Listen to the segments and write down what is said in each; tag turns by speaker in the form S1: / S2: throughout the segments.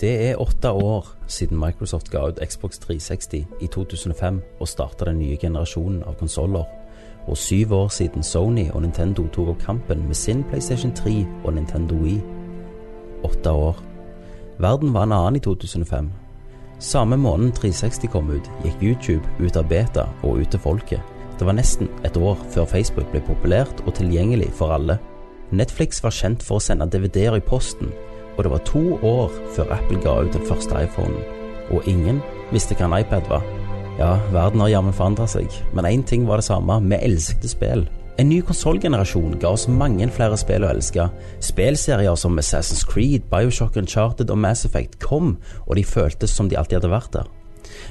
S1: Det er åtte år siden Microsoft ga ut Xbox 360 i 2005 og starta den nye generasjonen av konsoller. Og syv år siden Sony og Nintendo tok opp kampen med sin PlayStation 3 og Nintendo Wii. Åtte år. Verden var en annen i 2005. Samme måneden 360 kom ut, gikk YouTube ut av beta og ut til folket. Det var nesten et år før Facebook ble populært og tilgjengelig for alle. Netflix var kjent for å sende DVD-er i posten, og det var to år før Apple ga ut den første iPhonen. Og ingen visste hva en iPad var. Ja, verden har jammen forandra seg, men én ting var det samme, vi elsket spill. En ny konsollgenerasjon ga oss mange flere spill å elske. Spillserier som Assassin's Creed, Bioshock Uncharted og Mass Effect kom, og de føltes som de alltid hadde vært der.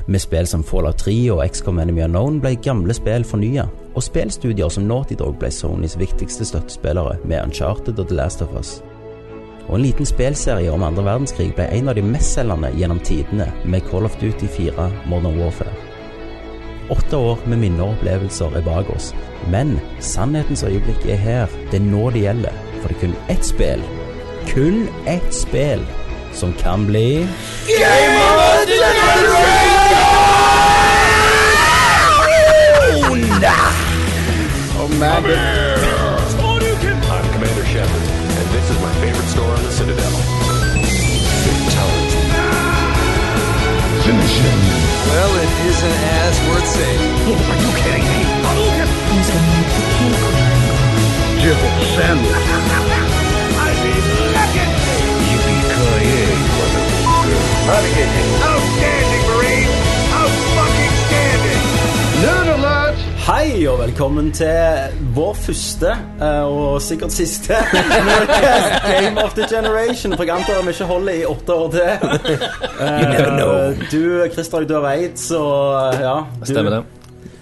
S1: Med spill som Fallout 3 og XCOM Enemy Unknown ble gamle spill fornya, og spillstudier som Naughty Dog ble Sonys viktigste støttespillere med Uncharted og The Last of Us. Og en liten spillserie om andre verdenskrig ble en av de mestselgende gjennom tidene med Call of Duty 4 Modern Warfare. Åtte år med minner og opplevelser er bak oss, men sannhetens øyeblikk er her. Det er nå det gjelder, for det er kun ett spill, kun ett spill, som kan bli
S2: I'm Commander Shepard, and this is my favorite store on the Citadel. Fatality.
S3: Well, it isn't as worth saying.
S4: Outstanding, Marine! Out fucking standing!
S5: Hei og velkommen til vår første, eh, og sikkert siste, Nerdcast Game of the Generation. For jeg antar vi ikke holder i åtte år til. you never know. Du, Christer, du har veit, så eh, ja. Du,
S6: Stemmer det.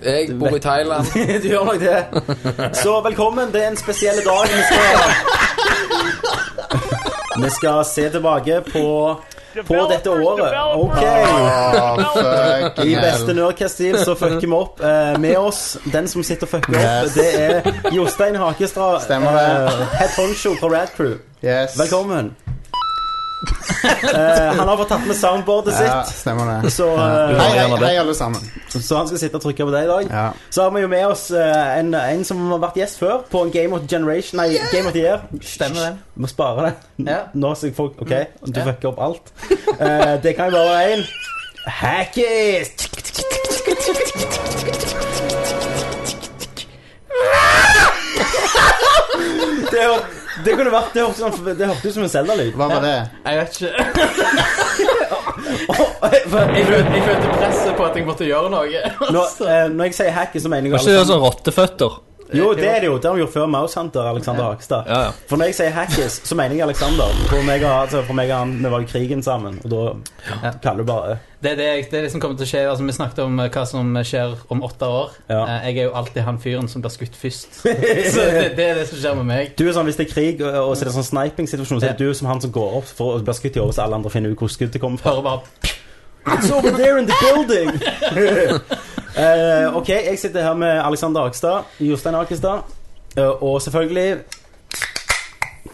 S7: Jeg bor i Thailand.
S5: du gjør nok det. Så velkommen. Det er en spesiell dag. Vi skal, vi skal se tilbake på, på dette året. OK. I beste Nerdcast-stil så fucker vi opp. Eh, med oss, den som sitter og fucker opp,
S8: Yes.
S5: det er Jostein Hakestad.
S8: Stemmer det.
S5: eh, head honcho fra Rad Crew.
S8: Yes.
S5: Velkommen. Eh, han har fått tatt med soundboardet
S8: Ja,
S5: sitt,
S8: stemmer det.
S5: så, eh,
S8: Hei, hei, hei, alle sammen.
S5: så han skal sitte og trykke på det i dag.
S8: Ja.
S5: Så har vi jo med oss eh, en, en som har vært gjest før, på en Game of the Generation. Nei, Game of the Year.
S7: Stemmer det.
S5: Må spare det.
S7: Ja. Mm.
S5: Nå ser jeg folk OK, du
S7: Ja.
S5: fucker opp alt. Eh, det kan jo bare være én. Hackis! Det, er jo- det kunne vært Det hørtes sånn- det hørtes ut som en Zelda-lyd.
S8: Hva var det?
S7: Jeg vet ikke.
S5: For-
S7: Jeg følte, jeg følte presset på at jeg måtte gjøre noe.
S5: Når, eh, når jeg sier hacky, så mener jeg
S6: Var ikke det
S7: altså
S6: sånn rotteføtter?
S5: Jo, det er det jo. Det har vi gjort før Mouse Hunter, Alexander Hakstad.
S6: Ja, ja.
S5: For når jeg sier Hackis, så mener jeg Alexander. For meg og, altså, for meg og han, vi var i krigen sammen, og da kaller du bare
S7: Det er det, jeg- det er det som kommer til å skje. Altså, vi snakket om eh, hva som skjer om åtte år.
S5: Ja.
S7: Eh, Jeg er jo alltid han fyren som blir skutt først. Så det, det er det som skjer med meg.
S5: Du er sånn, Hvis det er krig og, og så er det sånn sniping-situasjon, så er det
S7: Ja.
S5: du som han som går opp for å bli skutt i hodet, så alle andre finner ut hvor skuddet kommer fra.
S7: Hører bare
S5: It's over there in the building! Eh, ok, jeg sitter her med Alexander Hakstad, Jostein Hakestad, eh, og selvfølgelig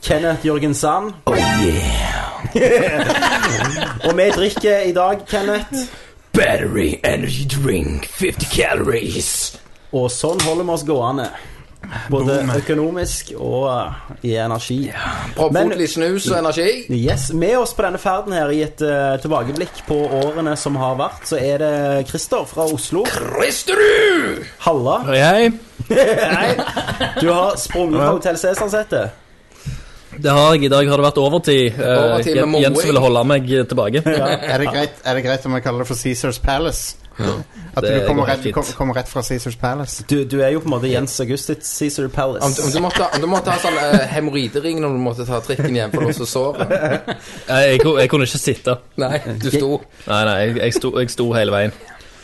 S5: Kenneth Jørgen Sand. Oh yeah! og vi drikker i dag, Kenneth.
S9: battery energy drink, 50 calories.
S5: Og sånn holder vi oss gående. Både økonomisk og eh, i energi. Men-
S7: Proppfotlig snus og energi.
S5: Yes, Med oss på denne ferden her i et eh, tilbakeblikk på årene som har vært, så er det Christer fra Oslo.
S9: Risterud!
S5: Halla.
S6: Og jeg,
S5: Nei, du har sprunget fra Hotell Cæsar-settet.
S6: det har jeg i dag, har det vært overtid. Eh,
S7: Overtid med
S6: Jen- Jens
S7: moing.
S6: ville holde meg eh, tilbake.
S8: Er det greit, er det greit om jeg kaller det for Caesars Palace? At
S6: Det
S8: du kommer
S6: går helt
S8: rett,
S6: fint.
S8: kom, kommer rett fra Caesars Palace?
S5: Du, du er jo på en måte Jens Augustits Caesar
S7: Om, om,
S5: Palace.
S7: du måtte, om du måtte ha sånn uh, hemoroidering når du måtte ta trikken hjem for å låse såret.
S6: Jeg, jeg, ku- jeg kunne ikke sitte.
S7: Nei, du sto.
S6: Nei, nei, jeg, jeg, sto, jeg sto hele veien.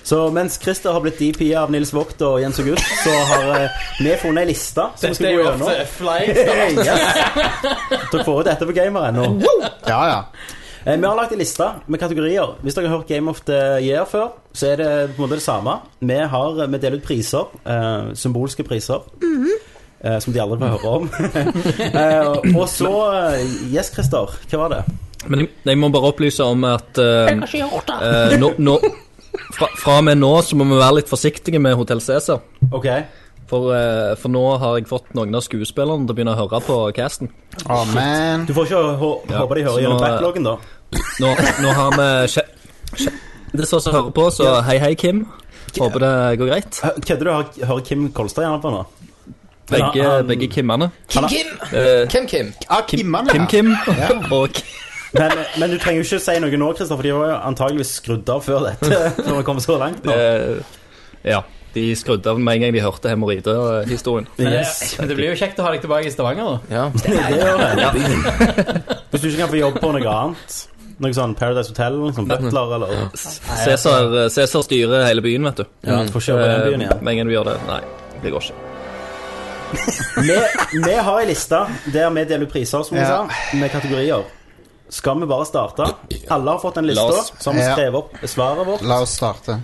S5: Så mens Christer har blitt DP av Nils Vogt og Jens August, så har eh, vi funnet ei liste som vi skal gå gjennom. Hey, yes. Dere får ut dette på gameren nå.
S8: Ja, ja.
S5: Eh, Vi har lagt en liste med kategorier. Hvis dere har hørt Game of the Year før, så er det på en måte det samme. Vi, har, vi deler ut priser. eh, symbolske priser. eh, som de aldri får høre om. Eh, og så eh, Yes, Christer. Hva var det?
S6: Men jeg, jeg må bare opplyse om at eh, eh, nå, nå, fra, fra og med nå så må vi være litt forsiktige med Hotell Cæsar.
S10: OK.
S6: For, eh, for nå har jeg fått noen av skuespillerne til å begynne å høre på casten.
S8: Å, man.
S10: Du får ikke hå
S6: Ja,
S10: håpe de hører
S6: så
S10: gjennom
S6: nå, eh,
S10: backloggen, da.
S6: Nå, nå har vi kje, kje, Det sånn som hører på, så hei, hei, Kim. Håper det går greit.
S10: Hø- Kødder du? Har- Hører Kim Kolstad gjerne på nå?
S6: Begge,
S10: Ja, han-
S6: begge Kimmene.
S9: Kim Kim!
S6: Eh,
S9: Kim Kim!
S8: Ah, Kimmene, ja.
S6: Kim-Kim og Kim.
S10: Men, men du trenger jo ikke si noe nå, Christer, for de var jo antageligvis skrudd av før dette. Når vi kom så langt nå.
S6: Eh, ja. De skrudde av med en gang de hørte hemoroidehistorien.
S7: Men det,
S10: Yes.
S7: men det blir jo kjekt å ha deg tilbake i Stavanger, da.
S9: Ja.
S10: Det gjør det. Hvis du ikke kan få jobb på noe annet, noe sånn Paradise Hotel, liksom butler eller
S6: Cæsar eh, Cæsar styrer hele byen, vet du.
S10: ja, Få kjøre på den byen
S6: Eh,
S10: igjen.
S6: Med en gang du gjør det Nei, det går ikke.
S10: Vi, vi har ei liste der vi deler ut priser, som vi
S8: Ja.
S10: sa, med kategorier. Skal vi bare starte? Alle har fått en
S6: La
S10: liste,
S6: oss.
S10: så har vi
S8: Ja.
S10: skrevet opp svaret vårt.
S8: La oss starte.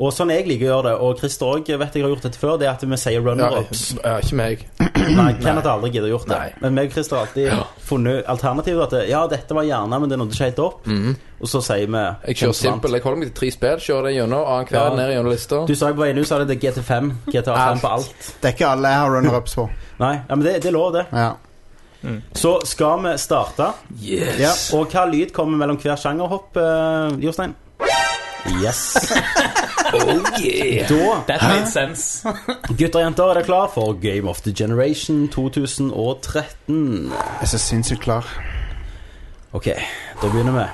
S10: Og sånn jeg liker å gjøre det, og Christer òg vet jeg har gjort dette før, det er at vi
S9: Ja,
S10: sier runner-ups.
S9: ja, ikke meg.
S10: Nei, Kenneth har aldri giddet å gjort det.
S9: Nei.
S10: Men meg og Christer har alltid funnet alternativet. At det, ja, dette var gjerne, men det nådde ikke helt opp. Og så sier vi
S9: Jeg kjører
S10: hvem som vant.
S9: simpel. Jeg holder meg til tre spill, kjører det gjennom, annenhver
S10: Ja.
S9: ned gjennom lista.
S10: Du sa jeg på veien ut, så hadde det GT5. GTA5 på alt.
S8: Det er ikke alle jeg har runner-ups på.
S10: Nei, ja, men det, det er lov, det.
S8: Ja.
S10: Så skal vi starte.
S9: Yes!
S8: Ja.
S10: Og hva lyd kommer mellom hver sjangerhopp, eh, Jostein? Yes.
S9: Oh yeah!
S10: Da,
S7: That made sense.
S10: gutter og jenter, er dere klar for Game of the Generation 2013?
S8: Jeg er så sinnssykt klar.
S10: Ok, da begynner vi.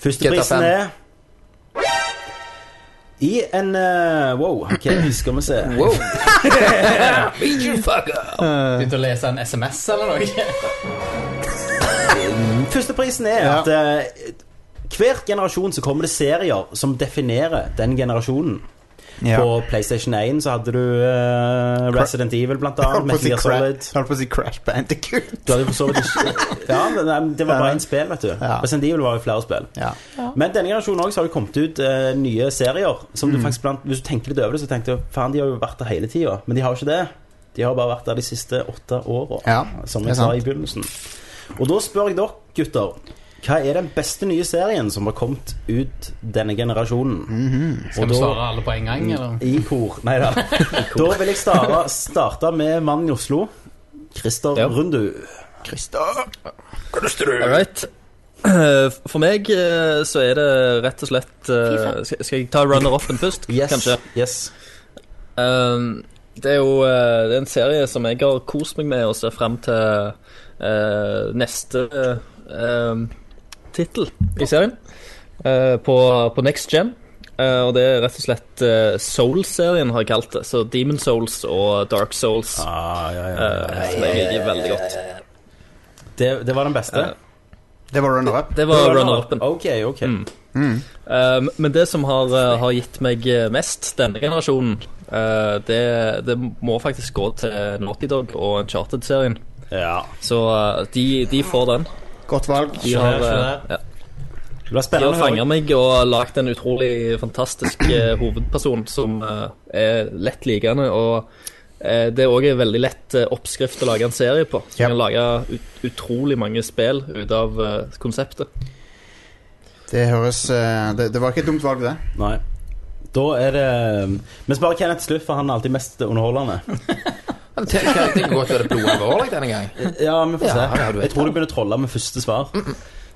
S10: Førsteprisen
S9: GTA fem.
S10: er i en eh, Wow, ok, skal vi se.
S9: Wow! Beat you fucker!
S7: Begynte å lese en SMS eller noe.
S10: Førsteprisen er
S8: Ja.
S10: at eh, hver generasjon så kommer det serier som definerer den generasjonen.
S8: Ja.
S10: På PlayStation 1 så hadde du eh, Resident Evil, blant
S8: Jeg holdt på å
S10: annet.
S8: si
S10: Metal Gear
S8: Cra-
S10: Solid.
S8: jeg holdt på å si Crash Bandicoot.
S10: Du hadde for så vidt ikke Ja, men nei, det var bare én spill, vet du.
S8: Ja.
S10: Resident Evil var jo flere spill.
S8: Ja.
S10: Men denne generasjonen også så har det kommet ut eh, nye serier. Som
S8: Mm.
S10: du faktisk blant, Hvis du tenker litt over det, så tenkte jeg faen, de har jo vært der hele tida. Men de har jo ikke det. De har bare vært der de siste åtte åra,
S8: Ja,
S10: som
S8: det er
S10: jeg sa
S8: sant.
S10: i begynnelsen. Og da spør jeg dere, gutter. Hva er den beste nye serien som har kommet ut denne generasjonen?
S8: Mhm.
S7: Skal vi svare alle på en gang, eller?
S10: I kor. Nei da. da vil jeg starte, starte med mannen i Oslo. Christer
S6: Ja.
S10: Rundu.
S6: All right. Eh, For meg eh, så er det rett og slett eh, Skal skal jeg ta runner-upen først,
S10: Yes.
S6: kanskje?
S10: yes.
S6: Um, det er jo eh, det er en serie som jeg har kost meg med og ser frem til eh, neste uh, tittel i serien. eh, på, på Next Gen. Eh, og det er rett og slett eh, Souls-serien, har jeg kalt det. Så Demon Souls og Dark Souls.
S10: Ah, ja, ja, ja.
S6: eh, som jeg liker veldig godt.
S10: Det, det var den beste?
S6: Eh,
S8: Det var runner-up.
S6: Det var runner-upen.
S10: Ok, ok.
S6: Mm. Eh, men det som har, eh, har gitt meg mest denne generasjonen, eh, det, det må faktisk gå til Naughty Dog og Uncharted-serien.
S10: Ja.
S6: Så eh, de, de får den.
S8: Godt valg.
S6: De har,
S7: Skjønner,
S6: eh,
S7: skjønner.
S6: ja,
S10: Det blir
S6: de
S10: spennende.
S6: har
S10: å
S6: fanga
S10: høre.
S6: meg og lagd en utrolig fantastisk eh, hovedperson som eh, er lett likende. Og eh, det er òg en veldig lett eh, oppskrift å lage en serie på.
S8: Yep.
S6: Så du kan lage ut, utrolig mange spill ut av eh, konseptet.
S8: Det høres eh, det, det var ikke et dumt valg, det.
S10: Nei. Da er det eh, Vi sparer Kenneth til slutt, for han er alltid mest underholdende.
S9: Ja, Det kan det kan godt være det blodet var like denne gang.
S10: Ja, vi får
S9: Ja,
S10: se.
S9: det har du
S10: jeg
S9: rett
S10: tror du begynner å trolle med første svar.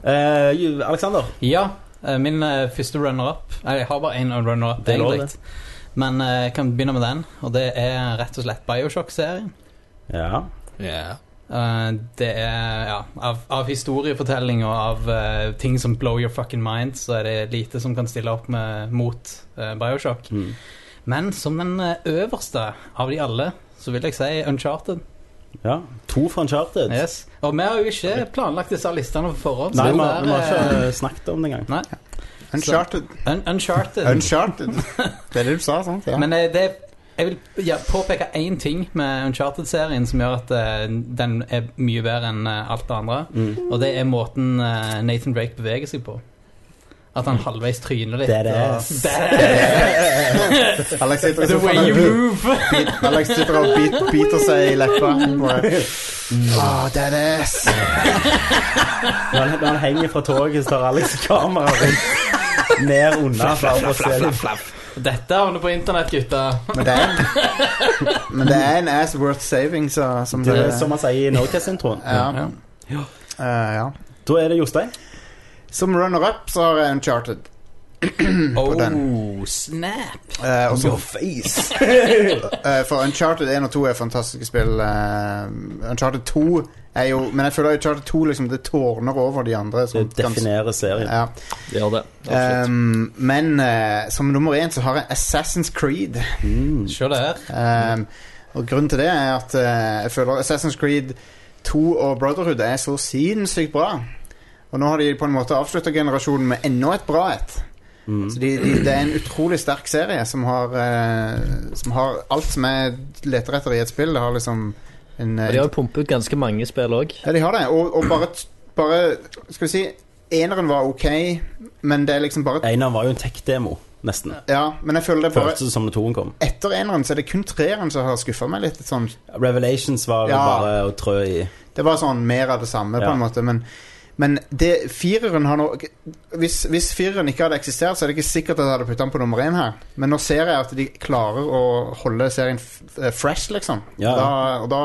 S10: Eh, Ju- Alexander,
S7: Ja, eh, min eh, første runner-up Nei, Jeg har bare én runner-up,
S10: Det er lov,
S7: egentlig. Men eh, jeg kan begynne med den, og det er rett og slett Bioshock-serien.
S10: ja.
S9: Ja.
S7: Eh, det er ja, av, av historiefortelling og av eh, ting som blow your fucking mind, så er det lite som kan stille opp med, mot eh, Bioshock.
S10: Mm.
S7: Men som den eh, øverste av de alle, så vil jeg si Uncharted.
S10: ja. To fra Uncharted.
S7: Yes. Og vi har jo ikke planlagt disse listene på forhånd.
S10: Nei,
S7: så
S10: vi
S7: det
S10: har vi har
S7: er, eh,
S10: ikke snakket om det engang.
S7: Nei.
S8: Uncharted.
S7: Un Uncharted.
S8: Uncharted. Det er det du sa, sant? Ja.
S7: Men eh, det jeg vil ja, påpeke én ting med Uncharted-serien som gjør at eh, den er mye bedre enn eh, alt det andre.
S8: Mm.
S7: Og det er måten eh, Nathan Drake beveger seg på. At han halvveis tryner litt.
S10: Badass.
S7: og- Badass.
S8: Alex sitter i
S7: The way
S8: sofaen
S7: you
S8: og
S7: move!
S8: Alex sitter og bit, biter seg i leppa. Bare, Åh, dead ass!
S10: Når han, når han henger fra toget, så tar Alex kameraet rundt ned unna. bare for å se litt.
S7: Dette havner på internett, gutta.
S8: Men det er en, men det er en ass worth saving, så, som
S10: Det
S8: det
S10: er som han sier i No-Test-introen.
S8: Ja.
S7: Ja.
S8: Eh, ja.
S10: Da er det Jostein.
S8: Som runner-up så har jeg Uncharted.
S7: Oh,
S8: den.
S7: snap!
S8: Eh, og så
S10: face!
S8: Eh, For Uncharted 1 og 2 er fantastiske spill. eh, Uncharted 2 er jo Men jeg føler Uncharted 2 liksom, det tårner over de andre.
S10: Det
S8: Som ganske-
S10: definerer serien.
S8: ja.
S6: Det gjør det. Absolutt.
S8: um, men eh, som nummer én så har jeg Assassin's Creed.
S10: Mm.
S7: Se der.
S8: Um, og grunnen til det er at eh, jeg føler Assassin's Creed 2 og Brotherhood er så sinnssykt bra. Og nå har de på en måte avslutta generasjonen med enda et bra et.
S10: Mm.
S8: Så de, de, det er en utrolig sterk serie som har, eh, som har alt som jeg leter etter i et spill. Det har liksom en eh,
S6: Og de har jo pumpet ut ganske mange spill òg.
S8: Ja, de har det. Og, og bare, t- bare Skal vi si Eneren var ok, men det er liksom bare
S10: En av dem var jo en tech-demo, nesten.
S8: Ja, men jeg føler det bare
S10: Føltes som når toen kom.
S8: Etter eneren så er det kun treeren som har skuffa meg litt. Sånn.
S10: Revelations var jo
S8: Ja.
S10: bare å trø i.
S8: Det var sånn mer av det samme, på
S10: Ja.
S8: en måte. Men, men det, fireren har nå Hvis, hvis fireren ikke hadde eksistert, så er det ikke sikkert at jeg hadde putta den på nummer én her. Men nå ser jeg at de klarer å holde serien f eh, fresh, liksom.
S10: Ja.
S8: Da, og da,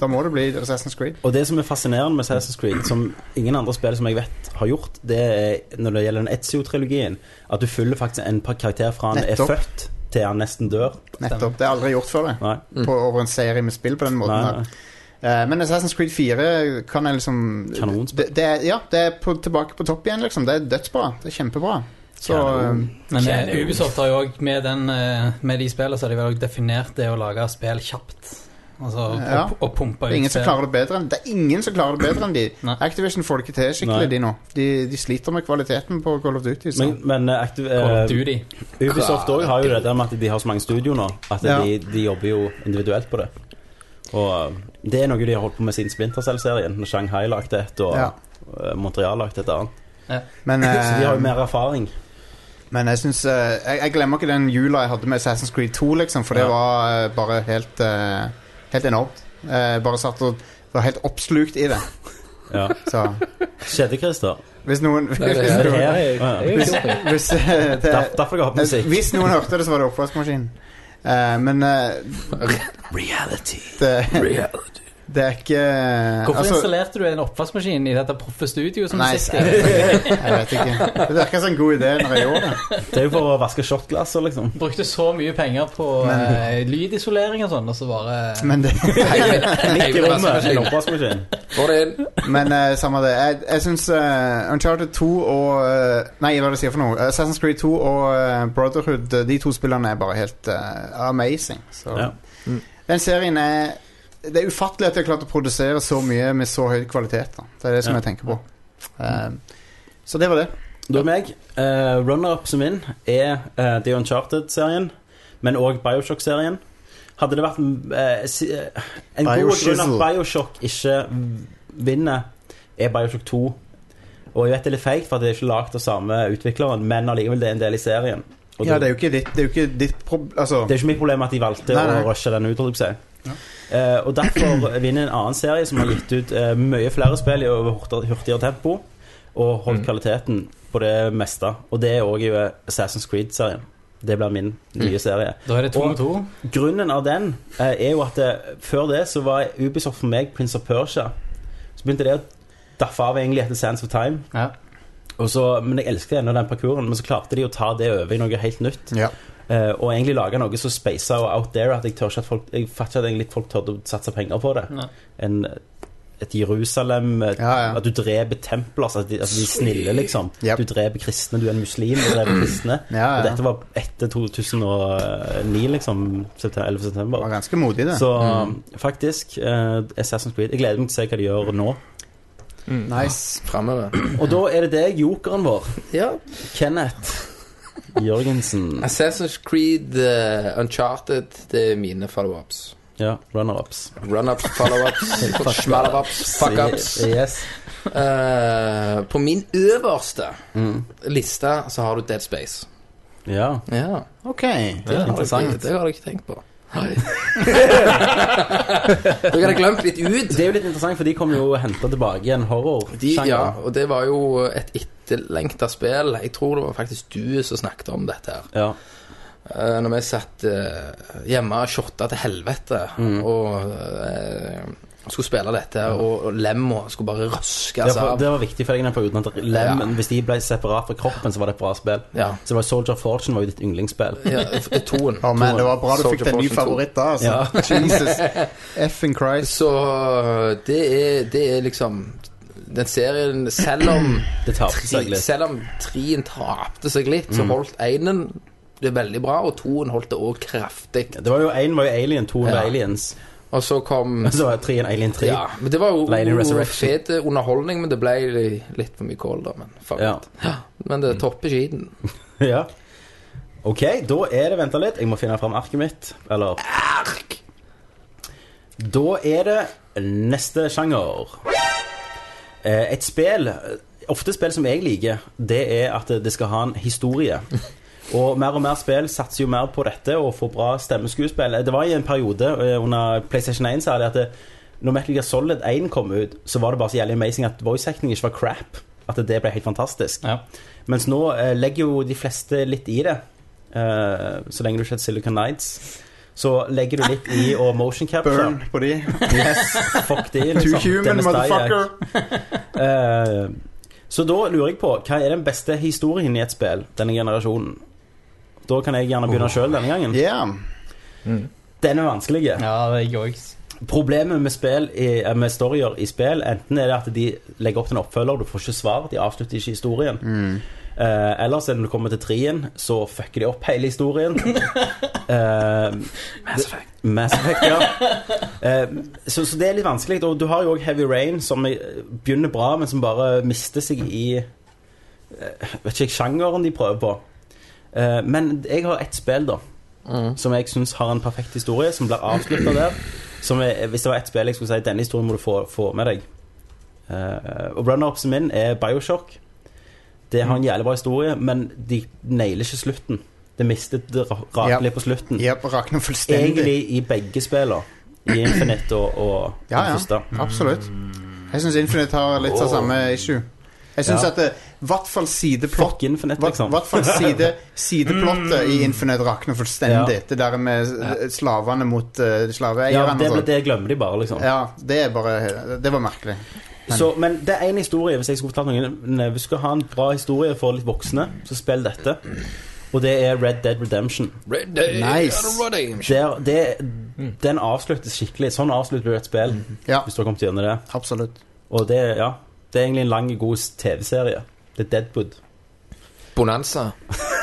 S8: da må det bli Assassin's Creed.
S10: Og det som er fascinerende med Assassin's Creed, som ingen andre spill som jeg vet har gjort, det er når det gjelder den Ezio-trilogien, at du følger faktisk en par karakter fra han
S8: Nettopp.
S10: er født til han nesten dør.
S8: Nettopp. Det er aldri gjort før, det.
S10: Nei.
S8: På, over en serie med spill på den måten.
S10: Nei,
S8: her.
S10: nei.
S8: Eh, Men Assassin's Creed 4 kan jeg liksom
S10: Kanonspill.
S8: Det, det er, ja, det er på, tilbake på topp igjen, liksom. Det er dødsbra. Det er kjempebra. Så
S10: Kanon.
S8: eh,
S7: Men eh,
S10: Kjenner jo.
S7: Ubisoft har jo òg med, den, eh, med de spillene så har de vel også definert det å lage spill kjapt. Altså
S8: Ja.
S7: å, å pumpe ut
S8: det er ingen som klarer det bedre enn Det er ingen som klarer det bedre enn de.
S7: Nei.
S8: Activision får det ikke til
S10: Nei.
S8: skikkelig, de nå. De, de sliter med kvaliteten på Call of Duty. Så.
S10: Men, men eh, aktiv, eh,
S7: Call of Duty.
S10: Ubisoft også har jo det der med at de har så mange studio nå, at
S8: Ja.
S10: de, de jobber jo individuelt på det. Og eh, det er noe de har holdt på med siden Splinter Cell-serien. Når Shanghai lagde et, og
S8: Ja.
S10: eh, Montreal lagde et annet.
S8: Men,
S10: Så de har jo
S8: eh,
S10: mer erfaring.
S8: men jeg syns eh, jeg, jeg glemmer ikke den jula jeg hadde med Assassin's Creed 2, liksom, for det
S10: Ja.
S8: var eh, bare helt, eh, helt enormt. Eh, bare satt og var helt oppslukt i det.
S10: Ja.
S8: Så
S10: Skjedde, Christer.
S8: hvis noen
S6: Det er-
S8: hvis noen-
S6: jeg- jeg-
S8: Hvis,
S6: jeg-
S8: hvis, eh, det,
S10: Der, derfor jeg har på
S8: Nei,
S10: musikk.
S8: Hvis noen hørte det, så var det oppvaskmaskinen. Eh, men eh,
S10: Reality.
S8: det, det er ikke
S7: Hvorfor
S8: altså,
S7: installerte du en oppvaskmaskin i dette proffe studioet som
S6: sånn
S8: Nei,
S7: du sitter i?
S8: jeg vet ikke. Det virka som en god idé når jeg gjorde det.
S10: Det er jo for å vaske shotglasser, liksom.
S7: Brukte så mye penger på
S8: Men-
S7: eh, lydisolering og sånn, og så bare
S8: Men, det,
S10: Midt i rommet. En
S9: Heimevaskemaskinen.
S10: oppvaskmaskin.
S9: Få det inn.
S8: men eh, samme det. Jeg, jeg syns eh, Uncharted 2 og eh, Nei, hva er det jeg sier for noe? Assassin's Creed 2 og eh, Brotherhood, eh, de to spillene er bare helt eh, amazing. Så.
S10: Ja.
S8: Den serien er Det er ufattelig at de har klart å produsere så mye med så høy kvalitet. Da. Det er det som
S10: Ja.
S8: jeg tenker på. Eh, så det var det.
S10: Da er meg. Eh, Runner-up som min er eh, The Uncharted-serien, men òg Bioshock-serien. Hadde det vært eh, si- eh, En god grunn at
S8: Bioshizzle.
S10: Bioshock ikke vinner, er Bioshock 2. Og jeg vet det er litt feigt, for det er ikke lagd av samme utvikleren, men allikevel det er en del i serien. Og
S8: Ja,
S10: det,
S8: det er jo ikke ditt, det er jo ikke ditt prob... Altså,
S10: det er ikke mitt problem at de valgte
S8: Nei, nei.
S10: å rushe den ut. holdt jeg på å si. Eh, og derfor vinner en annen serie som har gitt ut eh, mye flere spill i over hurtig- hurtigere tempo, og holdt kvaliteten på det meste. Og det er òg Assassin's Creed-serien. Det blir min nye serie.
S7: Da er det to
S10: Og-
S7: og to.
S10: Grunnen av den eh, er jo at eh, før det så var Ubisoft for meg Prince of Persia. Så begynte det å daffe av egentlig etter Sands of Time.
S7: Ja.
S10: Og så, men jeg elsket ennå den parkouren, men så klarte de å ta det over i noe helt nytt.
S8: Ja.
S10: Eh, og egentlig lage noe så speisa og out there at jeg tør ikke at folk Jeg fatter at egentlig folk tørde å satse penger på det.
S7: Nei.
S10: En, et Jerusalem et,
S8: Ja, ja.
S10: At du dreper templer. Altså, at de, altså de er snille, liksom.
S8: Yep.
S10: Du dreper kristne, du er en muslim og dreper kristne.
S8: ja,
S10: Og
S8: ja.
S10: dette var etter 2009, liksom. September, 11.
S8: Det var
S10: september.
S8: ganske modig, det.
S10: Så faktisk, eh, Assassin's Creed Jeg gleder meg til å se hva de gjør nå.
S8: nice.
S9: Fremover.
S10: Og da er det deg, jokeren vår,
S9: Ja.
S10: Kenneth Jørgensen.
S9: Assassin's Creed, eh, Uncharted, det er mine follow-ups.
S10: Ja, runner-ups.
S9: Run-ups, follow-ups, schmallow-ups, fuck-ups.
S10: Yes.
S9: Eh, på min øverste
S10: Mm.
S9: liste så har du Dead Space.
S10: Ja.
S9: Ja,
S8: Ok.
S9: det,
S10: interessant.
S9: Har jeg, det har jeg ikke tenkt på. Dere hadde glemt litt ut.
S10: Det er jo litt interessant, for de kommer jo og henter tilbake igjen horror.
S9: De, ja,
S10: sjangeren.
S9: og det var jo et etterlengta spill. Jeg tror det var faktisk du som snakket om dette her.
S10: ja.
S9: Eh, Når vi satt eh, hjemme og shotta til helvete
S10: Mm.
S9: og eh, skulle spille dette, her, og, og lemma skulle bare
S10: Ja,
S9: røskes
S10: for
S9: Altså, av.
S10: det var viktig for deg i den perioden at lemmen, hvis de ble separat fra kroppen, så var det et bra spill.
S9: Ja.
S10: Så det var Soldier of Fortune var jo ditt yndlingsspill.
S9: Ja, f- toen.
S8: Å, men det var bra du fikk
S9: Soldier
S8: deg en ny
S9: Fortune 2.
S8: favoritt da, altså. Jesus. Effing Christ.
S9: Så eh, det er, det er liksom den serien, selv om
S10: Det tapte seg
S9: Tre-
S10: litt. Mm.
S9: Selv om trien tapte seg litt, så holdt einen det veldig bra, og toen holdt det òg kraftig.
S10: Det var jo én var jo Alien, to var
S9: Ja.
S10: Aliens.
S9: Og så kom
S10: Og så var det tre en Alien 3.
S9: ja, men Det var
S10: Alien
S9: jo
S10: Resurrection.
S9: fet underholdning, men det ble litt for mye kål, da. Men, fuck
S10: Ja. Mm.
S9: it. men det topper skiten.
S10: ja. Ok, da er det Venta litt. Jeg må finne fram arket mitt. Eller Ark! Da er det neste sjanger. Eh, Et spill Ofte spill som jeg liker, det er at det skal ha en historie. Og mer og mer spill satser jo mer på dette og får bra stemmeskuespill. Det var i en periode eh, under PlayStation 1 særlig at det, når Metal Gear Solid 1 kom ut, så var det bare så jævlig amazing at voice acting ikke var crap. At det ble helt fantastisk.
S7: Ja.
S10: Mens nå eh, legger jo de fleste litt i det. Eh, så lenge du ikke heter Silicon Nights. Så legger du litt i og motion capture.
S8: Burn på de.
S10: Fuck de,
S8: Too
S10: liksom.
S8: human,
S10: Dennis Dyack.
S8: motherfucker.
S10: Eh, så da lurer jeg på, hva er den beste historien i et spill denne generasjonen? Da kan jeg gjerne begynne sjøl denne gangen.
S8: Yeah.
S10: Den er vanskelig.
S7: Ja, det er jeg òg.
S10: Problemet med, spill i, eh, med storyer i spill, enten er det at de legger opp til en oppfølger, du får ikke svar, de avslutter ikke historien.
S8: Mm.
S10: Eh, ellers er det når du kommer til trien, så fucker de opp hele historien. Eh,
S9: Mass Effect.
S10: Mass Effect, ja. Eh, så, så det er litt vanskelig. Og du har jo òg Heavy Rain, som eh, begynner bra, men som bare mister seg i eh, Vet ikke jeg sjangeren de prøver på. Eh, men jeg har ett spill, da,
S8: Mm.
S10: som jeg syns har en perfekt historie, som blir avslutta der. Som er, hvis det var ett spill jeg skulle si denne historien må du få, få med deg. Eh, og runner-upsen min er Bioshock. Det har en jævlig bra historie, men de nailer ikke slutten. Det mistet det ra- rakelig på slutten
S8: Yep, rakner fullstendig.
S10: egentlig i begge spillene. I Infinite og, og
S8: Ja,
S10: den
S8: ja.
S10: første.
S8: Absolutt. Jeg syns Infinite har litt av samme issue. Jeg syns
S10: Ja.
S8: at i hvert fall sideplott
S10: Fuck Infinite,
S8: Hva-
S10: liksom. Mm.
S8: hvert fall side, sideplottet i Infinite rakner fullstendig.
S10: Ja.
S8: Det der med eh, slavene mot eh,
S10: Ja,
S8: slaveeierne
S10: det,
S8: og
S10: ble,
S8: sånn.
S10: det glemmer de bare, liksom.
S8: Ja, det er bare Det var merkelig.
S10: Så, men det er én historie. Hvis jeg skulle fortalt noen Hvis du skal ha en bra historie for litt voksne, så spill dette. Og det er Red Dead Redemption.
S9: Red Day,
S8: Nice.
S9: Red Day.
S10: Der, det, den avsluttes skikkelig. Sånn avslutter du et spill.
S8: Ja.
S10: Hvis du har kommet gjennom det.
S8: Absolutt.
S10: Og det, ja, det er egentlig en lang, god TV-serie. Det er Deadwood.
S9: Bonanza.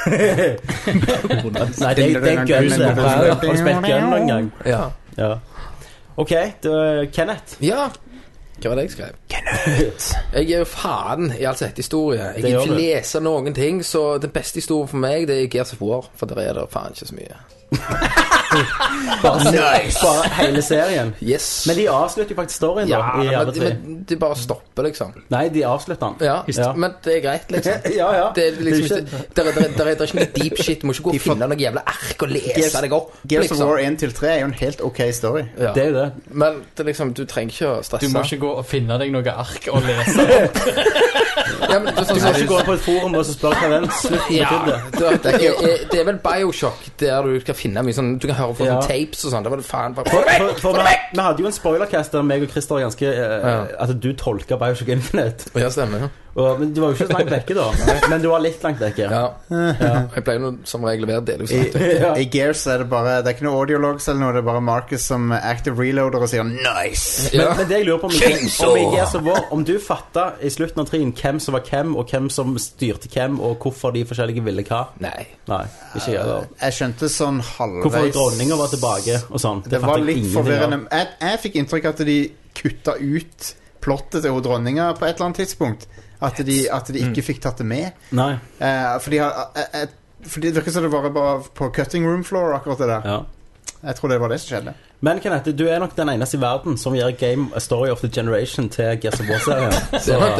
S10: Nei, det, det er Guns. det. Har du spilt Gun noen gang?
S9: Ja.
S10: Ja. OK, det er Kenneth.
S9: ja. Hva var det jeg skrev? Jeg er jo faen i all sett historie. Jeg kan
S10: Det gjør
S9: ikke
S10: du.
S9: lese noen ting, så den beste historien for meg, det er Gears of War. For der er det faen ikke så mye.
S10: Bare, bare hele serien.
S9: Yes.
S10: Men de avslutter jo faktisk storyen, da.
S9: ja,
S10: i alle
S9: men,
S10: tre.
S9: men de bare stopper, liksom.
S10: Nei, de avslutter den.
S9: Ja,
S10: Ja.
S9: Men det er greit, liksom.
S10: ja, ja.
S9: Det er liksom
S10: Det er
S9: ikke, der, er- der, er- der er ikke noe deep shit. Du må ikke gå og
S8: får-
S9: finne noe jævla ark og lese deg opp.
S8: Gears of
S9: liksom.
S8: War 1 til 3 er jo en helt ok story.
S9: Ja.
S10: Det er jo det.
S9: Men det, er liksom, du trenger ikke å stresse.
S7: Du må ikke gå og finne deg noe ark og lese.
S9: ja, men, det, er sånn,
S10: Du
S9: som-
S10: kan ikke gå på et forum og så spørre hva den slutten
S9: ja,
S10: betydde.
S9: det, er- det, er, det er vel Bioshock der du skal finne mye sånn Du kan høre på
S10: Ja.
S9: sånn tapes og sånn. Det var det faen bare
S10: For, for, for vi, vi hadde jo en spoilercast der meg og Christer var ganske eh, At du tolka Bioshock Infinite.
S9: Ja, stemmer.
S10: Og, men du var jo ikke så langt vekke, da. Men du var litt langt vekke.
S9: Ja. Jeg pleier nå som regel å være delvis rett.
S10: Ja.
S8: I Gears er det bare Det er ikke noe audiologs eller noe, det er bare Marcus som active reloader og sier 'nice'.
S9: Ja.
S10: Men det jeg lurer på om ikke,
S9: Chainsaw!
S10: om, ikke er så vår, om du fatta i slutten av trien hvem som var hvem, og hvem som styrte hvem, og hvorfor de forskjellige ville hva?
S9: Nei.
S10: Nei, ikke jeg heller.
S8: Jeg skjønte sånn
S10: Hvorfor
S8: halvveis
S10: dronninga var tilbake og sånn.
S8: Det
S10: fatter
S8: var
S10: jeg
S8: litt
S10: ingenting av.
S8: forvirrende. Jeg, jeg fikk inntrykk av at de kutta ut plottet til hun dronninga på et eller annet tidspunkt. At de, at de
S10: Mm.
S8: ikke fikk tatt det med.
S10: Nei.
S8: Eh, for de har eh, eh, for det virker som det var bare på cutting room floor, akkurat det der.
S10: Ja.
S8: Jeg tror det var det som skjedde.
S10: Men Kenneth, du er nok den eneste i verden som gir Game A Story of the Generation til Gears of War-serien.
S9: Det er nok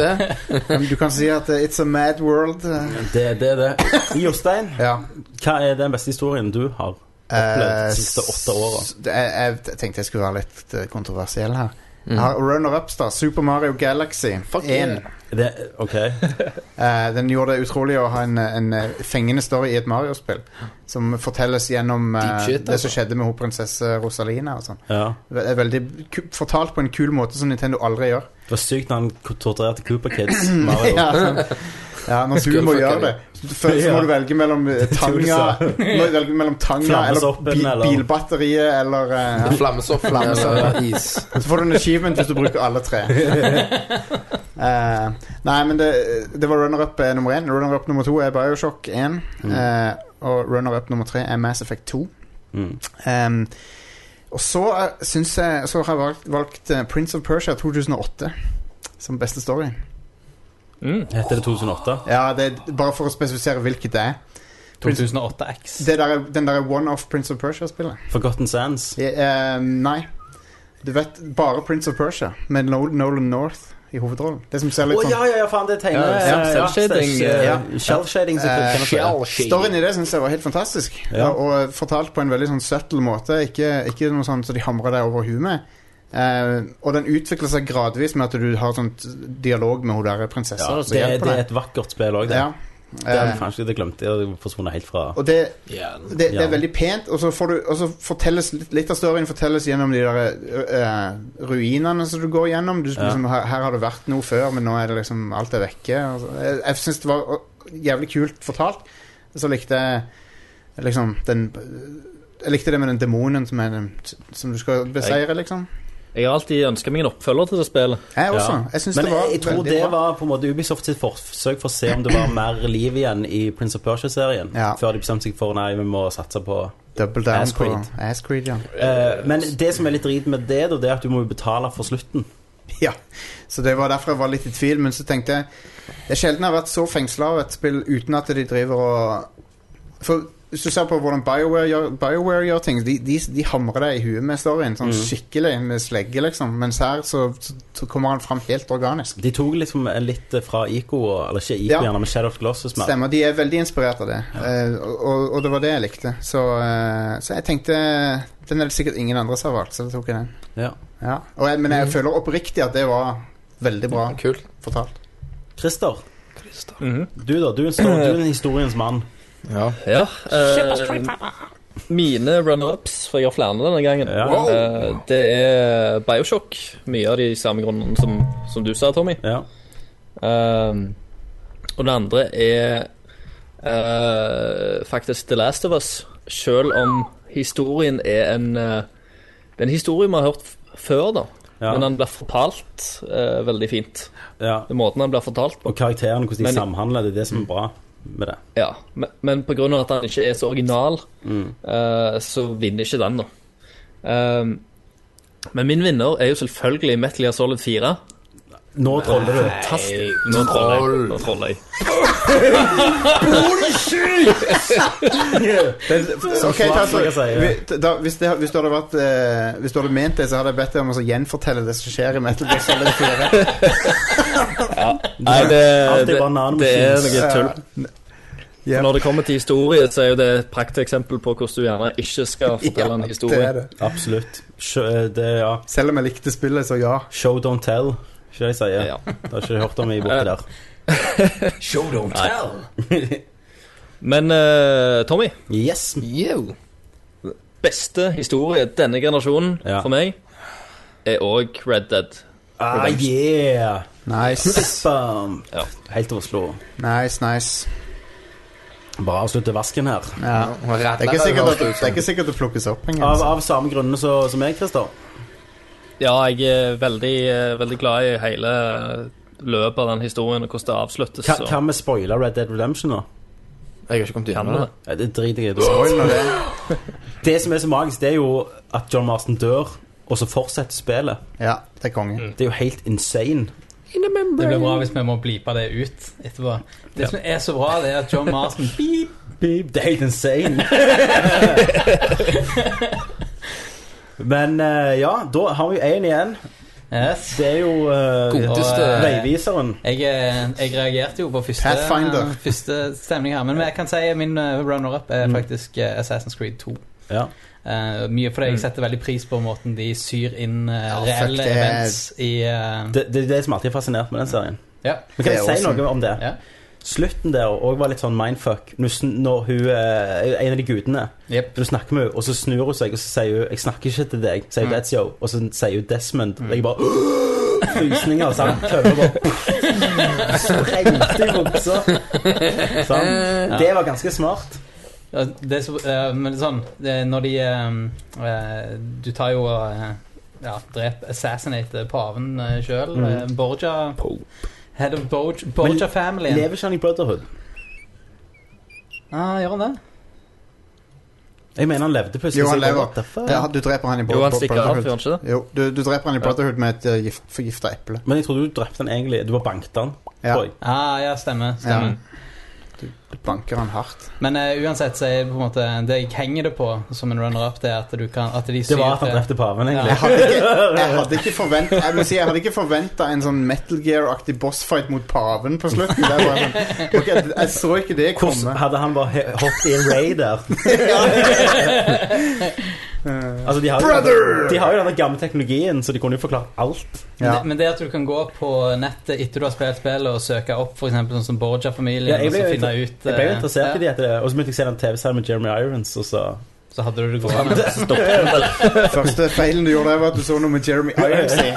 S9: det.
S8: Men du kan si at eh, it's a mad world. eh.
S10: Det det er det. Jostein,
S8: Ja.
S10: hva er den beste historien du har? Opplevd
S8: eh,
S10: de siste åtte årene.
S8: s- det- Jeg, jeg tenkte jeg skulle være litt eh, kontroversiell her.
S10: Mm.
S8: Jeg har Runner-ups, da. Super Mario Galaxy 1.
S10: Det, OK.
S8: Eh, den gjorde det utrolig å ha en, en eh, fengende story i et Mario-spill. Som fortelles gjennom eh,
S9: Deep shit,
S8: det
S9: altså.
S8: som skjedde med hun prinsesse Rosalina. og sånn.
S10: Ja.
S8: Det er Veldig ku Fortalt på en kul måte som Nintendo aldri gjør.
S10: Det var sykt når han torturerte Cooper Kids. Mario.
S8: Ja, sånn. ja, når du må
S9: Skullfucker.
S8: gjøre det, først så
S10: Ja.
S8: må du velge mellom eh, tanga,
S10: Tusa.
S8: må du velge mellom tanga eller,
S10: Flammesoppen,
S8: bi
S10: eller-
S8: bilbatteriet eller eh, ja.
S9: Flammesopp
S8: Flammesopp.
S9: eller is.
S8: Så får du en achievement hvis du bruker alle tre. Eh, nei, men det, det var runner-up eh, nummer én. Runner-up nummer to er Bioshock 1. eh, og runner-up nummer tre er Mass Effect 2.
S10: Mm.
S8: Ehm, og så, eh, syns jeg, så har jeg valgt, valgt eh, Prince of Persia 2008 som beste story.
S6: Mm.
S10: Heter det 2008?
S8: Ja, det er Bare for å spesifisere hvilket det er.
S7: 2008X.
S8: Det der, er- den der er one-off Prince of Persia-spillet.
S10: Forgotten Sands?
S8: Eh, eh, nei. Du vet bare Prince of Persia med Nol- Nolan North i hovedrollen. Det som ser
S10: Å
S8: litt sånn
S10: ja, ja, ja, faen, det tegner
S6: Ja, self-shading,
S10: Ja,
S6: ja.
S10: Shell-shading, som
S8: Eh,
S10: kan jeg si.
S8: Storyen i det synes jeg var helt fantastisk.
S10: Ja.
S8: Og, og fortalt på en veldig sånn subtle måte. Ikke, ikke noe sånn så de hamrer deg over huet med. Eh, og den utvikler seg gradvis med at du har sånn dialog med hun der prinsessa.
S10: Ja,
S8: og så
S10: det,
S8: hjelper
S10: det
S8: deg.
S10: er et vakkert spill òg, det.
S8: ja.
S10: det er
S8: Eh,
S10: kanskje det glemte jeg og forsvunnet helt fra.
S8: og det,
S9: Ja,
S8: det, det
S10: Ja.
S8: er veldig pent, og så, får du, og så fortelles litt, litt av storyen fortelles gjennom de der eh, ruinene som du går gjennom. Du,
S10: Ja.
S8: liksom, her, her har det vært noe før, men nå er det liksom alt er vekke. og så- Jeg, jeg syns det var eh, jævlig kult fortalt. Så likte jeg liksom den Jeg likte det med den demonen som, er den, som du skal beseire, liksom.
S6: Jeg har alltid ønska meg en oppfølger til det spillet.
S8: Jeg også.
S10: Ja.
S8: Jeg syns
S10: Men
S8: det var
S10: jeg, jeg tror
S8: veldig
S10: det
S8: bra.
S10: var på en måte Ubisoft sitt forsøk for å se om det var mer liv igjen i Prince of Persia-serien.
S8: Ja.
S10: Før de bestemte seg for nei, vi må satse på
S8: Double down
S10: Ass
S8: på
S10: Creed.
S8: Ass Creed, ja.
S10: Eh, Men det som er litt drit med det, da, det er at du må jo betale for slutten.
S8: Ja, så det var derfor jeg var litt i tvil, men så tenkte jeg Det er sjelden jeg har vært så fengsla av et spill uten at de driver og For hvis du ser på hvordan BioWare gjør, BioWare gjør ting, de, de, de hamrer deg i huet med storyen sånn skikkelig med slegge, liksom. Mens her så, så, så kommer han fram helt organisk.
S10: De tok liksom litt fra ICO, og- eller ikke ICO,
S8: Ja.
S10: gjerne, men Shadow of Glosses. mer.
S8: Stemmer. De er veldig inspirert av det, Eh, og, og det var det jeg likte. Så, eh, så jeg tenkte Den er det sikkert ingen andre som har valgt, så da tok jeg den.
S10: Ja.
S8: Ja. Og jeg, men jeg føler oppriktig at det var veldig bra
S9: Kult.
S8: fortalt.
S10: Christer, du da. Du er, en stor, du er en historiens mann.
S9: Ja.
S6: Ja. Eh, mine runner-ups, for jeg har flere denne gangen,
S10: Ja.
S6: eh, det er Bioshock. Mye av de samme grunnene som, som du sa, Tommy.
S10: Ja.
S6: Um, og det andre er uh, faktisk The Last of Us. Selv om historien er en uh, Det er en historie vi har hørt f før, da.
S10: Ja.
S6: Men han blir fortalt uh, veldig fint.
S10: ja.
S6: Den måten han blir fortalt på.
S10: Og karakterene, hvordan de
S6: Men-
S10: samhandler, det er det som er bra med det.
S6: Ja. Men, men på grunn av at han ikke er så original, uh, så vinner ikke den, da. Um, men min vinner er jo selvfølgelig Metal Gear Solid 4.
S10: Nå troller du.
S6: Fantastisk. Nå troller jeg. Nå troller jeg.
S8: Så, ok,
S10: svart,
S8: ta, så,
S10: skal jeg si, ja.
S8: vi- da, hvis, det, hvis, du hadde vært, eh, hvis du hadde ment det, så hadde jeg bedt deg om å så gjenfortelle det som skjer i Metal Gear Solid 4.
S6: Nei, det,
S10: Alltid
S6: det,
S10: banan
S6: det er
S10: machines.
S6: noe tull.
S8: Ja.
S6: Når det kommer til historie, så er jo det et prakteksempel på hvordan du gjerne ikke skal fortelle en historie.
S8: det er det.
S10: Absolutt. Sjø, det, ja.
S8: eh, Selv om jeg likte spillet, så ja.
S10: Show, don't tell, ikke det jeg sier.
S6: Ja.
S10: Det har ikke hørt om meg borti der.
S9: Show don't tell.
S6: Men eh, Tommy,
S10: Yes.
S9: Yo.
S6: beste historie denne generasjonen
S10: Ja.
S6: for meg er òg Red Dead.
S10: Ah, yeah.
S8: Nice,
S10: Bam.
S6: Ja.
S10: Helt til Oslo.
S8: nice, nice.
S10: Bare avslutte vasken her.
S8: Ja. Det er ikke sikkert at
S6: sånn.
S8: det, er ikke sikkert det plukkes opp engang.
S10: Av,
S8: altså.
S10: av samme grunner så, som jeg, Christer.
S6: Ja, jeg er veldig, eh, veldig glad i hele løpet av den historien og hvordan det avsluttes.
S10: Ka-
S6: og-
S10: Kan vi spoile Red Dead Redemption nå?
S9: Jeg har ikke kommet
S6: Kan
S9: gjennom
S6: vi
S9: det.
S6: det?
S10: Nei, Det driter jeg i. da.
S8: Spoiler det.
S10: Det som er så magisk, det er jo at John Marston dør, og så fortsetter spillet.
S8: Ja, det er konge.
S10: Det er jo helt insane.
S7: Det blir bra hvis vi må blipe det ut etterpå. Det som er så bra, det er at John Marston beep,
S10: Det er helt insane. Men eh, ja, da har vi én igjen.
S7: yes.
S10: Det er jo eh,
S9: Godeste
S7: Og, eh,
S10: veiviseren.
S7: Jeg, eh, jeg reagerte jo på første,
S8: Pathfinder. Mm.
S7: eh, første stemning her, men jeg kan si min eh, runner-up er faktisk eh, Assassin's Creed 2.
S10: Ja.
S7: Eh, mye fordi jeg setter veldig pris på måten de syr inn eh,
S8: Mm. Ja, fuck,
S7: reelle
S8: det er-
S7: events i eh,
S10: Det, det er det som alltid har fascinert med den serien.
S7: Ja.
S10: Men
S8: Det
S10: kan
S8: er
S10: jeg si
S8: awesome.
S10: noe om det?
S7: Ja.
S10: Slutten der òg var litt sånn mindfuck. Når sn- Når hun eh, En av de gudene
S7: Jep.
S10: Du snakker med henne, og så snur hun seg og så sier hun, 'Jeg snakker ikke til deg', sier hun
S7: Mm.
S10: 'That's yo', og så sier hun 'Desmond'. Og jeg bare Frysninger. Så han kødder bare Sprengte i buksa. Sånn. Det var ganske smart.
S7: Ja, Det er så, eh, men det er sånn det er Når de eh, eh, Du tar jo og eh, ja, dreper assassinate paven uh, sjøl.
S10: Mm.
S7: Borgia
S6: Pope.
S7: Head of Borgia, Borgia familien.
S10: Lever ikke han i Brotherhood?
S7: Ah, gjør han det?
S10: Jeg mener han levde plutselig.
S8: Jo, han
S10: så jeg bare,
S8: lever.
S10: "What the fuck?"
S8: Ja, du dreper han i
S6: Jo,
S8: Bro-
S6: han
S8: Bro-
S6: stikker av,
S8: Brotherhood.
S6: gjør han ikke det?
S8: Jo, du, du dreper han i Brotherhood med et eh, gift, forgifta eple.
S10: Men jeg trodde du drepte han egentlig. Du bare banket han.
S8: Ja,
S10: tror jeg.
S7: Ah, ja, stemmer. stemmer.
S8: Ja. Du, du banker han hardt.
S7: Men eh, uansett så er det på en måte det jeg henger det på som en runner-up, det er at du kan At de
S10: Det var at
S7: til-
S10: han drepte paven, egentlig.
S8: Jeg hadde ikke, jeg hadde ikke forventa Jeg må si, jeg hadde ikke forventet en sånn Metal Gear-aktig bossfight mot paven på slutten. Det var sånn, ok, jeg så ikke det komme.
S10: Hvordan hadde han bare he- hoppet i en raid der? altså, de har, jo
S8: Brother!
S10: denne- de har jo denne gamle teknologien, så de kunne jo forklart alt.
S7: Men
S8: Ja.
S7: det- Men det at du kan gå på nettet etter du har spilt spillet, og søke opp for eksempel sånn som Borgia-familien,
S10: Ja, jeg
S7: og
S10: ble
S7: så
S10: jo
S7: finne
S10: inter-
S7: ut
S10: Jeg ble jo
S7: eh,
S10: interessert
S7: ja,
S10: i de etter det, og så begynte jeg å se den TV-serien med Jeremy Irons, og så
S7: Så hadde du det gående.
S8: Første feilen du gjorde, der var at du så noe med Jeremy Irons. i.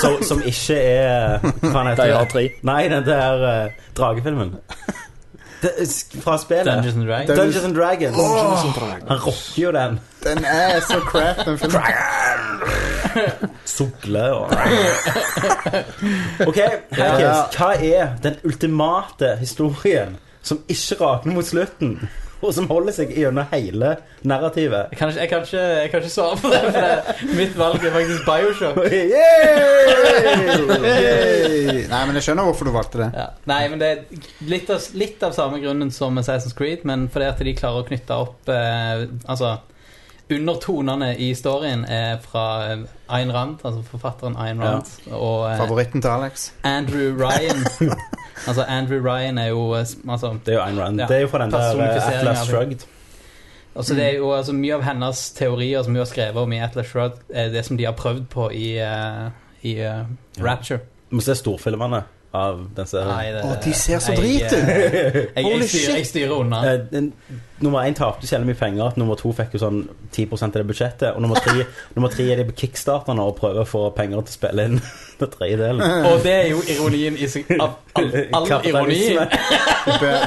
S10: så- Som ikke er Hva faen heter
S6: De har
S10: det?
S6: tre.
S10: Nei, den der eh, dragefilmen. Det, er sk- fra spillet.
S7: Dungeons and Dragons.
S10: Dungeons and Dragons. Han rocker jo den.
S8: Den er så crap, den filmen.
S10: Sogle og OK, Herkes, hva er den ultimate historien som ikke rakner mot slutten, og som holder seg gjennom hele narrativet?
S7: Jeg kan, ikke, jeg, kan ikke, jeg kan ikke svare på det, for det, mitt valg er faktisk Bioshock.
S10: Yeah!
S8: Yay! Nei, men jeg skjønner hvorfor du valgte det.
S7: Ja. Nei, men det er litt av, litt av samme grunnen som Assassin's Creed, men fordi at de klarer å knytte opp eh, Altså, undertonene i storyen er fra eh, Ayn Rand, altså forfatteren Ayn Rand, og eh,
S8: Favoritten til Alex.
S7: Andrew Ryan. altså, Andrew Ryan er jo eh, s- altså,
S10: Det er jo Ayn Rand.
S7: Ja.
S10: Det er jo fra den der eh,
S7: Personifisering av
S10: Atlas
S7: det.
S10: Shrugged.
S7: altså, det er jo altså, Mye av hennes teorier som hun har skrevet om i Atlas Shrugged, er det som de har prøvd på i, eh, i eh, Rapture.
S10: Vi må se storfilmene av den serien.
S7: Nei, det-
S8: Å, de ser så
S7: jeg,
S8: drit ut!
S7: eh, Jeg, jeg,
S8: Holy
S7: styrer, jeg styrer unna.
S10: Eh, den- Nummer én tapte så jævlig mye penger at nummer to fikk jo sånn 10 av det budsjettet. Og nummer tre, nummer tre er de på kickstarterne og prøver å få penger til å spille inn den tredje delen.
S7: Og det er jo ironien i seg av all, all ironi.
S10: Kapitalisme.
S8: Du bør-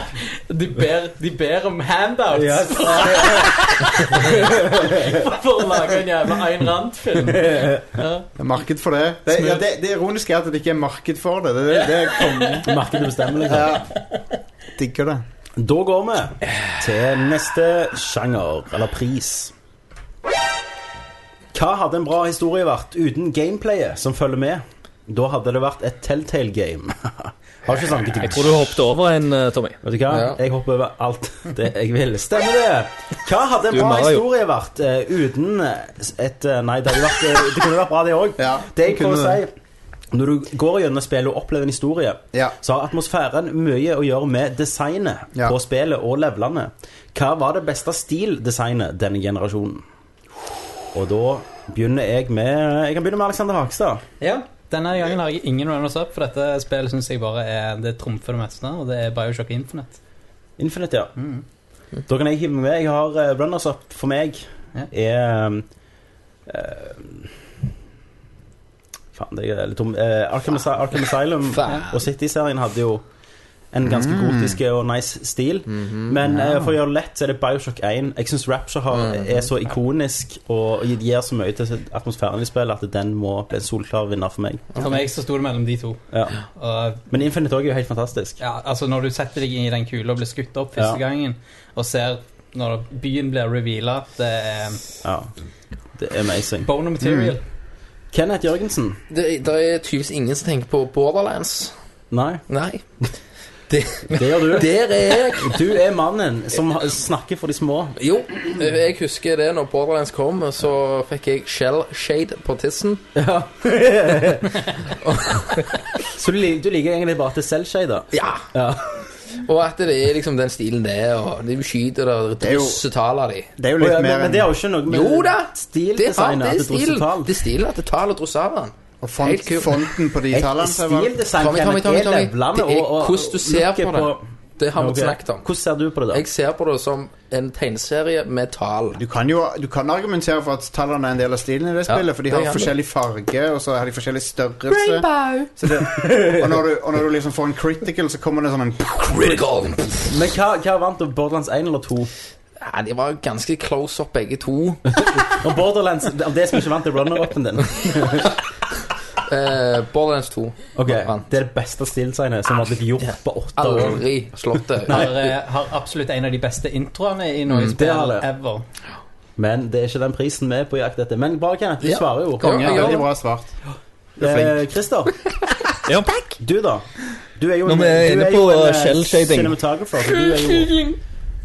S7: De ber, de ber om handouts
S10: Ja,
S7: for å lage en jævla Ayn Rand-film.
S8: Det er marked for det. Det, ja, det. det ironiske er at det ikke er marked for det. Det, det, det er kongen.
S10: Markedet bestemmer, liksom.
S8: Ja. Digger det.
S10: Da går vi til neste sjanger, eller pris. Hva hadde en bra historie vært uten gameplayet som følger med? Da hadde det vært et Telltale game. Har ikke snakket
S6: Jeg tror du hoppet over en, eh, Tommy.
S10: Vet du hva?
S9: Ja.
S10: Jeg hopper over alt det jeg vil. Stemmer det! Hva hadde en
S6: Du,
S10: bra
S6: Mario.
S10: historie vært eh, uten et eh, Nei, det, hadde vært, eh, det kunne vært bra, det òg.
S8: Ja,
S10: det jeg
S8: det kunne
S10: prøver å si Når du går gjennom spillet og opplever en historie,
S8: Ja.
S10: så har atmosfæren mye å gjøre med designet
S8: Ja.
S10: på spillet og levelene. Hva var det beste stildesignet denne generasjonen? Og da begynner jeg med Jeg kan begynne med Alexander Hakstad.
S7: Ja, denne gangen har jeg ingen runners up, for dette spillet syns jeg bare er det trumfer det meste, og det er Bioshock Infinite.
S10: Infinite, ja. Da kan jeg hive meg med. Jeg har eh, runners up for meg.
S7: Ja.
S10: Er ehm, eh, Faen, det er litt tom. Eh, Arkham, Asi- Arkham Asylum
S9: Faen.
S10: og City-serien hadde jo en ganske
S8: Mm.
S10: gotisk og nice stil.
S9: Mhm.
S10: Men eh, for å gjøre det lett, så er det Bioshock 1. Jeg syns Rapture har, er så ikonisk og gir så mye til atmosfæren i spillet at den må bli en solklar vinner for meg.
S7: For meg så sto det mellom de to.
S10: Ja.
S7: Og
S10: Men Infinite òg er jo helt fantastisk.
S7: ja, altså Når du setter deg i den kula og blir skutt opp
S10: Ja.
S7: første gangen, og ser når byen blir reveala Det er Mm.
S10: Ja. Det er amazing.
S7: bone material.
S10: Kenneth Jørgensen.
S9: Det, det er tydeligvis ingen som tenker på Borderlands.
S10: Nei,
S9: Nei.
S10: det gjør du.
S9: Der er jeg.
S10: Du er mannen som ha- snakker for de små.
S9: Jo, jeg husker det når Borderlands kom, så fikk jeg shell shade på tissen.
S10: Ja. så du, lik- du liker egentlig bare at det er selvshade?
S9: Ja.
S10: Ja.
S9: Og at det er liksom den stilen det er, og de skyter og det
S8: er jo-
S9: drysser tall av de.
S8: Det er jo
S10: Å,
S8: litt
S10: ja, men,
S8: mer
S10: men
S8: enn
S10: det er jo ikke noe med
S9: Jo da! Det er,
S10: stildesignet
S9: det er
S10: til
S9: stilen.
S10: Drossetal.
S9: Det er stilen at det tar og drosser av den.
S8: og
S9: Helt
S8: font,
S9: kult.
S8: fonten på de tallene. så var-
S10: Stildesign
S9: Tommy, Tommy,
S10: Kenneth,
S9: Tommy,
S10: er
S9: Tommy.
S10: levelene
S9: Det er
S10: og- og-
S9: hvordan du ser
S10: looket
S9: på det. Det har vi
S10: Ok.
S9: snakket om.
S10: Hvordan ser du på det, da?
S9: Jeg ser på det som en tegneserie med tall.
S8: Du kan jo du kan argumentere for at tallene er en del av stilen i det
S9: Ja,
S8: spillet, for de
S9: det
S8: har
S9: kan du.
S8: forskjellig farge, og så har de forskjellig størrelse. Så det, og, når du, og når du liksom får en critical, så kommer det sånn en
S9: Critical!
S10: Men hva, hva vant du? Borderlands 1 eller 2?
S9: Ja, de var ganske close up, begge to.
S10: Og Borderlands, det det som ikke vant, er runner-upen din.
S9: Eh, Borderlands 2.
S10: Ok,
S9: Vant.
S10: Det er det beste stildesignet som har blitt gjort på åtte år.
S9: Aldri slått det.
S7: Har, eh, har absolutt en av de beste introene i noe
S10: Mm, det har
S7: spill
S10: det.
S7: ever.
S10: Men det er ikke den prisen vi er på jakt etter. Men bare Kenneth, du
S9: Ja.
S10: svarer jo.
S9: Konge.
S8: ja,
S9: Ja.
S8: Veldig bra svart. Du er
S10: Eh,
S8: flink.
S10: Christer,
S6: Ja.
S10: du da? Du er jo
S11: Når vi er
S10: du
S11: inne
S10: jo
S11: på,
S10: en,
S11: eh,
S10: eh,
S11: shell shading.
S10: Cinematographer, så du er jo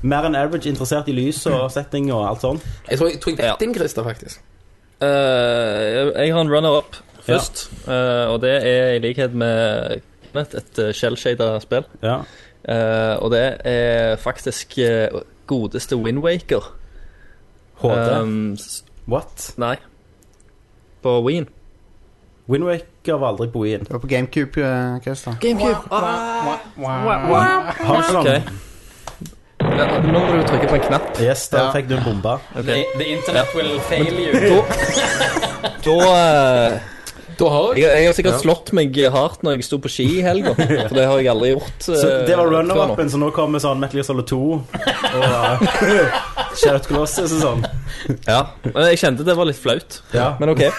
S10: mer enn average interessert i lys og setting og alt sånt.
S9: Jeg tror jeg, tror jeg vet
S6: Ja.
S9: din, Christer, faktisk.
S6: Eh, jeg har en runner-up først, eh, og det er i likhet med Kenneth, et eh, shell-shada spill.
S10: Ja.
S6: Eh, og det er faktisk eh, godeste Windwaker.
S10: HD.
S6: Um, s-
S10: What?
S6: nei. På Wien.
S10: Windwaker var aldri på Wien.
S8: Det var på GameCube, eh, Christer.
S10: Houseland.
S6: Ok. Ja, Nå må du trykke på en knapp.
S10: Yes, der
S8: Ja.
S10: fikk du en bombe.
S7: The, the internet will fail you.
S6: Da, eh,
S9: har
S6: jeg, jeg har sikkert slått meg hardt når jeg sto på ski i helga, for det har jeg aldri gjort.
S10: Så
S6: eh,
S10: det var
S6: før nå.
S10: runner-upen, så nå kommer sånn Metal Gear Solid 2 og Shadow Colossus og sånn.
S6: Ja, men jeg kjente det var litt flaut.
S10: Ja.
S6: Men ok.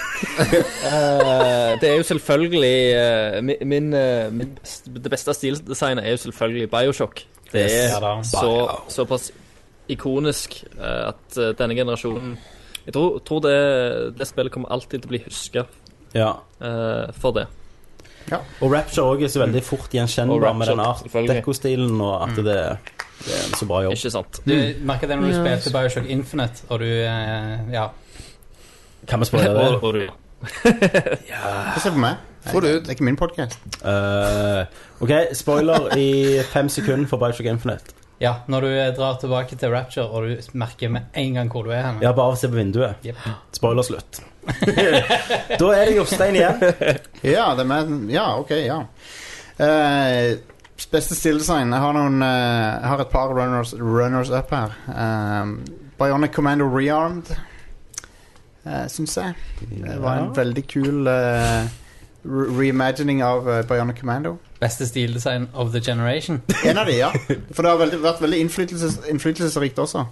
S6: Eh, det er jo selvfølgelig eh, mi- min, eh, min best, Det beste stildesignet er jo selvfølgelig Bioshock. Det
S7: Ja
S6: er
S7: da.
S6: så, såpass ikonisk eh, at eh, denne generasjonen Jeg tror, tror det, det spillet kommer alltid til å bli huska
S10: Ja.
S6: for det.
S10: Og Rapture også er så veldig fort
S6: Og
S10: gjenkjennbar
S6: Rapture,
S10: med den art
S6: selvfølgelig.
S10: deco-stilen, og at det, det er en så bra jobb.
S6: Ikke sant?
S7: Du merker det når du spilte Bioshock Infinite, og du eh, Ja.
S10: Kan vi spørre det?
S6: Og- og du-
S8: Hva ser på meg? Nei,
S9: Få det ut.
S8: Det er ikke min podkast.
S10: Eh, OK, spoiler i fem sekunder for Bioshock Infinite.
S7: ja. Når du eh, drar tilbake til Rapture, og du merker med en gang hvor du er hen.
S10: Ja, bare se på vinduet.
S7: Jep.
S10: Spoiler slutt. da er det Jostein igjen.
S8: Ja, det er meg. Ja, OK, ja. Eh, beste stillesign. Jeg har noen eh, Jeg har et par runners, runners up her. Um, Bionic Commando Rearmed, uh, syns jeg. Det var en veldig kul eh, re reimagining av eh, Bionic Commando.
S7: Beste stildesign of the generation.
S8: En av de, ja. For det har veldig, vært veldig innflytelses, innflytelsesrikt også.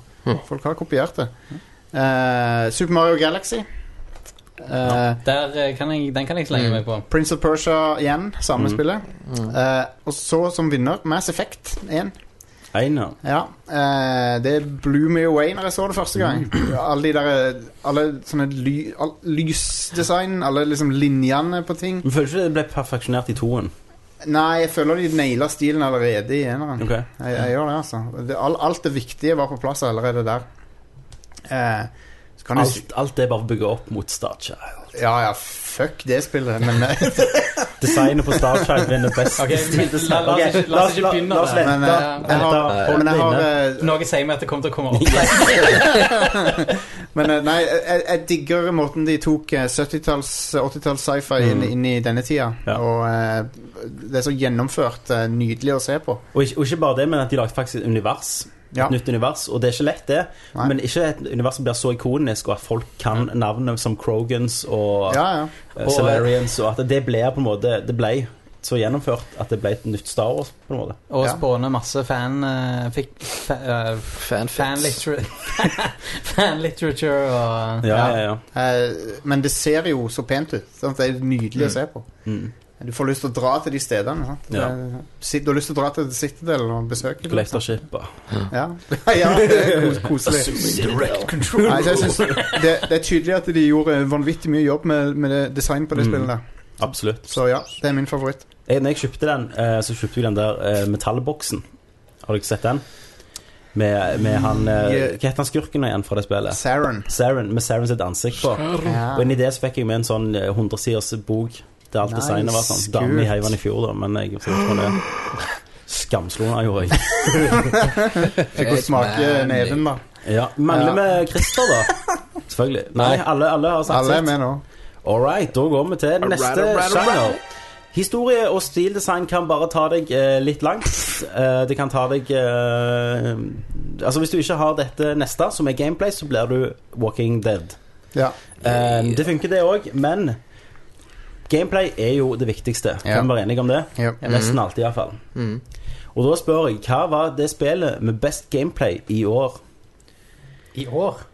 S8: Folk har kopiert det. Eh, Super Mario Galaxy. Eh,
S7: Der eh, kan jeg, den kan jeg
S10: Mm.
S7: slenge meg på.
S8: Prince of Persia igjen, samme spillet. Eh, og så som vinner Mass Effect 1.
S10: Einar.
S8: Ja, eh, det blew me away når jeg så det første gang. Alle de der eh, Alle sånne ly, all, lysdesign, alle liksom linjene på ting.
S10: Men Føler ikke det ble perfeksjonert i toen.
S8: Nei, jeg føler de naila stilen allerede i eneren.
S10: Ok.
S8: Jeg, jeg gjør det, altså. Det, all, alt det viktige var på plass allerede der. Eh, så kan du si
S10: Alt, alt er bare bygget opp mot Starchild.
S8: Ja ja, fuck det spillet, men eh,
S10: Designet på Starchild vinner best.
S7: Ok, men la- la oss
S10: Ok,
S7: ikke- la oss ikke
S10: la-
S7: begynne
S10: La oss
S7: der.
S10: vente.
S8: Men, eh,
S10: Vente,
S8: jeg har,
S10: hold
S8: men jeg har
S10: det inne.
S8: eh,
S7: Noe sier meg at det kommer til å komme opp.
S8: Men eh, nei, jeg, jeg digger måten de tok eh, 70-talls, 80-talls sci-fi inn, inn i denne tida.
S10: Mm. Ja.
S8: Og eh, det er så gjennomført. eh, nydelig å se på.
S10: Og ikke, og ikke bare det, men at de lagde faktisk et univers. Et
S8: Ja.
S10: nytt univers, og det er ikke lett, det.
S8: Nei.
S10: Men ikke et univers som blir så ikonisk, og at folk kan navnet som Krogans og
S8: Ja, ja.
S10: eh, Salarians, og at det ble på en måte Det ble så gjennomført at det ble et nytt Star Wars, på en måte.
S7: Og
S8: Ja.
S7: spåne masse fan... eh, fik, fa, eh, fan, litera- fan literature og
S10: Ja, ja, ja.
S8: Eh, men det ser jo så pent ut. Sant? Det er nydelig å se på.
S10: Mm.
S8: Du får lyst til å dra til de stedene. Sant?
S10: Ja.
S8: Det- sit- Du har lyst til å dra til Citadel og besøke dem.
S10: Mm. Collectorship. og-
S8: Ja. ja, det er kos- koselig. Nei, så jeg synes det, det er tydelig at de gjorde vanvittig mye jobb med, med det design på det
S10: Mm.
S8: spillet. der.
S10: Absolutt.
S8: Så ja, det er min favoritt.
S10: Jeg, når jeg kjøpte den, eh, så kjøpte jeg den der eh, metallboksen. Har dere sett den? Med, med han eh,
S8: Mm, Yeah.
S10: Hva heter han skurken igjen fra det spillet?
S8: Saren.
S10: Saren, med Saren sitt ansikt på.
S8: Ja.
S10: Og inni det så fikk jeg med en sånn eh, 100-siders bok der alt
S8: Nice,
S10: designet var sånn. Dame
S8: kult.
S10: i heiven i fjor, da, men jeg vet ikke om det. Skamslo han gjorde jeg.
S8: Fikk hun smake
S9: Batman.
S8: neven, da.
S10: Ja, Mangler vi Christer, da? Selvfølgelig. Nei, alle, alle har sagt
S8: Alle er
S10: sitt.
S8: med nå.
S10: All right, da går vi til neste
S9: alright,
S10: sjanger. Historie og stildesign kan bare ta deg eh, litt langt. Eh, det kan ta deg eh, Altså, hvis du ikke har dette neste, som er gameplay, så blir du Walking Dead.
S8: Ja.
S10: Eh, det funker, det òg, men gameplay er jo det viktigste.
S8: Ja.
S10: Kan vi være enige om det?
S8: Ja.
S10: Nesten alltid, iallfall. Og da spør jeg, hva var det spillet med best gameplay i år?
S7: I år?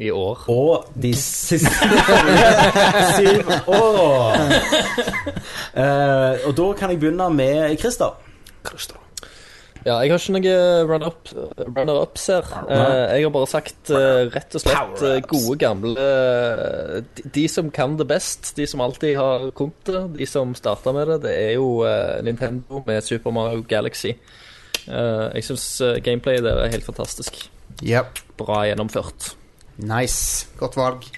S6: I år.
S10: Og de siste syv åra. Eh, og da kan jeg begynne med Christer.
S6: Ja, jeg har ikke noe eh, run-up- runner-ups her. Eh, jeg har bare sagt eh, rett og slett eh, gode, gamle eh, de, de som kan det best, de som alltid har kunnet det, de som starta med det, det er jo eh, Nintendo med Super Mario Galaxy. Eh, jeg syns gameplayet der er helt fantastisk.
S8: Mm. Yep.
S6: Bra gjennomført.
S8: Nice. Godt valg.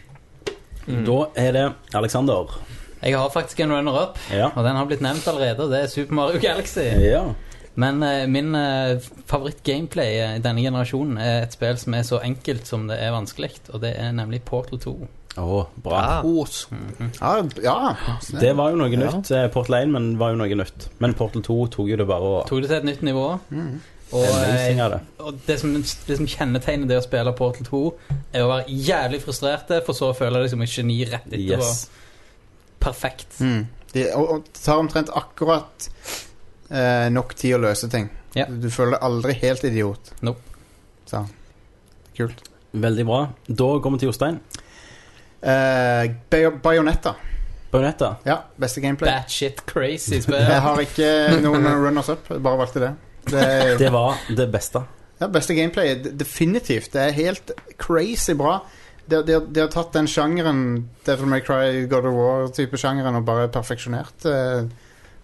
S8: Mm.
S10: Da er det Alexander.
S7: Jeg har faktisk en runner-up,
S10: Ja.
S7: og den har blitt nevnt allerede. og Det er Super Mario Galaxy.
S10: ja.
S7: Men eh, min eh, favoritt-gameplay eh, i denne generasjonen er et spill som er så enkelt som det er vanskelig, og det er nemlig Portal 2.
S10: Å, bra.
S9: Os.
S8: Ja, ja.
S10: Det var jo noe nytt. Eh, Portal 1 men var jo noe nytt. Men Portal 2 tok jo det bare og
S7: Tok det til et nytt nivå.
S8: Mm.
S7: Og,
S10: Amazing
S7: eh,
S10: av det.
S7: og det, som, det som kjennetegner det å spille Portal 2, er å være jævlig frustrert, for så å føle deg som et geni rett etterpå.
S10: Yes.
S7: Perfekt.
S8: Mm. De, og, og det tar omtrent akkurat eh, nok tid å løse ting.
S7: Ja.
S8: Du føler deg aldri helt idiot.
S7: Nope.
S8: Så. Kult.
S10: Veldig bra. Da går vi til Jostein.
S8: Eh, Bay- Bayonetta.
S10: Bajonetta.
S8: Ja, beste gameplay.
S7: Batshit crazy spill.
S8: Jeg har ikke noen runners up, jeg bare valgte det. Det er
S10: Det var det beste.
S8: ja, beste gameplay, d- definitivt. Det er helt crazy bra. De, de, de har tatt den sjangeren, Devil May Cry, God of War-type sjangeren, og bare perfeksjonert eh,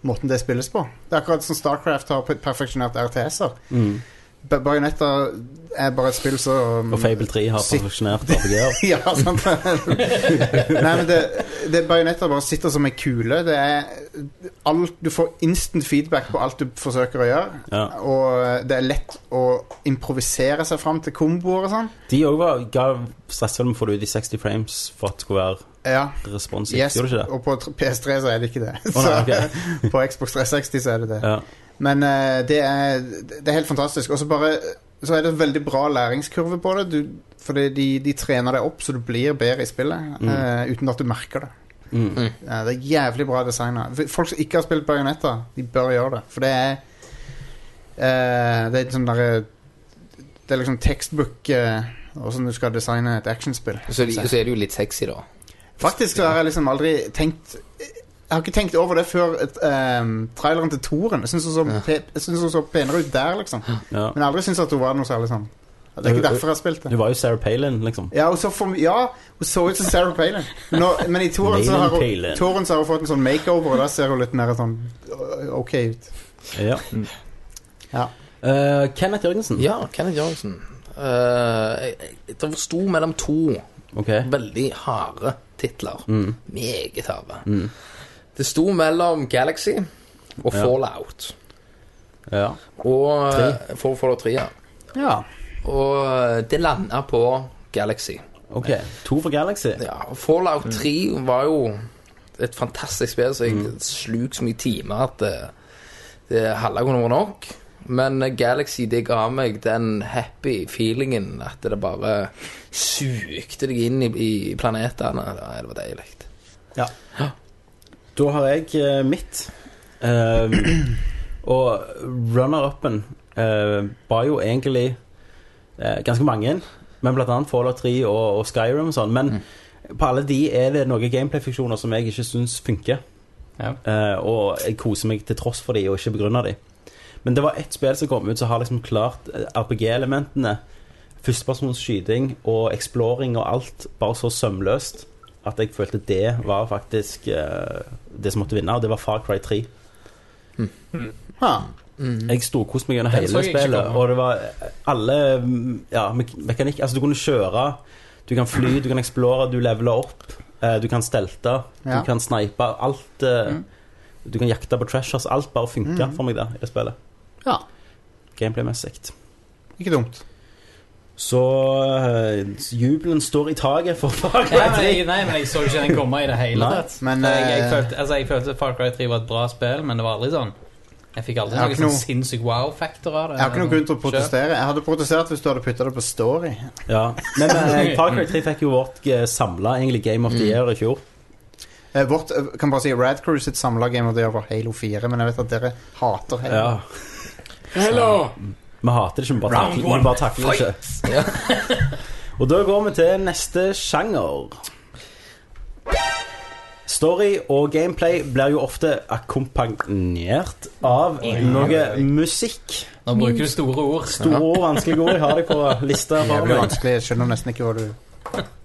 S8: måten det spilles på. Det er akkurat som Starcraft har per- perfeksjonert RTS-er. Ba- Bayonetta er bare et spill som
S10: Og Fable 3 har
S8: Sitt-
S10: perfeksjonert RPG-er.
S8: ja, sant Nei, men det, det Bajonetta bare sitter som en kule Det er alt, Du får instant feedback på alt du forsøker å gjøre
S10: Ja.
S8: Og det er lett å improvisere seg frem til komboer og sånn
S10: De òg ga stressa med å få det ut i 60 frames for at det skulle være
S8: Ja,
S10: responsivt.
S8: yes,
S10: Gjorde det ikke det?
S8: og på tr- PS3 så er det ikke det
S10: Å, nei, ok.
S8: Så på Xbox 360 så er det det
S10: ja.
S8: Men eh, det, er, det er helt fantastisk. Og så bare Så er det en veldig bra læringskurve på det. Du, fordi de, de trener deg opp så du blir bedre i spillet
S10: Mm.
S8: eh, uten at du merker det.
S10: Mm.
S8: Eh, det er jævlig bra designa. Folk som ikke har spilt Bajonetta, de bør gjøre det. For det er eh, Det er sånn derre Det er liksom tekstbook uh, åssen du skal designe et actionspill.
S9: Og så, er de- så er det jo litt sexy, da.
S8: Faktisk så har jeg liksom aldri tenkt Jeg har ikke tenkt over det før et, ehm, traileren til Toren. Jeg syns hun så,
S9: Ja.
S8: pe- jeg synes hun så penere ut der, liksom.
S10: Ja.
S8: Men jeg har aldri syntes at hun var noe særlig sånn. Det er ikke derfor jeg har spilt
S10: Du
S8: det.
S10: var jo Sarah Palin, liksom.
S8: Ja, hun så, for, ja, hun så ut som Sarah Palin. Men Nå, men i Toren så, har hun,
S10: Palin.
S8: Toren så har hun fått en sånn makeover, og da ser hun litt mer sånn øh, OK ut.
S10: Ja.
S8: Ja.
S10: Eh, Kenneth Jørgensen.
S9: Ja, Kenneth Jørgensen. Eh, jeg- jeg- det sto mellom to
S10: Ok.
S9: veldig harde titler. Meget harde.
S10: Mm.
S9: Det sto mellom Galaxy og
S10: Ja.
S9: Fallout.
S10: Ja.
S9: Og eh,
S10: Tre.
S9: For Fallout 3, ja.
S8: ja.
S9: Og eh, det landa på Galaxy.
S10: Ok. To for Galaxy.
S9: Ja, og Fallout
S10: Mm.
S9: 3 var jo et fantastisk spill, så jeg
S10: Mm.
S9: sluk så mye timer at det, det halve kunne vært nok. Men eh, Galaxy det ga meg den happy feelingen at det bare sugde deg inn i, i planetene. Ja, Det var deilig.
S10: Da har jeg eh, mitt. Eh, og runner-upen eh, var jo egentlig eh, ganske mange, men blant annet Fallout 3 og, og Skyrim og sånn. Men på alle de er det noen gameplay-funksjoner som jeg ikke syns funker.
S7: Ja.
S10: Eh, og jeg koser meg til tross for de og ikke begrunner de. Men det var ett spill som kom ut som har liksom klart eh, RPG-elementene. Førstepersons skyting og exploring og alt bare så sømløst at jeg følte det var faktisk eh, det som måtte vinne, og det var Far Cry 3.
S8: Ha.
S10: Jeg storkoste meg gjennom
S7: Den så
S10: hele
S7: jeg ikke
S10: spillet,
S7: komme.
S10: og det var eh, alle mm, ja, me mekanikk Altså, du kunne kjøre, du kan fly, du kan eksplore, du leveler opp, eh, du kan stelte,
S8: Ja.
S10: du
S7: Mm.
S10: kan altså, snipe, alt eh, Du kan jakte på treasures, alt bare funka for meg der i det spillet.
S9: Ja.
S10: gameplay-messig.
S8: Ikke dumt.
S10: Så eh, jubelen står i taket for Far
S7: Nei,
S10: Cry
S7: men
S10: 3.
S7: jeg, nei, men jeg så ikke den komme i det hele
S10: Nei,
S7: tatt.
S8: men,
S7: jeg, jeg,
S8: eh,
S7: følte, altså, jeg følte Far Cry 3 var et bra spill, men det var aldri sånn Jeg fikk aldri
S8: Jeg har
S7: noen
S8: ikke
S7: sånn
S8: noe-
S7: sinnssyk wow-faktor av det.
S8: Jeg har ikke noen grunn til å protestere. Jeg hadde protestert hvis du hadde putta det på Story.
S10: Ja. Men eh, Far Cry 3 fikk jo vårt samla Game of the
S7: Mm.
S10: Year i fjor.
S8: Eh, vårt, eh, kan bare si Rad Crew sitt samla game of the year var Halo 4, men jeg vet at dere hater Halo.
S10: Ja. Vi hater det ikke, vi bare
S7: Round
S10: takler, vi
S7: one,
S10: bare takler det ikke.
S9: Ja.
S10: Og da går vi til neste sjanger. Story og gameplay blir jo ofte akkompagnert av noe musikk.
S7: Nå bruker du store ord.
S10: Store og vanskelige ord jeg har de på lista.
S8: Det
S10: for
S8: blir
S10: meg.
S8: vanskelig. Jeg skjønner nesten ikke hva du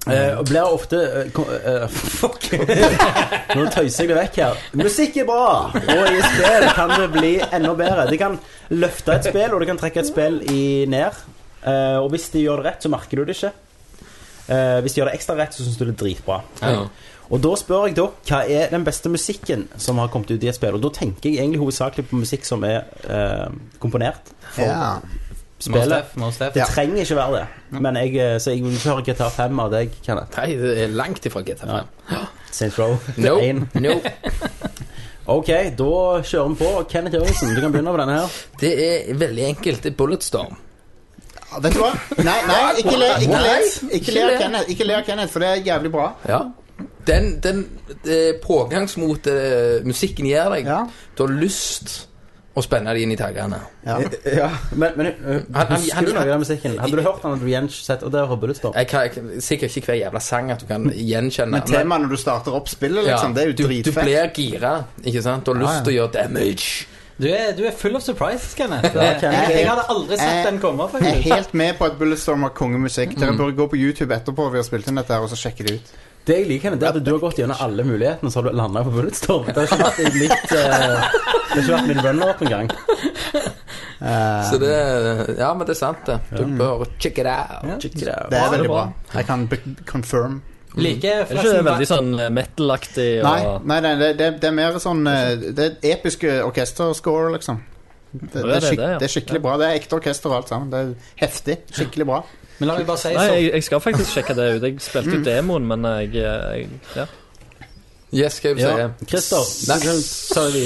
S10: Eh, og blir ofte eh, ko- eh, Fuck! Nå tøyser jeg det vekk her. Musikk er bra, og i spill kan det bli enda bedre. Det kan løfte et spill, og det kan trekke et spill i ned. Eh, og hvis de gjør det rett, så merker du det ikke. Eh, hvis de gjør det ekstra rett, så syns du det er dritbra.
S9: Ja.
S10: Og da spør jeg dere hva er den beste musikken som har kommet ut i et spill. Og da tenker jeg egentlig hovedsakelig på musikk som er eh, komponert for
S8: ja.
S10: spillet.
S7: Most Def.
S10: Det trenger ikke være det, men jeg, eh, så jeg vil ikke høre GTA 5 av deg, Kenneth.
S9: Nei, det er langt ifra GTA 5.
S10: Saints Row.
S9: No,
S10: En.
S9: no.
S10: Ok, da kjører vi på. Kenneth Jørgensen, du kan begynne med denne her.
S9: Det er veldig enkelt. Det er Bulletstorm.
S8: Ja, Vet du hva? Nei, nei ikke le ikke le, ikke le av
S9: Nei.
S8: Kenneth, ikke le av Kenneth, for det er jævlig bra.
S9: Ja. Den, den det pågangsmotet eh, musikken gir deg,
S8: Ja.
S9: du har lyst å spenne deg inn i taggene.
S8: Ja.
S10: Ja, men, men uh,
S9: Han- han-
S10: Husker
S9: han-
S10: du noe av den musikken? Hadde du hørt den, hadde du gjensett Og der har Bulletstorm.
S9: Jeg kan, jeg kan sikkert ikke hver jævla sang at du kan gjenkjenne.
S8: Men temaet når du starter opp spillet,
S9: ja,
S8: liksom, det er jo
S9: du, du
S8: dritfett.
S9: blir gira, ikke sant? Du har lyst til å gjøre damage.
S7: Du, er, du er full of surprises, Kenneth.
S10: Ja,
S7: Jeg,
S10: Kenneth.
S7: jeg hadde aldri
S8: Jeg-
S7: sett den komme,
S8: Jeg er
S7: faktisk.
S8: helt med på at Bulletstorm har kongemusikk. Dere burde gå på YouTube etterpå vi har spilt inn dette her, og så sjekke det ut.
S10: Det jeg liker, Kenneth, det er at du har gått gjennom alle mulighetene, så har du landa på Bulletstorm. Det har ikke vært i mitt eh, Det har ikke vært min runner-up engang.
S8: Eh,
S9: Så det Ja, men det er sant, det. Du bør check it out.
S10: Check it
S8: Det er
S10: out.
S7: det er
S8: veldig bra.
S7: bra.
S8: Jeg kan be- confirm.
S7: Liker
S6: Er ikke det
S7: forresten
S6: veldig sånn eh, metal-aktig
S8: Nei,
S6: og
S8: nei, nei det, det, det er mer sånn eh, Det er episk eh, orkesterscore, liksom. Det, det,
S6: det
S8: er
S6: er
S8: skik
S6: det, ja.
S8: det er skikkelig bra. Det er ekte orkester og alt sammen. Det er heftig. Skikkelig bra.
S7: Men la meg bare si
S6: Nei,
S7: sånn.
S6: jeg, jeg skal faktisk sjekke det ut. Jeg spilte ut demoen, men eh, jeg, jeg ja.
S9: Yes, skal jeg
S10: Ja.
S9: si.
S10: Christer,
S9: Nei.
S10: du kan- sa vi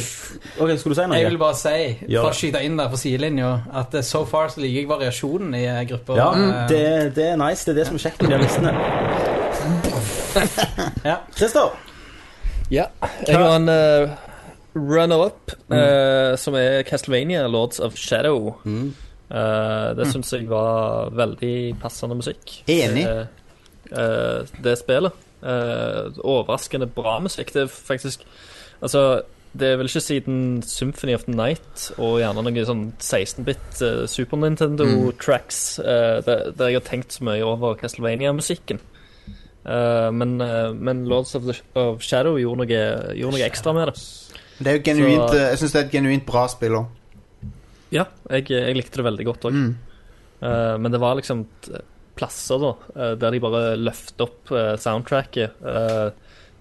S10: Ok, skulle du si noe?
S7: Jeg vil bare si,
S10: Ja.
S7: for å skyte inn der på sidelinja, at eh, so far så liker jeg variasjonen i eh, grupper.
S10: Ja,
S7: Eh,
S10: det, det er nice. Det er det som er kjekt med de listene.
S7: Ja.
S10: Christer,
S6: Ja, jeg har en eh, runner-up eh, som er Castlevania, Lords of Shadow. Eh, det syns jeg var veldig passende musikk.
S8: Enig.
S6: Eh, eh, det spillet. Eh, overraskende bra musikk. Det er faktisk Altså, det er vel ikke siden Symphony of the Night og gjerne noe sånn 16-bit eh, Super
S8: Mm.
S6: Nintendo-tracks eh, der, der jeg har tenkt så mye over Castlevania-musikken. Eh, men, eh, men Lords of, the, of Shadow gjorde noe, gjorde noe ekstra med det.
S8: Men Det er jo genuint,
S6: Så-
S8: eh, jeg syns det er et genuint bra spill òg.
S6: Ja, jeg, jeg likte det veldig godt òg.
S8: Mm.
S6: men det var liksom t- plasser da, eh, der de bare løfter opp eh, soundtracket eh,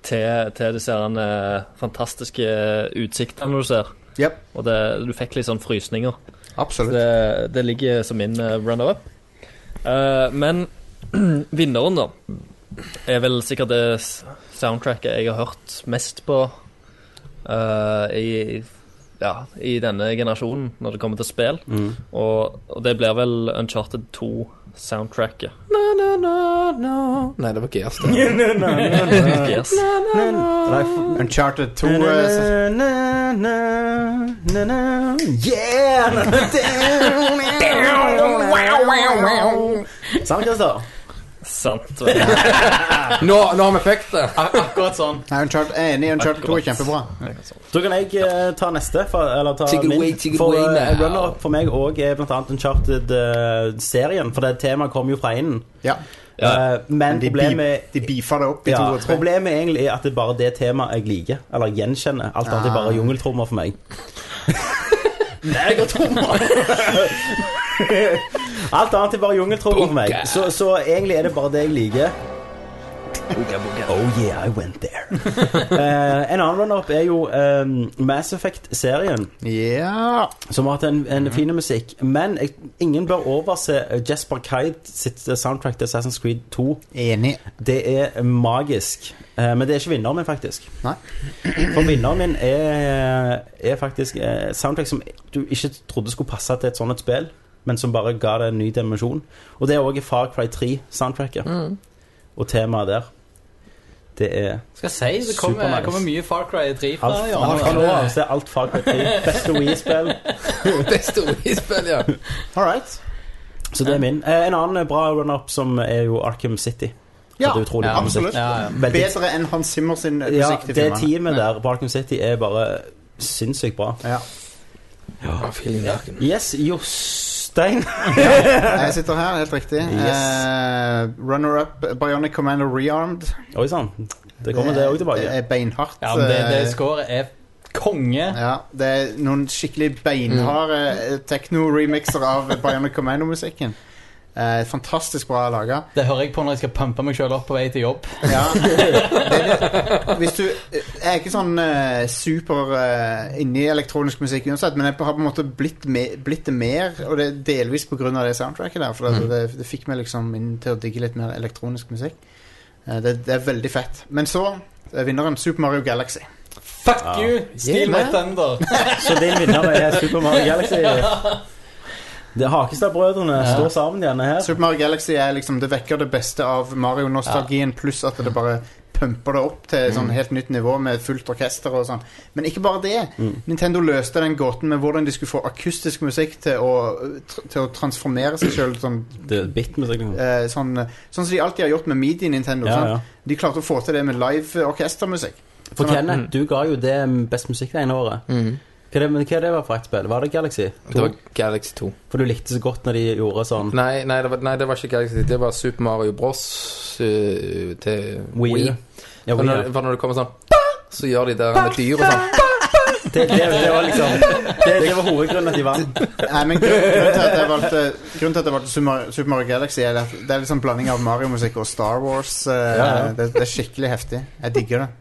S6: til, til disse her, eh, fantastiske utsiktene du ser.
S8: Yep.
S6: Og det, du fikk litt sånn frysninger. Så
S8: Absolutt.
S6: det, det ligger som min eh, runner-up. Eh, men vinneren, da, er vel sikkert det s- soundtracket jeg har hørt mest på eh, i, ja, i denne generasjonen når det kommer til spill. Og, og det blir vel Uncharted 2-soundtracket.
S9: Na, na, na. Nei, det var Gears, det.
S6: Yes.
S8: Uncharted 2 eh, så-
S10: Sant, Sånn, Christer?
S6: Sant. vel.
S9: Nå, nå har vi fikk det.
S7: Akkurat sånn.
S8: Nei, Uncharted, jeg er enig. Uncharted 2 er
S6: Akkurat.
S8: kjempebra.
S10: Da kan jeg eh, ta neste. For, eller ta
S9: Take it
S10: min.
S9: away, take it
S10: for
S9: away
S10: eh,
S9: now.
S10: runner-up for meg òg er blant annet Uncharted-serien. For det temaet kom jo fra innen.
S8: Ja.
S6: Ja.
S10: Eh, men
S8: Men de,
S10: problemet
S8: beef, de beefa det opp, de
S10: ja,
S8: to og tre.
S10: Problemet egentlig er at det er bare det temaet jeg liker. Eller gjenkjenner. Alt annet er bare
S8: Ah.
S10: jungeltrommer for meg. Negertrommer! Alt annet er bare jungeltrommer for meg. Så, så egentlig er det bare det jeg liker. Oh yeah, I went there. Eh, en annen runner-up er jo eh, Mass Effect-serien,
S8: Ja
S10: som har hatt en,
S8: Mhm.
S10: en fin musikk. Men jeg, ingen bør overse Jesper Kite sitt eh, soundtrack til Assassin's Creed 2.
S8: Enig.
S10: Det er magisk. Eh, men det er ikke vinneren min, faktisk.
S8: Nei.
S10: For vinneren min er, er faktisk eh, soundtrack som du ikke trodde skulle passe til et sånt et spill, men som bare ga det en ny dimensjon. Og det er òg Far Cry 3-soundtracket. Og temaet der. Det er
S7: Skal jeg si, det kommer,
S10: Supernice.
S7: kommer mye Far Cry 3 fra
S8: Ah,
S10: alt
S7: i
S10: fra
S7: år.
S10: fra nå av. Så er alt Far Cry 3. Beste Wii-spill.
S9: Beste Wii-spill, ja.
S8: All right.
S10: Så det er min. Eh, En annen bra run-up som er jo Arkham City.
S8: Ja,
S10: det er utrolig bra musikk.
S8: absolutt.
S7: Ja, ja.
S10: Veldig-
S8: Bedre enn Hans Zimmer sin eh, musikk
S10: Ja,
S8: til
S10: det
S8: filmene.
S10: teamet der på Arkham City er bare sinnssykt bra.
S8: Ja.
S9: Å, feeling naken.
S10: Yes, Jostein.
S8: Jeg sitter her, helt riktig.
S10: Yes.
S8: Eh, Runner-up Bionic Commando Rearmed.
S10: Oi sann. Det kommer det òg
S8: Det
S10: tilbake.
S8: er beinhardt.
S7: Ja, men det, det
S8: eh,
S7: scoret er konge.
S8: ja, det er noen skikkelig beinharde eh, techno-remixer av Bionic Commando-musikken. Eh, fantastisk bra laga.
S7: Det hører jeg på når jeg skal pumpe meg sjøl opp på vei til jobb.
S8: Ja. Det er det. Hvis du Jeg er ikke sånn eh, super eh, inni elektronisk musikk uansett, men jeg har på en måte blitt, me, blitt det mer, og det er delvis pga. det soundtracket der. For det,
S7: Mm.
S8: det, det fikk meg liksom inn til å digge litt mer elektronisk musikk. Eh, det, det er veldig fett. Men så er vinneren Super Mario Galaxy.
S7: Fuck you! Steal my
S8: Yeah.
S7: thunder.
S10: Så din vinner er Super Mario Galaxy. Det er Hakestad-brødrene står sammen igjen her.
S8: Super Mario Galaxy er liksom Det vekker det beste av Mario-nostalgien, pluss at det bare pumper det opp til
S10: Mm.
S8: sånn helt nytt nivå med fullt orkester og sånn. Men ikke bare det.
S10: Mm.
S8: Nintendo løste den gåten med hvordan de skulle få akustisk musikk til å, tr- til å transformere seg sjøl. Sånn,
S10: Det er bitmusikk. liksom.
S8: eh, sånn, sånn som de alltid har gjort med Midi-Nintendo.
S10: Ja,
S8: sant?
S10: ja.
S8: De klarte å få til det med live orkestermusikk.
S10: For
S8: Sånn at-
S10: Kenneth, du ga jo det best musikk det ene året.
S8: Mhm.
S10: Hva er det, men hva er det var for ett spill? Var det Galaxy?
S9: Det var Galaxy 2.
S10: For du likte så godt når de gjorde sånn
S9: Nei, nei, det var, nei, det var ikke Galaxy. Det var Super Mario Bros. eh, til Wii.
S10: Wii. Ja,
S9: For,
S10: Wii, ja.
S9: når, for når det kommer sånn så gjør de det med dyr og sånn.
S10: Det, det, det var liksom det, det var hovedgrunnen at de vant.
S8: Nei, men grunn- grunnen til at jeg valgte, grunnen til at jeg valgte Super Mario- Super Mario Galaxy, er at det er litt sånn blanding av Mario-musikk og Star Wars. eh,
S10: Ja, ja.
S8: Det, det er skikkelig heftig. Jeg digger det.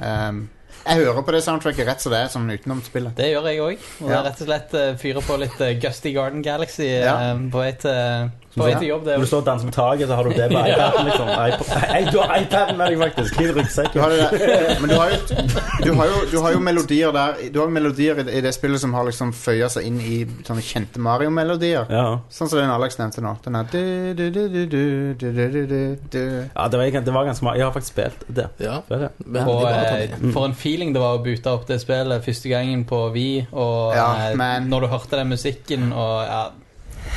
S8: Um, jeg hører på det soundtracket rett som det er, sånn utenom spillet.
S7: Det gjør jeg òg. Og det
S8: Ja.
S7: er rett og slett eh, fyre på litt eh, Gusty Garden Galaxy eh,
S8: Ja.
S7: på vei til, på vei
S8: Ja.
S7: til jobb. Det
S10: Når du
S7: er
S10: står og danser på taket, så har du det på iPaden. Liksom. iPod- Nei, du har iPaden med deg, faktisk. I
S8: Du
S10: ryggsekken.
S8: har det der. Men du har, jo, du, har jo, du har jo melodier der Du har jo melodier i det, i det spillet som har liksom føya seg inn i sånne kjente Mario-melodier.
S10: Ja.
S8: Sånn som den Alex nevnte nå. Den er du, du, du, du, du, du, du, du, du, du.
S10: ja, det var, egentlig- det var ganske mange. Jeg har faktisk spilt det.
S9: Ja,
S10: Det er det.
S9: men
S7: og
S9: det var-
S7: eh,
S8: Mm.
S7: for en feeling det var å boote opp det spillet første gangen på Vi, og
S8: Ja,
S7: eh,
S8: man.
S7: når du hørte den musikken og ja,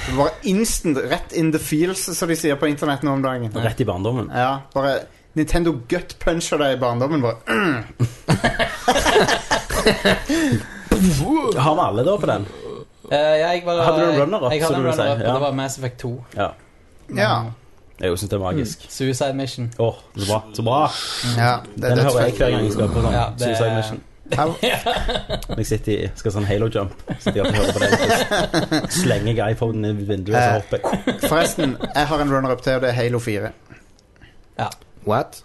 S8: Det var instant rett in the feels, som de sier på internett nå om dagen.
S10: Rett i barndommen.
S8: Ja, bare Nintendo gut puncher deg i barndommen bare.
S10: Har vi alle da på den?
S7: Eh, ja, jeg var,
S10: Hadde du en runner-up,
S7: Jeg, jeg hadde en
S10: som du vil si?
S7: runner-up, og
S10: Ja.
S7: det var Mass Effect 2.
S8: Ja.
S10: Jeg syns det er magisk.
S7: Suicide Mission.
S10: Åh, så bra. Så bra.
S8: ja det er
S10: Den hører jeg
S8: dødsfett.
S10: hver gang jeg skal på sånn
S7: Ja, det-
S10: Suicide Mission.
S8: Her-
S10: Når jeg sitter i, skal sånn halo jump, sitter jeg og hører på den. så Slenger jeg iPhonen i vinduet,
S8: Eh.
S10: så hopper jeg.
S8: Forresten, jeg har en runner-up til, og det er Halo 4.
S9: What?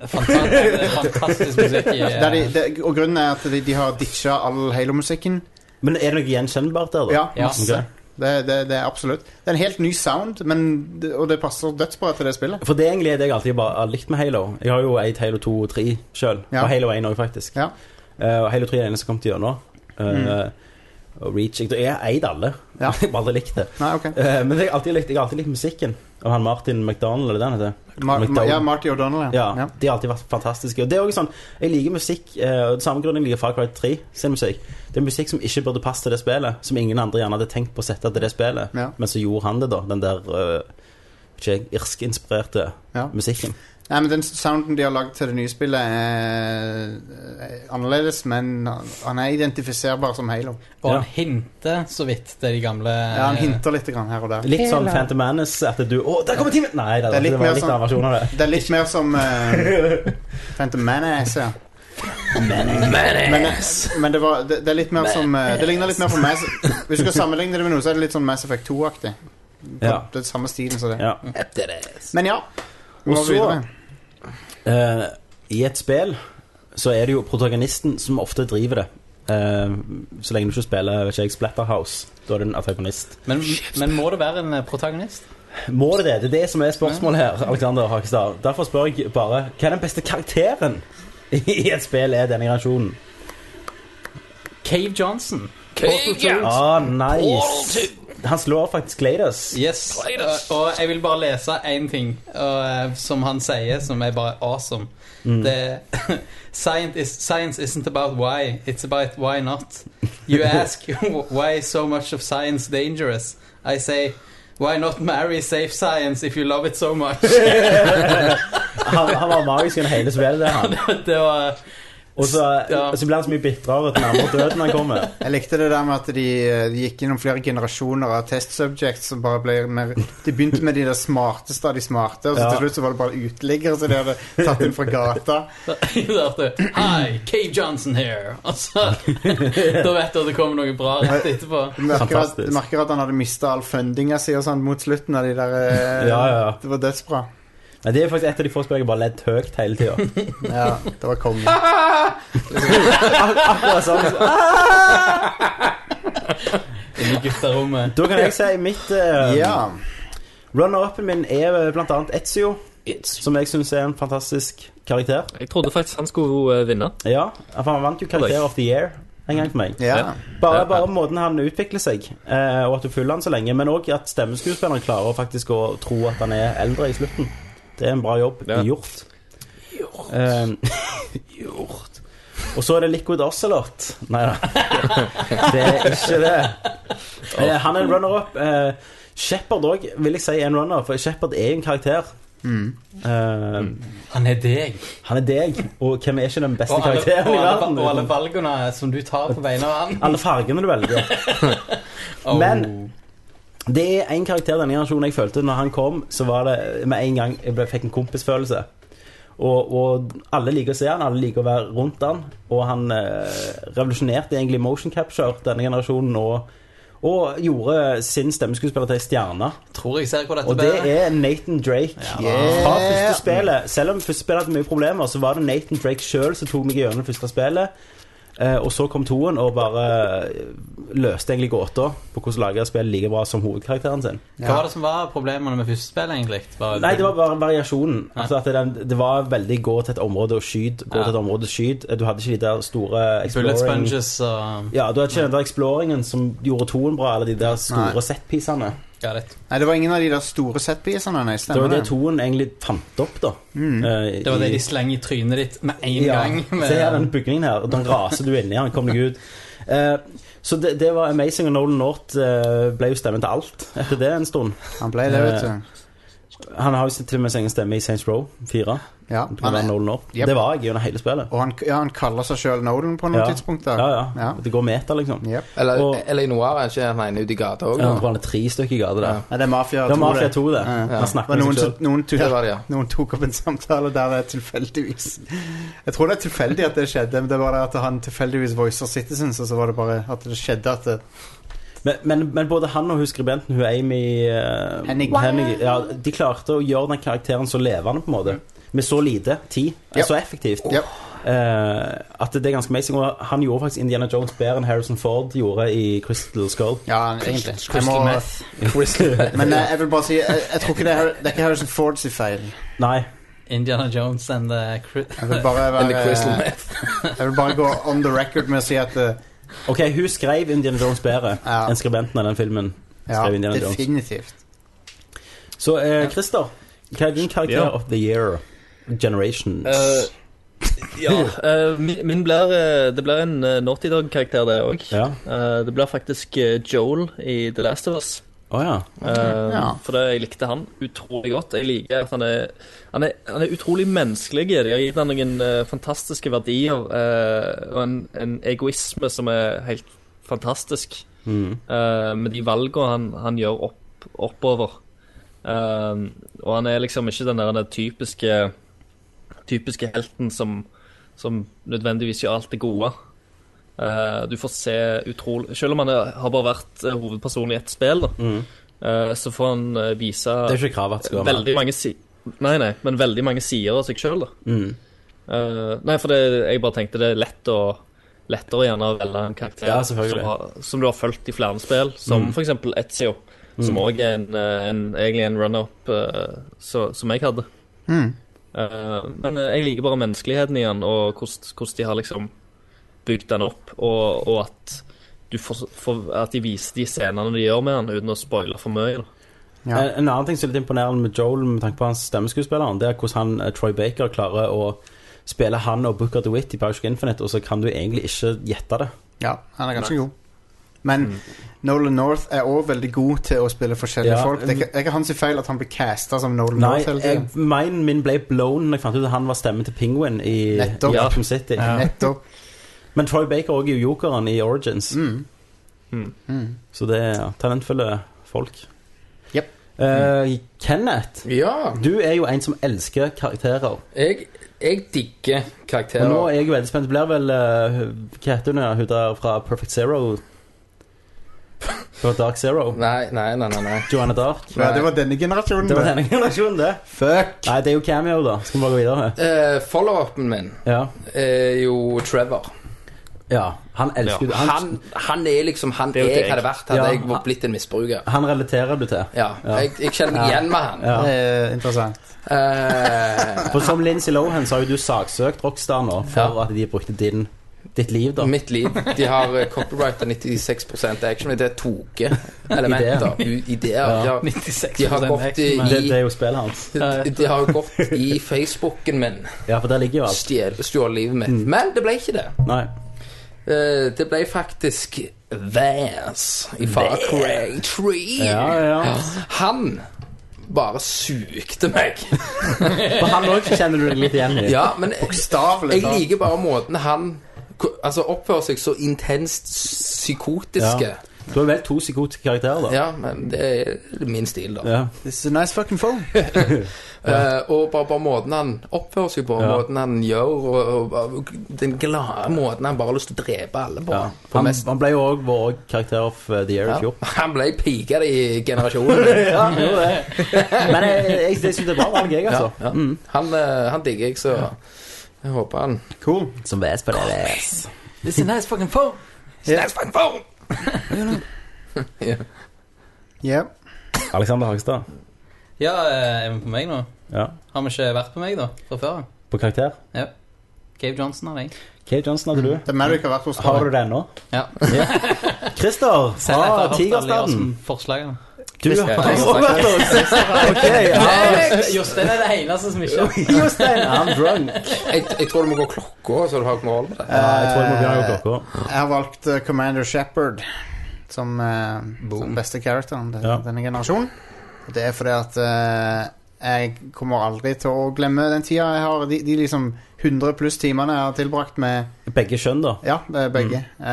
S7: Fantastisk, fantastisk musikk i eh,
S8: Der de, det- og grunnen er at de, de har ditcha all Halo-musikken.
S10: Men er det noe gjenkjennbart der, da?
S8: Ja,
S7: Ja.
S8: masse. Det, det, det er absolutt. Det er en helt ny sound, men, det- og det passer dødsbra til det spillet.
S10: For det er egentlig det jeg alltid bare har likt med Halo. Jeg har jo eid Halo 2 og 3 sjøl,
S8: Ja.
S10: og Halo 1 òg, faktisk.
S8: Ja. Mm.
S10: Eh, og Halo 3 er den eneste som kom til gjennom. Eh, Og Reach Jeg jeg har eid alle.
S8: Ja.
S10: jeg har aldri likt det.
S8: Nei, ok.
S10: Eh, men jeg har alltid likt, jeg har alltid likt musikken av han Martin McDonald, eller den heter.
S8: Ma, ma,
S10: McDowell.
S8: ja, Marty O'Donnell, ja.
S10: Ja, De har alltid vært fantastiske. Og det er også sånn, Jeg liker musikk eh, og det samme grunn jeg liker Far Cry 3 sin musikk. Det er musikk som ikke burde passe til det spillet, som ingen andre gjerne hadde tenkt på å sette til det spillet.
S8: Ja.
S10: Men så gjorde han det, da. Den der eh, ikke jeg, irsk-inspirerte
S8: Ja.
S10: musikken.
S8: Nei, men Den sounden de har lagd til det nye spillet, er, er annerledes, men han er identifiserbar som Halo.
S7: Og han
S10: Ja.
S7: hinter så vidt til de gamle eh,
S8: Ja, han hinter litt grann her og der.
S10: Litt sånn Phantom Menace at du Å, der kommer timen! Nei, det,
S8: Det er litt
S10: det var
S8: mer
S10: litt
S8: sånn-
S10: annen versjon av det.
S8: Det er litt mer som eh, Phantom Menace, ja. Men, men det, var, det, det er litt mer som eh, Det ligner litt mer på Mass Hvis du skal sammenligne det med noe, så er det litt sånn Mass Effect 2-aktig.
S10: Ja.
S8: Det er samme stilen som det.
S10: Ja.
S9: Etter det.
S8: Men ja. Vi
S10: Og
S8: må
S10: så-
S8: videre.
S10: eh, I et spill så er det jo protagonisten som ofte driver det. Eh, så lenge du ikke spiller vet ikke jeg, Splatterhouse, da er du en antagonist.
S7: Men, men må det være en eh, protagonist?
S10: Må det det? Det er det som er spørsmålet her. Alexander Hakestad Derfor spør jeg bare hva er den beste karakteren i et spill er denne generasjonen?
S7: Cave Johnson.
S10: Ah, nice. Han slår faktisk Gladys.
S7: Yes. Og, og jeg vil bare lese én ting og, eh, som han sier, som er bare awesome.
S8: Mm.
S7: Det, science, is, science isn't about why, it's about why not. You ask why so much of science dangerous. I say why not marry safe science if you love it so much.
S10: Han, han var magisk under hele spillet. Han.
S7: Det var
S10: Og så,
S7: Ja.
S10: og så blir han så mye bitrere til nærmere døden han kommer.
S8: Jeg likte det der med at de, eh, de gikk gjennom flere generasjoner av test subjects som bare ble mer De begynte med de der smarteste av de smarte, og så
S10: Ja.
S8: til slutt så var det bare uteliggere som de hadde tatt inn fra gata.
S7: hørte Hi, Cave Johnson here. Og så Da vet du at det kommer noe bra rett etterpå.
S8: Du merker, at,
S10: Fantastisk.
S8: du merker at han hadde mista all fundinga si og sånn mot slutten av de der eh,
S10: Ja, ja, ja.
S8: Det var dødsbra.
S10: Nei, det er faktisk et av de få spillene jeg bare ledd høyt hele tida.
S8: Ja, det var konge.
S10: Akkurat sånn.
S7: Inni gutterommet.
S10: Da kan jeg si mitt eh,
S8: Ja.
S10: Runner-upen min er eh, blant annet Ezio, som jeg syns er en fantastisk karakter.
S6: Jeg trodde faktisk han skulle eh, vinne.
S10: Ja, for Han vant jo Karakter of the Year en gang for meg.
S8: ja.
S10: Bare, bare måten han utvikler seg, eh, og at du følger han så lenge. Men òg at stemmeskuespilleren klarer faktisk å tro at han er eldre i slutten. Det er en bra jobb
S6: Ja.
S10: gjort. Gjort. gjort. Og så er det Liquid Ocelot. Nei da, det er ikke det. Eh, han er en runner-up. Eh, Shepherd òg vil jeg si er en runner, for Shepherd er jo en karakter. Eh,
S7: Han er deg.
S10: han er deg, og hvem er ikke den beste
S7: Og alle,
S10: karakteren
S7: og,
S10: i
S7: alle,
S10: verden? liksom.
S7: og alle valgene som du tar på vegne av han.
S10: Alle fargene du velger.
S7: Oh.
S10: Men- Det er en karakter denne generasjonen jeg følte når han kom, så var det med en gang jeg ble, fikk en kompisfølelse. Og, og alle liker å se han, alle liker å være rundt han, og han eh, revolusjonerte egentlig motion capture denne generasjonen og, og gjorde sin stemmeskuespiller til en stjerne.
S7: tror jeg ser hvor dette
S10: Og det
S7: bærer.
S10: er Nathan Drake. Fra første spillet. Selv om første spillet hadde mye problemer, så var det Nathan Drake sjøl som tok meg gjennom det første spillet. Eh, og så kom toen og bare eh, løste egentlig gåta på hvordan lage et spill like bra som hovedkarakteren sin.
S7: Hva var det som var problemene med første spill, egentlig? Var-
S10: Nei, det var bare variasjonen. Altså at den, det var veldig gå til et område og skyt, gå
S7: Ja.
S10: til et område og skyt. Du hadde ikke de der store
S7: Bullet
S10: exploring...
S7: sponges og
S10: Ja, du hadde ikke den der exploringen som gjorde toen bra, eller de
S8: Nei.
S10: der store setpisene.
S7: Got it.
S8: Nei, det var ingen av de der store setpiecene, nei.
S10: Det var
S8: Stemmer
S10: det
S8: det? Mm.
S10: toen egentlig fant opp, da. Eh,
S7: Det var det
S10: i-
S7: de slenger i trynet ditt med en gang. Med,
S10: Se her, den bygningen her. og Den raser du inni. Han kom deg ut. Eh, så det, det var amazing, og Nolan North eh, ble jo stemmen til alt etter det en stund.
S8: Han ble det, vet
S10: Eh,
S8: du.
S10: Han har jo til og med sin egen stemme i Saints Row 4.
S8: Ja,
S10: Du kan
S8: han
S10: være
S8: er,
S10: Nolan North.
S8: Yep.
S10: Det var jeg gjennom hele spillet.
S8: og han, ja, han kaller seg sjøl Nolan på noen
S10: Ja.
S8: tidspunkt.
S10: Ja,
S8: der
S10: ja, Det går meta, liksom.
S8: Jep.
S9: Eller, eh,
S10: Og-
S9: eller i Noir er ikke han ene ute i gata òg.
S10: Ja. Det var bare tre stykker i gata der.
S8: Nei, det er Mafia
S10: Det var
S8: 2.
S10: Mafia 2, det.
S8: Ja, ja.
S10: Han
S8: Det var
S10: snakker med
S8: noen,
S10: seg
S8: som-
S10: selv.
S8: noen,
S9: Det var
S8: tok,
S9: det, ja.
S8: noen tok opp en samtale der det tilfeldigvis Jeg tror det er tilfeldig at det skjedde, men det var det at han tilfeldigvis voicer Citizens, og så var det bare at det skjedde at eh, det,
S10: Men, men, men både han og hun skribenten, hun Amy eh,
S8: Hennig.
S10: ja, De klarte å gjøre den karakteren så levende, på en måte. Med så lite tid. eh,
S8: Ja.
S10: Så effektivt.
S8: Ja.
S10: Eh, at det er ganske amazing. Og han gjorde faktisk Indiana Jones bedre enn Harrison Ford gjorde i Crystal Skull.
S8: Ja, egentlig. Jeg må-
S9: Crystal
S8: men eh, jeg vil bare si Jeg, jeg tror ikke det er, Har- det er ikke Harrison Ford sin feil.
S10: Nei.
S7: Indiana Jones and the Cri-
S8: Jeg vil bare,
S9: and the
S8: være,
S9: Crystal Meth.
S8: jeg vil bare gå on the record med å si at eh,
S10: Ok, hun skrev Indiana Jones bedre
S8: Ja.
S10: enn skribenten av den filmen.
S8: Ja,
S10: Skrev Indiana Jones.
S8: definitivt.
S10: Så eh, Christer, hva er din karakter
S6: Ja.
S10: of the year? Generations.
S6: Eh, ja, eh, min, min blir eh, Det blir en uh, Naughty Dog-karakter, det òg.
S10: ja.
S6: det blir faktisk eh, Joel i The Last of Us.
S10: Å ja.
S6: Eh,
S8: Ja.
S6: For det, jeg likte han utrolig godt. Jeg liker at han er, han er, han er utrolig menneskelig. De har gitt han noen eh, fantastiske verdier eh, og en, en egoisme som er helt fantastisk
S10: Mm.
S6: eh, med de valgene han, han gjør opp, oppover. Eh, og han er liksom ikke den der den typiske, typiske helten som, som nødvendigvis gjør alt det gode. Eh, du får se utrolig Selv om han er, har bare vært eh, hovedperson i ett spill, da,
S10: Mm.
S6: eh, så får han eh, vise
S10: Det er ikke krav at det skal være med.
S6: veldig mange si Nei, nei, men veldig mange sider av seg sjøl, da.
S10: Mm.
S6: Eh, nei, for det, jeg bare tenkte det er lett å lettere gjerne å velge en karakter
S10: Ja,
S6: som,
S10: selvfølgelig.
S6: har, som du har fulgt i flere spill, som for f.eks. Etzio, som òg er en, eh, en, egentlig en run-up eh, så- som jeg hadde.
S8: Hmm,
S6: Eh, men eh, jeg liker bare menneskeligheten i den, og hvordan hvordan de har liksom bygd den opp, og, og at du får, får, at de viser de scenene de gjør med den, uten å spoile for mye. Da.
S8: Ja.
S10: Eh, En, en annen ting som er litt imponerende med Joel, med tanke på hans stemmeskuespilleren, det er hvordan han, eh, Troy Baker klarer å spille han og Booker DeWitt i Bioshock Infinite, og så kan du egentlig ikke gjette det.
S8: Ja, han er ganske god. Men Nolan North er òg veldig god til å spille forskjellige
S10: Ja,
S8: folk. Det er ikke- det er ikke hans feil at han blir casta som Nolan
S10: Nei,
S8: North hele
S10: jeg,
S8: tiden.
S10: mine min ble blown når jeg fant ut at han var stemmen til Penguin i
S8: Nettopp.
S10: i Arkham City.
S8: Nettopp.
S10: Men Troy Baker også er jo jokeren i Origins.
S8: Mm. Hmm.
S10: Så det er talentfulle folk.
S8: Jep.
S10: Eh, Kenneth,
S9: Ja,
S10: du er jo en som elsker karakterer.
S9: jeg, jeg digger
S10: Og nå
S9: karakterer.
S10: er jeg jo veldig spent. Det blir vel eh, Hva heter hun der, hun der fra Perfect Zero? Fra Dark Zero?
S9: Nei, nei, nei, nei. nei.
S10: Joanna Dark?
S8: Ja, det var denne generasjonen.
S10: Det var
S8: det.
S10: denne generasjonen, det.
S8: Fuck!
S10: Nei, det er jo cameo, da. Skal vi bare gå videre?
S9: Eh, Follow-upen min
S10: Ja.
S9: er jo Trevor.
S10: ja. Han elsker
S9: Han,
S10: han,
S9: han, er liksom han
S6: er jo
S9: jeg,
S6: deg.
S9: hadde vært hadde
S10: Ja.
S9: jeg var blitt en misbruker.
S10: han relaterer du til.
S9: Ja, Jeg, jeg kjenner meg igjen med han.
S10: Ja.
S8: Det er interessant.
S9: Eh,
S10: For som Lindsay Lohan så har jo du saksøkt Rockstar nå for at de brukte din, ditt liv, da.
S9: mitt liv. De har eh, copyright av 96 action. men Det er toke-elementer. u- Ideer. De har-
S7: 96
S9: De har gått i,
S10: Det, det
S9: i
S10: er jo spillet hans.
S9: de, de har gått i Facebooken min.
S10: Ja, for der ligger jo alt. Mm.
S9: Stjel- Stjålet livet mitt. Men det ble ikke det.
S10: Nei.
S9: Eh, Det ble faktisk Vance i Far Cry 3.
S10: Ja, ja.
S9: Han bare sugde meg.
S10: For han òg kjenner du deg litt igjen i.
S9: Ja, men
S8: Bokstavelig
S9: jeg
S8: talt.
S9: liker bare måten han ko- Altså oppfører seg så intenst psykotiske.
S10: Ja. Du har vel to psykotiske karakterer, da.
S9: Ja, men det er min stil, da.
S10: Ja.
S8: This is a nice fucking phone.
S9: Eh, og bare, bare måten han oppfører seg på,
S10: Ja.
S9: måten han gjør, og, og, og den glade måten han bare har lyst til å drepe alle på.
S10: Ja.
S9: på
S10: Han,
S9: mest.
S10: han ble jo òg vår karakter of uh, the year i
S9: Ja.
S10: fjor.
S9: Han ble pika i generasjonen.
S10: Ja, han gjorde det. Men jeg, jeg, jeg syns det er bra valg, jeg, altså.
S9: Ja. Han, eh, han digger jeg, så jeg håper han
S8: Cool.
S10: Som VS på DVS.
S7: This is nice fucking phone.
S9: Snaps back phone!
S8: Yeah.
S10: Alexander Hagstad.
S7: Ja, eh, er vi på meg nå?
S10: Ja.
S7: Har vi ikke vært på meg, da? Fra før?
S10: På karakter.
S7: Ja. Gabe Johnson har jeg.
S10: Kate Johnson hadde du.
S8: Det er Merrick har vært hos
S10: Har du det ennå?
S7: Ja.
S10: Christer
S7: Selv etter å ha hørt alle de
S10: fra Ah, Tigerstaden.
S7: awesome forslagene.
S10: Du har
S9: Christer.
S10: også vært hos Ok, ja.
S7: Jostein er det eneste som ikke
S10: Jostein, I'm drunk.
S9: Jeg, jeg tror du må gå klokka, så du har kontroll på det.
S10: Ja, jeg tror jeg må begynne å
S8: Eh,
S10: gå klokka.
S8: Jeg har valgt eh, Commander Shepard som, eh, som beste characteren den,
S10: Ja.
S8: denne generasjonen. Og det er fordi at eh, jeg kommer aldri til å glemme den tida jeg har De, de liksom 100 pluss timene jeg har tilbrakt med
S10: Begge kjønn, da.
S8: Ja, eh, begge.
S10: Mm.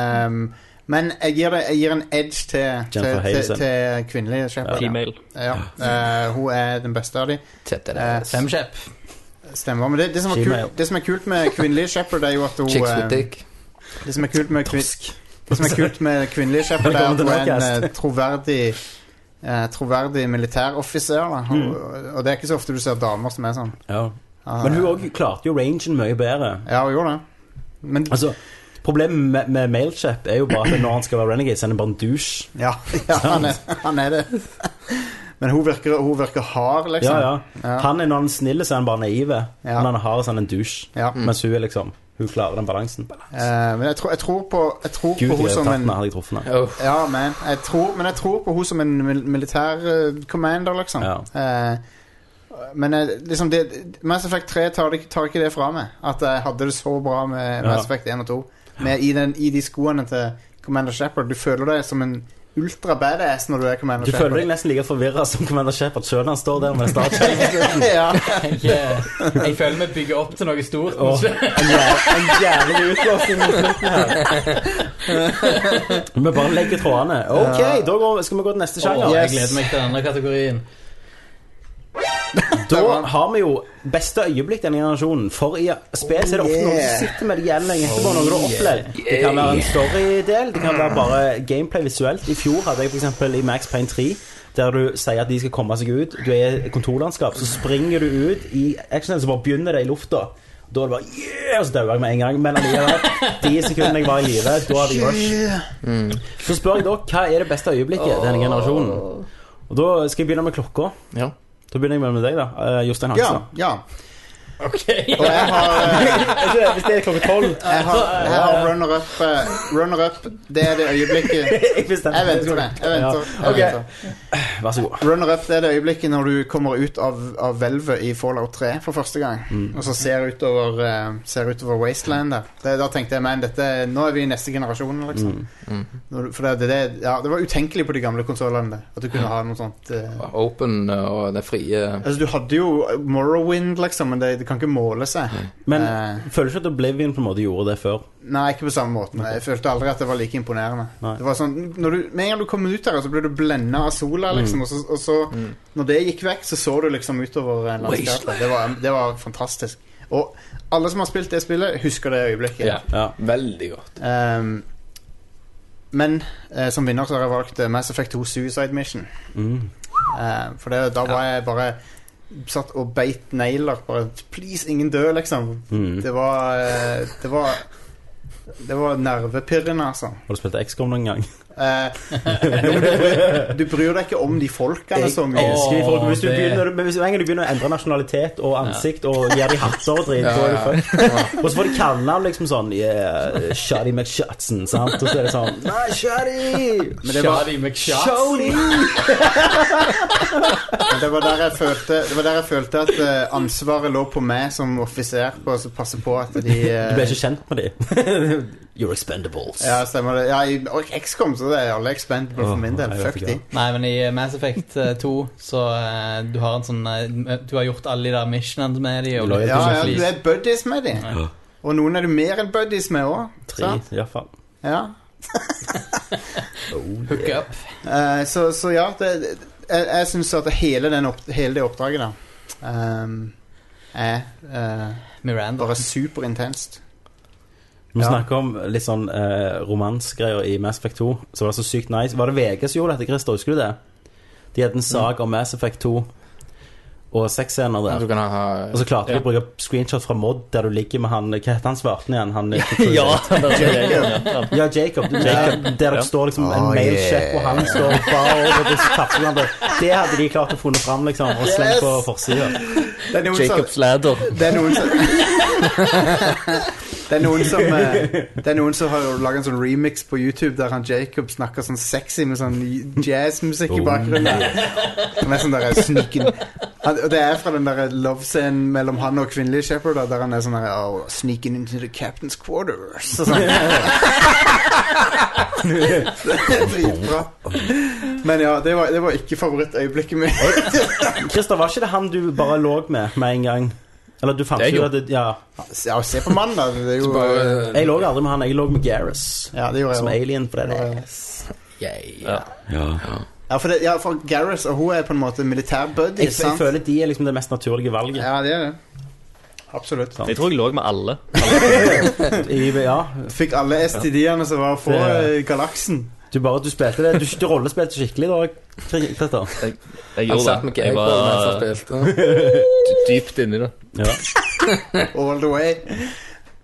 S8: Um, men jeg gir, det, jeg gir en edge til, til,
S10: Jennifer
S8: til,
S10: Hudson.
S8: til kvinnelige Shepard. Ja.
S6: Female.
S8: Ja. Eh, hun er den beste av de
S9: Tette det.
S8: Eh,
S7: Femkjepp.
S8: Stemmer. Men det, det, som er
S10: Female.
S8: kult, det som er kult med kvinnelige Shepard, er jo at hun
S9: Chicks with
S8: eh,
S9: dick.
S8: Det som er kult med, kvin det som er kult med kvinnelige Shepard, er at
S10: Velkommen til
S8: hun er en
S10: Nordcast.
S8: eh, troverdig eh, Troverdig militæroffiser. da.
S10: Mm.
S8: Hun- Og det er ikke så ofte du ser damer som er sånn.
S10: Ja.
S8: Ah,
S10: Men hun òg klarte jo rangen mye bedre.
S8: Ja, hun gjorde det. Men
S10: Altså, Problemet med, med Mailchap er jo bare at når han skal være renegade, så er han bare en douche.
S8: Ja, ja han, er, han er det. Men hun virker, hun virker hard, liksom.
S10: Ja, ja.
S8: Ja.
S10: Han er når han er snill, så er han bare naive.
S8: Ja.
S10: Når han er hard, så er han en douche.
S8: Ja.
S10: Mens hun er liksom Hun klarer den balansen.
S8: Eh, men jeg tror, jeg tror på Jeg tror
S10: Gud,
S8: på hun
S10: jeg
S8: som
S10: hadde tatt
S8: en
S10: den, hadde jeg truffet den.
S9: Oh,
S8: Ja, men jeg tror, men jeg tror på hun som en mil- militær eh, commander, liksom.
S10: Ja.
S8: Eh, men eh, liksom det, Mass Effect 3 tar, det- tar ikke det fra meg. At jeg hadde det så bra med
S10: Ja.
S8: Mass Effect 1 og 2. Med, i, den, I de skoene til Commander Shepard. Du føler deg som en ultra badass når du er Commander
S10: Du føler
S8: Shepard.
S10: deg nesten like forvirra som Commander Shepard sjøl når han står der med Starchild.
S8: ja.
S7: Jeg, eh, jeg føler vi bygger opp til noe stort.
S10: Åh. En jæv- en jævlig utblåsning mot slutten her. Vi bare legger trådene. OK, da går, skal vi gå til neste sjanger.
S7: Åh, jeg
S8: Yes.
S7: gleder meg til denne kategorien.
S10: Da har vi jo beste øyeblikk denne generasjonen. For i spill så er det ofte
S8: Oh,
S10: noe
S8: yeah. Oh,
S10: du sitter med det igjen lenge etterpå. Noe du har opplevd. Det kan være en storydel, det kan være bare gameplay visuelt. I fjor hadde jeg f.eks. i Max Payne 3 der du sier at de skal komme seg ut. Du er i kontorlandskap, så springer du ut i actionen, så bare begynner det i lufta. Da er det bare yeah! Og så dauer jeg med en gang. Men allikevel, de sekundene jeg var i live, da hadde jeg rush. Så spør jeg da, hva er det beste øyeblikket i denne generasjonen? Og da skal jeg begynne med klokka.
S9: Ja.
S10: Da begynner jeg med deg, da. eh, Jostein
S8: Ja,
S10: Hansen.
S8: ja.
S6: Ok.
S8: Og jeg har, eh,
S10: Hvis det er klokka tolv
S8: jeg har, jeg har runner-up. eh, Runner-up, det er det øyeblikket
S10: Jeg bestemmer.
S8: Jeg venter på det. Jeg venter. Jeg
S10: Ja.
S8: venter.
S10: Ja, Vær så god.
S8: Runner-up det er det øyeblikket når du kommer ut av, av hvelvet i Fallout 3 for første gang, og så ser utover, eh, ser utover Wasteland der. Det, da tenkte jeg men dette, nå er vi i neste generasjon,
S10: Mm.
S8: liksom. Når du- For det, det, det, ja, det var utenkelig på de gamle konsollene at du kunne ha noe sånt. eh.
S9: Open eh, og det frie
S8: Altså, du hadde jo Morrowind, liksom, men det, det kan ikke måle seg.
S10: Men
S8: Eh.
S10: føler du ikke at Oblivion på en måte gjorde det før?
S8: Nei, ikke på samme måten. Jeg følte aldri at det var like imponerende.
S10: Nei.
S8: Det var sånn, når du, Med en gang du kom ut der, så ble du blenda av
S10: Mm.
S8: sola, liksom. Og så, og så når det gikk vekk, så så du liksom utover eh, landskapet. Det var, det var fantastisk. Og alle som har spilt det spillet, husker det øyeblikket.
S9: Ja.
S10: Ja.
S9: Veldig godt.
S8: Ehm, men eh, som vinner så har jeg valgt eh, Mass Effect 2 Suicide Mission.
S10: Mm.
S8: Eh, for det, da var jeg bare satt og beit negler. Bare Please, ingen dø, liksom.
S10: Mm.
S8: Det var eh, Det var Det var nervepirrende, altså.
S10: Har du spilt XCOM noen gang?
S8: Eh, jo, men du, bryr, du bryr deg ikke om de folkene så
S10: Jeg
S8: mye.
S10: elsker de folk, men Hvis du
S7: Åh, det-
S10: begynner, men hvis med en gang du begynner å endre nasjonalitet og ansikt og gir de hatser og dritt, da er du fucked. Og så får de kallenavn liksom sånn yeah, Shotty McShotson, sant? Og så er det sånn Nei, Shotty!
S8: Men det var,
S7: Shadi McShot.
S10: Shotty!
S8: men det var der jeg følte Det var der jeg følte at eh, ansvaret lå på meg som offiser, på å passe på at de
S10: Du ble
S8: eh,
S10: ikke kjent med de. You're expendables.
S8: Ja, stemmer det. Ja, i og XCOM så det er alle expendable for min del.
S10: Åh, jeg vet
S8: Fuck
S10: ikke.
S8: de.
S7: Nei, men i Mass Effect eh, 2 så eh, du har en sånn eh, Du har gjort alle de der missionene med de og
S10: Loyal.
S8: Ja, ja, du er buddies med de. Og noen er du mer enn buddies med
S10: Tre,
S8: òg.
S10: i hvert fall.
S8: Ja.
S7: hook up.
S8: Eh, så, så ja, det, det- jeg, jeg syns at hele, den opp, hele det oppdraget der ehm, er eh,
S7: Miranda.
S8: bare superintenst.
S10: Vi må
S8: Ja.
S10: snakke om litt sånn eh, romansgreier i Mass Effect 2. Så var det så sykt nice. Var det VG som gjorde dette, Christer? Husker du det? De hadde en sak om Mass Effect 2 og sexscener
S9: Du
S10: der.
S9: kan ha
S10: Og så klarte de å bruke screenshot fra Mod der du ligger med han Hva heter han svarten igjen? Han, eh,
S6: Ja.
S10: ja, Jacob. Jacob. Der dere står liksom
S8: Oh,
S10: en male check,
S8: yeah.
S10: og han står bare over og tafser hverandre. Det hadde de klart å funnet fram, liksom, og slengt på forsida.
S8: Det er noen
S6: Jacobs ladder.
S8: som Det er noen som Det er noen som, eh, det er noen som har laga en sånn remix på YouTube der han Jacob snakker sånn sexy med sånn jazzmusikk i
S6: Oh,
S8: bakgrunnen. Som er sånn der sniken han, Og det er fra den der love-scenen mellom han og kvinnelige Shepherd, da, der han er sånn der oh, Sneaking into the captain's quarters. Og sånn. Dritbra. Men ja, det var, det var ikke favorittøyeblikket mitt.
S10: Christer, var ikke det han du bare lå med med en gang? Eller du fant
S9: Det er
S10: jo
S9: jo-
S10: at det, Ja.
S8: Ja, se på mannen, da. Det er jo
S9: Bare
S10: Jeg lå aldri med han, jeg lå med Gareth.
S8: Ja, det gjorde jeg
S10: Som
S8: også.
S10: alien, for det er det.
S9: Yay. Ja.
S8: Ja, for, det, ja, for Gareth og hun er på en måte
S10: Jeg,
S8: militærbuddies,
S10: jeg
S8: sant?
S10: føler de er liksom det mest naturlige valget.
S8: Ja, det er det. Absolutt.
S6: Jeg tror jeg lå med alle.
S10: I, ja.
S8: Fikk alle STD-ene som var for
S10: Det-
S8: eh, galaksen.
S10: Du bare du spilte det. Du, du rollespilte skikkelig da, Kri- Christer.
S6: Jeg
S9: Jeg
S6: gjorde
S9: satt med
S6: det. Jeg
S9: Gable mens han
S6: var
S9: spilte.
S6: dypt inni det.
S10: Ja.
S8: All the way.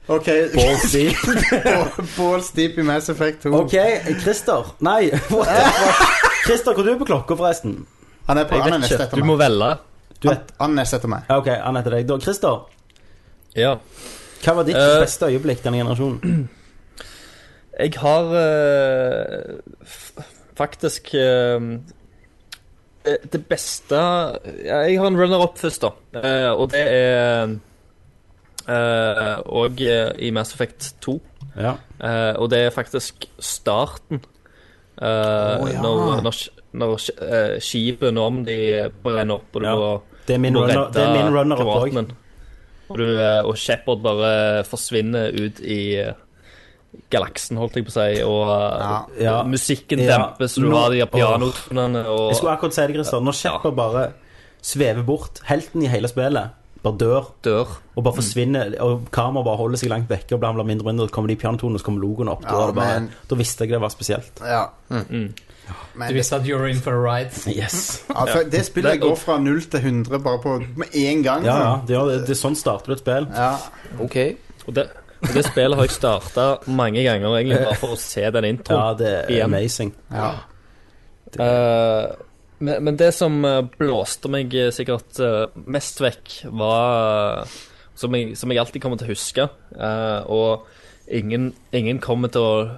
S8: OK.
S10: Balls deep.
S8: Balls deep i Mass Effect 2.
S10: OK, Christer. Nei, what the fuck? Christer, hvor er du på klokka, forresten?
S8: Han, er på,
S6: Jeg
S8: han er
S6: vet
S8: nest
S6: ikke.
S8: etter
S6: Du
S8: meg.
S6: må velge.
S10: Du
S8: Han,
S10: vet,
S8: han er nest etter meg.
S10: Ja, OK, han heter deg. Da, Christer,
S6: Ja.
S10: hva var ditt
S6: Eh.
S10: beste øyeblikk denne generasjonen?
S6: Jeg har eh, f faktisk eh, eh, det beste ja, Jeg har en runner-up først, da. Eh, og det er eh, Og eh, i Mass Effect 2.
S10: Ja.
S6: Eh, og det er faktisk starten. Eh,
S8: Å, ja.
S6: Når, når, sk- når sk- eh, skipet når de brenner opp, og du
S10: Ja.
S6: må
S10: Det er min
S6: må
S10: runner- det er
S6: redde
S10: min runner-up òg.
S6: piratenen. Og, du, eh, og Shepard bare forsvinner ut i eh, galaksen, holdt jeg på å si, og eh,
S10: Ja.
S6: musikken
S10: Ja.
S6: dempes, og du
S10: Nå-
S6: har de her pianotonene
S10: Jeg
S6: og
S10: skulle akkurat si det, Christer. Når Shepard bare svever bort, helten i hele spillet, bare dør
S6: dør.
S10: og bare forsvinner. Og kameraet bare holder seg langt vekke, og blir- blir mindre og mindre. Og så kommer de pianotonene, og så kommer logoen opp. Da,
S8: Ja,
S10: er det bare,
S8: men-
S10: da visste jeg det var spesielt.
S8: Ja.
S6: Mm.
S8: Men
S7: Du
S8: det,
S7: visste at you were in for a ride.
S10: Yes.
S8: ja, for det spillet
S6: Det-
S8: går fra 0 til 100 bare på med én gang.
S10: Ja, ja.
S8: sånn.
S10: Det, gjør det, det er sånn starter du et spill.
S8: ja.
S9: OK.
S6: Og det, og det spillet har jeg starta mange ganger, egentlig, bare for å se den
S10: Ja,
S6: introen.
S10: det er
S6: Oh, Igjen.
S10: amazing.
S8: ja.
S6: Eh, men, men det som eh, blåste meg eh, sikkert eh, mest vekk, var eh, som, jeg, som jeg alltid kommer til å huske, eh, og ingen, ingen kommer til å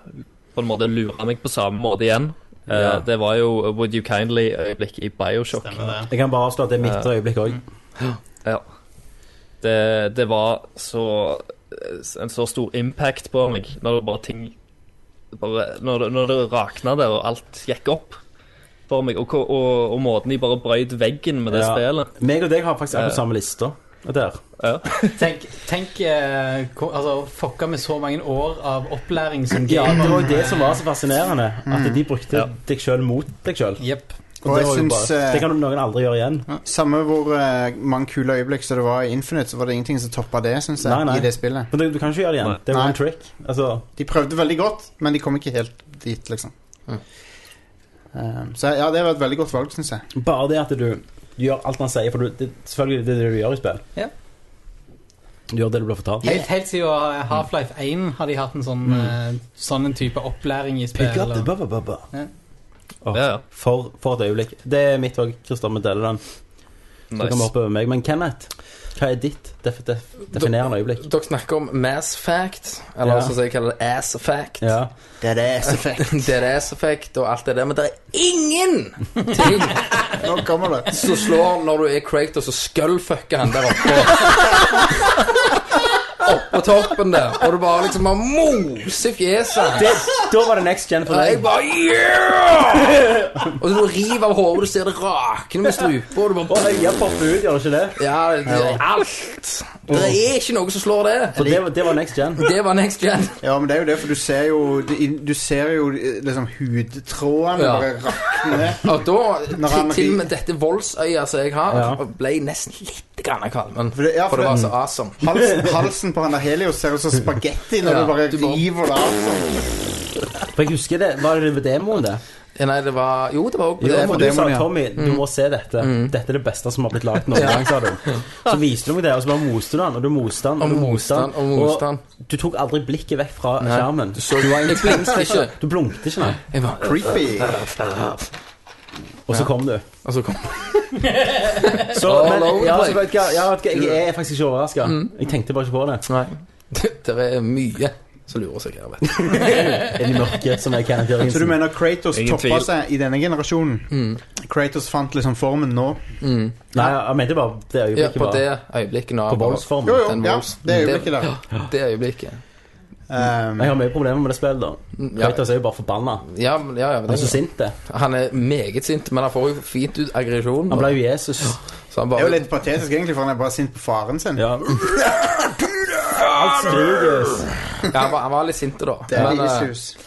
S6: på en måte lure meg på samme måte igjen. Eh,
S10: Ja.
S6: Det var jo Would You Kindly-øyeblikket i Bioshock.
S10: Jeg kan bare avslå at det er mitt øyeblikk òg.
S6: det, det var så eh, en så stor impact på meg når det bare ting bare, når, det, når det rakna der og alt gikk opp for meg, og, hvor- og, og måten de bare brøyt veggen med det
S10: Ja.
S6: spillet
S10: Meg og deg har faktisk akkurat
S6: Ja.
S10: samme lista. Der.
S7: Tenk, tenk eh, ko- altså, fucka med så mange år av opplæring som
S10: Ja,
S7: gamer.
S10: det var jo det som var så fascinerende. At de brukte deg sjøl mot deg sjøl.
S7: Jep.
S8: Og jeg syns
S10: Det kan noen aldri gjøre igjen.
S8: Samme hvor eh, mange kule øyeblikk som det var i Infinite, så var det ingenting som toppa det, syns jeg.
S10: Nei, nei.
S8: I det spillet.
S10: Men du, du kan ikke gjøre det igjen.
S6: Nei.
S10: Det var
S8: Nei.
S10: en trick. Altså,
S8: De prøvde veldig godt, men de kom ikke helt dit, liksom.
S9: Mm.
S8: Eh, så ja, det var et veldig godt valg, syns jeg.
S10: bare det at du, du gjør alt han sier, for du, det, selvfølgelig det er det du gjør i spill.
S7: Ja.
S10: Du gjør det du blir fortalt.
S7: Helt, helt siden eh, Half-Life 1 har de hatt en sånn, eh, sånn en type opplæring i
S10: Mm. Pick
S7: spill.
S10: up the
S7: og-
S10: bubba bubba.
S7: Ja.
S10: Åh,
S6: Ja, ja.
S10: for, for et øyeblikk. Det er mitt òg. Christer, vi deler den. Så kan vi
S6: nice.
S10: hoppe over meg. Men Kenneth, hva er ditt def def definerende øyeblikk?
S9: Dere snakker om mass fact, eller
S10: Ja.
S9: som jeg kaller det, ass fact.
S10: Ja.
S8: Det er det som
S9: Det er ass effect og alt det der, men det er ingen ting
S8: Nå kommer det.
S9: som slår når du er Craig, og så skullfucker han der oppe. Oppå toppen der, og du bare liksom har mose fjeset.
S10: Det, da var det next gen for
S9: Og jeg
S10: deg.
S9: bare yeah! Og så du river av hodet, du ser det rakne med strupa, og du
S10: Å,
S9: bare
S10: øya popper ut, gjør det ikke det?
S9: Ja, det er alt. Det er ikke noe som slår
S10: For
S9: det.
S10: det, var- det var next gen.
S9: Det var next gen.
S8: Ja, men det er jo det, for du ser jo Du, du ser jo eh, liksom hudtrådene
S9: Ja.
S8: bare rakne.
S9: Og da,
S8: Når han-
S9: til, til og med dette voldsøyet som jeg har,
S10: Ja.
S9: ble jeg nesten litt grann kvalm. men-
S8: For det- ja, for
S9: For det var
S8: det-
S9: så awesome.
S8: Halsen, halsen på han der Helios ser ut som spagetti når
S9: Ja,
S8: du bare
S9: du bare-
S8: river det av. sånn.
S10: For jeg husker det, Var det ved demoen, det?
S9: Ja, Nei, det var Jo, det var òg
S10: Jo,
S8: det er
S10: for
S8: på
S10: du sa
S8: demoen, ja.
S10: Tommy, du må se dette. Dette er det beste som har blitt lagd noen gang, sa du. Så viste du meg det, og så bare moste du den, og du moste den,
S9: Og
S10: og du
S9: moste
S10: moste
S9: den,
S10: den.
S9: og moste den.
S10: du tok aldri blikket vekk fra skjermen.
S9: Du så Jeg blingte ikke.
S10: Du blunket ikke, nei.
S9: Jeg bare
S8: Creepy.
S10: Og så kom du.
S9: Og så altså, kom
S10: Så,
S9: All
S10: men,
S9: over the
S10: ja,
S5: altså,
S9: place.
S10: så vet du hva, ja, vet du hva, jeg er faktisk ikke overraska.
S8: Mm.
S10: Jeg tenkte bare ikke på det.
S9: Nei. Det, det er mye som lurer seg her, vet du.
S10: Inn i mørket, som er Kenneth
S8: Så du
S10: Jørgensen.
S8: mener Kratos
S6: Ingen
S8: toppa
S6: tvil.
S8: seg i denne generasjonen?
S9: Mm.
S8: Kratos fant liksom formen nå?
S10: Nei, jeg mente bare det
S9: Ja,
S10: øyeblikket.
S9: på det
S10: bare.
S9: øyeblikket nå.
S10: På
S9: bare-
S8: Jo,
S10: voldsformen.
S8: jo,
S9: Den
S8: ja,
S9: volds-
S8: det øyeblikket der.
S9: Ja, Det øyeblikket.
S8: Um,
S10: Jeg har mye problemer med det spillet, da.
S8: Mm,
S9: Ja.
S10: Kratos er jo bare forbanna.
S9: Ja, men- ja, ja, men
S10: Han er så
S9: det,
S10: sint, det.
S9: han er meget sint, men han får jo fint ut aggresjonen.
S10: Han ble jo Jesus.
S9: Så han
S8: det er jo
S9: bare
S8: litt patetisk, egentlig, for han er bare sint på faren sin.
S10: Ja. Alt skrikes.
S9: ja, han, var, han var litt sint da.
S8: Det er
S9: Men eh,
S8: Jesus.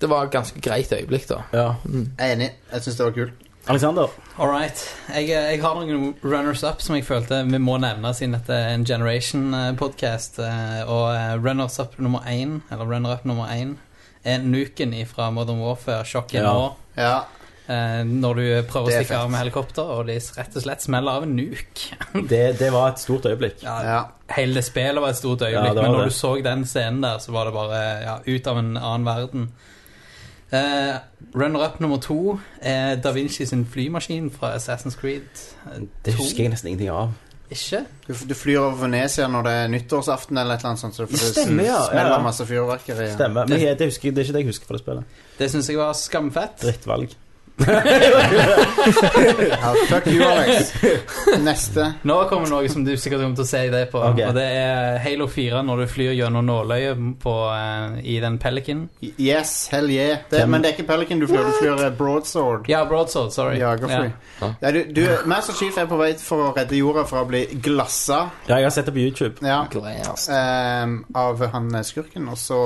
S9: det var et ganske greit øyeblikk, da.
S10: Ja.
S8: Jeg er enig. Jeg syns det var kult.
S10: Alexander.
S7: All right. Jeg, eh, jeg har noen runners-up som jeg følte vi må nevne, siden dette er en Generation-podkast. Og eh, runners-up nummer én, eller runner-up nummer én, er Nuken fra Modern Warfare, sjokket
S10: Ja.
S7: nå.
S8: Ja.
S7: eh, Når du prøver å
S8: Det er
S7: stikke
S8: fett.
S7: av med helikopter, og de rett og slett smeller av en nuke.
S10: Det, det var et stort øyeblikk.
S8: ja.
S7: Hele det spillet var et stort øyeblikk,
S10: Ja, det var
S7: men når
S10: det.
S7: du så den scenen der, så var det bare ja, ut av en annen verden. Eh, Runner-up nummer to er Da Vinci sin flymaskin fra Assassin's Creed. eh,
S10: Det
S7: to.
S10: husker jeg nesten ingenting av.
S7: Ikke?
S8: Du, du flyr over Venezia når det er nyttårsaften eller et eller annet sånt, så det
S10: Stemmer, ja, ja.
S8: smeller masse fyrverkeri. Ja.
S10: Stemmer. Men jeg, det, husker, det er ikke det jeg husker fra det spillet.
S7: Det syns jeg var skamfett.
S10: Drittvalg.
S8: Ja, fuck you, Alex. Neste.
S7: Nå kommer noe som du sikkert kommer til å se det på.
S10: Ok.
S7: Og det er Halo 4 når du flyr gjennom nåløyet på, eh, i den Pelican.
S8: Yes, hell yeah. Det,
S10: Hvem-
S8: men det er ikke Pelican du flyr, du flyr eh, Broadsword.
S7: Ja, Broadsword. Sorry.
S8: Jagerfly. Ja, du, du, Master Chief er på vei for å redde jorda fra å bli glassa
S10: Ja, jeg har sett det på YouTube.
S8: ja,
S9: Glass.
S8: ehm, av han eh, skurken, og så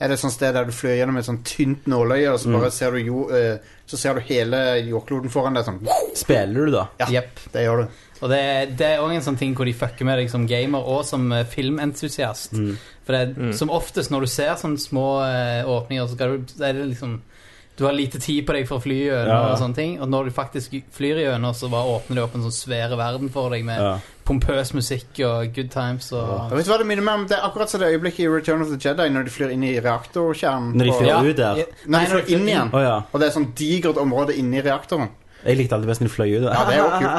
S8: er det et sånt sted der du flyr gjennom et sånt tynt nåløye, og så bare ser du jo, eh, Så ser du hele jordkloden foran deg sånn.
S10: Spiller du, da?
S8: Ja.
S7: Jepp.
S8: Det gjør du.
S7: Og det, det er òg en sånn ting hvor de fucker med deg som gamer og som eh, filmentusiast.
S10: Mm.
S7: For det, er- som oftest når du ser sånne små eh, åpninger, så skal du, det er det liksom Du har lite tid på deg for å fly gjennom
S10: Ja, ja.
S7: og sånne ting. Og når du faktisk flyr gjennom, så bare åpner det opp en sånn svære verden for deg med
S10: Ja.
S7: pompøs musikk og good times og
S8: Og vet du hva det minner meg om? Det er akkurat som det øyeblikket i Return of the Jedi når de flyr inn i reaktorkjernen.
S10: Når de
S8: på-
S10: flyr
S7: Ja.
S10: ut der?
S8: Nei, når de flyr inn
S10: Å
S8: igjen.
S10: ja.
S8: Og det er sånn digert område inni reaktoren.
S10: Jeg likte alltid best når de fløy ut.
S8: Ja, det er jo kult.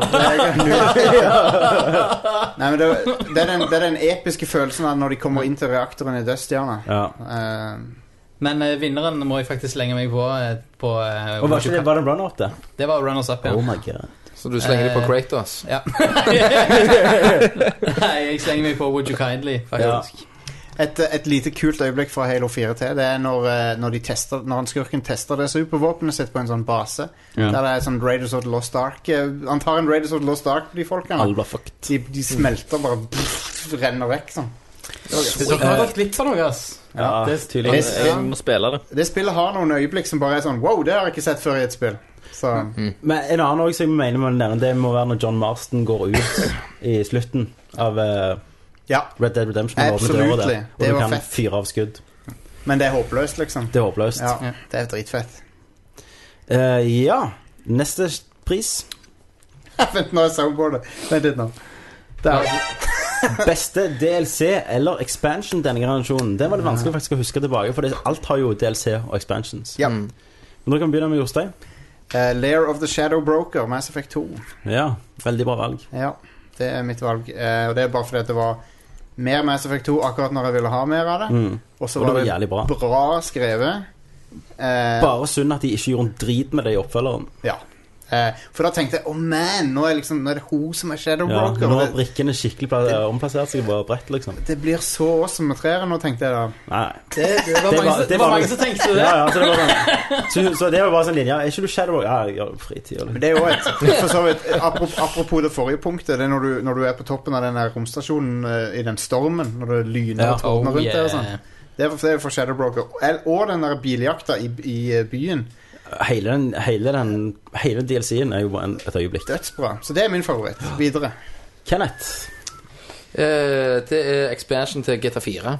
S10: Der.
S8: Nei, men det, det, er den, det er den episke følelsen av når de kommer inn til reaktoren i Dødsstjerna.
S10: Ja.
S8: Eh,
S7: Men eh, vinneren må jeg faktisk slenge meg på. eh, på eh,
S10: Og var, ikke det, var det en run-up, det?
S7: det var Runners Up, ja.
S10: Oh my god.
S9: Så du slenger det på
S7: Eh,
S9: Kratos.
S7: ja. Nei, jeg slenger meg på Would You Kindly, faktisk.
S8: et, et lite kult øyeblikk fra Halo 4 til Det er når, eh, når, de tester, når han skurken tester det supervåpenet sitt på en sånn base.
S10: Ja.
S8: Der det er sånn Raiders of the Lost Ark eh, Han tar en Raiders of the Lost Ark, de folkene.
S10: Alle var fucked.
S8: De, de smelter bare pff, Renner vekk sånn.
S7: Dere har gått glipp av noe, sånn, ass.
S10: Ja,
S8: det,
S6: Jeg,
S10: tydeligvis.
S6: jeg må spille det.
S8: det spillet har noen øyeblikk som bare er sånn Wow, det har jeg ikke sett før i et spill. Så
S10: Men en annen også, som jeg mener med å nevne, det må være når John Marston går ut i slutten av eh,
S8: ja.
S10: Red Dead Redemption. og åpner døra der,
S8: Absolutely.
S10: Og
S8: Det
S10: du
S8: var
S10: kan
S8: fett.
S10: fyre av skudd.
S8: Men det er håpløst, liksom.
S10: Det er håpløst.
S8: Ja, det er dritfett.
S10: Eh, ja. Neste pris.
S8: Vent, nå er jeg så på det. Vent litt nå. Der.
S10: Beste DLC eller expansion denne generasjonen. Det var det vanskelig faktisk å huske tilbake, for det, alt har jo DLC og expansions.
S8: Ja.
S10: Men dere kan begynne med Jostein.
S8: Eh, Lair of the Shadow Broker, Mass Effect 2.
S10: Ja, veldig bra valg.
S8: Ja, det er mitt valg. Eh, og det er bare fordi at det var mer Mass Effect 2 akkurat når jeg ville ha mer av det.
S10: Mm.
S8: Og så
S10: Og det
S8: var
S10: var
S8: det
S10: jævlig bra.
S8: bra skrevet. Eh,
S10: Bare synd at de ikke gjorde en drit med det i oppfølgeren.
S8: ja. Eh, for da tenkte jeg å man, nå er, liksom, nå er det hun som er Shadow
S10: Ja,
S8: Broker.
S10: nå har
S8: og Det,
S10: brikkene skikkelig pla- omplassert seg på brett, liksom.
S8: det blir så awesome med treere nå, tenkte jeg da.
S10: Nei.
S7: Det, det var
S10: Det
S7: mange som-
S10: var- det
S7: det var
S10: var-
S7: mange som tenkte det.
S10: Ja, ja, så det var sånn Så, så det var bare sånn linje. Ja, er ikke du Shadow Rock? Ja, jeg gjør fritid.
S8: Men
S10: Eller?
S8: Det er jo et, for så vidt, apropos, apropos det forrige punktet, det er når du, når du er på toppen av den her romstasjonen eh, i den stormen, når det lyner
S10: Ja. Oh,
S8: og tordner rundt deg og sånn.
S7: yeah.
S8: Det er for, det er for Shadow Broker. El- Og den der biljakta i, i eh, byen.
S10: Hele den, hele den Hele DLC-en er jo bare en, et øyeblikk.
S8: Dødsbra. Så det er min favoritt. Videre.
S10: Kenneth.
S9: Eh, det er expansion til GTA4.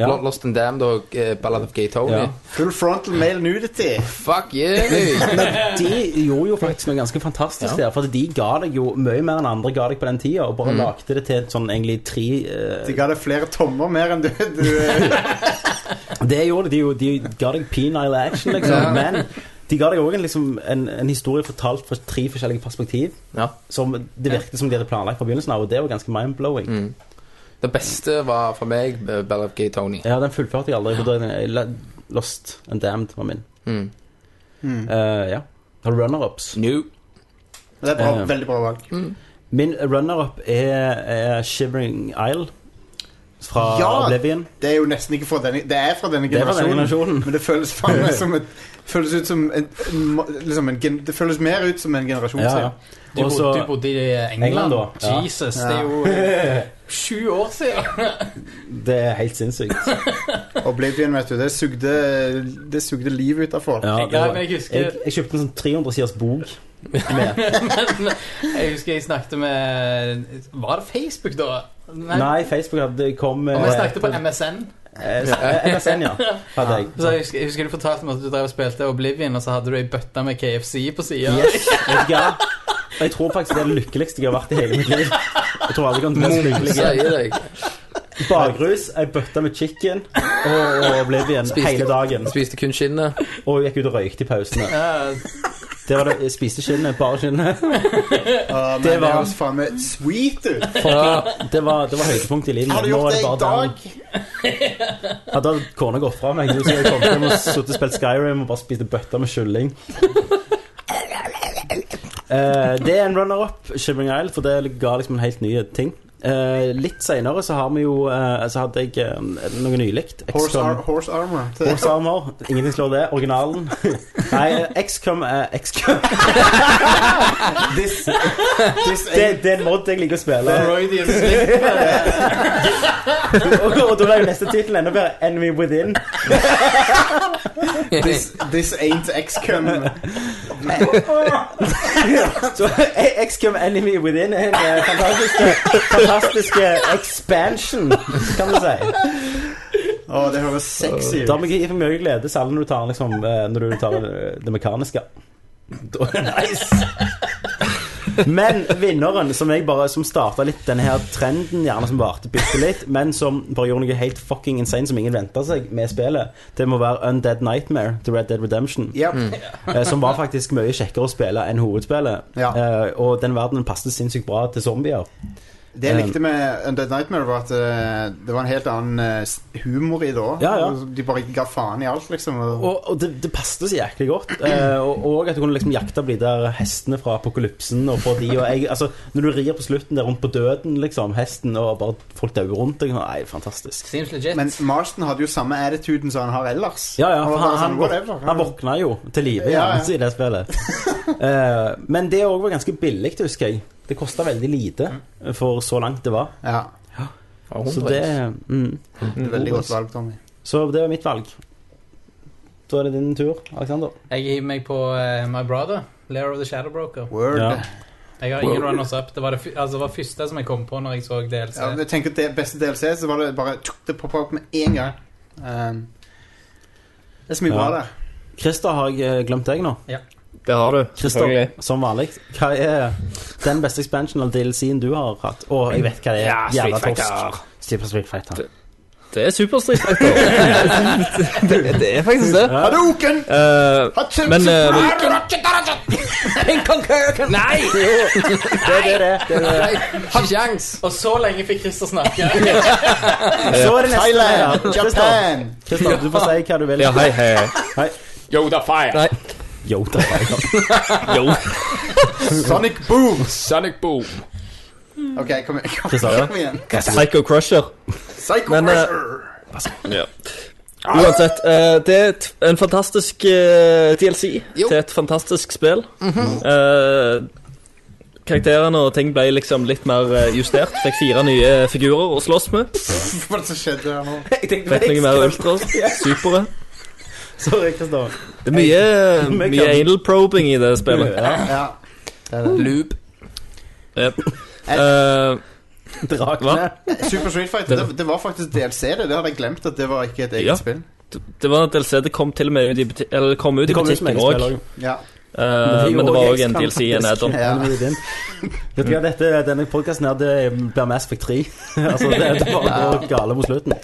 S10: Ja.
S9: Lo- Lost and Damned og eh, Ballad of Gay Tony.
S10: Ja.
S8: Full frontal male nudity.
S9: Fuck yeah!
S10: De gjorde jo faktisk noe ganske fantastisk der. For de ga deg jo mye mer enn andre ga deg på den tida, og bare lagde det til sånn egentlig tre eh,
S8: De ga deg flere tommer mer enn du, du
S10: Det gjorde de jo. De ga deg penile action, liksom. Men de ga deg òg en, liksom, en, en historie fortalt fra tre forskjellige perspektiv.
S9: Ja.
S10: Som det virket som de hadde planlagt fra begynnelsen av, og det var ganske mind-blowing.
S7: Mm.
S9: Det beste var for meg eh, Ballad of Gay Tony.
S10: Ja, den fullførte jeg aldri. for da- jeg la- Lost and Damned var min.
S9: Mm.
S10: Eh, ja. Har du runner-ups?
S9: New.
S8: Det er bra,
S10: Ja.
S8: veldig bra valg.
S10: Min runner-up er, er Shivering Isle fra
S8: Ja!
S10: Oblivion.
S8: Det er jo nesten ikke fra denne Det er fra denne
S10: Det er fra denne
S8: generasjonen.
S10: generasjonen.
S8: Men det føles faen meg som et Føles ut som en, liksom en gen, Det føles mer ut som en generasjon
S10: Ja,
S8: siden.
S10: ja.
S7: Du,
S10: Og
S7: bodde, du
S10: så
S7: bodde i England?
S10: England, da. Ja.
S7: Jesus, det er jo eh, sju år siden.
S10: Det er helt sinnssykt.
S8: Oblivion, vet du. Det sugde, det sugde livet ut av folk.
S10: Ja, det
S7: Ja,
S10: var,
S7: men jeg
S10: jeg,
S7: husker-
S10: jeg kjøpte en sånn 300 siders bok med
S7: Men jeg husker jeg snakket med Var det Facebook, da? Nei.
S10: Nei, Facebook hadde kom
S7: Og
S10: eh,
S7: vi snakket på MSN.
S10: eh, eh, MSN, ja. Hadde jeg.
S7: Så jeg husker, jeg husker du fortalte meg at du drev og spilte Oblivion, og så hadde du ei bøtte med KFC på sida.
S10: Yes, vet du hva? Og jeg tror faktisk det er det lykkeligste jeg har vært i hele mitt liv. Jeg tror aldri jeg kommer til å bli så lykkelig.
S9: Sier deg.
S10: Bakrus, ei bøtte med chicken og, og Oblivion hele dagen.
S9: Spiste kun skinnet.
S10: Og gikk ut og røykte i pausene. Det var det, jeg spiste skinnet, bare skinnet.
S8: Å, Ah, men
S10: Det
S8: det
S10: var-
S8: høres faen meg sweet ut!
S10: Fucking- Det var, det var høydepunktet i livet.
S8: Har du
S10: Nå er
S8: gjort det i
S10: bare down.
S8: dag?
S10: Hadde kona gått fra meg, så jeg kom hjem og suttet og spilt Skyrim og bare spiste bøtter med kylling. Eh, det er en runner-up, Shivering Isle, for det ga liksom en helt ny ting. Eh, litt senere så har vi jo eh, Så hadde jeg eh, noe nylikt.
S8: Horse,
S10: XCOM-
S8: ar horse armor. Det-
S10: Horse Armor. Ingenting slår det. Originalen. Nei, eh, XCOM er XCOM. This, this det, det er en mod jeg liker å spille.
S8: Freudian slip.
S10: Og, og da er jo neste tittel enda bedre. Enemy Within.
S8: This, this ain't XCOM.
S10: Så eh, XCOM Enemy Within er en eh, fantastisk fantastisk, eh, expansion, kan vi si.
S8: Å, det høres sexy ut.
S10: Da må jeg gi for mye glede, særlig når du tar, liksom, eh, når du tar eh, det mekaniske. Da er det nice! Men vinneren, som jeg bare Som starta litt denne her trenden, gjerne som varte bitte litt, men som bare gjorde noe helt fucking insane som ingen venta seg med spillet, det må være Undead Nightmare til Red Dead Redemption.
S8: Ja.
S10: eh, Som var faktisk mye kjekkere å spille enn hovedspillet.
S8: Ja.
S10: Eh, Og den verdenen passet sinnssykt bra til zombier.
S8: Det jeg likte med Undead Nightmare, var at eh, det var en helt annen eh, s- humor i det òg.
S10: Ja, ja.
S8: De bare ga faen i alt, liksom. Og,
S10: Og, og det, det passet så jæklig godt. Eh, og, og at du kunne liksom jakte på de der hestene fra apokalypsen. Og på de, og jeg, altså, når du rir på slutten der rundt på døden, liksom, hesten, og bare folk dauer rundt deg Nei, fantastisk.
S7: Seems legit.
S8: men Marston hadde jo samme attituden som han har ellers.
S10: Ja, ja,
S8: Han var
S10: for han,
S8: bare
S10: han,
S8: sånn,
S10: våk-
S8: whatever.
S10: han våkna jo til live igjen
S8: Ja, ja.
S10: i det spillet. Eh, men det òg var ganske billig, husker jeg. Det kosta veldig lite for så langt det var.
S8: Ja,
S10: Så det, mm.
S8: det er veldig godt valg, Tommy.
S10: så det var mitt valg. Så er det din tur, Aleksander.
S7: Jeg hiver meg på eh, My Brother, Lair of the Shadow Broker.
S8: Word.
S10: Ja.
S8: Ja.
S7: Jeg har ingen runners up. Det var det, fy- altså, det var første som jeg kom på når jeg så DLC.
S8: jeg tenker at det beste DLC, så var det bare tuk, Det poppa opp med en gang. Um, det er så mye
S10: Ja.
S8: bra der.
S10: Christer, har jeg eh, glemt deg nå?
S6: Det har du,
S10: Christer, som vanlig, hva er den beste expansion eller DLC-en du har hatt? Å, jeg vet hva det er.
S6: Ja, Street
S10: Jævla torsk.
S6: Fighter.
S10: Super Street Fighter.
S6: Det er Super Street Fighter. det, det er faktisk det.
S8: Hadouken!
S6: Eh, men eh,
S9: Nei!
S10: Det er det, det. er det.
S9: Har sjans!
S7: Og så lenge fikk Christer snakke.
S10: Så er det neste.
S8: Thailand!
S10: Christer,
S8: Japan!
S10: Christer, du får si hva du vil.
S6: Ja, hei, hei. hei.
S10: Hei.
S2: Yoda Fire!
S6: Nei,
S10: Yoda Fighter.
S6: jo.
S8: Sonic Boom!
S2: Sonic Boom!
S8: OK, kom igjen. Kom,
S10: Christian.
S8: kom igjen.
S6: Psycho Crusher.
S8: Psycho
S6: Men, eh,
S8: Crusher!
S6: Uansett, eh, det er et, en fantastisk eh, DLC
S9: Jo.
S6: til et fantastisk spill. Eh, karakterene og ting ble liksom litt mer eh, justert. Fikk fire nye figurer å slåss med.
S8: Hva er det som skjedde her nå?
S6: Fikk noe mer ultras. Supere.
S10: Sorry, Christer.
S6: Det er mye,
S10: Vi
S6: mye
S10: kan-
S6: anal probing i det spillet.
S10: Ja,
S8: Ja.
S9: Loop.
S6: Yep. Eh,
S10: Drakene.
S8: Super Street Fighter, det, det var faktisk DLC, det. Det hadde jeg glemt at det var ikke et eget
S6: Ja.
S8: spill.
S6: det var en DLC. Det kom til og med ut i, buti eller det kom ut i
S10: Det kommer ut som
S6: butikken
S10: eget
S6: òg.
S10: spill også.
S8: Ja.
S6: Eh, men det var òg en
S10: ekstra,
S6: DLC i en
S10: faktisk.
S6: add-on.
S10: Ja. Vet du hva, dette, denne podkasten her, det blir Mass Effect 3. altså, det, det bare går gale mot slutten.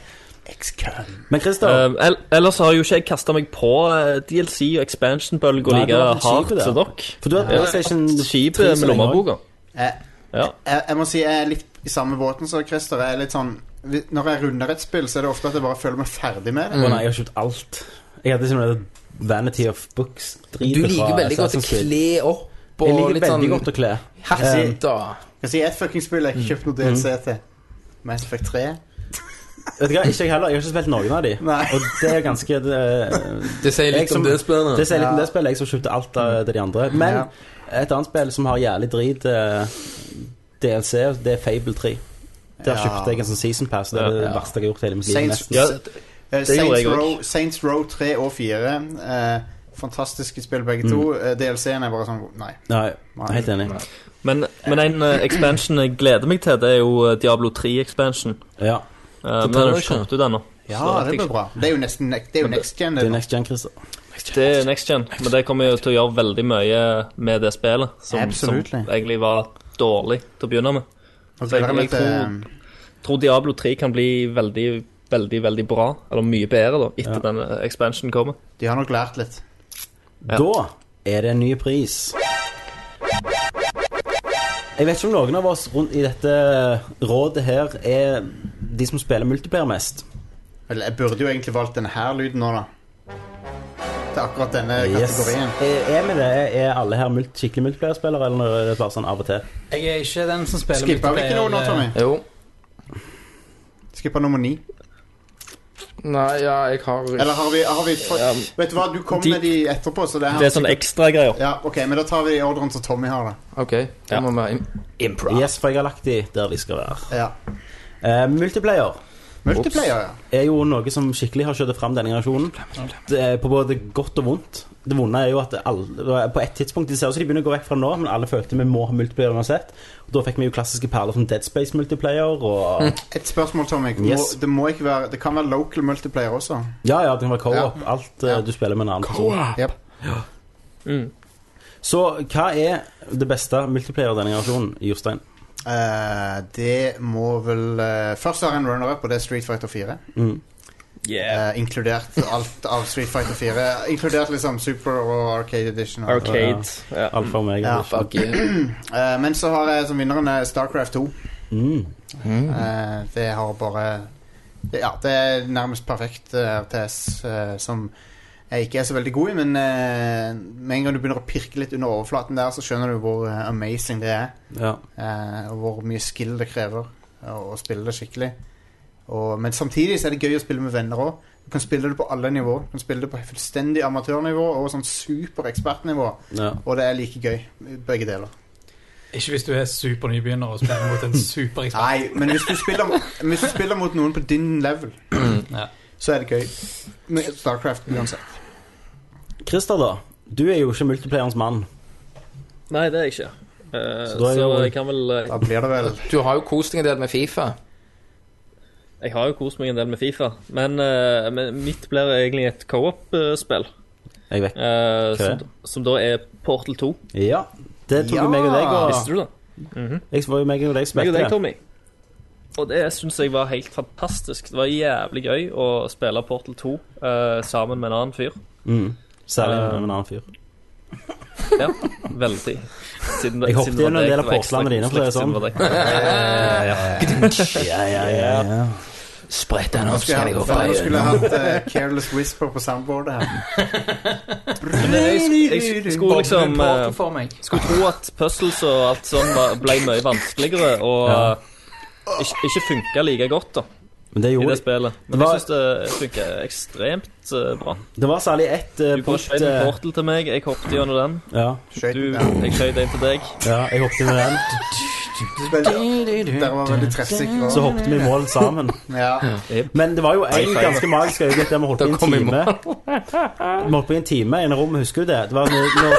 S10: Men Christer,
S6: Eh, ell- ellers har jo ikke jeg kasta meg på eh, DLC og expansion-bølga
S10: Nei, det
S6: like
S10: var vel
S6: hardt
S10: skipet,
S6: som
S10: det.
S6: dere.
S10: for du har PlayStation 3
S6: Skipet
S10: så
S6: med
S10: lenge også.
S6: lommeboka.
S8: Jeg,
S6: Ja.
S8: Eh, jeg, jeg må si jeg er litt i samme båten som Christer. Jeg er litt sånn vi- Når jeg runder et spill, så er det ofte at jeg bare føler meg ferdig med det.
S10: Å nei, jeg har kjøpt alt. Jeg hadde liksom det Vanity of Books.
S9: Du liker veldig godt å kle opp og
S10: Jeg liker
S9: litt
S10: veldig
S9: sånn
S10: godt å kle.
S9: hassigt og
S8: Jeg sier ett fuckings spill jeg har ikke kjøpt noe DLC til. Mass Effect 3.
S10: Vet du hva, ikke jeg heller. Jeg har ikke spilt noen av de.
S8: Nei.
S10: Og det er ganske Det,
S9: Det sier
S10: Jeg
S9: litt om
S10: som-
S9: det spillet.
S10: det sier litt om
S8: Ja.
S10: det spillet. Jeg som kjøpte alt av det de andre. Men
S8: Ja.
S10: et annet spill som har jævlig drit eh, DLC, det er Fable 3. Der
S8: Ja.
S10: kjøpte jeg en sånn season pass. Det er det
S6: Ja.
S10: verste jeg har gjort i hele mitt liv.
S8: Saints,
S10: nesten.
S6: Ja,
S8: eh,
S6: det gjorde
S8: Saints,
S6: jeg også.
S8: Row, Saints Row 3 og 4. eh, fantastiske spill begge to. Eh, DLC-en er bare sånn Nei.
S10: Nei,
S8: nei.
S10: helt enig.
S6: Men, men en eh, expansion jeg gleder meg til, det er jo eh, Diablo 3-expansion.
S10: Ja.
S6: men den er jo ikke kommet ut ennå.
S8: Ja, det blir bra. Det er jo nesten ne- Det er jo next gen.
S10: Det
S8: Det,
S10: er
S8: nå.
S10: next gen, Christer.
S6: Det er next gen, men det kommer jo til å gjøre veldig mye med det spillet, som, som
S8: Absolutely.
S6: egentlig var dårlig til å begynne med.
S8: Og så gleder jeg meg
S6: Jeg tror-
S8: til
S6: Tror Diablo 3 kan bli veldig, veldig veldig bra, eller mye bedre, da, etter
S10: Ja.
S6: den eh, expansionen kommer.
S8: De har nok lært litt.
S6: Ja.
S10: Da er det en ny pris. Jeg vet ikke om noen av oss rundt i dette rådet her er de som spiller multiplayer mest.
S8: Eller jeg burde jo egentlig valgt denne her lyden nå, da. til akkurat denne
S10: Yes.
S8: kategorien.
S10: Er er vi det? Er- Er alle her multi, skikkelig multiplayerspillere, eller er det bare sånn av og til?
S7: Jeg er ikke den som spiller
S8: Skipper vi ikke noe nå, Tommy?
S9: Jo.
S8: Skipper nummer ni.
S9: Nei, ja, jeg har
S8: Eller har vi, har vi fått
S9: Ja.
S8: Vet du hå, du kom
S6: De-
S8: med de etterpå, så det her
S6: Det er sånn- sånne ekstragreier.
S8: Ja, ok, men da tar vi de ordren som Tommy har, da.
S9: OK, da
S6: Ja.
S9: må vi im- Improv.
S10: Yes, for jeg har lagt de der de skal være.
S8: Ja.
S10: Eh, multiplayer
S8: Multiplayer, ja.
S10: er jo noe som skikkelig har skjøtet fram denne generasjonen. Det er på både godt og vondt. Det vonde er jo at alle, på et tidspunkt De ser ut som de begynner å gå vekk fra nå, men alle følte vi må ha multiplayer uansett. Og da fikk vi jo klassiske perler som Dead Space Multiplayer og
S8: Et spørsmål, Tommy. Må,
S10: Yes.
S8: det, må ikke være, det kan være local multiplayer også.
S10: Ja, ja, det kan være co-op. Alt eh,
S8: Ja.
S10: du spiller med en annen person.
S8: Yep.
S6: Mm.
S10: Så hva er det beste multiplayer denne generasjonen, Jostein?
S8: Eh, det må vel eh, Først være en runner-up, og det er Street Fighter 4.
S10: Mm.
S6: Yeah.
S8: Eh, inkludert alt av Street Fighter 4. Inkludert liksom Super og Arcade Edition. og-
S6: Arcade. Ja.
S10: Alfa og Omega.
S8: Ja.
S9: Fuck you.
S8: Eh, men så har jeg som vinneren eh, Starcraft 2.
S10: Mm.
S8: Eh, det har bare det, Ja, det er nærmest perfekt eh, RTS eh, som jeg ikke er så veldig god i, men eh, med en gang du begynner å pirke litt under overflaten der, så skjønner du hvor eh, amazing det er.
S10: Ja.
S8: Eh, og hvor mye skill det krever eh, å spille det skikkelig. Og, men samtidig så er det gøy å spille med venner òg. Du kan spille det på alle nivå. Du kan spille det på fullstendig amatørnivå og sånn superekspertnivå.
S10: ja.
S8: Og det er like gøy, begge deler.
S7: eh, Ikke hvis du er supernybegynner og spiller mot en superekspert.
S8: Nei, men hvis du spiller, hvis du spiller mot noen på din level,
S7: Ja.
S8: så er det gøy. Med Starcraft uansett.
S10: Christer, da. Du er jo ikke multiplayerens mann.
S6: Nei, det er jeg ikke. Eh,
S10: Så
S6: så,
S10: da er jo-
S6: jeg kan vel eh,
S8: Da blir det vel
S9: Altså, Du har jo kost deg en del med Fifa.
S6: Jeg har jo kost meg en del med Fifa, men, eh, men mitt blir egentlig et co-op-spill.
S10: Jeg vet.
S6: eh,
S10: Hva er
S6: som,
S10: det?
S6: som da er Portal 2.
S10: Ja. Det tok
S8: Ja.
S10: jo meg og deg og
S6: Visste du det?
S10: Jeg var jo meg og deg som
S6: Meg og deg,
S10: spilte Ah, det.
S6: Tommy. Og det syns jeg var helt fantastisk. Det var jævlig gøy å spille Portal 2 eh, sammen med en annen fyr.
S10: Mm. Særlig med
S6: Eh,
S10: en annen fyr.
S6: Ja, veldig. Siden,
S10: Jeg hoppet
S6: siden det var
S10: gjennom en
S6: deg,
S10: del av
S6: var ekstra
S10: porslene dine, for å si det
S6: koselig, siden
S10: sånn.
S6: det var deg.
S10: Ja, ja, ja, ja.
S9: Sprett den
S8: Nå skulle jeg hatt, nå skulle jeg hatt eh, Careless Whisper på soundboardet her.
S6: Men jeg, jeg, jeg skulle liksom eh,
S7: for meg.
S6: Skulle tro at puzzles og alt sånn var- ble mye vanskeligere og
S10: Ja.
S6: eh, ikke, ikke funka like godt da,
S10: Men det
S6: i
S10: gjorde
S6: det spillet.
S10: Det
S6: Men
S10: var-
S6: jeg syns det funker ekstremt eh, bra.
S10: Det var særlig ett eh,
S6: Du
S10: punkt
S6: skjøt en
S10: eh,
S6: portal til meg, jeg hoppet gjennom den.
S10: ja,
S8: Skøyt
S6: Du,
S8: ja.
S6: jeg skjøt en til deg.
S10: ja, jeg hoppet med den.
S8: Dere var veldig treffsikre.
S10: Så hoppet vi i mål sammen.
S8: Ja.
S10: Men det var jo en
S6: feil.
S10: ganske magisk øyeblikk der vi holdt på i en
S9: kom vi i
S10: time. Vi holdt på i en time inne i rommet, husker du det? Det var når, når,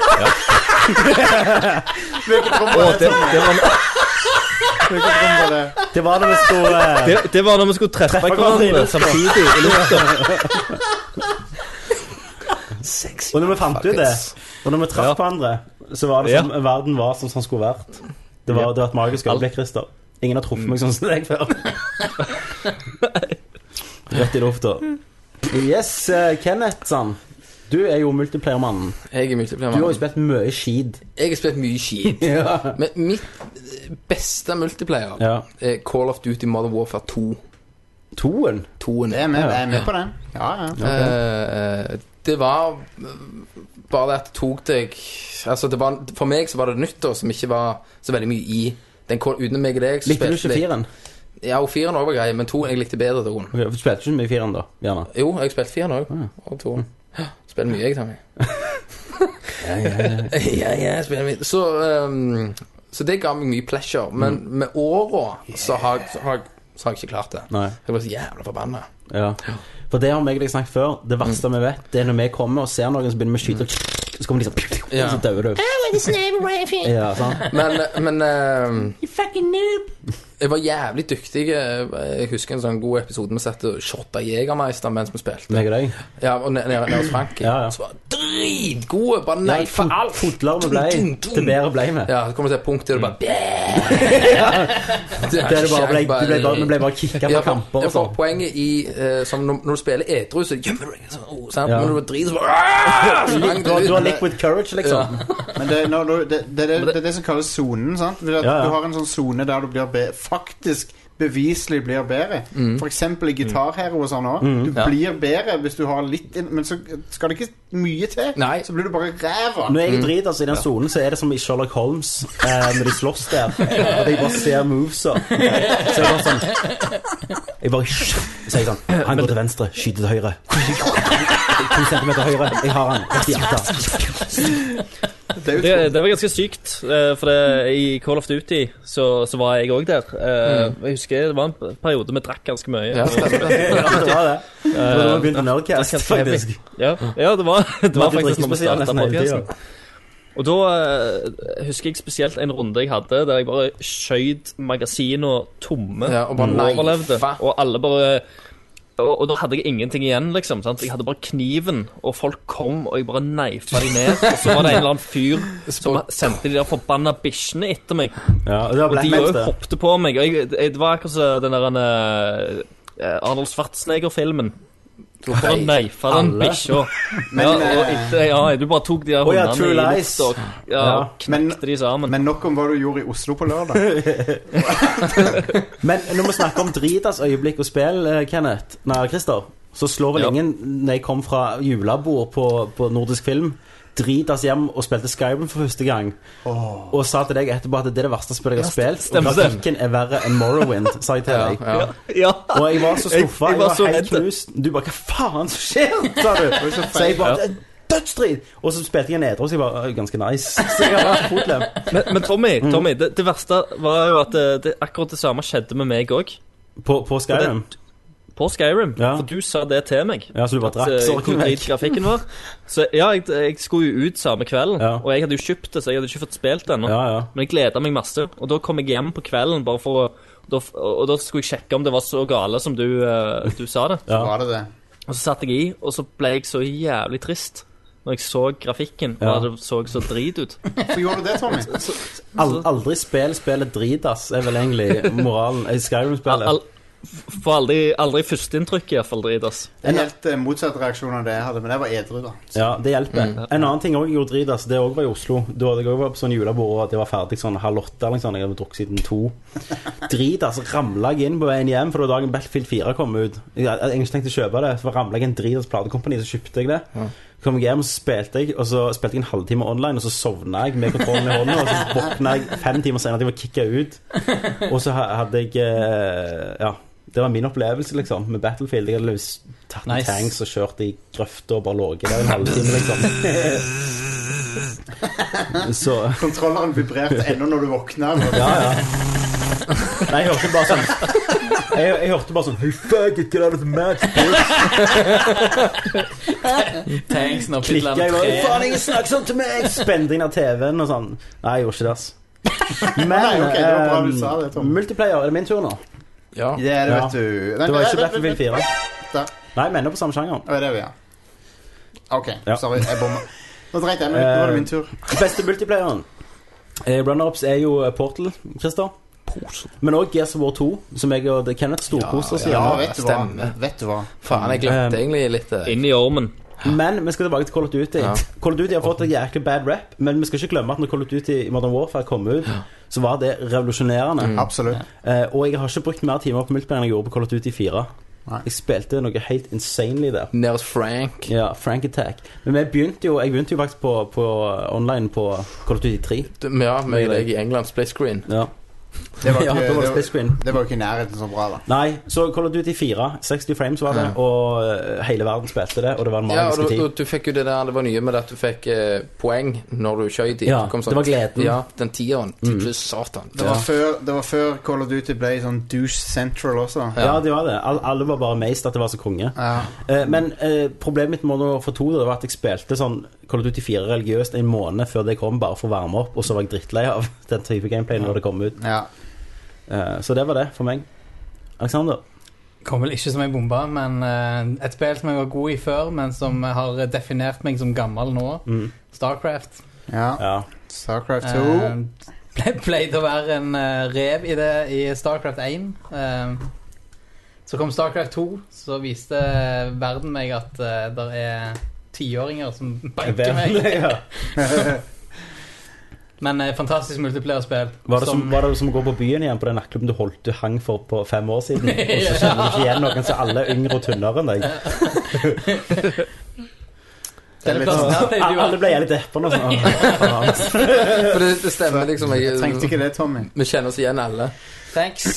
S8: Hvilket rom var det?
S6: Det, det, var,
S8: Hvilket rom var det?
S10: det var når vi skulle eh,
S6: det, det var når vi skulle treffe
S10: Treffe hverandre i
S6: hverandre
S10: lufta.
S6: samtidig i lufta.
S10: Og når vi fant ut det, og når vi traff
S6: Ja.
S10: hverandre, så var det som verden var som den skulle vært. Det var,
S6: Ja.
S10: det var et magisk øyeblikk, Christer. Ingen har truffet meg sånn som deg før. Rett i lufta. Yes, eh, Kenneth, sann. Du er jo multiplayermannen.
S9: Jeg er
S10: Du har jo
S9: multiplayer.
S10: spilt mye skid.
S9: Jeg har spilt mye skit.
S10: Ja.
S9: Men mitt eh, beste multiplayer
S10: ja.
S9: er Call of Duty Modern Warfare 2.
S10: Toen.
S9: 2
S8: Jeg er med, jeg er med på den. Ja, ja.
S9: Eh, det var eh, bare det at det tok deg Altså, det var, for meg så var det nyttår som ikke var så veldig mye i. Den kom utenom meg og deg. så
S10: Likte du
S9: spilte
S10: ikke
S9: jeg-
S10: fireren?
S9: Ja, og fireren også var grei, men toen jeg likte bedre. toen.
S10: Ok, for Du spilte ikke så mye i fireren, da? Gjerne.
S9: Jo, jeg spilte fireren òg. Og toen. Ja, Spiller mye, jeg, Tommy. ja, ja, jeg spiller mye. Så, ehm, så det ga meg mye pleasure. Men
S10: Mm.
S9: med åra så, har jeg- så har jeg- så har jeg ikke klart det.
S10: Nei.
S9: Jeg ble så jævla forbanna.
S10: Ja. For det har meg og deg snakket før. Det
S9: Mm.
S10: verste vi vet, det er når vi kommer og ser noen som begynner med å skyte, og så kommer de sånn, og
S9: Ja.
S10: så dauer du. Ja, sant?
S9: Men, men ehm, Jeg var jævlig dyktig. eh, Jeg husker en sånn god episode vi satt og shotta Jegermeister mens vi spilte.
S10: Meg og deg.
S9: Ja, og nede ned, hos Frank.
S10: Ja, ja.
S9: Så var det dritgode. Bare nei,
S10: Nei,
S9: for alt.
S10: Fotlarme blei til bedre blei vi.
S9: Ja, så kommer det til et punkt der du bare Det
S10: Mm. Der det bare ble, du ble bare, vi ble bare kicka
S9: Ja,
S10: fra
S9: for,
S10: kamper og
S9: for
S10: sånn.
S9: poenget i eh, som når, når du spiller edru, så gjemmer du deg sånn. Oh, sant?
S10: Ja.
S9: Men når du driter, så bare så langt
S10: Du har, du har
S9: ut.
S10: liquid courage, liksom.
S8: Men det, når du, det, det, det, det er det som kalles sonen. sant? Fordi at
S10: Ja, ja.
S8: Du har en sånn sone der du blir be, faktisk beviselig blir bedre.
S10: Mm.
S8: For eksempel i gitarhero og sånn òg. Du
S9: Ja.
S8: blir bedre hvis du har litt inn- Men så skal det ikke mye til,
S9: Nei.
S8: så blir du bare ræva.
S10: Når jeg driter altså, i den sonen, så er det som i Sherlock Holmes eh, når de slåss der. At jeg bare ser movesa. Så jeg bare sånn Jeg bare Så er jeg sånn Han går til venstre, skyter til høyre. To centimeter høyre. Jeg har han rett i hjertet.
S8: Det er jo
S6: Det, det var ganske sykt, eh, for det, i Call of Duty så, så var jeg òg der. Eh, Jeg husker det var en p- periode vi drakk ganske mye.
S9: Ja, stemmer det.
S10: Mm. Ja, det var det. Det var da vi begynte med Nerdcast,
S6: Drakk helt
S10: faktisk.
S6: Ja, ja, det var, det var faktisk når vi
S10: drikkespesial
S6: starta
S10: nesten hele tida.
S6: podkasten. Og da eh, husker jeg spesielt en runde jeg hadde der jeg bare skjøt magasiner tomme
S9: Ja, og
S10: Mm.
S9: bare
S6: overlevde.
S9: neifa.
S6: Og alle bare og, og da hadde jeg ingenting igjen, liksom. sant? Jeg hadde bare kniven, og folk kom, og jeg bare neifa de ned. Og så var det en eller annen fyr som sendte de der forbanna bikkjene etter meg.
S10: Ja, og det var
S6: Og de
S10: Blackmails,
S6: òg
S10: det.
S6: hoppte på meg. Og jeg, jeg, det var akkurat som den der han, eh, Arnold Schwarzenegger-filmen. Du bare neifa den
S10: Alle. eh,
S6: bikkja. Ja, og etter, ja, du bare tok de der
S10: Å ja,
S6: hundene
S10: True
S6: i
S10: Lies.
S6: lufta og ja,
S10: Ja,
S8: men-
S6: knekte de sammen.
S8: Men nok om hva du gjorde i Oslo på lørdag.
S10: Men når vi snakker om dritas øyeblikk og spill, eh, Kenneth Nei, Christer, så slår vel
S6: Ja.
S10: ingen Når jeg kom fra julebord på, på nordisk film Dritas hjem og spilte Skyrim for første gang Og sa til deg etterpå at det er det verste spillet jeg har spilt
S6: stemmer
S10: Og
S6: det.
S10: grafikken er verre enn Morrowind, sa jeg til deg
S9: Ja.
S6: ja.
S10: Og jeg var så
S6: Jeg-
S10: skuffet,
S6: jeg
S10: jeg
S6: var
S10: var,
S6: så
S10: helt
S6: redd.
S10: knust Du bare, hva faen som skjer, sa du Så jeg bare, det er dødsstrid Og så spilte jeg nedre, så jeg bare, «Å, ganske nice Så jeg var fotlem
S6: Men, men Tommy,
S10: Mm.
S6: Tommy det, det verste var jo at det, det, akkurat det samme skjedde med meg òg.
S10: på, på Skyrim
S6: På Skyrim.
S10: Ja.
S6: For du sa det til meg.
S10: Ja, så du bare
S6: At,
S10: drakk,
S6: eh,
S10: så
S6: hvor
S10: orker jeg
S6: drit
S10: vekk
S6: grafikken var. Så ja, jeg, jeg skulle jo ut samme kvelden,
S10: Ja.
S6: og jeg hadde jo kjøpt det, så jeg hadde ikke fått spilt det ennå.
S10: Ja, ja
S6: Men jeg gleda meg masse. Og da kom jeg hjem på kvelden, bare for å da, f- og da skulle jeg sjekke om det var så gale som du, eh, du sa det.
S10: Ja.
S8: Var det det?
S6: Og så satt jeg i, og så ble jeg så jævlig trist når jeg så grafikken, og
S10: Ja.
S6: at det så så drit ut.
S8: Hvorfor gjorde du det, Tommy?
S10: Ald aldri spill spillet dritass, er vel egentlig moralen i
S6: Al,
S10: Skyrim-spillet.
S6: al, f- for aldri, aldri førsteinntrykket, iallfall, drit, ass.
S8: En helt eh, motsatt reaksjon av det jeg hadde, men jeg var edru, da.
S10: Ja, det hjelper. En annen ting også jeg gjorde dritass, det også var i Oslo. Da hadde jeg også vært på sånn julebord, og det var ferdig sånn halv åtte. eller noe sånt, Jeg hadde drukket siden to. Dritass ramla jeg altså. inn på veien hjem, for det var dagen Battlefield 4 kom ut. Jeg hadde egentlig tenkt å kjøpe det, så ramla jeg inn Dritass platekompani, så kjøpte jeg det. Kom jeg hjem, så spilte jeg, og så spilte jeg en halvtime online, og så sovna jeg med kontrollen i hånda, og så våkna jeg fem timer senere at jeg var kicka ut. Og så ha- hadde jeg eh, Ja, det var min opplevelse, liksom, med Battlefield. Jeg hadde løs- tatt en
S7: Nice.
S10: tanks og kjørt i grøfta og bare ligget der en halvtime, liksom. Så
S8: Kontrolleren vibrerte ennå når du våkna.
S10: Ja, ja. Nei, jeg hørte bare sånn Jeg, jeg hørte bare sånn Hey, fuck it, get out of the match, bitch.
S7: Tanks nå
S10: Klikka jeg bare Faen, ingen snakker sånn til meg! Spente inn av TV-en og sånn. Nei, jeg gjorde ikke det, ass. Men
S8: Nei, ok, det var bra du
S10: ehm,
S8: sa det, Tom.
S10: multiplayer, er det min tur nå?
S9: Ja.
S8: Det er det,
S10: Ja.
S8: vet du. Nei,
S10: Det var
S8: nei,
S10: ikke
S8: nei,
S10: Battlefield
S8: nei,
S10: 4.
S8: Der.
S10: Nei, vi ender på samme sjanger.
S8: nei. Å, er det vi er? OK,
S10: Ja. Eh,
S8: sorry. Jeg bomma. Nå dreit jeg meg ut. Nå var det min tur.
S10: Beste multiplayeren eh, Runner-ups er jo eh, Portal, Christer Men også Gears of War 2 Som jeg og Kenneth storkoser oss
S8: Ja,
S10: igjennom
S8: vet du hva.
S9: stemmer.
S8: Vet du hva.
S9: Faen, jeg glemte
S10: Um,
S9: egentlig litt eh, det.
S6: Inn i ormen.
S10: Men vi skal tilbake til Call of Duty
S9: Ja.
S10: Call of Duty har fått et jæklig bad rap Men vi skal ikke glemme at når Call of Duty i Modern Warfare kom ut Så var det revolusjonerende
S8: Mm. Absolutt.
S10: eh, Og jeg har ikke brukt mer timer på multiplayer Enn jeg gjorde på Call of Duty 4
S8: Nei.
S10: Jeg spilte noe helt insanely der
S9: Nede hos Frank.
S10: Ja, Frank Attack Men jeg begynte jo, jeg begynte jo faktisk på, på online på Call of Duty 3
S9: Du- Ja, meg og deg i England. Split screen.
S10: Ja,
S8: Det var
S10: ja
S8: ikke,
S10: da var
S8: det
S10: det split
S8: var,
S10: screen
S8: det var ikke i nærheten så bra, da.
S10: Nei, så Call of Duty 4, 60 frames var det, og eh, hele verden spilte det, og det var en
S9: Ja, og du,
S10: magisk tid.
S9: du, du fikk jo det der Det var nye med det at du fikk eh, poeng når du skjøt i.
S10: Ja, det var gleden. Mm.
S9: Ja, den tieren. Ti pluss satan.
S8: Det var, før, det var før Call of Duty ble sånn Douche Central også.
S10: Ja, det var det. All, alle var bare amazed at det var så konge.
S8: Ja.
S10: Eh, men eh, problemet mitt med Modern Warfare 2 da, det var at jeg spilte sånn Call of Duty 4 religiøst en måned før det kom, bare for å varme opp, og så var jeg drittlei av den type gameplay når det kom ut.
S8: ja.
S10: Eh, så det var det for meg. Alexander?
S7: Kom vel ikke som ei bombe, men eh, et spill som jeg var god i før, men som har definert meg som gammel nå. Starcraft.
S8: ja.
S10: Ja.
S8: Starcraft 2.
S7: Eh, ple pleide å være en eh, rev i det i Starcraft 1. Eh, så kom Starcraft 2, så viste eh, verden meg at uh, det er tiåringer som banker meg.
S10: ja.
S7: Men eh, fantastisk multiplierspill.
S10: Var, det som, var det som å gå på byen igjen på den nattklubben du holdt du hang for på fem år siden? Og så kjenner du ikke igjen noen, så alle er yngre og tynnere enn deg.
S8: Det er litt sånn
S7: Her pleide jo
S10: Alle ble jævlig deppa nå. Sånn. «Å, faen».
S9: For det, det stemmer liksom.
S8: Trengte
S9: Jeg,
S8: ikke det, Tommy.
S9: vi kjenner oss igjen alle.
S7: Thanks.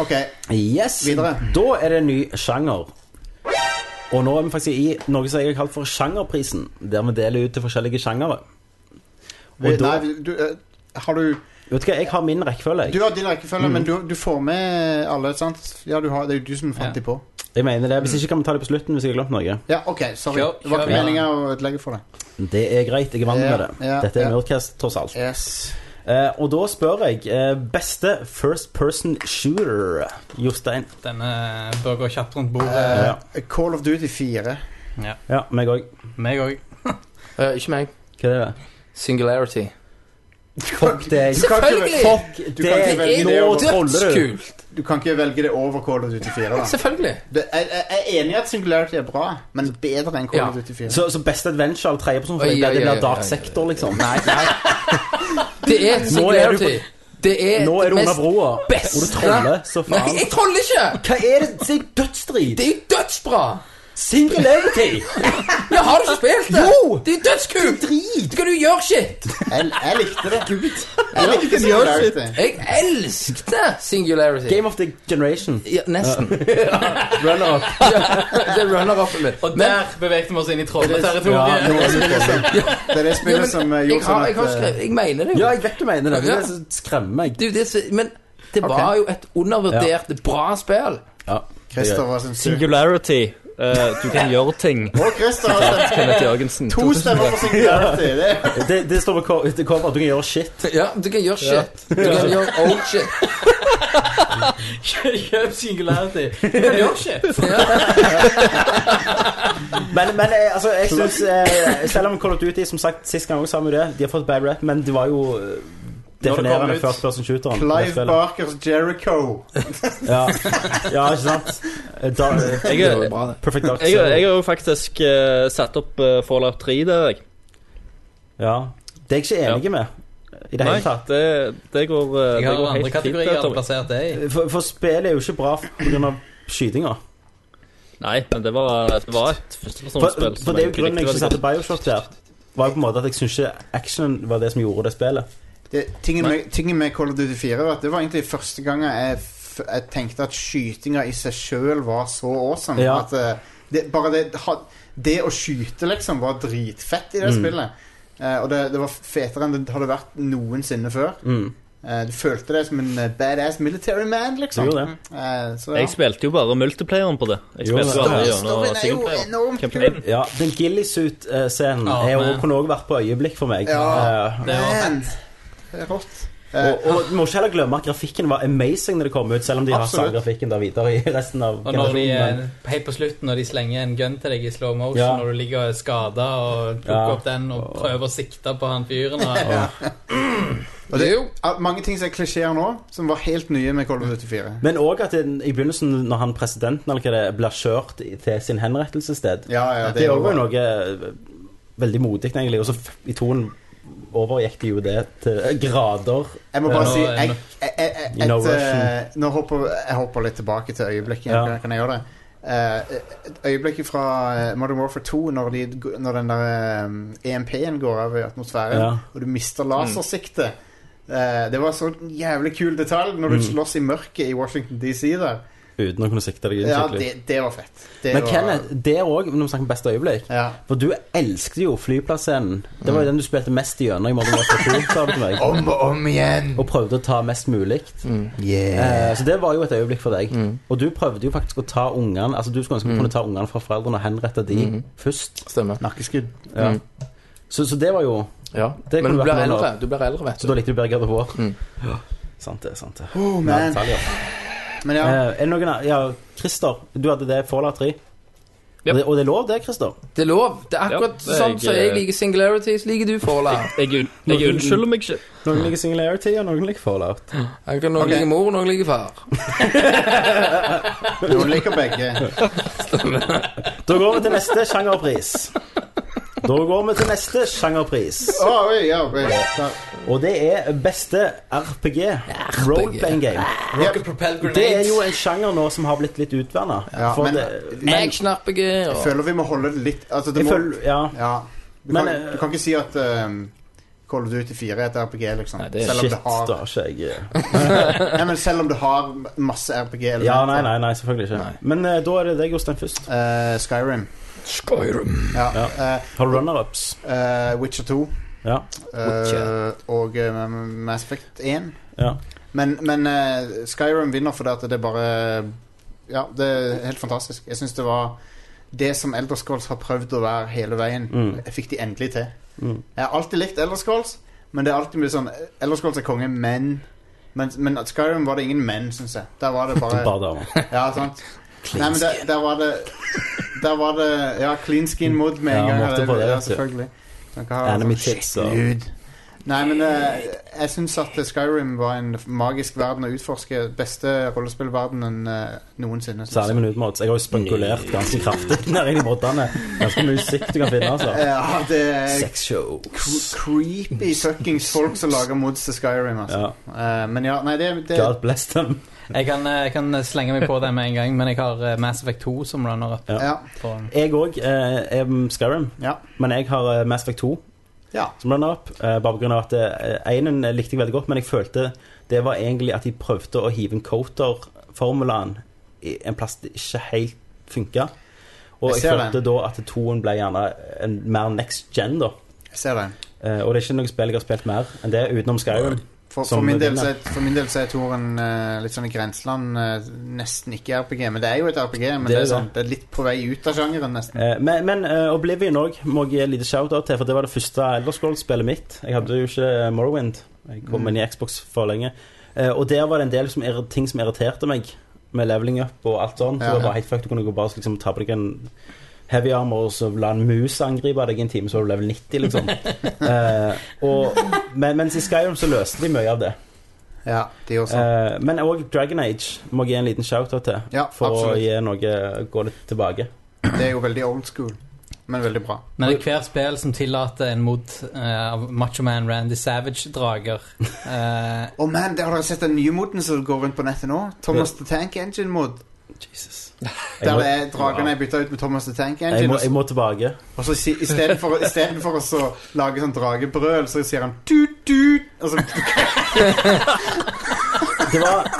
S8: OK.
S10: Yes,
S8: Videre.
S10: Da er det en ny sjanger. Og nå er vi faktisk i noe som jeg har kalt for Sjangerprisen, der vi deler ut til forskjellige sjangere.
S8: Vi,
S10: Og da,
S8: nei, vi- du, eh, har du
S10: vet du hva, jeg har min rekkefølge.
S8: Du
S10: jeg.
S8: har din rekkefølge, men du, du får med alle, sant? Ja, du har, det er jo du som fant
S7: Ja.
S8: de på.
S10: Jeg mener det, Hvis ikke kan vi ta det på slutten hvis jeg har glemt noe.
S8: Ja, OK, sorry.
S7: Kjør-
S8: det var
S7: kjør
S8: ikke
S7: med.
S8: meninga å ødelegge for deg.
S10: Det er greit, jeg er vant
S8: Ja,
S10: med det.
S8: ja,
S10: Dette er
S8: ja.
S10: Nerdcast, tross alt.
S8: Yes.
S10: Eh, og da spør jeg eh, beste first person shooter, Jostein.
S7: Denne eh, bør gå kjapt rundt bordet.
S8: Eh, Call of Duty 4.
S10: Ja, meg òg.
S7: Meg òg.
S9: Eh, ikke meg.
S10: Hva er det?
S9: Singularity.
S10: Fuck deg.
S8: Du kan ikke-
S9: Selvfølgelig!
S10: Fuck
S8: Du kan ikke
S10: deg.
S8: velge
S10: Nå
S8: det over-
S10: troller du.
S9: Dødskult!
S8: Du kan ikke velge det over Call of Duty 4. Da.
S9: Selvfølgelig.
S8: Det, jeg, jeg jeg er enig i at Singularity er bra, men bedre enn Call
S9: Ja.
S8: of Duty 4.
S10: Så, så beste adventure av tredjeperson for
S9: Oi,
S10: deg,
S9: oi,
S10: det
S9: oi,
S10: blir
S9: oi,
S10: Dark
S9: oi, oi.
S10: Sector, liksom.
S9: Nei, nei. Det er et
S10: Nå er du
S9: singularity. Det er
S10: Nå
S9: det
S10: er du under
S9: mest-
S10: broa,
S9: beste.
S10: og du troller så
S9: Nei,
S10: faen.
S9: jeg troller ikke!
S10: Hva er det? Det er dødsdrit!
S9: Det er jo dødsbra!
S10: Singularity!
S9: Ja, har du ikke spilt det?
S10: Jo!
S9: Det er jo dødskult! Du kan jo gjøre shit!
S8: Jeg, jeg likte det. Jeg likte Singularity.
S9: Jeg elsket singularity.
S10: Game of the Generation.
S9: Ja, nesten.
S10: Runner up.
S9: Det er runner-upen min.
S7: Og
S9: Men-
S7: der beveget vi oss inn i
S10: Ja,
S7: trolleterritoriet.
S10: nå er det sånn.
S8: Det er det
S9: Ja,
S8: spillet
S9: men
S8: som eh,
S9: jeg,
S8: gjorde
S9: har, jeg, har
S8: sånn at
S9: skrevet, jeg mener det jo.
S10: ja, jeg vet du mener det. men Det er så skremmer meg.
S9: Det er jo det som- men det var
S8: Ok.
S9: jo et undervurdert bra spill.
S10: Ja.
S8: eh, Christer var sin sur.
S6: Singularity. Eh, du kan gjøre ting.
S8: Og Christer har stemt
S6: Kenneth Jørgensen.
S8: to stemmer på Singularity. Det er
S10: Det, det står på co- det cover at du kan gjøre shit.
S9: Ja, du kan gjøre shit. Du kan gjøre old shit.
S7: Kjøp singularity. Du kan gjøre shit.
S10: Men, men eh, altså, jeg synes eh, Selv om Call of Duty, som sagt, sist gang også sa vi det, de har fått bad rap, men det var jo eh, definerende
S7: ut.
S10: first person shooteren. på det
S8: Clive
S10: spillet.
S8: Barkers Jericho.
S10: Ja. ja, ikke sant? Eh, Da, eh,
S6: Jeg, er-
S9: Det var bra, det.
S10: Perfect Dark
S6: jeg, er- jeg
S10: Zero.
S6: har jo faktisk eh, satt opp eh, Fallout 3 der, jeg.
S10: Ja. Det er jeg ikke enig med i det
S6: Nei,
S10: hele tatt.
S6: det, det går, eh,
S7: Jeg
S6: det
S7: har
S6: går
S7: andre
S6: helt fint.
S7: kategorier
S6: det,
S7: jeg har
S6: Tommy.
S7: plassert det i.
S10: For, for spillet er jo ikke bra pga. skytinga.
S6: Nei, men det var, det var et
S10: For,
S6: førstepersonsspill.
S10: for det er jo grunnen jeg ikke satte Bioshock der. Var jo på en måte at jeg syns ikke actionen var det som gjorde det spillet.
S8: Det, tingen, med, tingen med Call of Duty 4 var at det var egentlig første gang jeg, f jeg tenkte at skytinga i seg sjøl var så awesome.
S10: Ja.
S8: At eh, det, bare det, ha- det å skyte, liksom, var dritfett i det
S10: Mm.
S8: spillet. Eh, og det, det var fetere enn det hadde vært noensinne før.
S10: Mm.
S8: Eh, du følte deg som en eh, badass military man,
S10: Så
S8: liksom.
S10: gjorde det.
S8: Eh, så, ja.
S6: Jeg spilte jo bare multiplayeren på det. Jeg
S10: Jo,
S6: spilte jo
S10: men-
S6: aldri
S8: Storyen
S6: gjennom
S8: er jo
S6: singleplayeren.
S8: enormt kul.
S6: Campaign.
S10: Ja, den Gillisuit-scenen
S7: Ja,
S10: er jo-
S7: men-
S10: kunne også vært på øyeblikk for meg.
S8: Ja.
S10: Eh,
S7: Det var
S8: Man, det er rått. Eh,
S10: og, og du må ikke heller glemme at grafikken var amazing når det kom ut, selv om de har samme
S8: Absolutt.
S10: grafikken der videre i resten av
S7: Og når de,
S10: generasjonen. men-
S7: eh, helt på slutten, når de slenger en gun til deg i slow motion,
S10: Ja.
S7: når du ligger og er skada, og plukker
S10: Ja.
S7: opp den og prøver å sikte på han fyren og
S8: og det er
S9: Jo.
S8: jo mange ting som er klisjeer nå, som var helt nye med Call of Duty 4.
S10: Men òg at den, i begynnelsen, når han presidenten eller hva det er, blir kjørt i- til sin henrettelsessted
S8: Ja, ja,
S10: Det
S8: er
S10: òg var
S8: jo-
S10: jo noe eh, veldig modig, egentlig. Og så f- i toen overgikk de jo det til eh, grader.
S8: Jeg må bare
S7: Ja,
S8: si
S7: nå-
S8: jeg, jeg, jeg, jeg,
S10: You know
S8: et,
S10: Russian.
S8: eh, Nå hopper jeg hopper litt tilbake til øyeblikket.
S10: Ja.
S8: Kan, kan jeg gjøre det? Eh, et øyeblikket fra eh, Modern Warfare 2, når, de, når den der eh, EMP-en går av i atmosfæren,
S10: Ja.
S8: og du mister lasersiktet. Eh, det var en sånn jævlig kul detalj når du
S10: Mm.
S8: slåss i mørket i Washington DC der.
S10: Uten å kunne sikte deg inn
S8: Ja,
S10: skikkelig.
S8: det, det var fett. Det
S10: Men
S8: var,
S10: Kenneth, det òg, når vi snakker om beste øyeblikk
S8: ja.
S10: For du elsket jo flyplasscenen. Det var jo den du spilte mest gjennom i Modern Warfare 2. sa du til meg.
S8: Om Mm. og Mm. om igjen!
S10: Og prøvde å ta mest mulig.
S8: Yeah.
S10: Eh, så det var jo et øyeblikk for deg.
S8: Mm.
S10: Og du prøvde jo faktisk å ta ungene Altså du skulle ønske du kunne ta ungene fra foreldrene og henrette de
S8: Mm.
S10: først.
S9: Stemmer.
S8: Nakkeskudd.
S10: Ja.
S9: Mm.
S10: Så, så det var jo
S9: Ja.
S10: Det
S9: Men
S10: kunne
S9: du blir
S10: vært noe
S9: eldre,
S10: annet.
S9: du blir eldre, vet
S10: Så
S9: du.
S10: da likte du Berger de Vår.
S9: Mm.
S10: Sant det. sant det
S8: Oh,
S10: Mer
S8: man.
S10: detaljer.
S8: Men ja,
S10: Eh, er det noen an- Ja, Christer, du hadde det Fallout 3.
S6: Yep.
S10: Og, det, og det er lov, det, Christer.
S9: Det er lov. Det er akkurat
S6: Ja, jeg-
S9: sånn som jeg liker singularity, så liker du Fola.
S6: Jeg, jeg unnskylder meg ikke.
S10: Noen liker Singularity, og noen liker Fallout.
S9: Jeg kan Noen
S8: Ok.
S9: liker mor, noen liker far.
S8: noen liker begge.
S10: Da går vi til neste sjangerpris. Da går vi til neste sjangerpris.
S8: Å, oi, ja, oi, ja.
S10: Og det er beste RPG. Roleplaying game.
S9: Rocket Propel
S10: Det er jo
S9: Grenades.
S10: en sjanger nå som har blitt litt utvanna.
S8: Ja, men-
S9: Action-RPG.
S8: Jeg
S9: og-
S8: føler vi må holde det litt altså, det
S10: Jeg
S8: må,
S10: føler Ja.
S8: ja. du,
S10: Men,
S8: kan,
S10: eh,
S8: du kan ikke si at um, Call of Duty 4 er et RPG, liksom.
S9: Nei, det er
S8: selv, om
S10: Shit,
S8: det har,
S10: da har ikke jeg
S8: nei, men selv om det har masse RPG-elementer.
S10: Ja, nei, nei, nei selvfølgelig ikke.
S9: Nei.
S10: Men eh, da er det deg, Jostein, først.
S8: Eh, Skyrim.
S9: Skyrim.
S8: Ja.
S10: Ja.
S8: eh,
S10: Har du runner-ups?
S8: eh, Witcher 2.
S10: Ja.
S8: eh,
S9: Witcher.
S8: og eh, Mass Effect 1.
S10: ja.
S8: Men, men eh, Skyrim vinner fordi at det er bare Ja, det er helt fantastisk. Jeg syns det var det som Elder Scrolls har prøvd å være hele veien.
S10: Mm.
S8: Jeg fikk de endelig til.
S10: Mm.
S8: Jeg har alltid likt Elder Scrolls, men det er alltid mye sånn Elder Scrolls er konge, men men, men at Skyrim var det ingen menn, syns jeg. Der var det bare
S10: Bare damer.
S8: Ja, sant. Nei, men der, der var det Der var det Ja, clean skin mod med en
S10: Ja,
S8: gang.
S10: måtte
S8: og
S10: på det,
S8: ja,
S10: vet du.
S8: selvfølgelig. Man kan ha
S10: Enemy
S8: sånn
S10: tits
S8: skikkelig
S10: og
S8: hud. Nei, men eh, jeg syns at Skyrim var en magisk verden å utforske. Beste rollespillverdenen eh, noensinne. synes
S10: Særlig
S8: jeg.
S10: med nudemods. Jeg har jo spekulert ganske kraftig nedi moddene. Ganske mye musikk du kan finne, altså.
S8: Ja, det er
S10: Sexshow.
S8: cre- creepy fuckings folk som lager mods til Skyrim, altså.
S10: Ja.
S8: Eh, men ja, nei, det, det
S10: God bless them.
S7: Jeg kan, eh, jeg kan slenge meg på det med en gang, men jeg har eh, Mass Effect 2 som runner-up.
S10: Ja.
S8: ja.
S7: på den.
S10: Jeg òg eh, er Skyrim,
S8: Ja.
S10: men jeg har eh, Mass Effect 2
S8: Ja.
S10: som runner-up. Eh, bare pga. at eh, enen likte jeg veldig godt, men jeg følte det var egentlig at de prøvde å hive en coater-formulaen i en plass det ikke helt funka. Og
S8: Jeg
S10: jeg,
S8: ser
S10: følte
S8: det.
S10: da at toen ble gjerne en mer next gen, da.
S8: Jeg ser det.
S10: Eh, og det er ikke noe spill jeg har spilt mer enn det, utenom Skyrim.
S8: For, for,
S10: Som
S8: min del, så
S10: vinner.
S8: er, for min del så er Toren eh, litt sånn i grenseland eh, nesten ikke RPG. Men det er jo et RPG, men det
S10: Det er
S8: er,
S10: det.
S8: sånn, det er litt på vei ut av sjangeren, nesten.
S10: Eh, Men, men eh, Oblivion òg må jeg gi et lite shout-out til, for det var det første Elderscroll-spillet mitt. Jeg hadde jo ikke eh, Morrowind. Jeg
S8: Mm.
S10: kom inn i Xbox for lenge. Eh, Og der var det en del som, irri- ting som irriterte meg, med leveling up og alt sånt. Så
S8: Ja.
S10: det var helt fuck, du kunne gå bare liksom, ta på deg en heavy armor, og så la en mus angripe deg i en time, så var du level 90, liksom. Eh, og, men, mens i Skyrim så løste de mye av det.
S8: Ja, de også.
S10: Eh, men òg Dragon Age må jeg gi en liten shout-out til,
S8: Ja,
S10: for
S8: absolutt.
S10: å gi noe, gå litt tilbake.
S8: Det er jo veldig old school, men veldig bra.
S7: Men det er hvert spill som tillater en mod eh, av Macho Man Randy Savage-drager. eh,
S8: Å man, det har dere sett den nye moden som går rundt på nettet nå? Thomas the Tank Engine-mod.
S10: Jesus.
S8: Der det er dragene er bytta ut med Thomas the Tank
S10: Jeg
S8: Engine.
S10: må,
S8: og
S10: jeg
S8: så-
S10: må tilbake.
S8: Og så si- istedenfor istedenfor å så lage sånn dragebrøl, så sier han tut-tut. Og så
S10: Det var,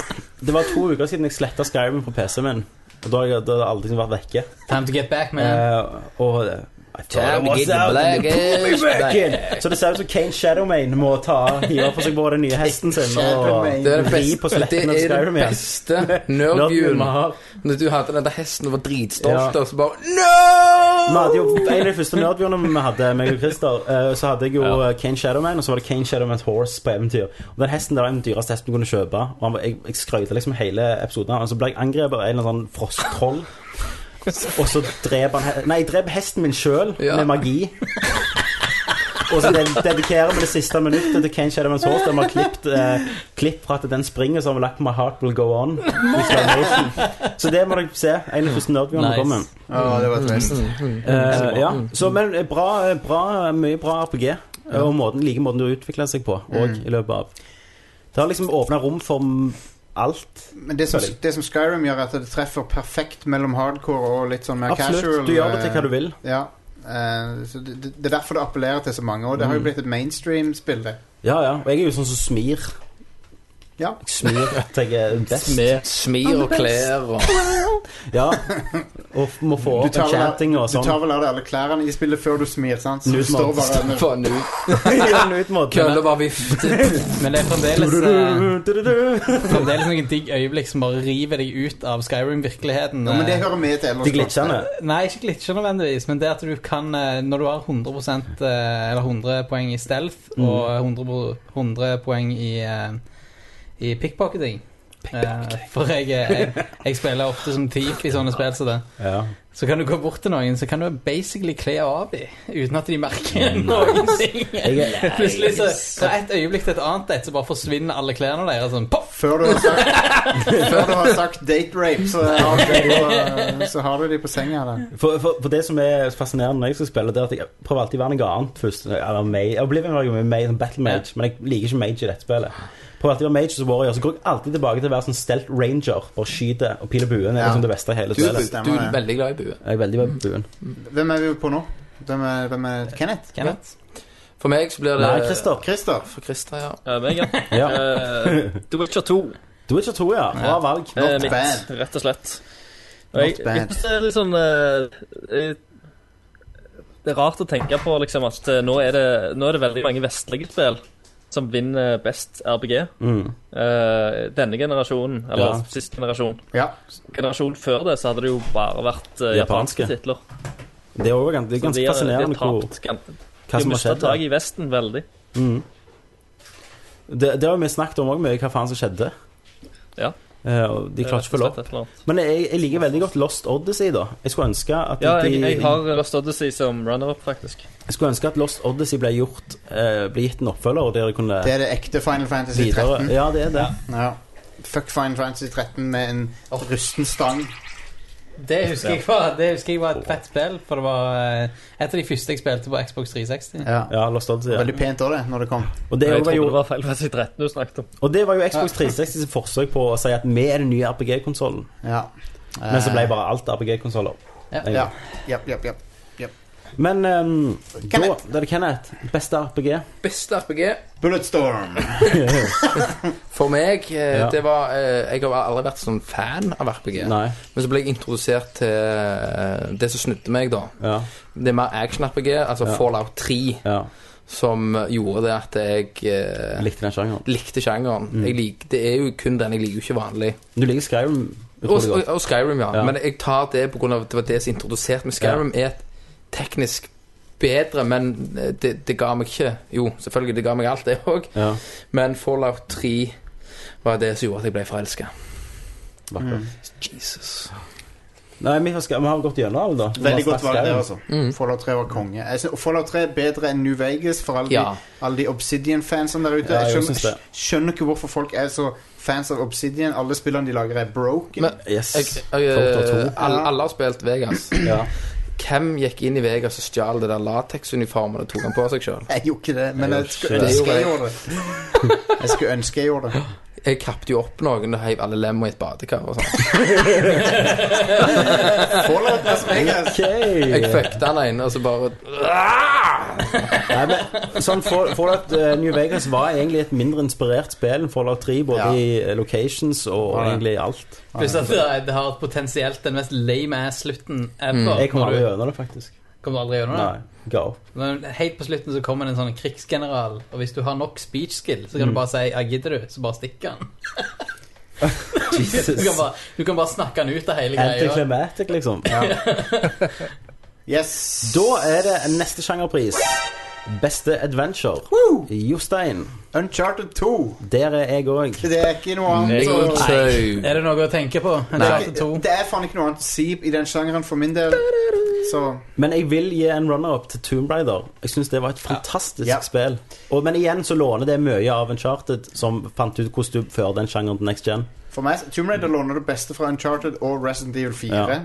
S10: det var to uker siden jeg sletta Skyrim på PC-en min. Og da har jeg- da har det aldri liksom vært vekke.
S7: time to get back, man.
S10: Eh, og eh, I thought I
S9: Time to
S10: was
S9: get the
S10: out, and
S9: black
S10: they pulled me
S9: ass
S10: back
S9: back.
S10: in. Så det ser ut som Kane Shadowmane må ta hive på seg på den nye hesten sin og
S8: Shadowmane.
S9: Det er det
S10: ri på
S9: beste, det
S10: sletten av
S9: er det
S10: Skyrim igjen.
S9: beste
S10: Nerdhjulen vi
S9: nerdhjulet.
S10: har.
S9: Når du hadde den der hesten og var dritstolt,
S10: Ja.
S9: og så bare No!
S10: Vi hadde jo En av de første nerdbjørnene vi hadde, meg og Christer, eh, så hadde jeg jo eh, Kane Shadowman, og så var det Kane Shadowman's Horse på eventyr. Og den hesten der var den dyreste hesten du kunne kjøpe. Og han var, jeg, jeg skrøyte liksom hele episoden, og så ble jeg angrepet av en eller annen sånn frosttroll. Og så dreper han he- Nei, jeg dreper hesten min sjøl
S9: Ja.
S10: med magi. Og så den dedikerer vi det siste minuttet til Kane Shadowman's Horse. Der vi har klippet eh, klipp fra at den springer, så har vi lagt 'My Heart Will Go On'. i slow motion. Så det må dere se. En av de første nerdbjørnene
S7: Nice.
S10: kommer.
S8: Å, det var trist.
S10: Eh, ja,
S8: Mm.
S10: så, men eh, bra, eh, bra, eh, mye bra RPG. eh, Og måten, like måten du utvikler seg på og
S8: Mm.
S10: i løpet av. Det har liksom åpna rom for m- alt.
S8: Men det som, det som Skyrim gjør, er at det treffer perfekt mellom hardcore og litt sånn mer casual. eh,
S10: Absolutt. Du gjør det til hva du vil.
S8: Ja. eh, så det, det det er derfor det appellerer til så mange. Og det har
S10: Mm.
S8: jo blitt et mainstream-spill, det.
S10: Ja, ja. Og jeg er jo sånn som smir.
S8: Ja.
S10: Jeg smir at jeg er best.
S6: Med
S9: Smir og klær og
S10: Ja. Og f- må få
S8: Du
S10: opp
S8: tar,
S10: en
S8: vel,
S10: chatting og
S8: av- du
S10: sånn.
S8: tar vel av deg alle klærne i spillet før du smir, sant? Så du
S10: Nude
S8: står
S10: mode.
S8: bare med,
S9: Faen, ut.
S10: Ja, en ut måte.
S9: Kølla bare vifter.
S7: Men det er fremdeles, eh,
S10: Du-du-du-du-du-du.
S7: fremdeles noen digg øyeblikk som bare river deg ut av Skyrim-virkeligheten.
S8: ja, Men det
S7: eh.
S8: hører med til Elder
S10: De
S8: Scrolls.
S10: glitchene.
S7: Nei, ikke glitcher nødvendigvis, men det at du kan eh, Når du har 100 eh, Eller 100 poeng i stealth
S8: Mm.
S7: og 100, po- 100 poeng i, eh, i pickpocketing eh, For jeg, jeg, jeg spiller ofte som thief i sånne spill som det.
S10: Ja.
S7: Så kan du gå bort til noen, så kan du basically kle av dem uten at de merker noen ting.
S10: Jeg er
S7: Plutselig så Fra et øyeblikk til et annet et, så bare forsvinner alle klærne deres sånn poff!
S8: Før du har sagt, før du har sagt date rape, så har du, eh, så har du de på senga. Da.
S10: For, for, for det som er fascinerende når jeg skal spille, det er at jeg prøver alltid å være noe annet først. Eller mage. Oblivion var jo mye mage, sånn battle mage, men jeg liker ikke mage i dette spillet. Prøver alltid å være mage som warrior, så går jeg alltid tilbake til å være sånn stealth ranger. Bare skyter og piler buen. Det er
S8: Ja.
S10: liksom det beste i hele
S8: Du-
S10: spillet.
S8: stemmer
S9: Du er
S8: det.
S9: veldig glad i bue.
S10: Jeg er veldig glad i
S6: Eh,
S10: buen.
S8: Hvem er vi på nå? Hvem er, hvem er Kenneth?
S7: Kenneth?
S9: For meg så blir det
S10: Nei, Christer.
S8: Christer.
S9: For Christer, ja.
S6: Eh, meg, ja.
S10: Ja.
S6: Eh, The Witcher 2.
S10: Du er ikke to, ja. Bra valg.
S6: Eh,
S8: Not
S6: mitt,
S8: bad.
S6: Rett og slett. Og
S8: Not
S6: jeg, jeg
S8: bad.
S6: synes det er litt sånn eh, eh, Det er rart å tenke på liksom, at eh, nå er, det, nå er det veldig mange vestlige spill som vinner best RPG.
S10: Mm.
S6: Eh, denne generasjonen, eller
S10: Ja.
S6: sist generasjon.
S8: Ja.
S6: Generasjonen før det så hadde det jo bare vært eh,
S10: Japanske.
S6: japanske titler.
S10: Det er også, gans- det er
S6: Så
S10: ganske
S6: de har-
S10: fascinerende
S6: de har
S10: hvor,
S6: tapt gan-
S10: hva
S6: De
S10: som
S6: har
S10: har
S6: mista
S10: skjedd.
S6: tak
S10: der.
S6: i Vesten veldig.
S10: Mm. Det, det har vi snakket om òg mye, hva faen som skjedde.
S6: Ja.
S10: Eh, og de klarte ikke å følge opp. Men jeg, jeg liker veldig godt Lost Odyssey, da. Jeg skulle ønske at
S6: Ja,
S10: de
S6: jeg, jeg har Lost Odyssey som runner-up, faktisk.
S10: Jeg skulle ønske at Lost Odyssey ble, gjort, eh, ble gitt en oppfølger, og dere kunne
S8: Det er det ekte Final Fantasy
S10: videre.
S8: 13.
S10: Ja, det er det.
S8: Ja. Fuck Final Fantasy 13 med en rusten stang.
S7: Det husker, jeg var, det husker jeg var et fett spill, for det var eh, et av de første jeg spilte på Xbox 360.
S8: Ja.
S10: Ja, Lost Odyssey. Ja.
S8: Veldig pent òg, det, når det kom.
S10: Og, det
S6: jeg
S10: var
S6: trodde
S10: jo,
S6: det var feil vers i 13 du snakket om.
S10: og det var jo Xbox 360 sitt forsøk på å si at vi er den nye RPG-konsollen.
S8: Ja.
S10: Men så
S8: Eh.
S10: ble bare alt RPG-konsoller.
S7: Ja.
S8: Ja. Ja, ja, ja.
S10: Men ehm, da
S8: Kenneth.
S10: da er det Kenneth. Beste RPG.
S9: Beste RPG
S8: Bulletstorm.
S9: for meg eh,
S10: Ja.
S9: Det var eh, Jeg har aldri vært sånn fan av RPG.
S10: Nei.
S9: Men så ble jeg introdusert til eh, det som snudde meg, da.
S10: Ja.
S9: Det er mer action-RPG, altså
S10: Ja.
S9: Fallout 3,
S10: ja.
S9: som gjorde det at jeg eh,
S10: Jeg likte den sjangeren.
S9: likte sjangeren.
S10: Mm.
S9: Jeg lik, det er jo kun den jeg liker, ikke vanlig.
S10: Du liker Skyrim
S9: Og,
S10: utrolig godt.
S9: og, og Skyrim, ja.
S10: Ja.
S9: Men jeg tar det på grunn av at det var det som introduserte meg. Skyrim er et teknisk bedre, men eh, det, det ga meg ikke Jo, selvfølgelig, det ga meg alt, det òg.
S10: Ja,
S9: Men Fallout 3 var det som gjorde at jeg ble forelska.
S10: vakker.
S8: Mm.
S9: Jesus.
S10: Nei, vi har, sk- vi har gått gjennom alle, da. Vi
S8: Veldig
S10: har
S8: godt
S10: snakket
S8: valg der,
S10: Skyrim.
S8: altså.
S9: Mm.
S8: Fallout 3 var konge. Jeg synes, Fallout 3 er bedre enn New Vegas for alle
S9: Ja.
S8: de, alle de Obsidian-fansene der ute.
S10: Ja, jeg
S8: jeg
S10: synes
S8: skjønner,
S10: det.
S8: skjønner ikke hvorfor folk er så fans av Obsidian. Alle spillene de lager, er broken.
S9: Men-
S10: Yes.
S9: Jeg, jeg,
S10: Fallout 2.
S9: alle, alle har spilt Vegas.
S10: Ja.
S9: Hvem gikk inn i Vegas og stjal det der lateksuniformen og tok den på seg sjøl?
S8: jeg gjorde ikke det, men
S10: Jeg
S8: jeg skulle
S10: gjorde
S8: ønske
S9: ikke
S8: jeg gjorde det. Jeg skulle ønske jeg gjorde det.
S9: Jeg kappte jo opp noen og heiv alle lemmer i et badekar. og sånn.
S8: Fallout Las Vegas.
S9: Jeg
S10: Ok.
S9: fucka den ene, og så bare
S10: Nei, men sånn Fall- Fallout eh, New Vegas var egentlig et mindre inspirert spill enn Fallout 3, både
S8: Ja.
S10: i eh, locations og egentlig i alt.
S7: Pluss at det det har potensielt den mest lame ass-slutten ever.
S10: Mm, Jeg kom
S7: når
S10: aldri
S7: du-
S10: gjennom det, faktisk.
S7: Kommer du aldri gjennom det?
S10: Nei, ga opp.
S7: Men helt på slutten så kommer det en sånn krigsgeneral, og hvis du har nok speech skill, så kan
S10: Mm.
S7: du bare si 'jeg gidder du', så bare stikker han. Du kan bare, du kan bare snakke han ut av hele greia.
S10: Anticlimatic, liksom.
S8: Yes.
S10: Da er det neste sjangerpris. Beste adventure. Jostein.
S8: Uncharted 2.
S10: Der er jeg òg.
S8: Det er ikke noe annet. å-
S9: Nei.
S7: Er det noe å tenke på? Uncharted 2.
S8: Det er faen ikke noe annet å si i den sjangeren for min del. Så
S10: Men jeg vil gi en runner-up til Tomb Raider. Jeg syns det var et fantastisk
S8: Ja.
S10: spill. Og, men igjen så låner det mye av Uncharted, som fant ut hvordan du fører den sjangeren til next gen.
S8: For meg, Tomb Raider låner det beste fra Uncharted og Resident Evil 4.
S10: Ja.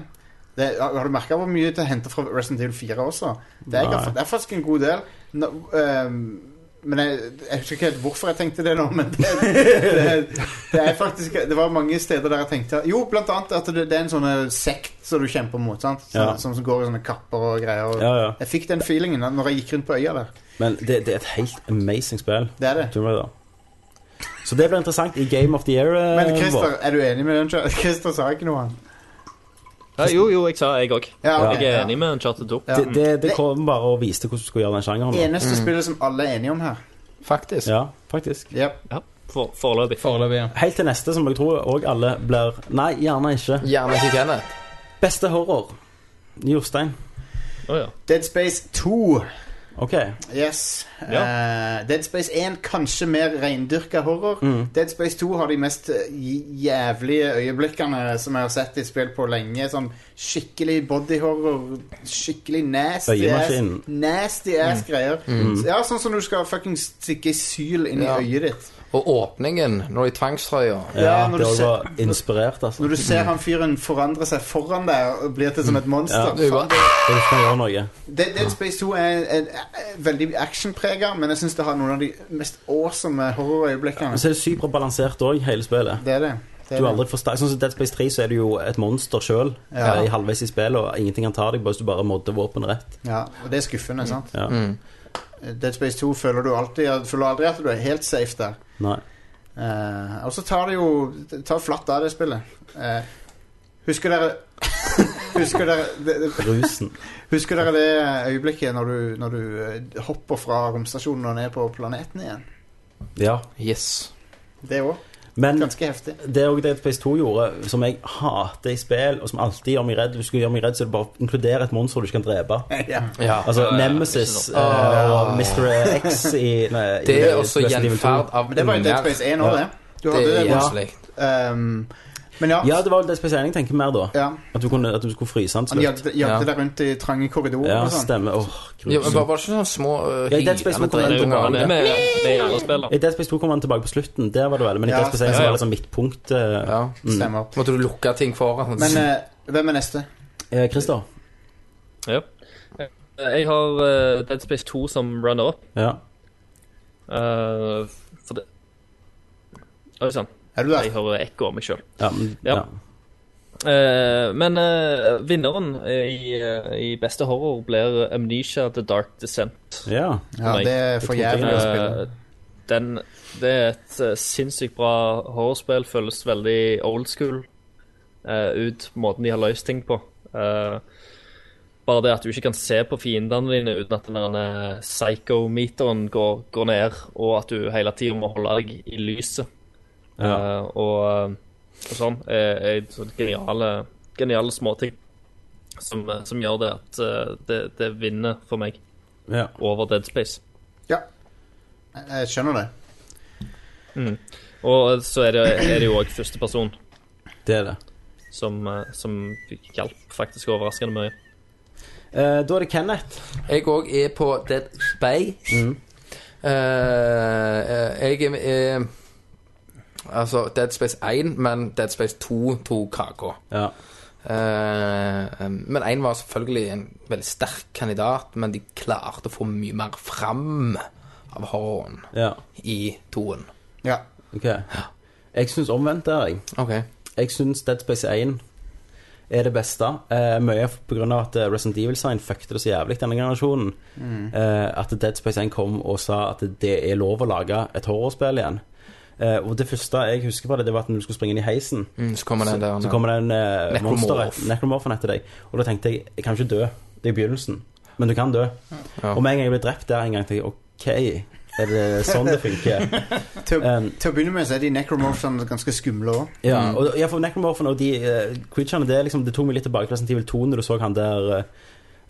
S8: Det, har du merka hvor mye det henter fra Resident Evil 4 også? Det er,
S10: Nei.
S8: det er faktisk en god del. Nå, ehm, men jeg, jeg husker ikke helt hvorfor jeg tenkte det nå, men det, det, det er faktisk Det var mange steder der jeg tenkte Jo, blant annet at det, det er en sånn eh, sekt som du kjemper mot, sant? Som,
S10: Ja.
S8: som, som går i sånne kapper og greier. Og,
S10: Ja, ja.
S8: Jeg fikk den feelingen da når jeg gikk rundt på øya der.
S10: Men det, det er et helt amazing spill.
S8: Det er det.
S10: Tomb Raider. Så det blir interessant i Game of the Year. eh,
S8: Men
S10: vår.
S8: Christer, er du enig med den? Christer sa ikke noe, han.
S6: Ja, jo, jo, jeg sa jeg òg.
S8: Ja, ok,
S6: Jeg er
S8: ja.
S6: enig med Uncharted 2.
S8: Ja.
S10: Det, mm. det, det kom bare og viste hvordan du skulle gjøre den sjangeren. da.
S8: Eneste spillet som alle er enige om her.
S9: Faktisk.
S10: Ja, faktisk.
S8: Yep.
S6: Ja, for, foreløpig.
S7: Foreløpig, ja.
S10: Helt til neste, som jeg tror òg alle blir Nei, gjerne ikke.
S9: Gjerne ikke Kenneth.
S10: Beste horror. Jostein.
S6: Å ja.
S8: Dead Space 2.
S10: OK.
S8: Yes. Eh, Dead Space 1 kanskje mer reindyrka horror. Dead Space 2 har de mest eh, j- jævlige øyeblikkene som jeg har sett i spill på lenge. Sånn skikkelig bodyhorror, skikkelig nasty ass,
S10: Øyemaskinen.
S8: nasty ass greier. Så- Ja, sånn som du skal fucking stikke syl inn
S9: Ja.
S8: i øyet ditt.
S9: Og åpningen, når de tvangstrøya
S8: Ja,
S10: Ja,
S8: når
S10: det
S8: du
S10: også
S8: ser-
S10: var inspirert, altså.
S8: Når du ser han fyren forandre seg foran deg og blir til som et monster.
S10: Ja.
S9: Det er jo
S8: Faen,
S9: bare
S10: Det er ikke gjøre noe.
S8: Dead, Dead Space 2 er, er, er veldig actionprega, men jeg syns det har noen av de mest awesome horrorøyeblikkene.
S10: Men så er det superbalansert òg, hele spillet.
S8: Det er det. det,
S10: Du
S8: er
S10: er
S8: det.
S10: aldri for sterk. Sånn som Dead Space 3 så er du jo et monster sjøl
S8: Ja.
S10: halvveis i spillet, og ingenting kan ta deg, bare hvis du bare modder våpenet rett.
S8: Ja, og det er skuffende, sant?
S10: Ja.
S9: Mm.
S8: Dead Space 2 føler du alltid ja, du føler aldri at du er helt safe der.
S10: Nei.
S8: Eh, og så tar det jo det tar flatt av det spillet. Eh, husker dere Husker dere det, det,
S10: Rusen.
S8: Husker dere det øyeblikket når du, når du eh, hopper fra romstasjonen og ned på planeten igjen?
S10: Ja.
S9: Yes.
S8: Det òg.
S10: Men
S8: Ganske heftig.
S10: det er også Dead Space 2 gjorde, som jeg hater i spill, og som alltid gjør meg redd. Hvis Du skal gjøre meg redd, så er det bare å inkludere et monster du ikke kan drepe.
S8: ja.
S9: Ja.
S10: Altså
S6: Ja, ja, ja.
S10: Nemesis
S6: Ikke
S10: eh,
S8: Ah.
S10: og Mr. X i nei,
S9: Det
S10: i
S9: er også
S10: Resident Evil 2.
S9: gjenferd av
S8: Men det var jo Dead Space 1 òg, det. Du
S9: Det
S8: hadde det,
S9: er
S8: ja.
S9: koselig.
S8: Ehm, men ja,
S10: Ja, det var vel Dead Space 1 jeg tenker mer da.
S8: ja.
S10: At du, kunne, at du skulle fryse han
S8: han
S10: til slutt.
S8: jagde, jagde
S9: Ja.
S8: deg rundt i trange korridorer
S10: Ja,
S8: og sånn.
S10: stemmer. Åh,
S9: Ja, men
S10: grusomt.
S9: var var det ikke sånne små uh,
S10: Ja, i Dead Space
S9: hylende
S10: må
S6: Det er
S10: komme
S6: jo
S9: dreper
S6: bare
S9: alle?
S6: det med det er alle spiller.
S10: I Dead Space 2 kom han tilbake på slutten, der var det vel. Men i
S8: Ja,
S10: Dead Space 1 så
S6: stemmer.
S10: var det sånn midtpunkt. eh,
S9: Ja.
S8: Stemmer.
S9: Måtte du lukke ting foran?
S8: Men eh, hvem er neste?
S10: eh, Christer?
S6: Ja. Jeg har eh, Dead Space 2 som runner-up.
S10: Ja.
S6: Eh, for det Oi sann,
S8: Er du der?
S6: jeg hører ekko av meg sjøl.
S10: Ja, men-
S6: Ja.
S10: ja.
S6: men eh, vinneren i, eh, i beste horror blir Amnesia The Dark Descent.
S10: ja.
S8: Ja, det er for jævlig å spille.
S6: Eh, den, det er et eh, sinnssykt bra horrorspill. Føles veldig old school eh, ut, måten de har løst ting på. Eh, bare det at du ikke kan se på fiendene dine uten at den der eh, psycho-meteren går, går ned, og at du hele tida må holde deg i lyset.
S10: Ja.
S6: Eh, og, og sånn. Er, er sånne geniale, geniale småting som, som gjør det at eh, det, det vinner for meg
S10: ja.
S6: over Dead Space.
S8: Jeg- Jeg skjønner det.
S6: Og så er det, er det jo òg førsteperson
S10: Det er det.
S6: som, eh, som hjalp faktisk overraskende mye.
S10: Eh, da er det Kenneth.
S9: Jeg òg er på Dead Space. Eh, eh, jeg er, er Altså Dead Space 1, men Dead Space 2 tok kaka.
S10: Ja.
S9: Eh, men én var selvfølgelig en veldig sterk kandidat, men de klarte å få mye mer fram av horroren
S10: ja.
S9: i toen.
S8: Ja.
S10: OK. Jeg syns omvendt er jeg.
S9: Ok.
S10: Jeg syns Dead Space 1 er det beste. Eh, mye pga. at eh, Resident Evil Sign fucket det så jævlig denne generasjonen.
S8: Mm.
S10: Eh, at Dead Space 1 kom og sa at det er lov å lage et horrorspill igjen. Eh, og det første jeg husker fra det, det var at når du skulle springe inn i heisen,
S9: Mm, så kommer den der
S10: så kommer det en eh,
S9: Necromorph.
S10: monster Necromorphen etter deg. Og da tenkte jeg jeg kan ikke dø. Det er begynnelsen. Men du kan dø.
S9: Ja.
S10: Og med en gang jeg ble drept der, en gang tenkte jeg OK, er det sånn det funker?
S8: Til, å-
S10: Um,
S8: til å begynne med så er de necromorphene ganske skumle òg.
S10: Ja, og ja, for Necromorphen og de eh, creaturene, det, er liksom, det tok meg litt tilbake til Resident Evil 2 når du så han der uh,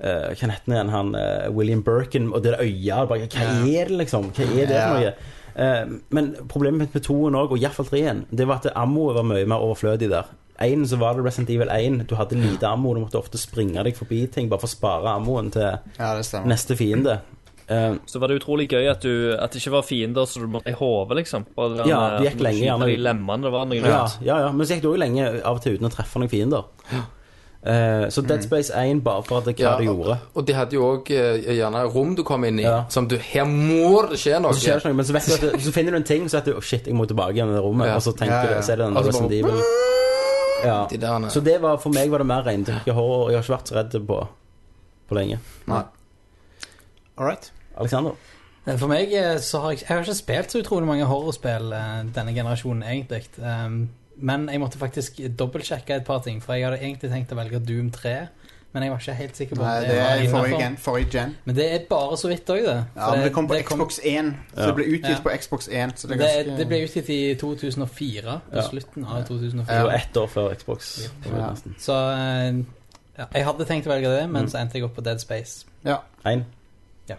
S10: Hva heter han igjen? Han, eh, William Birkin og det der øyet. Bare, hva er det, liksom? Hva er det for
S8: Ja.
S10: noe? Eh, men problemet mitt med 2-en òg, og iallfall 3-en, det var at ammoet var mye mer overflødig der. 1 så var det Resident Evil 1. Du hadde lite ammo, du måtte ofte springe deg forbi ting bare for å spare ammoen til
S8: Ja, det stemmer.
S10: neste fiende. Eh,
S6: Så var det utrolig gøy at, du, at det ikke var fiender så du måtte i hodet, liksom. Bare den,
S10: Ja, det
S6: eh,
S10: gikk lenge,
S6: skyte
S10: gjerne.
S6: De lemmene, det var noe
S10: Ja,
S6: rart.
S10: ja, ja. Men så gikk det òg lenge av og til uten å treffe noen fiender. Eh, så Dead Space 1 bare for at det, hva
S9: Ja,
S10: det gjorde.
S9: Og de hadde jo òg gjerne rom du kom inn i.
S10: Ja.
S9: Som du Her må det skje noe!
S10: Og så skjer det ikke noe, men så, vet du at, så finner du en ting, så vet du oh, shit, jeg må tilbake igjen i det rommet.
S9: Ja.
S10: Og så tenker
S8: Ja, Altså, ja.
S10: du, så er det den
S9: Og så
S10: Resident
S9: bare-
S10: Evil. Ja.
S9: De derne.
S10: Så det var, for meg var det mer reindyrka horror. Jeg har ikke vært så redd på på lenge.
S8: All right.
S10: Alexander?
S7: Eh, For meg eh, så har jeg, jeg har ikke spilt så utrolig mange horrorspill eh, denne generasjonen, egentlig. Um, men jeg måtte faktisk dobbeltsjekke et par ting, for jeg hadde egentlig tenkt å velge Doom 3. Men jeg var ikke helt sikker på om
S8: Nei, det er
S7: var
S8: forrige
S7: innenfor.
S8: gen. Forrige gen.
S7: Men det er bare så vidt òg, det.
S8: Ja,
S7: For
S8: men det kom på
S7: det kom-
S8: Xbox 1. Så det ble utgitt
S7: Ja.
S8: på Xbox 1. Så det er
S7: det,
S8: ganske
S7: det ble utgitt i 2004, på
S10: Ja.
S7: slutten av
S10: Det
S7: 2004.
S10: var ett år før Xbox.
S8: Ja. Mm.
S10: nesten.
S7: Så eh, ja, jeg hadde tenkt å velge det, men så endte jeg opp på Dead Space.
S8: Ja.
S10: Én.
S7: Ja.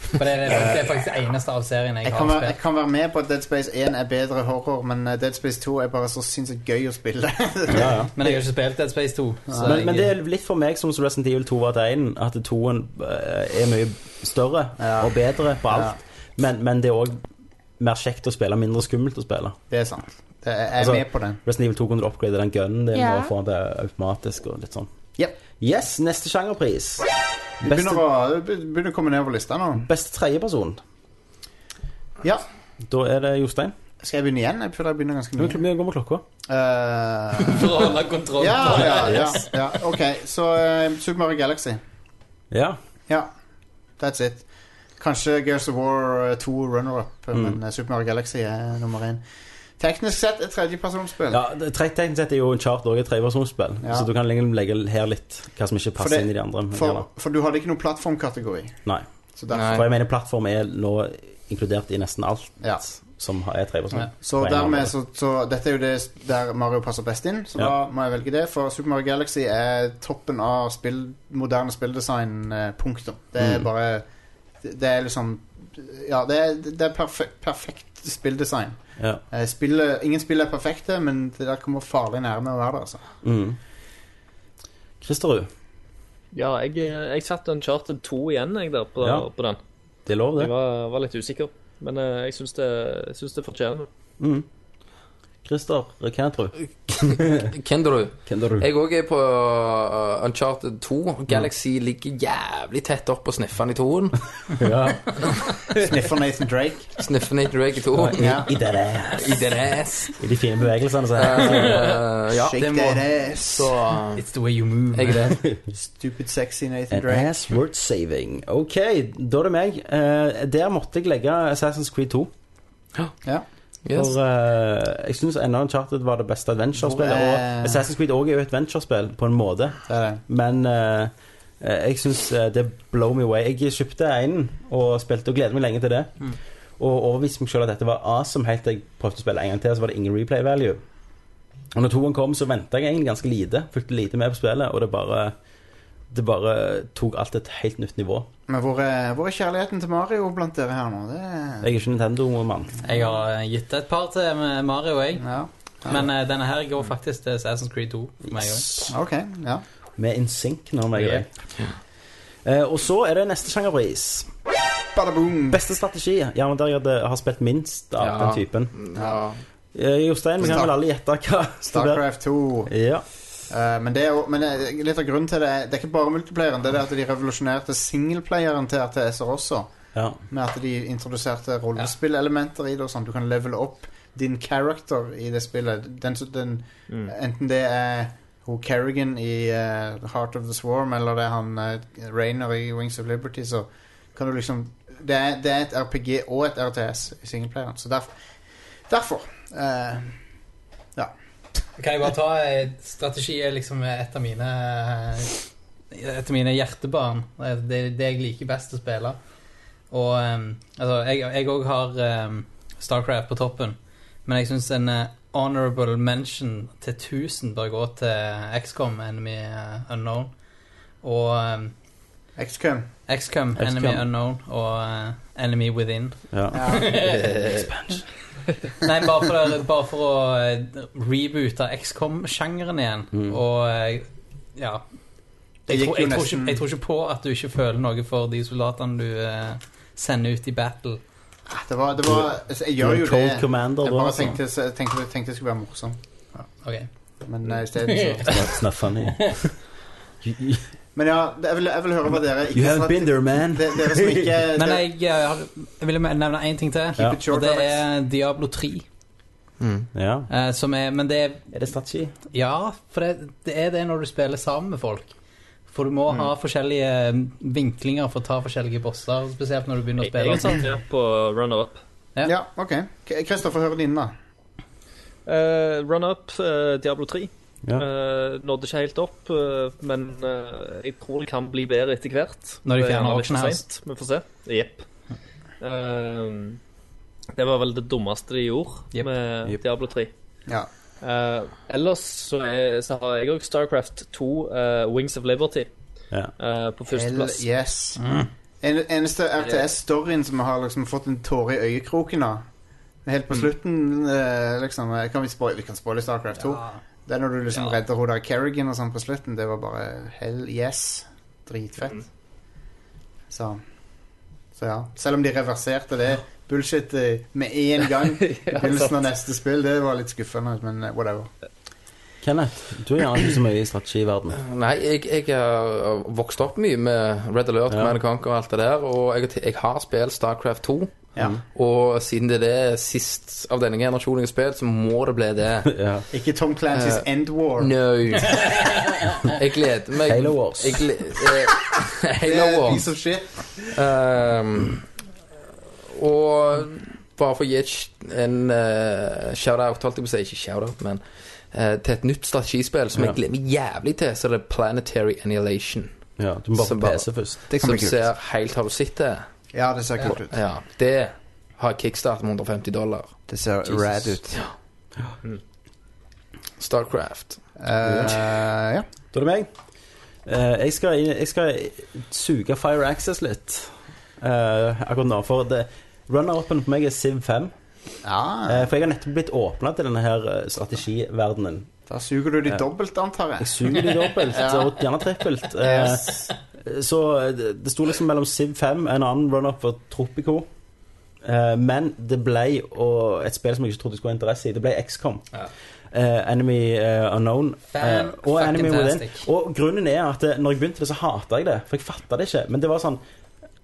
S7: For det, er- det er faktisk det eneste av serien jeg,
S8: Jeg kan,
S7: har
S8: være, jeg
S7: spilt.
S8: kan være med på at Dead Space 1 er bedre horror, men eh, Dead Space 2 er bare så sinnssykt gøy å spille.
S10: Ja, ja.
S7: Men jeg har ikke spilt Dead Space 2. Så
S10: Men,
S7: jeg,
S10: men det er litt for meg som Resident Evil 2 var til 1, at 2-en eh, er mye større
S8: Ja.
S10: og bedre på
S8: Ja.
S10: alt. Men, men det er òg mer kjekt å spille, mindre skummelt å spille.
S8: det er sant. Det er, jeg er
S10: Altså-
S8: med på den.
S10: Resident Evil 2 kunne du upgrade den gunnen din
S11: Ja.
S10: og få det automatisk og litt sånn.
S8: Yep.
S10: Yes, neste sjangerpris.
S8: Du
S10: Beste,
S8: begynner, å, du begynner å komme nedover lista nå.
S10: beste tredjeperson.
S8: Ja.
S10: Da er det Jostein.
S8: Skal jeg begynne igjen? Jeg føler jeg begynner ganske mye.
S10: Vi går med klokka.
S8: Eh,
S7: for å holde kontroll.
S8: ja, ja, ja, ja. Ok, så eh, Super Mario Galaxy.
S10: Ja.
S8: Ja, that's it. Kanskje Gears of War eh, 2 runner-up, eh,
S10: Mm.
S8: men eh, Super Mario Galaxy er nummer én. Teknisk sett et tredjepersonsspill.
S10: ja det- tre- Teknisk sett er jo en chart òg et tredjepersonsspill,
S8: Ja.
S10: så du kan liksom legge her litt hva som ikke
S8: For
S10: passer
S8: det-
S10: inn i de andre.
S8: For, for du hadde ikke noen plattformkategori.
S10: Nei.
S8: Så derfor,
S10: For jeg mener plattform er nå inkludert i nesten alt
S8: ja.
S10: som har- er tredjeperson.
S7: Ja.
S8: Så
S10: På en eller annen
S8: dermed
S10: måte.
S8: så, så Dette er jo det s- der Mario passer best inn, så
S10: Ja.
S8: da må jeg velge det. For Super Mario Galaxy er toppen av spill, moderne spilldesign. eh, Punktum. Det er
S10: Mm.
S8: bare Det det er liksom Ja, det er, det er perfekt, perfekt spilldesign.
S10: Ja.
S8: Eh, Spillet, ingen spill er perfekte, men det der kommer farlig nærme å være det. Altså.
S10: Mm. Kristerud,
S6: Ja, jeg, eh, jeg satt en charter 2 igjen jeg der på,
S10: Ja.
S6: på den.
S10: det er lov,
S6: Jeg
S10: det.
S6: var, var litt usikker. Men eh, jeg syns det, jeg syns det fortjener det.
S10: Mm. Christer, hva tror du?
S9: Kenderud.
S10: Hvem tror
S9: Jeg òg er på uh, Uncharted 2. Galaxy ligger jævlig tett opp og sniffer den i toen.
S10: Ja.
S8: Sniffer Nathan Drake.
S9: Sniffer Nate Drake i toen.
S8: Ja.
S10: I, det der.
S9: I den ass.
S10: I de fine bevegelsene. Så.
S9: Eh, ja,
S8: Shake
S9: det må
S8: that ass.
S9: Så uh,
S7: It's the way you move.
S9: jeg er det.
S8: Stupid sexy Nathan
S10: An
S9: Eh,
S8: Drake.
S10: ass word saving. Ok, da er det meg. Eh, der måtte jeg legge Assassin's Creed 2.
S9: Yes.
S10: For eh, jeg syns ennå Uncharted var det beste adventure-spillet.
S8: Hvor er-
S10: Og Assassin's Creed også er jo et adventure-spill, på en måte.
S8: Det er det.
S10: Men eh, eh, jeg syns eh, det blow me away. Jeg kjøpte en og spilte og gleder meg lenge til det.
S7: Mm.
S10: Og overbeviste meg selv at dette var awesome helt til jeg prøvde å spille en gang til, så var det ingen replay value. Og når toen kom, så venta jeg egentlig ganske lite. Fulgte lite med på spillet, og det bare det bare tok alt et helt nytt nivå.
S8: Men hvor er, hvor er kjærligheten til Mario blant dere her nå? Det er,
S10: Jeg er ikke Nintendo-mann.
S7: Jeg har eh, gitt et par til med Mario, jeg.
S8: ja.
S7: Men eh, denne her går faktisk til Assassin's Creed 2. For meg også.
S8: OK. Ja.
S10: Vi er in sync nå, meg og
S7: Ja.
S10: deg. Eh, og så er det neste sjangerpris.
S8: Bada boom.
S10: Beste strategi. Ja, men der jeg hadde, har spilt minst av
S9: Ja.
S10: den typen.
S8: Mm,
S9: Ja.
S10: Eh, Jostein, vi kan vel alle gjette hva som er-
S8: Starcraft 2.
S10: Ja.
S8: Eh, men det er, jo- men eh, litt av grunnen til det er- Det er ikke bare multiplayeren, det er det at de revolusjonerte singleplayeren til RTS-er også.
S10: ja.
S8: Med at de introduserte rollespillelementer i det. og sånn Du kan levele opp din character i det spillet. Den, som- den,
S6: Mm.
S8: Enten det er hun Kerrigan i eh, Heart of the Swarm, eller det er han uh, Rainer i Wings of Liberty, så kan du liksom Det er, det er et RPG og et RTS i singleplayeren. Så derf, derfor eh,
S7: Kan jeg bare ta eh, Strategi er liksom et av mine eh, Et av mine hjertebarn. Det er det, det jeg liker best å spille. Og eh, altså, jeg òg har eh, Starcraft på toppen. Men jeg syns en eh, honorable mention til 1000 bør gå til XCOM, Enemy eh, Unknown. Og ehm,
S8: XCOM.
S7: eh, XCOM, Enemy
S10: XCOM.
S7: Unknown og eh, Enemy Within.
S10: ja.
S7: Nei, bare for, å- bare for å eh, reboote XCOM-sjangeren igjen.
S10: Mm.
S7: Og eh, ja
S8: Det
S7: jeg
S8: gikk
S7: tror,
S8: jo
S7: jeg, tror ikke,
S8: nesten-
S7: jeg tror ikke på at du ikke føler noe for de soldatene du eh, sender ut i battle.
S8: Ah, Det var, det var altså, Jeg gjør
S10: You're
S8: jo
S10: a Cold
S8: det.
S10: Commander,
S8: Jeg
S10: da,
S8: bare
S10: altså.
S8: tenkte, jeg tenkte, jeg tenkte det skulle være morsomt.
S7: Ok.
S8: Men eh, i stedet så
S10: That's not funny. You,
S8: Men ja, jeg vil, jeg vil høre hva dere
S10: you
S8: ikke
S10: haven't been there, man.
S8: de, Dere som ikke
S7: Men
S8: dere,
S7: jeg, eh, har, jeg ville nevne én ting til.
S10: Ja.
S8: Keep it short,
S7: Og det
S8: Alex.
S7: er Diablo 3.
S10: Ja.
S7: eh, som er, men det er
S10: Er det strategi?
S7: Ja, for det, det er det når du spiller sammen med folk. For du må ha forskjellige mm, vinklinger for å ta forskjellige bosser. Spesielt når du begynner å
S6: Jeg, jeg
S7: spille.
S6: er satt her på runner-up.
S7: ja.
S8: Ja, ok. K- Kristoffer, hør din, da.
S6: Eh, runner-up eh, Diablo 3.
S10: Ja.
S6: Eh, nådde ikke helt opp, eh, men eh, jeg tror det kan bli bedre etter hvert.
S7: Når de
S6: Det er
S7: fjerner
S6: gjerne litt
S7: auction
S6: for
S7: house.
S6: sent, Vi får se. Jepp. Eh, det var vel det dummeste de gjorde
S7: Jepp.
S6: med
S10: Jepp.
S6: Diablo 3.
S8: Ja.
S6: Eh, ellers så, er, så har jeg òg Starcraft 2, eh, Wings of Liberty,
S10: Ja.
S6: eh, på
S8: Hell
S6: førsteplass.
S8: yes. En, eneste RTS-storyen som jeg har liksom fått en tåre i øyekroken av, helt på slutten eh, liksom, eh, kan vi, spoil, vi kan spoile Starcraft 2. Det er når du liksom
S7: Ja.
S8: redder hun der Kerrigan og sånn på slutten. Det var bare hell yes. Dritfett.
S9: Mm.
S8: Så Så ja. Selv om de reverserte det bullshit eh, med én gang i begynnelsen av neste spill, det var litt skuffende, men eh, whatever.
S5: Kenneth, du er gjerne ikke så mye i strategiverdenen.
S9: Nei, jeg, jeg har eh, vokst opp mye med Red Alert,
S5: Ja.
S9: ja. Man Conquer og alt det der, og jeg, jeg har spilt Starcraft 2.
S8: Ja.
S9: Og siden det er det sist av denne generasjonen jeg har spilt, så må det bli det.
S5: Ja.
S8: Ikke Tom Clancys End War.
S9: Eh, No. Jeg gleder meg
S5: Halo Wars.
S9: Jeg gle- eh,
S8: Det
S9: Halo
S8: er en
S9: Wars.
S8: piece of shit.
S9: Ehm, og bare for å gi et sh- en eh, shout-out, holdt jeg på å si, ikke shout-out, men eh, til et nytt strategispill som
S5: Ja.
S9: jeg gleder meg jævlig til, så er det Planetary Annihilation.
S5: ja, du må bare
S9: Som
S5: på
S9: bare-
S5: PC først.
S8: Det kan
S9: Som
S8: bli kult.
S9: ser helt Har du sett det?
S8: Ja, det ser kult ut.
S9: Ja. Det har kickstart med 150 dollar.
S8: Det ser
S9: Jesus.
S8: rad ut.
S9: Starcraft.
S8: Eh, ja.
S10: Da er det meg. Eh, jeg, skal, inn- jeg skal suge Fire Access litt eh, akkurat nå. For det- runner-upen på meg er Siv 5.
S8: ja.
S10: Eh, for jeg har nettopp blitt åpna til denne her eh, strategiverdenen.
S8: Da suger du de dobbelt, antar jeg.
S10: Jeg suger de dobbelt, og gjerne trippelt. Eh, Så eh, det det sto liksom mellom Siv 5, en annen run-up for Tropico. Eh, men det ble og et spill som jeg ikke trodde jeg skulle ha interesse i. Det ble XCOM. Eh, Enemy eh, Unknown eh, og Enemy Within.
S7: Fan-fucking-tastic.
S10: Og grunnen er at eh, når jeg begynte det, så hata jeg det. For jeg fatta det ikke. Men det var sånn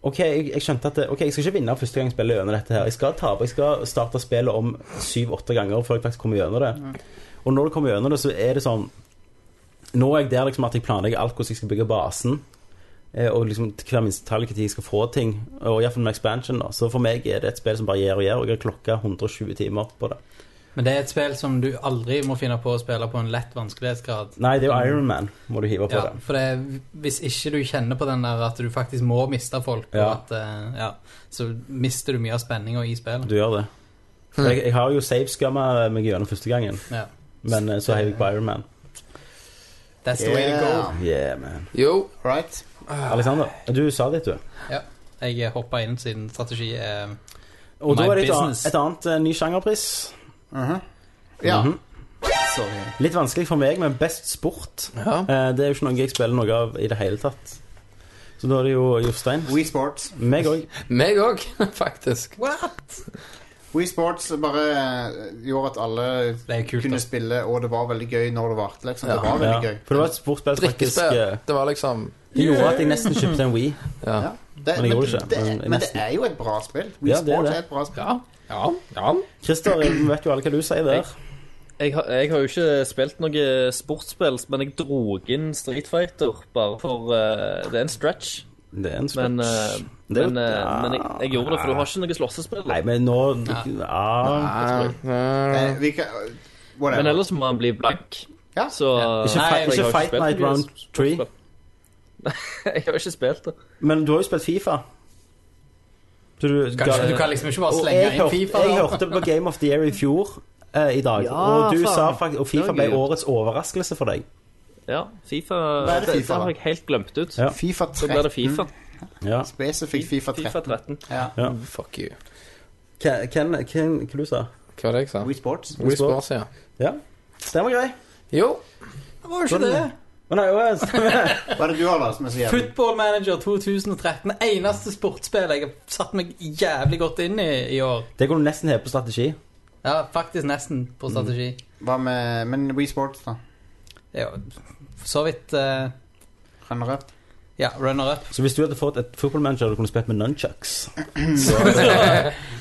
S10: OK, jeg, jeg skjønte at det, Ok, jeg skal ikke vinne første gang jeg spiller gjennom dette her. Jeg skal tape. Jeg skal starte spillet om syv-åtte ganger før jeg faktisk kommer gjennom det. Og når du kommer gjennom det, så er det sånn Nå er jeg der liksom at jeg planlegger alt hvordan jeg skal bygge basen. Eh, Og liksom til hver minste detalj når jeg skal få ting. Og i hvert fall med expansion. da Så for meg er det et spill som bare gjør og gjør, og jeg har klokka 120 timer på det.
S7: Men det er et spill som du aldri må finne på å spille på en lett vanskelighetsgrad.
S10: Nei, det er jo Iron Man må du hive på
S7: Ja,
S10: det.
S7: for det, hvis ikke du kjenner på den der at du faktisk må miste folk, og
S10: Ja.
S7: at, eh, ja, så mister du mye av spenninga i spillet.
S10: Du gjør det. For Jeg, jeg har jo saveskamma meg gjennom første gangen,
S7: Ja.
S10: men eh, så heiv jeg på Iron Man.
S7: That's the way to go.
S8: Yeah.
S10: Yeah, man.
S9: Jo,
S8: Right?
S10: Alexander, du sa ditt, du.
S7: Jeg hoppa inn siden strategi er
S10: Og da
S7: My
S10: er det et annet,
S7: business.
S10: et annet eh, ny sjangerpris.
S8: Mhm. Ja.
S7: mm,
S10: Mhm.
S8: Sorry.
S10: Litt vanskelig for meg, men best sport.
S9: ja.
S10: Eh, Det er jo ikke noe jeg spiller noe av i det hele tatt. Så da er det jo Jostein.
S8: We Sports.
S10: Meg òg.
S9: meg òg, faktisk.
S8: Wii Sports bare eh, gjorde at alle
S7: Det er jo kult, altså.
S8: kunne
S7: da.
S8: spille, og det var veldig gøy når det varte. Liksom.
S9: Ja.
S8: Det var
S10: Ja.
S8: veldig gøy.
S10: For det var et sportsspill som faktisk
S9: Drikkespill.
S10: eh,
S9: Det var liksom
S10: Det gjorde at jeg nesten kjøpte en Wii.
S9: Ja.
S8: Ja. Det,
S10: jeg
S8: men,
S10: gjorde
S8: det,
S10: ikke,
S8: det,
S10: men
S8: men det
S10: nesten.
S8: er jo et bra spill. Wii
S10: Ja, det er
S8: Sports
S10: det.
S8: er et bra spill.
S9: Ja. Ja. ja.
S10: Christer, jeg vet jo alle hva du sier der.
S6: Jeg har, jeg har jo ikke spilt noe sportsspill, men jeg dro inn Street Fighter bare for eh, Det er en stretch,
S10: Det er en sport.
S6: men, eh,
S10: Det er jo-
S6: men, eh, men jeg, jeg gjorde det, for du har ikke noe slåssespill.
S10: Nei, men nå ja.
S8: Eh, vi kan, whatever.
S6: Men ellers må han bli blank.
S8: Ja.
S6: Så
S10: Ikke,
S7: Nei,
S10: fi-
S7: jeg
S10: ikke
S6: har
S10: Fight
S6: ikke
S10: Night
S6: spilt noe
S10: Round 3.
S6: Jeg har ikke spilt det.
S10: Men du har jo spilt Fifa. Så du,
S7: Kanskje du kan liksom ikke bare
S10: Og
S7: slenge
S10: jeg
S7: inn
S10: hørte-
S7: Fifa.
S10: Jeg
S7: da.
S10: hørte på Game of the Year i fjor eh, i dag,
S6: Ja,
S10: og, du
S6: faen.
S10: sa faktisk, og Fifa
S6: Det var
S10: ble
S6: gøy.
S10: årets overraskelse for deg.
S6: Ja, Fifa
S8: Hva er det
S6: Det,
S8: FIFA,
S6: det har
S8: da?
S6: jeg helt glemt ut.
S10: Ja.
S8: Fifa
S6: Så blir det
S8: 13.
S6: Fifa.
S10: Ja.
S8: Spesifikt Fifa 13.
S6: Fifa 13.
S9: Fuck you.
S10: Ken, Ken, Ken, hva du sa
S9: Hva var det jeg sa?
S8: Wii Sports.
S9: Wii Sports, ja.
S10: Ja, den var grei.
S9: Jo.
S7: Var
S10: Sånn,
S7: ikke det?
S10: Men nei, hva-
S8: Hva er det du har, da? Som er så jævlig?
S7: Football Manager 2013. Eneste sportsspill jeg har satt meg jævlig godt inn i i år.
S10: det går du nesten helt på strategi.
S7: Ja, faktisk nesten på strategi.
S10: Mm.
S8: Hva med Men Wii Sports, da?
S7: Det er jo for så vidt eh,
S8: Renner opp?
S7: Ja, runner up.
S10: Så hvis du hadde fått et fotballmanager du kunne spilt med nunchucks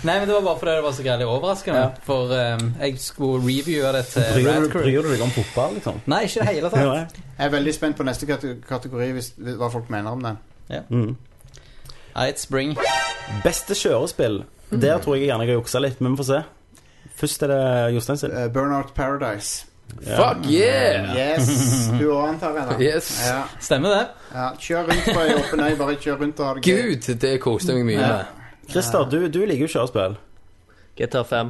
S7: Nei, men det var bare fordi det var så greilig overraskende. For eh, jeg skulle reviewe det til
S10: bryr, du-
S7: Rad Crew.
S10: bryr du deg om fotball, liksom?
S7: Nei, ikke i det hele tatt.
S10: Ja,
S8: Jeg er veldig spent på neste kate- kategori, hvis, hva folk mener om den.
S10: Mm.
S7: Ja, it's spring.
S10: Beste kjørespill. Der tror jeg gjerne jeg har juksa litt, men vi får se. Først er det Jostein sin.
S8: Eh, Burnout Paradise.
S9: Fuck yeah!
S8: Yes! Du òg, antar jeg, da.
S9: Yes.
S8: Ja.
S7: Stemmer det?
S8: Ja, kjør rundt på ei åpen øy, bare kjør rundt og ha det gøy.
S9: Gud, det koste jeg meg mye med.
S10: Christer, du, du liker jo kjørespill.
S6: GTA 5.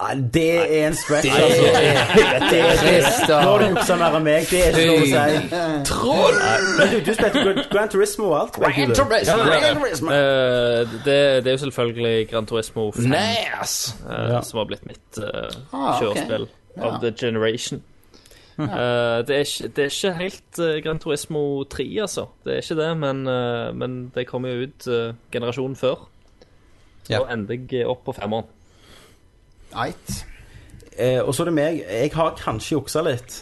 S10: Nei, Det er en stretch,
S9: Det
S10: altså. Det er Nå har du
S9: Christer.
S10: juksa mer enn meg. Det er ikke noe å si.
S8: Eh,
S9: Troll!
S10: Men du, du spilte Gran- Gran Turismo og alt. spilte du.
S9: Interesting.
S6: Eh, det, det er jo selvfølgelig Gran Turismo 5
S9: Nice.
S6: eh,
S10: Ja.
S6: som har blitt mitt eh,
S8: Ah, ok.
S6: kjørespill
S8: Ja.
S6: of the generation. Eh, det, er ikke, det er ikke helt eh, Gran Turismo 3, altså. Det er ikke det, men, eh, men det kom jo ut eh, generasjonen før.
S7: Ja.
S6: Og endte jeg opp på femmeren.
S8: Eit.
S10: Eh, og så er det meg. Jeg har kanskje juksa litt.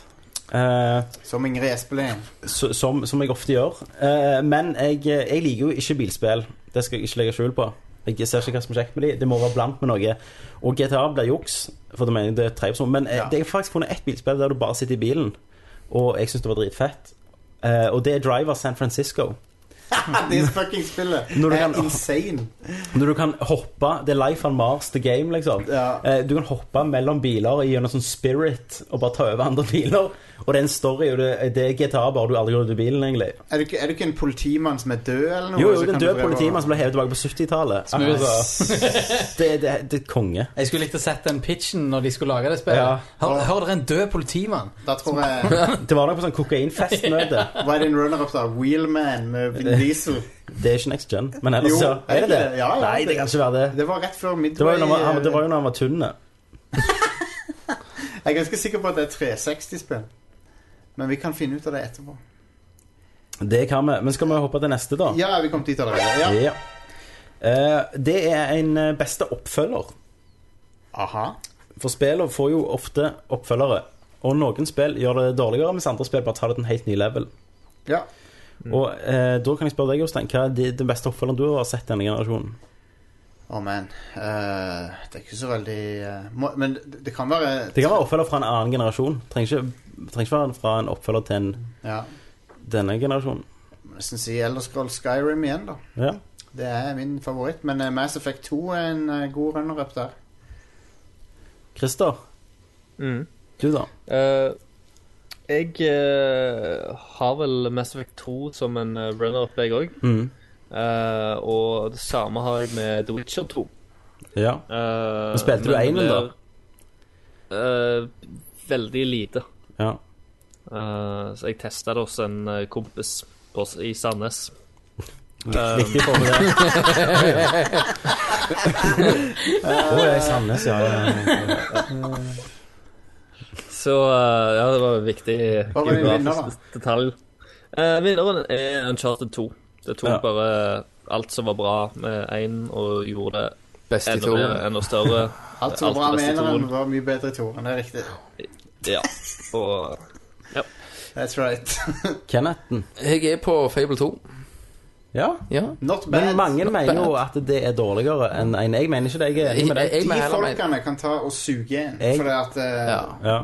S10: Eh,
S8: Som Ingrid Espelid.
S10: så- som, som jeg ofte gjør. Eh, men jeg, jeg liker jo ikke bilspill. Det skal jeg ikke legge skjul på. Jeg ser ikke hva som er kjekt med de. Det må være blant med noe. Og GTA blir juks, for det mener jeg det er treips om. Men eh,
S8: Ja.
S10: det er faktisk funnet ett bilspill der du bare sitter i bilen, og jeg syns det var dritfett. Eh, og det er Driver San Francisco.
S8: Det fucking spillet
S10: Når du
S8: er
S10: kan-
S8: insane.
S10: Når du kan hoppe Det er life on Mars, the game, liksom.
S8: Ja.
S10: Eh, Du kan hoppe mellom biler i gjennom sånn spirit og bare ta over andre biler. Og det er en story, og det, det er GTA, bare du aldri går ut av bilen, egentlig.
S8: Er du, ikke- er du ikke en politimann som er død, eller noe?
S10: Jo, jo,
S8: Så
S10: det er
S8: kan
S10: en
S8: du
S10: død
S8: prøve å-
S10: politimann som ble hevet tilbake på 70-tallet. Altså, det, det, det er konge.
S7: Jeg skulle likt å sett den pitchen når de skulle lage det spillet.
S10: Ja.
S7: Hør, hør dere en død politimann?
S8: Da tror jeg
S10: Det var nok på sånn kokainfestmøte.
S8: Hva er din runner-up, da? Wheelman med Vin Diesel.
S10: Det er ikke next gen, men ellers
S8: Jo,
S10: ja. Er det det?
S8: Ja, ja,
S10: Nei, det kan ikke være det.
S8: Det var rett før
S10: Det
S8: Midway.
S10: var jo når han, det var jo når han var tynn.
S8: Jeg er ganske sikker på at det er 360-spill. Men vi kan finne ut av det etterpå.
S10: Det kan vi. Men skal vi hoppe til neste, da?
S8: Ja, vi kom dit allerede. Ja.
S10: Ja. Eh, det er en eh, beste oppfølger.
S8: Aha.
S10: For spillene får jo ofte oppfølgere. Og noen spill gjør det dårligere, mens andre spill bare tar det til en helt ny level.
S8: Ja. Mm.
S10: Og eh, da kan jeg spørre deg, Jostein, hva er de- den beste oppfølgeren du har sett denne generasjonen?
S8: Å, men eh, Det er ikke så veldig eh, må, Men det, det kan være
S10: Det kan være oppfølger fra en annen generasjon. Trenger ikke, trenger ikke være fra en oppfølger til en,
S8: Ja.
S10: denne generasjonen.
S8: må Nesten si Elderscroll Skyrim igjen, da.
S10: Ja.
S8: Det er min favoritt. Men eh, Mass Effect 2 er en eh, god runner-up der.
S10: Christer,
S6: Mm.
S10: du da?
S6: Eh, jeg eh, har vel Mass Effect 2 som en eh, runner-up, jeg òg.
S10: Mm.
S6: og det samme har jeg med The Witcher 2.
S10: Ja.
S6: Eh,
S10: Men spilte du
S6: men
S10: Einen,
S6: det
S10: da?
S6: er, eh, veldig lite.
S10: ja.
S6: Eh, så jeg testa det hos en eh, kompis på, s- i Sandnes.
S10: Viktig for meg, det. Å, jeg er i Sandnes, ja. ja, ja.
S6: Så eh, ja, det var en viktig
S8: Hva var din vinner, da?
S6: geografisk detalj. Eh, vinneren er Uncharted 2. Det tok
S10: Ja.
S6: bare alt som var bra med én, og gjorde det
S9: Best i
S6: enda bedre,
S9: toren.
S6: enda større.
S8: Alt som
S6: Alt
S8: var bra
S6: det
S8: med
S6: beste i
S8: eneren,
S6: toren.
S8: var mye bedre i toren. Det er riktig.
S6: Ja. Og
S8: That's right.
S10: Kennethen.
S9: Jeg er på Fable 2.
S10: Ja.
S9: Ja.
S8: Not bad.
S10: Men mange mener jo at det er dårligere enn en. Jeg mener ikke det. Jeg er enig med deg.
S9: Jeg
S8: De
S9: må heller mene
S8: folkene kan ta og suge en.
S10: Jeg-
S8: For det at eh,
S9: Ja.
S10: Ja,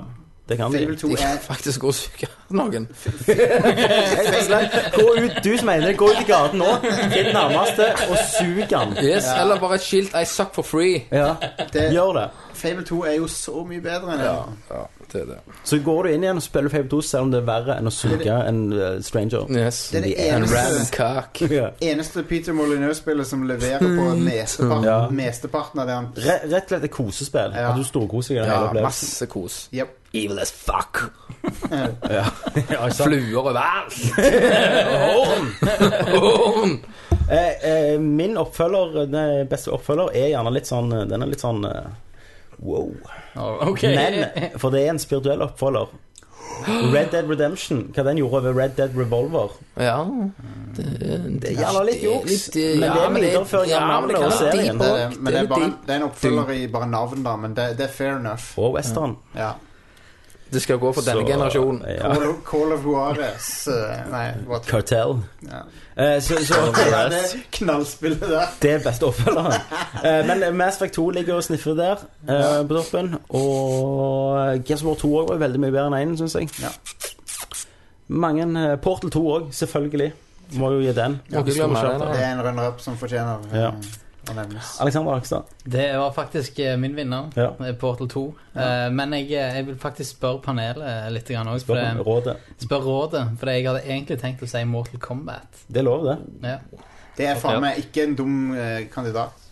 S10: det kan de.
S8: Fable 2
S9: De
S8: er
S9: kan faktisk gå og suge noen.
S10: Jeg er slett. Gå ut, du som mener det. Gå ut i gaten nå til den nærmeste og sug han.
S9: Yes, Eller bare et skilt 'I suck for free'.
S10: Ja,
S8: det,
S10: gjør det.
S8: Fable 2 er jo så mye bedre enn det.
S9: det er det.
S10: Så går du inn igjen og spiller Fable 2, selv om det er verre enn å suge en eh, stranger.
S9: Yes.
S8: Det er det
S9: And
S8: eneste-
S9: random cock.
S10: Ja.
S8: Eneste Peter Molyneux-spillet som leverer på mesteparten,
S10: Ja.
S8: mesteparten av det han
S10: Re rett og slett et kosespill.
S8: Ja.
S10: At du storkoser deg i den hele
S9: Ja,
S10: opplevelsen.
S9: masse kos.
S8: Jep.
S9: Evil as fuck.
S10: Ja, ikke sant?
S9: Fluer overalt. Horn! Horn!
S10: eh, eh, min oppfølger, den beste oppfølger, er gjerne litt sånn eh, Den er litt sånn eh, wow.
S7: Ok.
S10: Men for det er en spirituell oppfølger. Red Dead Redemption, hva den gjorde over Red Dead Revolver.
S9: Ja Det
S10: er jævla Mm. litt juks,
S9: litt, eh,
S10: men det er
S9: ja,
S10: videreføring av
S9: ja, men det kan
S10: navnet og
S9: være
S10: serien. eh,
S9: deep
S8: Det
S9: også.
S8: er, det, men det er, bare,
S9: deep.
S8: det er en oppfølger i bare navn, da, men det, det er fair enough.
S10: Og western.
S8: Ja.
S9: Det skal gå for denne
S10: Så,
S9: generasjonen.
S10: Ja.
S8: Call, of- Call of Juarez eh, Nei, what?
S10: Cartel.
S8: Ja.
S10: Eh, så, så
S8: Ja, det er knallspillet der.
S10: det er beste oppfølgeren. Eh, men Mass Effect 2 ligger og sniffer der, eh, på toppen. Og Gears of War 2 også var veldig mye bedre enn 1, syns jeg.
S8: Ja.
S10: Mange eh, Portal 2 òg, selvfølgelig. Må jo gi den.
S9: Må ikke glemme det, da.
S8: Det er en runner-up som fortjener eh,
S10: Ja.
S8: å nevnes.
S10: Alexander Akstad.
S7: Det var faktisk eh, min vinner,
S10: Ja.
S7: eh, Portal 2. Eh, Men jeg, eh, jeg vil faktisk spørre panelet eh, litt grann også,
S10: Spør om
S7: for det-
S10: rådet.
S7: Spør rådet, for jeg hadde egentlig tenkt å si Mortal Kombat.
S10: Det er lov, det.
S7: Ja.
S8: Det er faen meg ikke en dum eh, kandidat.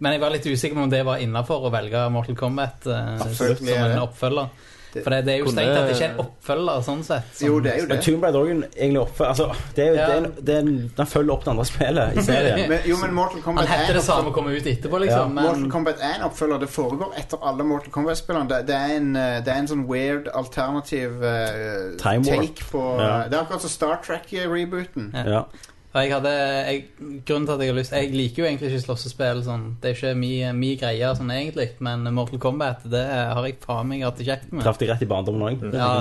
S7: Men jeg var litt usikker på om det var innafor å velge Mortal Kombat eh,
S8: Absolutt,
S7: som
S8: det er
S7: en
S8: det.
S7: oppfølger.
S8: Det-
S7: For det, det er jo
S6: Kunne-
S7: strengt at det ikke er en oppfølger, sånn sett. Som,
S8: Jo, det er jo
S10: Men
S8: det.
S10: Tomb Raider er jo egentlig oppfølger altså, det er jo,
S7: Ja.
S10: det er en- det er en- Den følger opp det andre spillet i serien.
S8: Men, jo, men Mortal Kombat
S7: Han
S8: er
S7: heter
S8: en
S7: det samme og kommer ut etterpå, liksom.
S8: Mortal
S7: Men,
S8: Kombat er en oppfølger. Det foregår etter alle Mortal Kombat-spillerne. Det, det, er en, eh, det er en sånn weird alternativ eh,
S10: Time warp.
S8: take på
S10: Ja.
S8: Det er akkurat som Star Trek-rebooten.
S7: Ja.
S10: Ja.
S7: og jeg hadde jeg, Grunnen til at jeg har lyst Jeg liker jo egentlig ikke slåssespill. Sånn. Det er ikke min mi greie sånn egentlig, men Mortal Kombat det har jeg faen meg hatt det kjekt med.
S10: Traff de rett i barndommen òg?
S7: Ja,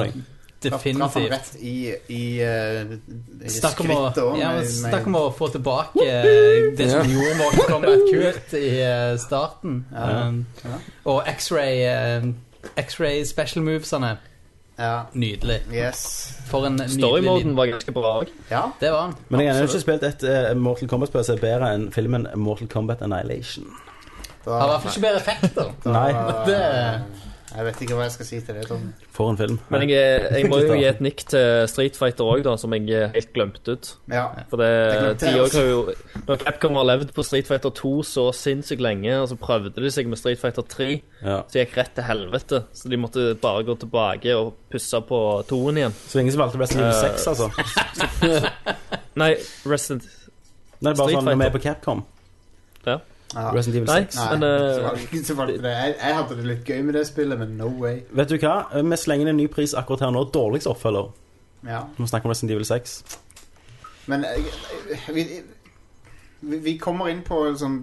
S8: Traff han
S7: definitivt.
S8: rett i, i, eh, i
S7: Snakk om, å,
S8: skrittet også,
S7: ja, men
S8: med-
S7: snakk om
S8: med-
S7: å få tilbake eh, det som gjorde Mortal Kombat kult i eh, starten. Um,
S8: Ja.
S7: Og X-ray eh, X-ray special movesene.
S8: ja.
S7: Nydelig.
S8: Yes.
S7: For en nydelig
S6: Storymoden
S7: liten
S6: var ganske bra òg.
S8: Ja.
S7: Det var han.
S10: Men jeg har ennå ikke spilt et eh, Mortal Kombat-spill som er bedre enn filmen Mortal Kombat Annihilation.
S8: Da,
S7: Har i hvert fall ikke bedre effekter.
S8: Ah.
S10: Nei,
S8: da-
S7: det-
S8: Jeg vet ikke hva jeg skal si til det, Tom.
S10: for en film.
S6: Men jeg, eh, jeg må jo gi et nikk til Street Fighter òg, som jeg eh, helt glemte ut.
S8: Ja.
S6: For det,
S8: glemte
S6: de
S8: jeg
S6: også har jo Når Capcom har levd på Street Fighter 2 så sinnssykt lenge, og så prøvde de seg med Street Fighter 3,
S10: Ja.
S6: så gikk rett til helvete. Så de måtte bare gå tilbake og pusse på toen igjen.
S10: Så ingen som valgte Resident Evil 6, altså.
S6: Nei, Resident
S10: Nei, bare
S6: Street
S10: sånn når vi er
S6: Fighter.
S10: på Capcom.
S8: ja.
S10: Resident Evil
S6: Nei,
S10: 6.
S8: Nei,
S6: men eh,
S8: så var det- så var det det. Jeg, jeg hadde det litt gøy med det spillet, men no way.
S10: Vet du hva? Eh, Vi slenger inn en ny pris akkurat her nå. Dårligst oppfølger.
S8: Ja.
S10: Når vi snakker om Resident Evil 6.
S8: Men eh, eh, vi, vi, vi kommer inn på sånn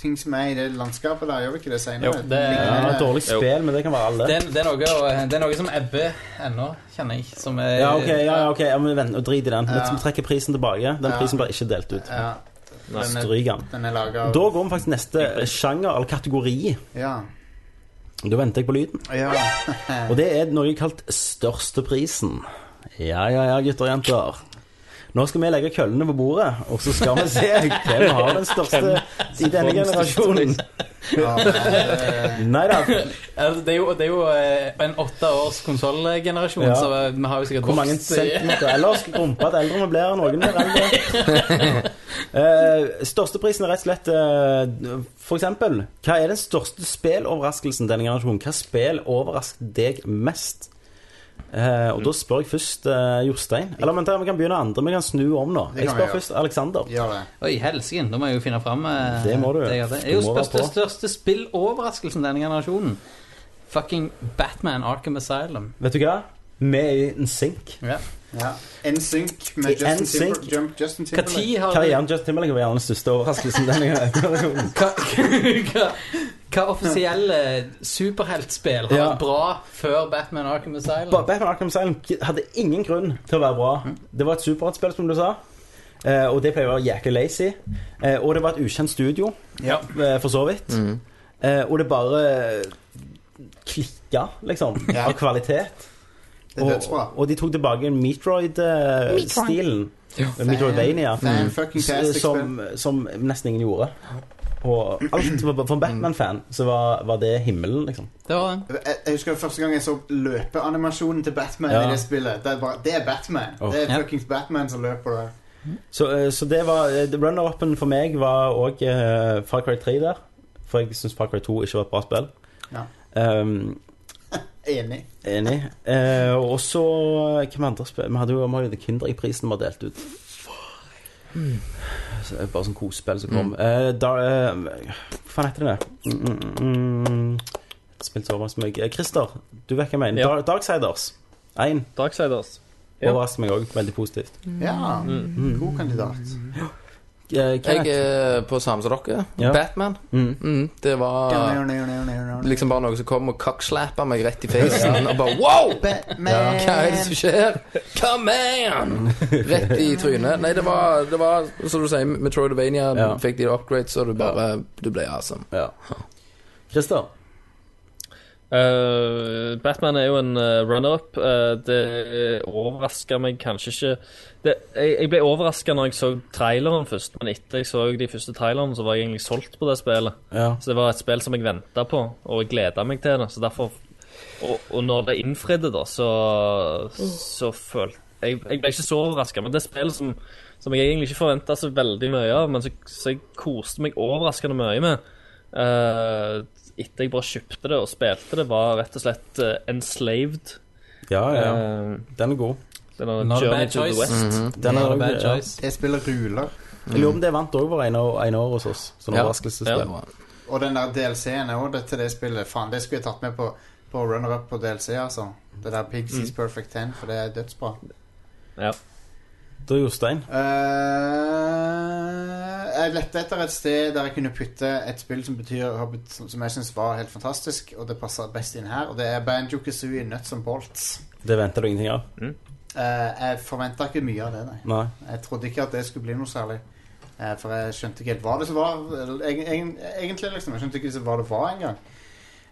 S8: ting som er i det landskapet der, gjør vi ikke det
S6: Jo,
S8: senere?
S6: det-
S10: Ja,
S8: Lignende-
S10: dårlig
S6: Jo.
S10: spill, men det kan være alle.
S7: Det, er- det, er noe, det er noe som ebber ennå, kjenner jeg. Som er,
S10: Ja, ok, ja, ja, ok, ja, men vent, og drit i den. Vi
S8: eh, Ja.
S10: trekker prisen tilbake. Den
S8: Ja. Eh,
S10: prisen blir ikke delt ut.
S8: Ja, den er,
S10: Stryk den.
S8: den er laga
S10: Da går vi faktisk til neste sjanger eller kategori.
S8: ja.
S10: Da venter jeg på lyden.
S8: ja. Eh.
S10: Og det er noe kalt størsteprisen. Ja, ja, ja, gutter og jenter. Nå skal vi legge køllene på bordet, og så skal vi se hvem har den største i denne generasjonen.
S8: ja eh,
S10: Nei da.
S7: Altså, det, er jo, det er jo eh, en åtte års konsollgenerasjon,
S10: Ja.
S7: så eh, vi har jo sikkert
S10: Hvor mange
S7: vokst i-
S10: centimeter ellers rumpa til eldre vi blir, noen blir eldre. Eh, størsteprisen er rett og slett eh, For eksempel, hva er den største spilloverraskelsen denne generasjonen? Hva spill overrasket deg mest? Eh, og da spør jeg først eh, Jostein. Eller vent, vi kan begynne andre. Vi kan snu om nå.
S8: Det
S10: Jeg
S8: kan
S10: spør
S8: vi gjøre.
S10: først Aleksander.
S8: gjør det.
S7: Oi, helsike, da må jeg jo finne fram eh,
S10: Det må du.
S7: jeg hadde.
S10: Du
S7: Det er jo
S10: må være
S7: største,
S10: på.
S7: største spilloverraskelsen denne generasjonen. Fucking Batman Arkham Asylum.
S10: Vet du hva? Vi er i en synk.
S7: Ja.
S8: Ja. NSYNC med Justin,
S10: NSYNC.
S8: Timber, Jump, Justin
S7: Hva
S8: Timberlake.
S7: tid har
S10: Hva er
S7: du
S10: gjerne Justin Timberlake var gjerne den største overraskelsen denne generasjonen.
S7: hva, hva, hva offisielle superheltspill har
S10: Ja.
S7: vært bra før Batman Arkham Asylum?
S10: Ba- Batman Arkham Asylum hadde ingen grunn til å være bra. Det var et superheltspill, som du sa. Eh, og det pleier å være jæklig lazy. Eh, og det var et ukjent studio,
S7: Ja.
S10: eh, for så vidt.
S9: Mm.
S10: Eh, og det bare klikka, liksom,
S8: Ja.
S10: av kvalitet.
S8: Det er
S10: Og,
S8: dødsbra.
S10: og de tok tilbake Metroid-stilen. Eh, Metroidvania.
S8: Fan fucking
S10: s-
S8: tastic spill.
S10: Som, som nesten ingen gjorde. Og alt for for en Batman-fan så var, var det himmelen, liksom.
S7: Det var den.
S8: Jeg, jeg husker første gang jeg så løpeanimasjonen til Batman
S10: Ja.
S8: i det spillet. Det er, bare, det er Batman.
S10: Åh.
S8: Det er
S7: Ja.
S8: fuckings Batman som løper der.
S10: Så, eh, så det var eh, Runner-upen for meg var òg uh, Far Cry 3 der. For jeg syns Far Cry 2 ikke var et bra spill.
S8: Ja.
S10: Ehm,
S8: Enig.
S10: enig. Eh, og så eh, Hvem andre spill? Vi hadde jo vi hadde jo The Kinderegg-prisen vi har delt ut. Så, eh, bare sånn kosespill som
S8: Mm.
S10: kom. Eh, da, eh, hva faen heter det? Mm, mm, mm, spilt så overraskende meg. Eh, Christer, du vet hva jeg mener.
S6: Ja.
S10: Dar Darksiders 1
S6: Darksiders. Mm. Ja.
S10: overrasker meg òg veldig positivt.
S8: Ja. Mm.
S10: Mm.
S8: God kandidat.
S10: Eh,
S9: Jeg
S10: Kenneth?
S9: er på samme som dere.
S10: Ja.
S9: Batman.
S10: Mm.
S9: Mm, det var
S8: Batman.
S9: liksom bare noe som kom og kakslappa meg rett i facen. Og bare wow! Hva er det som skjer? Come on! Rett i trynet. Nei, det var, det var som du sier, Metroidvania
S10: Ja.
S9: fikk de upgrades, og du bare Du ble awesome.
S10: Ja. Christer?
S6: Eh, Batman er jo en eh, runner-up. Eh, det overraska meg kanskje ikke det, jeg, jeg ble overraska når jeg så traileren først, men etter jeg så de første trailerne, så var jeg egentlig solgt på det spillet.
S10: Ja.
S6: Så det var et spill som jeg venta på, og jeg gleda meg til det. Så derfor Og, og når det innfridde, da, så, så følte jeg, jeg ble ikke så overraska, men det er spill som, som jeg egentlig ikke forventa så veldig mye av, men så, så jeg koste meg overraskende mye med. eh, etter jeg bare kjøpte det og spilte det, var rett og slett eh, Enslaved.
S10: Ja, Ah, ja. ja.
S6: Eh,
S10: Den er god.
S6: den der
S7: Not a
S6: Journey
S7: bad
S6: to the
S7: choice.
S6: West.
S10: Den er
S7: Not a
S10: også-
S7: bad
S10: ja.
S7: choice.
S8: Jeg spiller ruler.
S9: Mm.
S10: Jeg lurer på om det vant òg for én år hos oss. Sånn
S9: Ja.
S10: overraskelsesspill.
S9: Ja.
S8: Og den der DLC-en er også det til det spillet. Faen, det skulle jeg tatt med på, på runner-up på DLC, altså. Det der Pixies Perfect 10, for det er dødsbra.
S10: Da, Jostein.
S8: Eh, jeg lette etter et sted der jeg kunne putte et spill som, betyr, har bet- som som jeg syns var helt fantastisk, og det passer best inn her, og det er Banjo Kazooie Nuts and Bolts.
S10: Det venter du ingenting av?
S8: Eh, jeg forventa ikke mye av det, nei.
S10: Nei.
S8: Jeg trodde ikke at det skulle bli noe særlig. Eh, For jeg skjønte ikke helt hva det som var. eller egen- egen- Egentlig, liksom. Jeg skjønte ikke hva det var engang.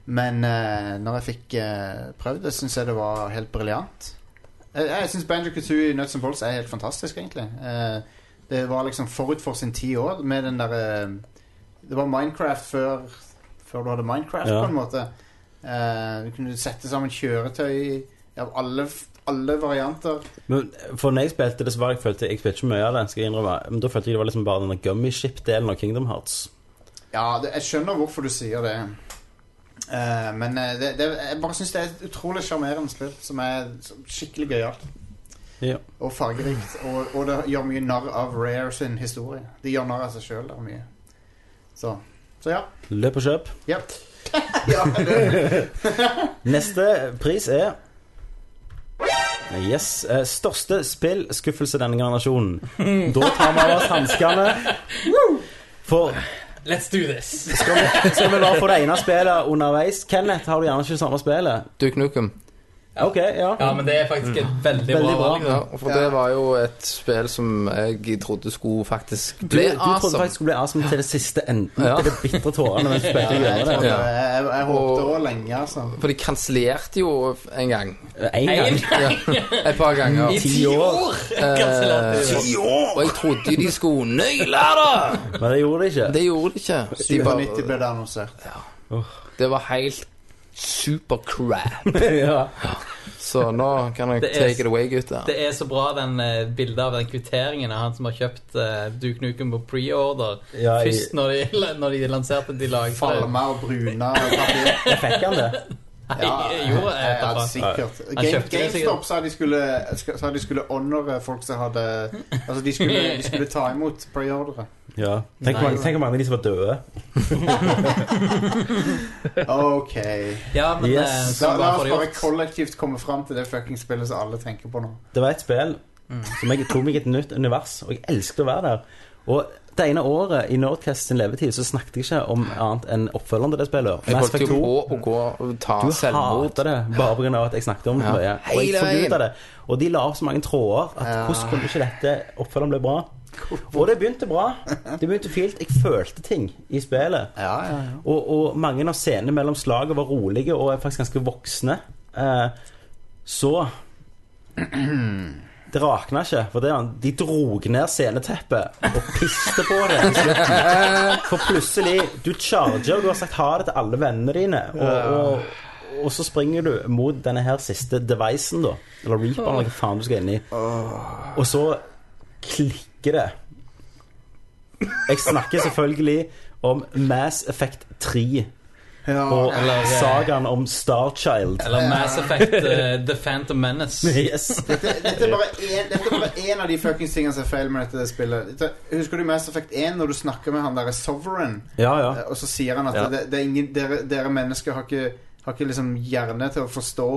S8: Men eh, når jeg fikk eh, prøvd det, syns jeg det var helt briljant. Jeg, jeg syns Banjo Kazooie Nuts and Bolts er helt fantastisk, egentlig. Eh, det var liksom forut for sin tid år med den derre Det var Minecraft før, før du hadde Minecraft,
S10: Ja.
S8: på en måte. Eh, du kunne sette sammen kjøretøy av alle, alle varianter.
S10: Men for når jeg spilte det, så var jeg følte jeg spilte ikke mye av det. Skal jeg innrømme Men Da følte jeg det var liksom bare denne gummiship-delen av Kingdom Hearts.
S8: Ja, det, jeg skjønner hvorfor du sier det. Eh, men eh, det, det, jeg bare syns det er et utrolig sjarmerende spill som er som- skikkelig gøyalt.
S10: Ja.
S8: Og fargerikt. Og, og det gjør mye narr av Rare sin historie. De gjør narr av seg sjøl der mye. Så, så ja.
S10: Løp og kjøp.
S8: ja. ja det,
S10: Neste pris er Yes. eh, Største spillskuffelse denne generasjonen. Da tar vi av oss hanskene. For
S7: Let's do this.
S10: skal vi, skal vi bare få det ene spillet underveis? Kenneth, har du gjerne ikke samme spillet?
S9: Duke Nukem.
S10: Ok, ja.
S7: Ja, men det er faktisk et veldig,
S10: Veldig
S7: bra
S10: bra.
S7: valg.
S9: Ja, for det var jo et spill som jeg trodde skulle faktisk
S10: Du,
S9: bli
S10: du trodde
S9: awesome.
S10: faktisk det skulle bli awesome til det siste enden.
S9: Ja.
S10: Til det bitre tårene mens du spilte gjennom det.
S8: jeg,
S9: Ja.
S8: jeg, jeg håpte
S9: Og-
S8: òg lenge, altså.
S9: For de kansellerte jo en gang.
S10: En gang.
S9: Ja, et par ganger. Eh,
S10: Ti år.
S9: Ti år! Og jeg trodde de skulle nøyle det!
S10: Men det gjorde det ikke.
S9: Det gjorde de ikke. De
S8: 97
S9: bare,
S8: ble det annonsert.
S9: det var helt supercrap.
S10: ja.
S9: Så nå kan jeg
S7: Det er-
S9: take it away, gutter.
S7: Det er så bra den eh, bildet av den kvitteringen av han som har kjøpt eh, Duke Nukem på pre-order.
S10: Ja, jeg-
S7: Først når de, når de lanserte de lagde det.
S8: Falma og bruna og papir.
S10: Fikk han det?
S7: Ja, Eh, jo, jeg,
S8: ja, eh,
S7: vet da faen.
S8: sikkert.
S7: Han
S8: Game,
S7: kjøpte det
S8: GameStop
S7: sikkert.
S8: sa de skulle Sa de skulle honore folk som hadde Altså, de skulle, de skulle ta imot preordre.
S10: Ja. Tenk hvor mange- tenk hvor mange av de som var døde.
S8: OK.
S7: Ja, men
S10: Yes.
S7: eh, så
S8: La, la
S7: bra
S8: oss
S7: for
S8: bare
S7: det gjort.
S8: kollektivt komme fram til det fuckings spillet som alle tenker på nå.
S10: Det var et spill som jeg tok meg i et nytt univers, og jeg elsket å være der. Og det ene året i Nerdcast sin levetid så snakket jeg ikke om annet enn oppfølgeren til det spillet.
S9: Jeg
S10: Mass
S9: holdt jo
S10: Effect 2.
S9: på å gå og ta
S10: Du
S9: selvmord.
S10: hater det bare pga. at jeg snakket om det.
S9: Ja.
S10: mye. Og jeg
S9: Hele veien.
S10: forgudet det. Og de la opp så mange tråder at hvordan kunne ikke dette oppfølgeren bli bra? Og det begynte bra. Det begynte fint. Jeg følte ting i spillet.
S8: Ja, ja, ja.
S10: Og, og mange av scenene mellom slaget var rolige og er faktisk ganske voksne. Eh, så Det rakna ikke. For det, de drog ned sceneteppet og piste på det. i slutten. For plutselig Du charger, og du har sagt ha det til alle vennene dine. Og, og, og så springer du mot denne her siste devicen, da. Eller reaperen, eller hva faen du skal inn i. Og så klikker det. Jeg snakker selvfølgelig om Mass Effect 3 og sagaen om Starchild.
S7: Eller Mass Effect eh, The Phantom Menace.
S10: Yes.
S8: Dette, dette er bare en- dette er bare én av de fuckings tingene som er feil med dette spillet. Dette, husker du Mass Effect 1, når du snakker med han derre Sovereign?
S10: Ja, ja.
S8: Eh, Og så sier han at
S10: Ja.
S8: det, det er ingen, dere, dere mennesker har ikke, har ikke liksom hjerne til å forstå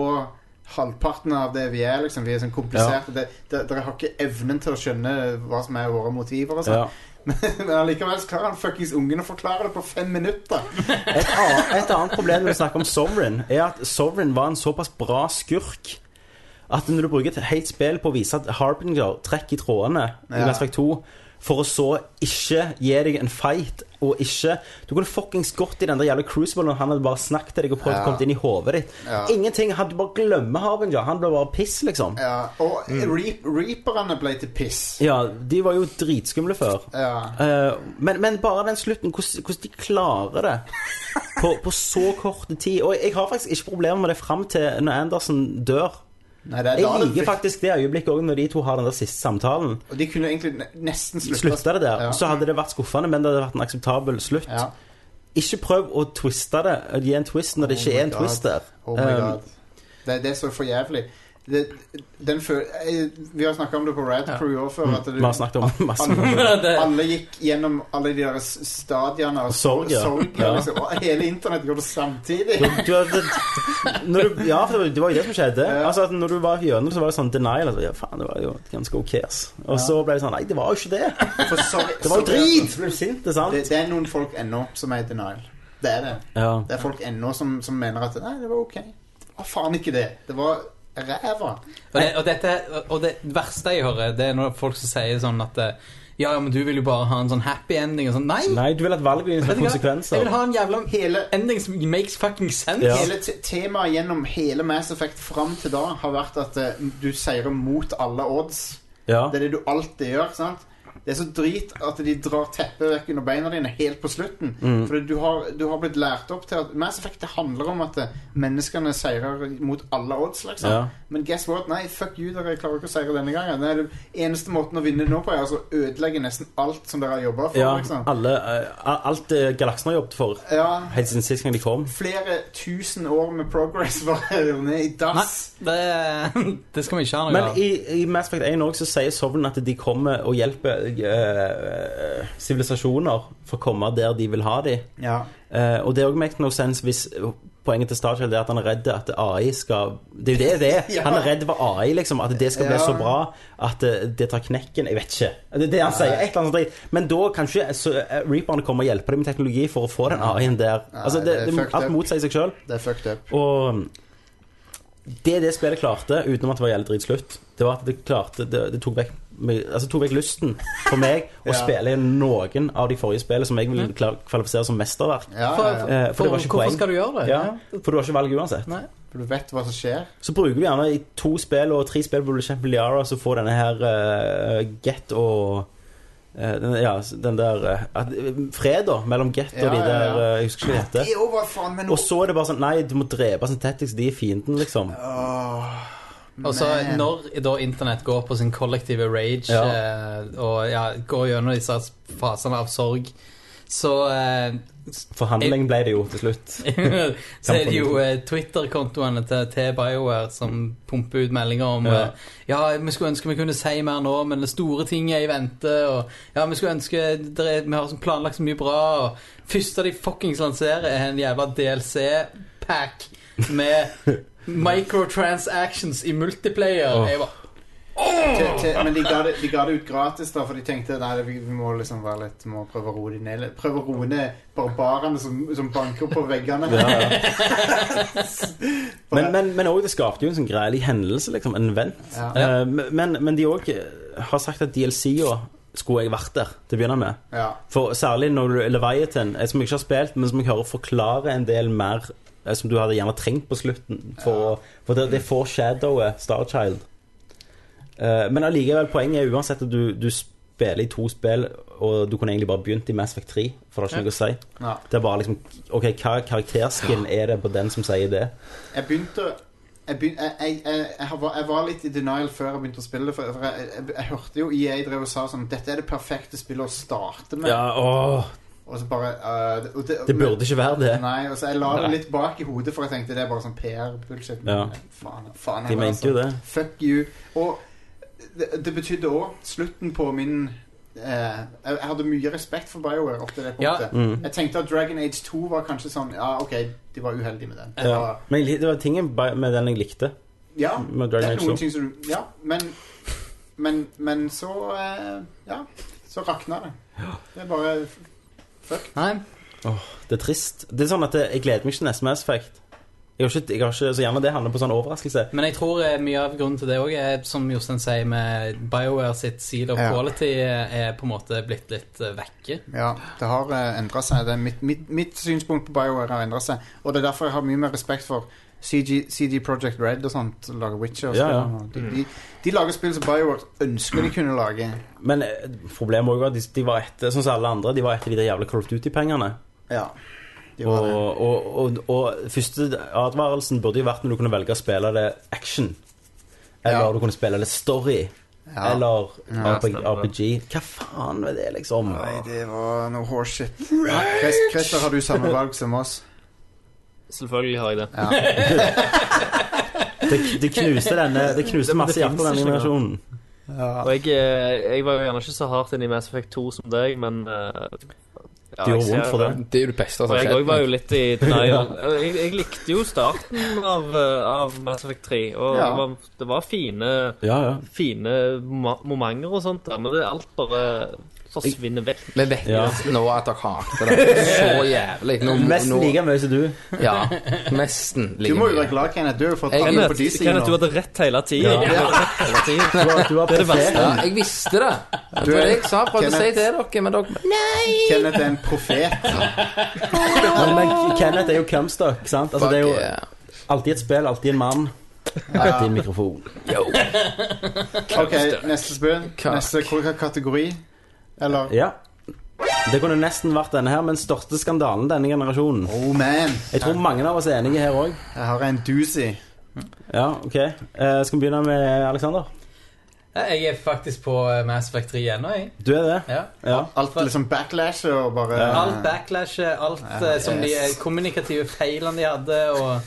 S8: halvparten av det vi er. Liksom. Vi er sånn kompliserte. Det, det, dere har ikke evnen til å skjønne hva som er våre motiver. Og sånn.
S10: ja.
S8: Men allikevel så klarer han fuckings ungen å forklare det på fem minutter.
S10: Et, annet, et annet problem når du snakker om Sovereign, er at Sovereign var en såpass bra skurk at når du bruker et helt spill på å vise at Harbinger trekker i trådene i
S8: Ja.
S10: Mass Effect 2 for å så ikke gi deg en fight og ikke Du kunne fuckings gått i den der jævla cruisiblen og han hadde bare snakket til deg og prøvd å komme det inn i hodet ditt.
S8: Ja.
S10: Ingenting. Han du bare glemmer Harbinger. Han ble bare piss, liksom. Ja.
S8: Ja, og reap, reaperne ble til piss.
S10: de var jo dritskumle før.
S8: Ja.
S10: Eh, men, men bare den slutten, hvordan, hvordan de klarer det på, på så kort tid. Og jeg har faktisk ikke problemer med det fram til når Andersen dør.
S8: Nei, det er
S10: Jeg
S8: da det
S10: liker faktisk det øyeblikket også når de to har den der siste samtalen.
S8: Og de kunne egentlig ne- nesten slutta
S10: Slutta det der,
S8: Ja.
S10: så hadde det vært skuffende, men det hadde vært en akseptabel slutt.
S8: Ja.
S10: Ikke prøv å twiste det, å gi en twist når det
S8: Oh
S10: ikke
S8: my
S10: er en
S8: God.
S10: twist der.
S8: Oh my
S10: Um,
S8: god. Det, det er så for jævlig. Det, den fø- eh, vi har snakka om det på Rad Crew òg før. At det,
S10: Mm. Vi har snakket om masse
S8: alle, alle gikk gjennom alle de der s- stadiene av
S10: Sorg, ja. Ja.
S8: liksom. Og hele internett gjorde det samtidig.
S10: du, du, hadde- når du, ja, for det var- det var jo det som skjedde.
S8: Ja.
S10: Altså at Når du var gjennom, så var det sånn denial. Altså, ja, faen, det var jo ganske ok, ass. Og så ble det sånn Nei, det var jo ikke det.
S8: For sorg,
S10: Det var jo
S8: sorg-
S10: drit! Så ble du sint, det er sant?
S8: Det, det er noen folk ennå som er i denial. Det er det.
S10: Ja.
S8: Det er folk ennå som, som mener at Nei, det var ok. Det var faen ikke det. Det var ræva.
S7: Og det, og, dette, og det verste jeg hører, det er når folk som sier sånn at eh, Ja, ja, men du vil jo bare ha en sånn happy ending og sånn. Nei!
S10: Nei, du vil at valget dine
S7: Vet du
S10: skal ha
S7: hva? Jeg
S10: konsekvenser.
S7: vil ha en jævla
S8: Hele
S7: ending som makes fucking sense.
S10: Ja.
S8: Hele te- temaet gjennom hele Mass Effect fram til da har vært at eh, du seirer mot alle odds.
S10: Ja.
S8: Det er det du alltid gjør. sant? Det er så drit at de drar teppet vekk under beina dine helt på slutten.
S10: Mm.
S8: For du har, du har blitt lært opp til at Mass Effect det handler om at eh, menneskene seirer mot alle odds. liksom.
S10: Ja.
S8: Men guess what? Nei, fuck you, dere klarer ikke å seire denne gangen. Det er det eneste måten å vinne nå på er altså å ødelegge nesten alt som dere har jobba for.
S10: ja
S8: liksom.
S10: alle, eh, alt eh, galaksen har jobbet for
S8: Ja,
S10: helt siden sist gang de kom.
S8: Flere tusen år med progress var ned i
S7: Nei,
S8: dass.
S7: det, det skal vi ikke ha noe
S10: Men
S7: av.
S10: i, i Mass Effect 1 også, så sier Sovnen at de kommer og hjelper eh, sivilisasjoner for å komme der de vil ha dem.
S8: Ja.
S10: Eh, og det er også make no sense hvis poenget til Starchild er at han er redd at AI skal Det er jo det det er.
S8: Ja.
S10: Han er redd for AI, liksom. At det skal bli
S8: Ja.
S10: så bra at eh, det tar knekken. Jeg vet ikke. Det er det han sier. Et eller annet sånt dritt. Men da kan ikke så, eh, Reaperne komme og hjelpe dem med teknologi for å få den AI-en der.
S8: Nei,
S10: altså, det,
S8: det er
S10: det,
S8: fucked up.
S10: alt motsier seg sjøl.
S8: Det er fucked up.
S10: Og mm, det det spillet klarte, utenom at det var jævlig dritslutt, det var at det klarte Det, det tok, vekk, altså, tok vekk lysten for meg å
S8: Ja. Mm.
S10: spille noen av de forrige spillene som jeg ville klar- kvalifisere som mesterverk.
S8: Ja,
S7: For,
S8: ja, ja.
S10: Eh, for det var ikke
S7: hvorfor
S10: poeng.
S7: skal du gjøre det?
S10: Ja, for du har ikke valg uansett.
S7: Nei.
S8: For du vet hva som skjer.
S10: Så bruker du gjerne i to spill og tre spill på Champion Liara, så får denne her eh, Get og eh, den, Ja, den der eh, at, Fred, da, mellom Get
S8: Ja,
S10: og de
S8: ja,
S10: der
S8: ja.
S10: eh, Jeg husker ikke hva det
S8: Det
S10: heter.
S8: er jo bare faen meg
S10: Og
S8: noe
S10: så er det bare sånn Nei, du må drepe Synthetics, de er fienden, liksom.
S7: Og så
S8: Man.
S7: når da internett går på sin kollektive rage
S10: Ja.
S7: eh, og ja, går gjennom disse fasene av sorg, så eh,
S10: Forhandling ble det jo til slutt.
S7: så er det jo eh, Twitter-kontoene til, til BioWare som pumper ut meldinger om
S10: Ja.
S7: eh, Ja, vi skulle ønske vi kunne si mer nå, men det store ting er i vente. Og, ja, vi skulle ønske det er- Vi har sånn planlagt så mye bra. Og første de fuckings lanserer, er en jævla DLC-pack med microtransactions i multiplayer.
S10: Åh.
S7: Jeg bare
S8: til, til, Men de ga, det, de ga det ut gratis, da, for de tenkte nei, vi, vi må liksom være litt må prøve å roe de ned. litt. Prøve å roe ned barbarene som, som banker på veggene.
S10: Men, men, men også, det skapte jo en sånn greielig hendelse, liksom. En vent.
S8: Ja.
S10: Eh, men, men de òg har sagt at DLC-a skulle jeg vært der til å begynne med.
S8: ja.
S10: For særlig når du Leviathan, eh, som jeg ikke har spilt, men som jeg hører forklarer en del mer eh, som du hadde gjerne trengt på slutten. For, å- for det, det foreshadower Starchild. Eh, men allikevel, poenget er uansett at du, du spiller i to spill, og du kunne egentlig bare begynt i Mass Effect 3, for det har ikke noe å si.
S8: Ja.
S10: Det er bare liksom OK, hva karakterskin er det på den som sier det?
S8: Jeg begynte jeg, begyn, jeg, jeg, jeg, jeg, har- jeg var litt i denial før jeg begynte å spille det. For for jeg, jeg, jeg hørte jo EA drev og sa sånn Dette er det perfekte spillet å starte med.
S10: åh,
S8: Og så bare øh, og
S10: Det burde ikke være det.
S8: Nei, og så jeg la det litt bak i hodet, for jeg tenkte det er bare sånn PR-bullshit.
S10: Ja.
S8: Faen, faen,
S10: De
S8: jeg var
S10: mente jo
S8: sånn,
S10: det.
S8: Fuck you. Og det, det betydde òg slutten på min eh, jeg, jeg hadde mye respekt for BioWare opp til det
S7: Ja.
S8: punktet.
S10: Mm.
S8: Jeg tenkte at Dragon Age 2 var kanskje sånn Ja, OK, de var uheldige med den.
S10: Ja.
S8: Og-
S10: Men jeg lik- det var tingen ba- med den jeg likte.
S8: ja
S10: Med
S8: det
S10: Dragon
S8: er
S10: Age
S8: noen
S10: 2.
S8: ting som du Ja, men Men, men så eh, Ja, så rakna det. Det er bare
S7: Nei.
S10: Det er trist. Det er sånn at jeg gleder meg ikke til neste Mass Effect. Jeg har ikke, jeg har ikke, så gjerne det handler på sånn overraskelse.
S7: Men jeg tror eh, mye av grunnen til det òg er, som Jostein sier, med BioWare sitt seal of
S8: Ja.
S7: quality eh, er på en måte blitt litt eh, vekke.
S8: Ja, det har uh, endra seg. Det er mitt, mitt, mitt synspunkt på BioWare har endra seg. Og det er derfor jeg har mye mer respekt for CG, CG Project Red og sånt. som Lager Witcher og
S10: Ja,
S8: spill.
S10: ja.
S8: og De, de, de lager spill som BioWare ønsker de kunne lage.
S10: Men eh, problemet var jo at de, de var etter sånn som alle andre, de var etter de der jævla Call of Duty-pengene.
S8: Ja. De
S10: Og,
S8: var det.
S10: og, og, og første advarelsen burde jo vært når du kunne velge å spille det action. Eller
S8: Ja.
S10: du kunne spille det story.
S8: Ja.
S10: eller
S8: Ja,
S10: RPG,
S6: stemmer.
S10: RPG. Hva faen er det, liksom?
S8: Nei, det var noe horseshit. Ja, Chris- Christer, har du samme valg som oss?
S6: Selvfølgelig har jeg det.
S8: Ja.
S10: Det, det knuste denne Det knuste masse
S6: det
S10: hjerter,
S6: finnes
S10: den
S6: ikke noe.
S10: animasjonen.
S8: Ja.
S6: Og jeg, eh, jeg var jo gjerne ikke så hardt inn i Mass Effect 2 som deg, men eh, ja,
S10: Det
S6: jeg
S10: gjorde
S6: ser
S10: vondt for det.
S9: Det er jo det beste
S6: Og
S9: som
S6: Altså,
S9: har
S6: jeg òg var
S9: skjedd.
S6: jo litt i denial. Jeg, jeg likte jo starten av, eh, av Mass Effect 3, og
S8: Ja.
S6: det, var, det var fine,
S10: Ja, ja.
S6: fine moma- momenter og sånt der, men det alt bare forsvinner vekk.
S9: Vi vet
S10: Ja.
S9: nesten nå at dere hater det så jævlig. Nå,
S10: Mest
S9: nå,
S10: like mye som du.
S9: Ja, nesten
S8: Du
S9: like
S8: må jo være
S9: mye.
S8: glad, Kenneth. Du har jo fått
S9: Jeg-
S8: alle
S6: Kenneth,
S8: på de
S6: Kenneth, du
S8: sidene.
S6: hadde rett hele tida.
S10: Ja.
S6: Ja.
S10: Du var, du var
S6: Det er det verste.
S10: profeten.
S9: Ja, jeg visste det. Det
S8: Du
S9: var
S8: er-
S9: det jeg sa. Prøvde å si
S8: Kenneth-
S9: det til dere, men dere
S8: Kenneth er en profet.
S10: Men, men Kenneth er jo Camstuck, sant? Altså, det er jo alltid et spill, alltid en mann. Alltid en mikrofon.
S8: OK, neste spill. Neste k- k- kategori. Eller
S10: Ja. Det kunne nesten vært denne her, men største skandalen denne generasjonen.
S8: Oh man,
S10: Jeg tror mange av oss er enige her òg.
S8: jeg har en doozy.
S10: Ja, OK. Eh, skal vi begynne med Aleksander?
S7: Ja, Jeg er faktisk på eh, Mass Effect 3 ennå, jeg.
S10: Du er det?
S7: Ja.
S10: Ja.
S8: Alt liksom backlash og bare
S7: Alt backlashet, alt eh, som de eh, kommunikative feilene de hadde, og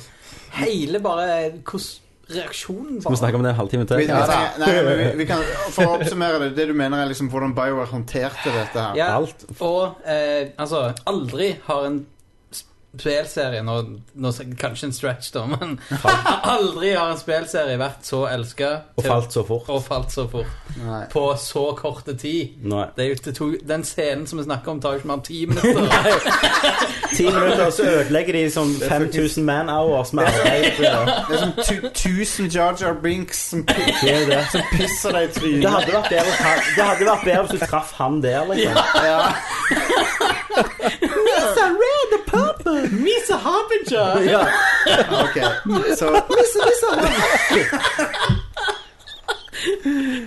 S7: hele bare hvordan reaksjonen
S10: Skal vi
S7: var.
S10: snakke om det en halvtime til?
S8: Vi, vi, trenger- nei, men vi, vi kan, For å oppsummere det, det du mener er liksom hvordan BioWare håndterte dette her.
S7: Ja,
S10: Alt.
S7: og eh, altså, aldri har en sp- spelserie Nå, nå s- kanskje en stretch, da, men aldri har en spelserie vært så elska
S10: Og falt så fort.
S7: og falt så fort
S8: Nei.
S7: på så kort tid.
S10: Nei.
S7: Det er jo, det tok, den scenen som vi snakker om, tar jo ikke mer enn ti minutter.
S10: Ti minutter, så ødelegger de sånn 5000 man-hours med arbeid. Det
S8: Det er som tu- 1000 Jar Jar Binks som pi-
S10: er jo det.
S8: pisser deg i
S10: Det
S8: trynet.
S10: hadde vært bedre, å ta- det hadde vært bedre hvis du traff han der, liksom.
S8: Ja.
S10: Misa Red the Purple! Misa Harbinger! Ja.
S8: Ok, så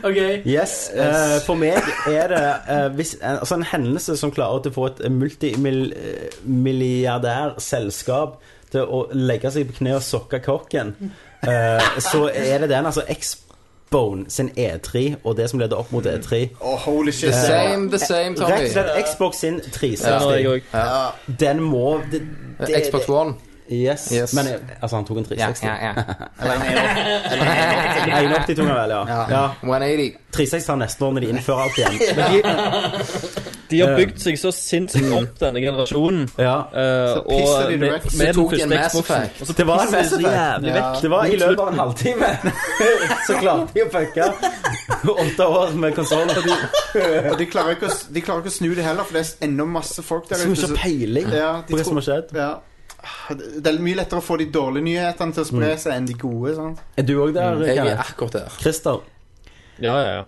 S7: Ok
S10: Yes. eh, for meg er det eh, hvis, en, altså en hendelse som klarer til å få et multimilliardærselskap til å legge seg på kne og sokke kokken, eh, så er det den. Altså Xbone sin E3 og det som leder opp mot E3.
S8: Å, holy shit.
S9: The
S8: det var-
S9: same, the same,
S10: Rett og
S9: Tommy.
S10: slett Xbox sin
S6: Ja, jeg
S10: 360.
S6: òg.
S8: Ja.
S10: Den må det, det,
S9: Xbox One.
S10: Yes.
S9: Yes.
S10: Men altså, han tok en 360.
S9: ja.
S8: Eller en Aerox.
S10: Nei, 80 tok han vel, ja.
S8: Ja.
S10: ja.
S9: 180.
S10: 360 tar neste år når de innfører alt igjen.
S6: De har bygd seg så sinnssykt opp, denne generasjonen.
S10: Ja.
S6: eh,
S8: Så
S6: og
S8: pisser de
S6: med,
S8: det vekk.
S9: Så
S6: med den
S9: tok en
S6: første
S9: Mass
S6: Xboxen.
S9: Effect.
S6: Og så
S10: Det var en
S6: pisser de så
S10: Mass Effect.
S6: jævlig
S8: Ja.
S6: vekk.
S10: Det var i løpet av en halvtime Så klarte de å fucke åtte år med konsoll
S8: Og de klarer, ikke å, s- de klarer ikke å snu det heller, for det er ennå masse folk der
S10: Som ikke har
S8: så-
S10: peiling
S8: ja, de
S10: på hva som
S8: tror,
S10: har skjedd.
S8: ja. Det er mye lettere å få de dårlige nyhetene til å spre seg enn de gode. sant?
S10: Mm. Er du òg der,
S9: Jeg er
S10: Kenneth?
S9: akkurat der.
S10: Christer?
S6: Ja, ja, ja.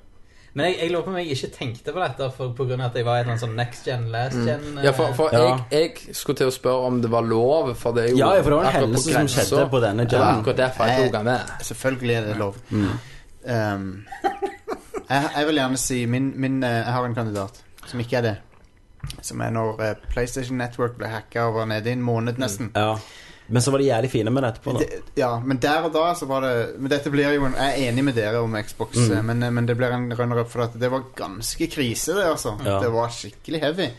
S7: Men jeg, jeg lurer på om jeg ikke tenkte på dette for, på grunn av at jeg var i et eller annet sånn next gen, last gen eh,
S9: Mm. Ja, for, for
S10: Ja.
S9: jeg, jeg skulle til å spørre om det var lov, for det er jo
S10: Ja, ja, for det var en
S9: akkurat på
S10: hendelse som
S9: grensa.
S10: skjedde på denne
S9: Det var
S10: jammen.
S9: akkurat derfor jeg tok han med.
S8: Selvfølgelig er det lov.
S10: Mm.
S8: Um, jeg, jeg vil gjerne si min, min, eh, Jeg har en kandidat som ikke er det. Som er når eh, PlayStation Network ble hacka og var nede i en måned, nesten.
S10: Ja. Men så var de jævlig fine med det etterpå. Da.
S8: Det- Ja, men der og da så var det Men dette blir jo en, Jeg er enig med dere om Xbox,
S10: Mm.
S8: eh, men, men det blir en runner-up for at det var ganske krise, det, altså.
S10: Ja.
S8: Det var skikkelig heavy.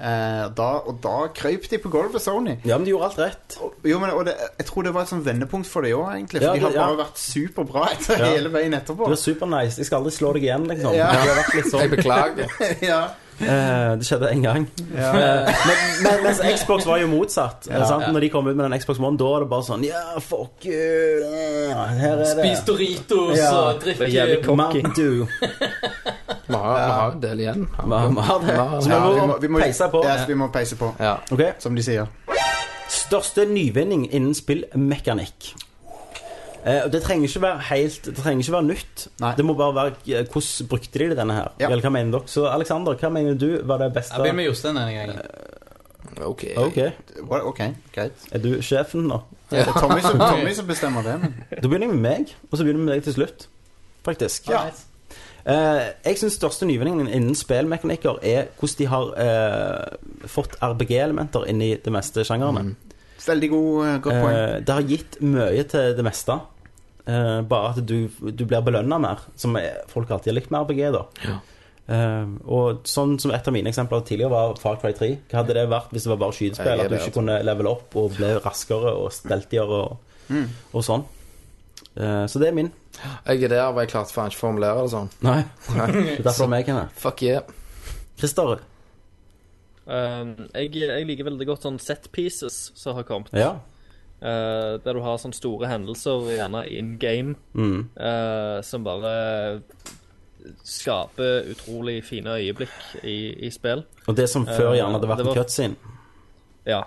S8: Eh, da, og da krøyp de på gulvet, Sony.
S10: Ja, men de gjorde alt rett.
S8: Og- Jo, men og det, Jeg tror det var et sånn vendepunkt for det òg, egentlig. For
S10: Ja,
S8: de har
S10: det- ja.
S8: bare vært superbra etter
S10: Ja.
S8: hele veien
S10: Du
S8: etterpå.
S10: er supernice. Jeg skal aldri slå deg igjen, liksom.
S8: Ja.
S10: Det, har vært litt
S9: Jeg
S10: sånn.
S9: beklager.
S8: ja.
S10: Eh, det skjedde én gang.
S8: Ja.
S10: Eh, men, men, mens Xbox var jo motsatt.
S8: Ja.
S10: sant? Når de kom ut med den Xbox One, da var det bare sånn Ja, fuck you! eh, Her er det.
S7: Spis Doritos
S10: Ja.
S7: og drikk
S6: Det er jævlig
S7: eh,
S6: cocky.
S10: Mandu.
S9: Vi har, vi har en del igjen.
S10: Mamma, det. Så
S8: Ja,
S10: vi må, peise på.
S8: Ja, så vi må peise på,
S9: Ja.
S10: Ok.
S8: som de sier.
S10: Største nyvinning innen spillmekanikk. Eh, og det trenger ikke være helt Det trenger ikke være nytt.
S8: Nei.
S10: Det må bare være eh, hvordan brukte de denne her.
S8: Ja.
S10: Eller hva mener dere? Så Aleksander, hva mener du var det beste
S7: Jeg begynner med Jostein denne gangen.
S9: Ok.
S10: Ok,
S8: What? Ok, greit.
S10: Er du sjefen nå?
S8: Det er Tommy som, Tommy som bestemmer det. Men.
S10: Da begynner jeg med meg, og så begynner vi med deg til slutt. Faktisk.
S8: Ja.
S7: Alright.
S10: Eh, jeg syns største nyvinningen innen spillmekanikker er hvordan de har eh, fått RBG-elementer inn i
S8: Mm.
S10: det meste sjangerne.
S8: Veldig god, eh, godt poeng.
S10: Eh, det har gitt mye til det meste. eh, bare at du, du blir belønna mer, som er- folk alltid har likt med RPG. da Eh, og sånn som Et av mine eksempler tidligere var Far Cry 3. Hva hadde det vært hvis det var bare
S9: Jeg
S10: skytespill?
S9: er
S10: At du
S9: det,
S10: ikke
S9: altså.
S10: kunne levele opp og ble raskere og steltigere og, og sånn. Eh, så det er min.
S9: Jeg er der, men jeg klarte faen ikke å formulere det sånn.
S10: Nei. Det er derfor vi er her.
S9: Fuck yeah.
S10: Christer.
S6: Eh, jeg, jeg liker veldig godt sånn set pieces som har kommet.
S10: Ja.
S6: eh, der du har sånne store hendelser, gjerne in game,
S10: Mm.
S6: eh, som bare skaper utrolig fine øyeblikk i, i spill.
S10: Og det som før
S6: Eh,
S10: gjerne hadde vært
S6: det
S10: en
S6: var-
S10: cutscene.
S6: Ja.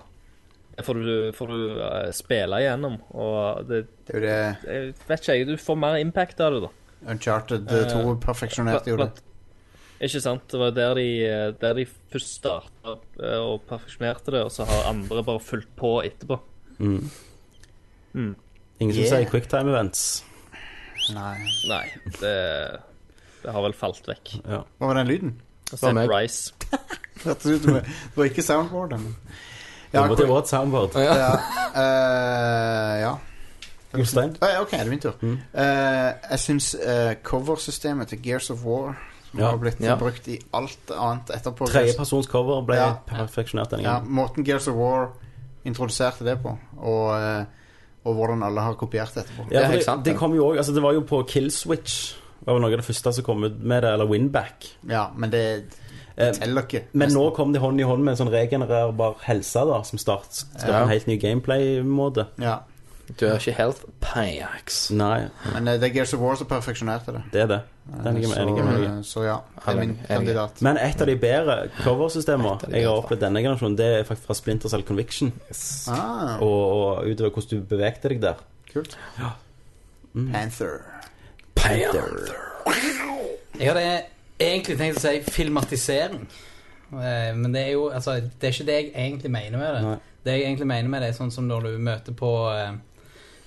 S6: Det får du, får du eh, spille igjennom, og det
S8: Det er jo det
S6: jeg vet ikke jeg, du får mer impact av det, da.
S8: Uncharted
S6: Eh,
S8: 2 perfeksjonerte gjorde.
S6: Plat- Ikke sant? Det var der de, eh, der de først starta og perfeksjonerte det, og så har andre bare fulgt på etterpå.
S10: Mm.
S6: Mm.
S10: Ingen som
S8: Yeah.
S10: sier quicktime events.
S8: Nei.
S6: Nei, det, det har vel falt vekk.
S8: Hva var den lyden?
S6: Og
S9: var
S6: så
S9: meg.
S6: Rice.
S8: Hørtes ut som Det var ikke soundboardet. men-
S10: Ja,
S8: Ja,
S10: det var et soundboard.
S9: Ja.
S8: ja. eh, ja.
S10: Jostein.
S8: Ah, ja, ok, det er min tur.
S10: Mm.
S8: Eh, jeg syns eh, coversystemet til Gears of War, som
S10: Ja.
S8: har blitt
S9: Ja.
S8: brukt i alt annet etterpå
S10: Tredjepersons cover ble
S8: Ja.
S10: perfeksjonert denne
S8: ja,
S10: gangen.
S8: Måten Gears of War introduserte det på, og, eh, og hvordan alle har kopiert det etterpå.
S10: Ja,
S9: Det er
S10: for
S9: helt
S10: det,
S9: sant,
S10: det
S9: det.
S10: kom jo også, altså det var jo på Killswitch. Det var vel noe av det første som kom ut med det, eller Winback.
S8: Ja, men det
S10: Eh,
S8: teller ikke.
S10: men nå kom det hånd i hånd med en sånn regenererbar helse, da, som start, starter
S9: Ja.
S10: en helt ny gameplay-måte.
S8: Ja,
S9: Du er ikke helt pajaks.
S10: Nei,
S8: men eh, det er Gears of War som perfeksjonerte det. Eh,
S10: det er det. Det er jeg enig med- enig med. deg i.
S8: så, så ja, det
S9: Ja,
S8: er min
S9: enig.
S8: kandidat.
S10: Men et av de bedre
S9: Et av
S10: coversystemene
S9: de
S10: jeg har
S9: bedre.
S10: opplevd denne generasjonen, det er faktisk fra Splinter Cell Conviction.
S8: Ah,
S10: Og, og utover hvordan du bevegte deg der.
S8: kult. Panther.
S7: Jeg hadde egentlig tenkt å si filmatisering. Eh, Men det er jo altså, Det er ikke det jeg egentlig mener med det.
S10: Nei.
S7: Det jeg egentlig mener med det, er sånn som når du møter på eh,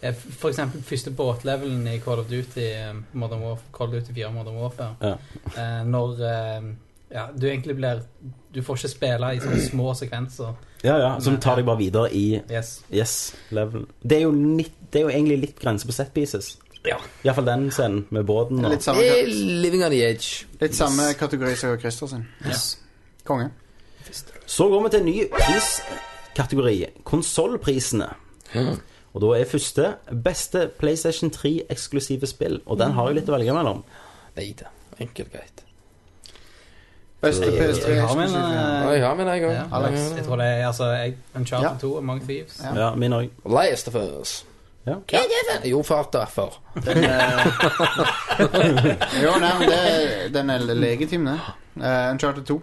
S7: eh, For eksempel første båtlevelen i Call of Duty eh, Modern Warfare, Call of Duty 4 Modern Warfare.
S10: Ja.
S7: Eh, Når eh, ja, du egentlig blir Du får ikke spille i sånne små sekvenser.
S10: Ja, ja, som tar deg bare videre i
S7: Yes.
S10: Yes, level det er, jo litt, det er jo egentlig litt grense på set pieces.
S7: Ja.
S10: Iallfall den scenen med båten. Og,
S8: Litt samme,
S9: Det er
S8: ka-
S9: living on the edge.
S8: litt samme kategori som Christer sin.
S10: Yes.
S8: Konge.
S10: Så går vi til en ny priskategori. Konsollprisene. Og da er første beste PlayStation 3-eksklusive spill. Og den har jeg litt å velge mellom.
S9: Nei da. Enkelt greit.
S8: Beste PS3
S7: Jeg har min,
S8: eksklusiv. ja.
S9: Ja,
S7: eh,
S9: jeg har min, jeg
S7: ja, Alex, jeg
S9: òg.
S7: tror det er altså, jeg, Uncharted
S8: Ja.
S7: 2 og Among Thieves.
S8: Ja.
S10: Ja, min òg.
S9: Last of us.
S10: Ja.
S9: Hva er det for? Jo, fart derfor.
S10: eh,
S8: Jo, nei, men det, den er legitim, det. Eh, Uncharted 2.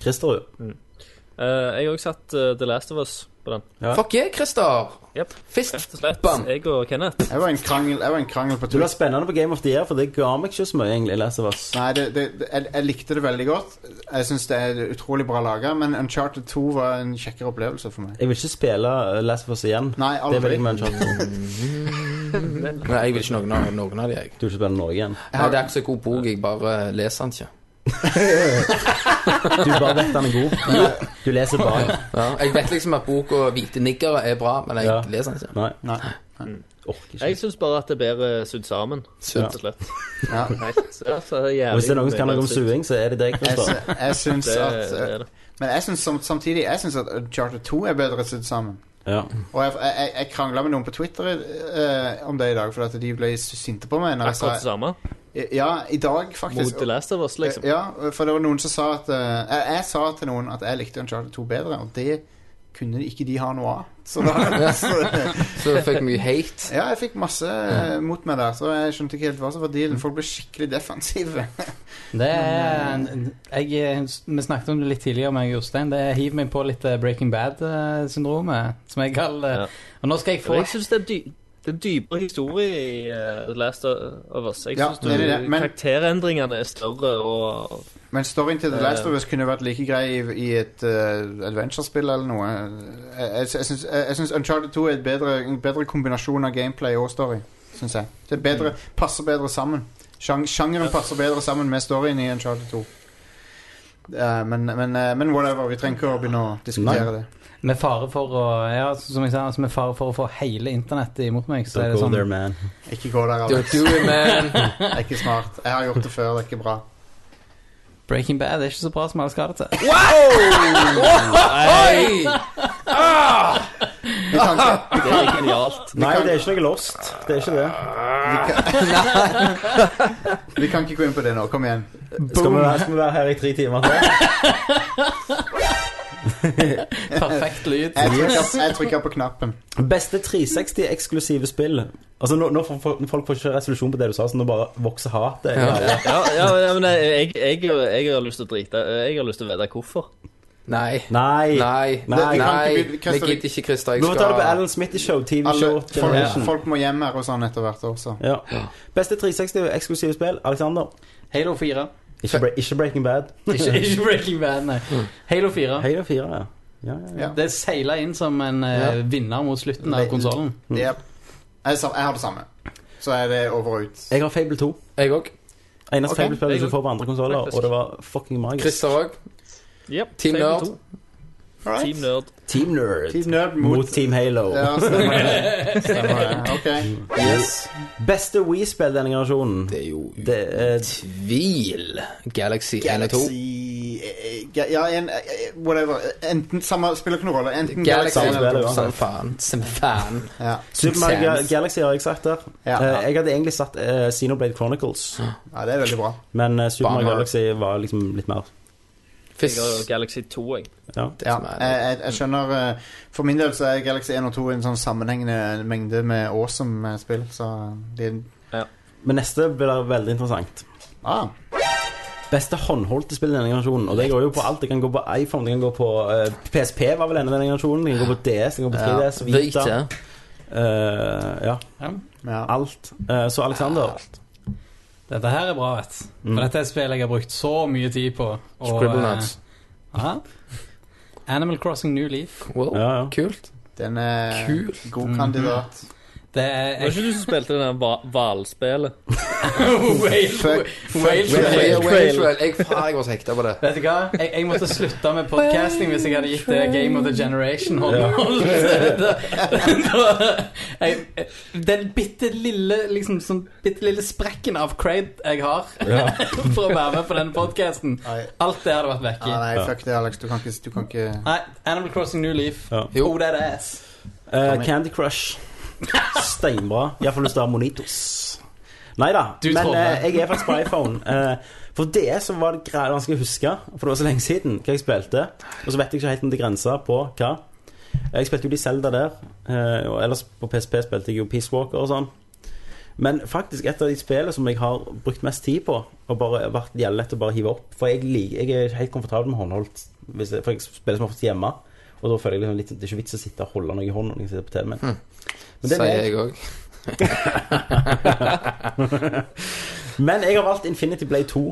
S10: Christerud.
S6: Eh, jeg har også satt eh, The Last of Us på den.
S10: Ja.
S9: Fuck yeah, Christer!
S6: Yep. Rett
S9: Fist
S6: og slett.
S9: bam!
S6: Jeg og Kenneth.
S8: Jeg var en krangel, jeg var en krangel på
S10: Du
S8: Twitter.
S10: var spennende på Game of the Year, for det ga meg ikke så mye, egentlig. Last of Us.
S8: Nei, det, det, det- jeg, jeg likte det veldig godt. Jeg syns det er utrolig bra laga, men Uncharted 2 var en kjekkere opplevelse for meg.
S10: Jeg vil ikke spille eh, Last of Us igjen.
S8: Nei,
S10: Det
S8: aldri.
S10: vil jeg med Uncharted.
S9: Nei, jeg vil ikke noen av, noen av de, jeg.
S10: Du vil ikke spille noe igjen.
S9: Nei, det er ikke så god bok, jeg bare leser den ikke.
S10: Du bare vet den er god. Du leser bare.
S9: Ja, jeg vet liksom at boka 'Hvite niggere' er bra, men jeg
S10: Ja.
S9: leser den ikke.
S10: Nei.
S8: Nei.
S10: Orker ikke.
S6: Jeg syns bare at det er bedre sydd sammen.
S10: Ja.
S6: Rett og slett.
S8: Ja.
S6: Helt- ja, så er det jævlig
S10: Og hvis det er noen som kan
S6: mye
S10: noe om
S6: sydd.
S10: suing, så er det deg,
S8: Jeg,
S10: Christer.
S8: sy- jeg syns
S6: Det,
S8: at
S6: det er
S8: eh,
S6: det.
S8: Men jeg syns sam- samtidig Jeg synes at Uncharted 2 er bedre sydd sammen.
S10: Ja.
S8: Og jeg, jeg, jeg krangla med noen på Twitter eh, om det i dag, fordi at de ble sinte på meg. Når jeg
S6: Akkurat det
S8: sa,
S6: samme.
S8: ja, i dag, faktisk.
S6: Mot The Last of Us, liksom.
S8: Ja, for det var noen som sa at eh, jeg, jeg sa til noen at jeg likte Uncharted 2 bedre, og det kunne ikke de ha noe av. Så da så,
S9: Så jeg fikk mye hate.
S8: Ja, jeg fikk masse eh, mot meg der, så jeg skjønte ikke helt hva som var dealen. Folk ble skikkelig defensive.
S7: Det er, jeg, eh, vi snakket om det litt tidligere med Jostein. Det hiver meg på litt eh, Breaking Bad-syndromet, som jeg kaller det. Og nå skal jeg
S6: For
S7: få
S6: jeg syns det er dy det er en dypere historie i eh, The Last of Us. Jeg
S8: Ja,
S6: syns
S8: det er det, men-
S6: karakterendringene er større og
S8: Men storyen til The Last of Us kunne vært like grei i, i et eh, adventure-spill eller noe. Jeg, jeg, jeg syns- jeg, jeg syns Uncharted 2 er et bedre, en bedre kombinasjon av gameplay og story, syns jeg. Det er bedre, passer bedre sammen. Sjang, sjangeren passer bedre sammen med storyen i Uncharted 2. Eh, men, men, eh, men whatever, vi trenger ikke å begynne å diskutere
S10: Nei.
S8: det.
S7: Med fare for å ja, som jeg sa, altså med fare for å få hele internettet imot meg, så er
S10: Don't
S7: det
S10: go
S7: sånn
S10: there, man.
S8: Ikke gå der,
S9: Do,
S8: Alex.
S9: do it, man.
S8: Det er ikke smart. Jeg har gjort det før, det er ikke bra.
S7: Breaking Bad er ikke så bra som alle skal ha det til.
S9: Oi!
S8: Vi kan ikke
S6: Det er genialt.
S10: Nei, det er ikke noe lost. Det er ikke det.
S8: Vi kan ikke gå inn på det nå. Kom igjen.
S10: Skal vi, være, skal vi være her i tre timer til?
S7: Perfekt lyd.
S8: Jeg trykker, jeg trykker på knappen.
S10: Beste 360-eksklusive spill. Altså, nå, nå får folk- folk får ikke resolusjon på det du sa, så nå bare vokser hatet. Ja.
S6: Ja, ja, ja men jeg, jeg, jeg har lyst til å drite Jeg har lyst til å vite hvorfor.
S9: Nei.
S10: Nei.
S9: Nei.
S10: Nei.
S9: Nei.
S10: Vi
S8: kan ikke begynne-
S9: Nei. Jeg gidder ikke, Christer. Jeg
S10: Nå tar det på
S9: skal
S10: Alan Smith i show, TV-show.
S8: Alle, folk, folk må hjem her og sånn etter hvert også.
S10: Ja. Beste 360-eksklusive spill, Alexander.
S7: Halo 4.
S10: Ikke, bre ikke Breaking Bad.
S7: Ikke, ikke Breaking Bad, nei.
S10: Mm.
S7: Halo 4.
S10: Halo 4, ja. Ja, ja, ja.
S8: Ja.
S7: Det seila inn som en eh, vinner mot slutten av
S8: Veldig.
S7: konsollen.
S8: Jep. Jeg, sa- jeg har det samme. Så er det over og ut.
S10: Jeg har Fable 2.
S9: Jeg òg.
S10: Eneste
S8: Ok,
S10: Fable spill du ikke
S6: jeg-
S10: får på andre konsoller,
S6: faktisk.
S10: og det var fucking magisk.
S9: Christer òg.
S6: Yep,
S9: Team
S6: Fable
S9: Nerd.
S6: 2.
S8: Alright.
S6: Team Nerd.
S10: Team Nerd
S8: Team Nerd
S10: mot,
S8: mot
S10: Team Halo.
S8: Ja, stemmer det. Stemmer det. Ok.
S9: Yes.
S10: Beste Wii-spill denne generasjonen.
S9: Det er jo
S10: Det eh, er
S9: tvil. Galaxy 1 og 2.
S8: Galaxy eh, ga- Ja, en, eh, whatever. Enten samme Spiller ikke noen rolle. Enten Galaxy
S9: Galaxy
S10: Samme
S8: eller
S10: spiller,
S9: er
S10: ja.
S9: som faen. Som faen.
S8: ja.
S10: Super Mario Ga-
S9: Sans.
S10: Galaxy har jeg sagt der.
S8: Ja.
S10: Eh, jeg hadde egentlig satt eh, Xenoblade Chronicles,
S8: ja, det er veldig bra.
S10: men eh, Super Mario
S9: Bummer.
S10: Galaxy var liksom litt mer
S6: Jeg har Galaxy 2, jeg.
S10: Ja.
S8: Ja,
S9: som er-
S8: jeg, jeg, jeg skjønner eh, For min del så er Galaxy 1 og 2 en sånn sammenhengende mengde med awesome eh, spill, så de
S10: Men neste blir veldig interessant.
S8: ah,
S10: Beste håndholdte spill i denne generasjonen. Og det går jo på alt. Det kan gå på iPhone, det kan gå på eh, PSP var vel en av denne generasjonen. Det kan gå på DS, det kan gå på 3DS, Vita.
S9: Vita.
S10: Eh, ja,
S8: ja.
S10: alt. Eh, så Alexander
S7: Dette her er bra, vet du.
S10: Mm.
S7: For dette er et spill jeg har brukt så mye tid på. og,
S9: Scribble Nuts.
S7: eh, ja. Animal Crossing New Leaf.
S9: Wow.
S10: Ja, ja.
S9: Kult.
S8: Den er
S9: Kult.
S8: god kandidat.
S7: Det er
S6: Var ikke du som spilte det der hva- hvalspillet?
S7: Mm-hmm. Oh,
S8: Fuck,
S7: Whale Trail.
S9: Whale Trail. Whale Trail. Jeg, faen, jeg var så hekta på det.
S7: Vet du hva? Jeg, jeg måtte slutte med podcasting hvis jeg hadde gitt det Game of the Generation håndholdelse. Den bitte lille liksom, sånn, bitte lille sprekken av cred jeg har for å være med på denne podcasten,
S8: Nei.
S7: alt det hadde vært vekk i.
S8: Ah, nei, fuck det, Alex. Du kan ikke, du kan ikke
S7: Nei, Animal Crossing New Leaf.
S10: Ja.
S9: Jo.
S7: Oh, that ass.
S10: Eh, Candy Crush. Steinbra. Iallfall hvis du har Monitos. Nei da,
S7: Du
S10: men
S7: troller.
S10: eh, jeg er faktisk på iPhone. Eh, for det så var det greit vanskelig å huske, for det var så lenge siden hva jeg spilte. Og så vet jeg ikke helt om det grenser på hva. Jeg spilte jo de Zelda der, eh, og ellers på PSP spilte jeg jo Peace Walker og sånn. Men faktisk et av de spillene som jeg har brukt mest tid på, og bare vært jævlig lett å bare hive opp For jeg, liker, jeg er helt komfortabel med håndholdt, hvis jeg, for jeg spiller som oftest hjemme. Og da føler jeg liksom litt, det er ikke vits å sitte og holde noe i hånden når jeg sitter på TV-en. Men det er
S9: Hm. Sier
S10: meg.
S9: jeg òg.
S10: Men jeg har valgt Infinity Blade 2.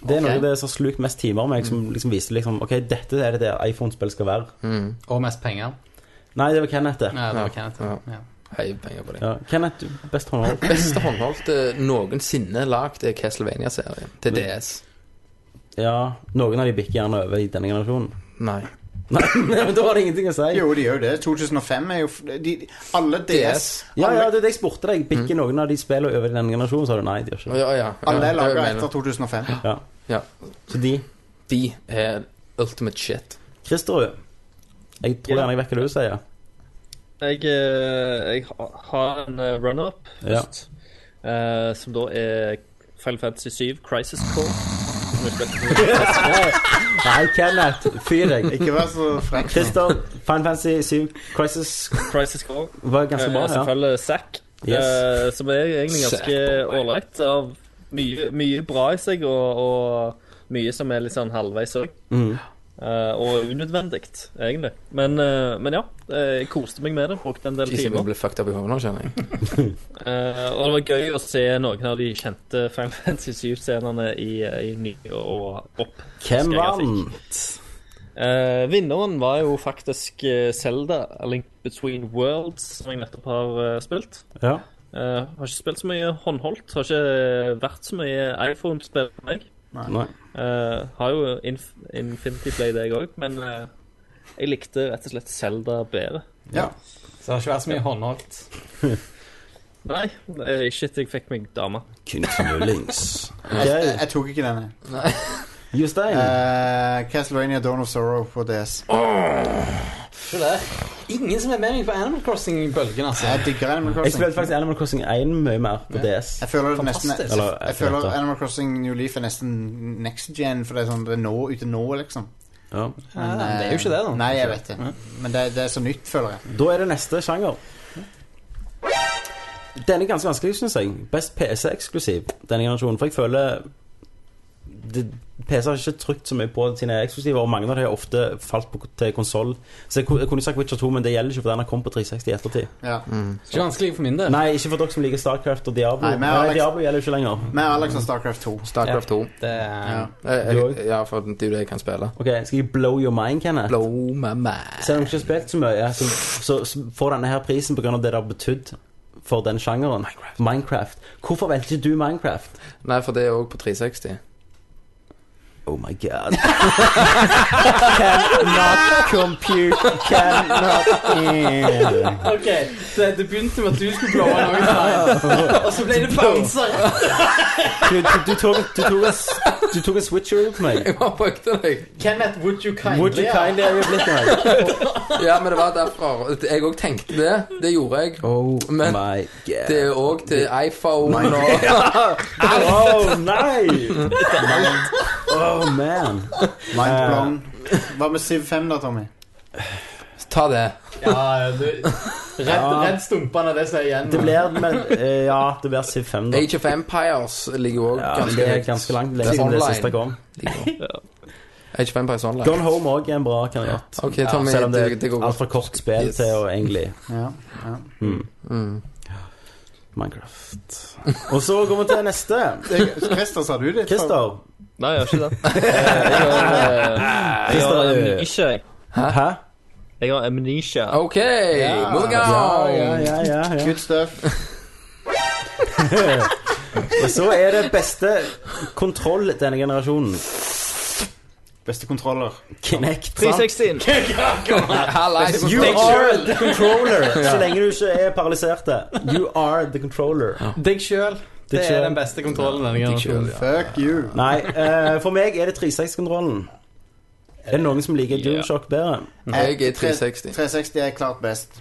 S10: Det er noe av det som har slukt mest timer med, som liksom viser liksom, ok, dette er det det iPhone-spill skal være.
S7: Og mest penger.
S10: Nei, det var Kenneth det.
S7: Ja, det var Kenneth. Ja.
S9: Heiv penger på det.
S10: Ja, Kenneth, du, best håndhold.
S9: Beste håndholdte noensinne lagd er Castlevania-serien. Til DS.
S10: Ja, noen av de bikker gjerne over i denne generasjonen.
S9: Nei.
S10: Nei, men da har det ingenting å si.
S8: Jo, de gjør jo det. 2005 er jo f- de, de- Alle DS
S10: Ja, ja, det er det jeg spurte deg. Bikker
S8: Mm.
S10: noen av de spillene over i denne generasjonen, sa du nei, de gjør ikke det.
S9: Ja, ja. ja.
S8: Alle er
S9: det var
S8: laga
S9: jeg
S8: etter
S9: mener.
S8: 2005.
S10: Ja.
S9: Ja.
S10: Så de.
S9: De er ultimate shit.
S10: Kristerud, jeg tror gjerne jeg vet hva du sier.
S6: Jeg, eh, jeg ha- har en eh, runner-up
S10: Ja.
S6: først, eh, som da er Final Fantasy 7 Crisis Core. Som jeg spilte på-
S10: Nei, Kenneth, fyr deg.
S8: Ikke vær så frekk. nå.
S10: Christer, Final Fantasy 7 Crisis
S6: Crisis Core.
S10: var ganske bra,
S6: Eh,
S10: ja.
S6: Selvfølgelig Zack,
S10: Yes. oh
S6: eh, som er egentlig ganske ålreit. Av mye, mye bra i seg, og, og mye som er litt sånn halvveis òg.
S10: Mm.
S6: og unødvendig, egentlig. Men, eh, men ja, eh, jeg koste meg med det. Brukte en del
S9: De som
S6: timer.
S9: blir fucked up i hodet nå, kjenner jeg.
S6: Eh, og det var gøy å se noen av de kjente Final Fantasy 7-scenene i, i ny og opp.
S10: Hvem
S6: Skal jeg
S10: vant?
S6: Eh, vinneren var jo faktisk eh, Zelda, A Link Between Worlds, som jeg nettopp har eh, spilt.
S10: Ja.
S6: Eh, har ikke spilt så mye håndholdt. Har ikke vært så mye iPhone-spill for meg.
S5: Nei.
S6: Eh, har jo Inf Infinity Blade, jeg òg, men eh, jeg likte rett og slett Zelda bedre.
S7: Så det har ikke vært så mye håndholdt.
S6: Nei, eh, ikke etter jeg fikk meg dame.
S5: Knullings.
S8: Jeg, jeg, jeg tok ikke denne.
S10: Jostein.
S8: Eh, Castlevania Dawn of Sorrow på DS.
S7: Se der. Ingen som er med meg på Animal Crossing-bølgen, altså.
S8: Jeg digger Animal
S10: jeg
S8: Crossing.
S10: spilte faktisk Animal Crossing 1 mye mer på DS.
S8: Jeg føler, det nesten,
S7: Fantastisk.
S8: jeg,
S10: Eller,
S8: jeg
S10: etter
S8: føler
S10: dette.
S8: Animal Crossing New Leaf er nesten next gen, for det er sånn det er nå, ute nå, liksom.
S7: Ja,
S10: Ja.
S8: Men,
S7: det er jo ikke det, da.
S8: Nei, jeg vet det. Men det, det er så nytt, føler jeg.
S10: Da er det neste sjanger. Den er ganske vanskelig, syns jeg. Best PC-eksklusiv denne generasjonen. For jeg føler det, PC har ikke trykt så mye på sine eksklusiver, og mange av dem har ofte falt på, til konsoll. Så jeg, ku- jeg kunne sagt Witcher 2, men det gjelder ikke, for den har kommet på 360 i ettertid.
S8: Ja.
S7: Ikke vanskelig for min del.
S10: Nei, ikke for dere som liker Starcraft og Diablo.
S8: Nei,
S10: Nei,
S8: men Alex-
S10: Diablo gjelder jo ikke lenger.
S8: Med Alex og sånn Starcraft 2.
S9: Starcraft 2.
S7: Det er
S8: Ja.
S9: Eh,
S10: Du også?
S9: eh, Ja, for det er jo det jeg kan spille.
S10: Ok, Skal jeg blow your mind, Kenneth?
S9: Blow my mind.
S10: Selv om jeg ikke har spilt så mye, så, så, så får denne her prisen pga. det det har betydd for den sjangeren. Minecraft. Hvorfor valgte ikke du Minecraft?
S9: Nei, for det er òg på 360.
S10: Oh my god. Cannot compute. Cannot
S7: Ok, det, det begynte med at du skulle blåse noe Stein. Og så ble det pause.
S10: Du, du, du, tok, du, tok en, s- du tok en switcheroo på meg.
S9: Jeg bare brukte deg.
S7: Kenneth, would you kindly
S10: Would you kindly have blitt meg?
S9: Ja, men det var derfor. Jeg òg tenkte det. Det gjorde jeg.
S10: Oh
S9: men
S10: my god.
S9: det er òg til iPhone og Ah.
S10: Oh, nei! Oh, man. Uh,
S8: Mind blown. Hva med Siv 5, da, Tommy?
S9: Ta det.
S7: Ja, du, redd, redd stumpene, det som er igjen.
S10: Det blir men, eh, Ja, det blir Siv 5, da.
S9: Age of Empires ligger òg
S10: Ja,
S9: ganske
S10: det er
S9: høyt.
S10: ganske langt.
S9: Det er
S10: Lenger enn det
S9: online.
S10: siste kom.
S9: Age of Empires Online.
S10: Gone Home òg er en bra kandidat.
S9: Ok, Tommy,
S10: Selv om det
S9: det, det går
S10: er
S9: godt.
S10: altfor kort spill
S9: Yes.
S10: til å egentlig
S8: Ja. ja.
S10: Minecraft. Og så går vi til neste.
S8: Det- Christer, sa du det?
S10: Christer.
S6: Nei, jeg gjør ikke det. Jeg har, eh, jeg har amnesia. jeg.
S10: Hæ?
S6: Jeg har amnesia.
S9: OK, moving on.
S10: ja, ja, ja.
S8: Good stuff.
S10: Og så er det beste kontroll denne generasjonen.
S8: Beste kontroller.
S10: Kinect. sant?
S6: 360.
S9: Hallais.
S10: You are the controller, så lenge du ikke er paralyserte. You are the controller.
S7: Deg sjøl. Det
S10: selv.
S7: er den beste kontrollen denne generasjonen.
S8: Fuck you.
S10: Nei, eh, for meg er det 360-kontrollen. Er det noen som liker DualShock bedre?
S9: Jeg er 360.
S8: 360 er klart best.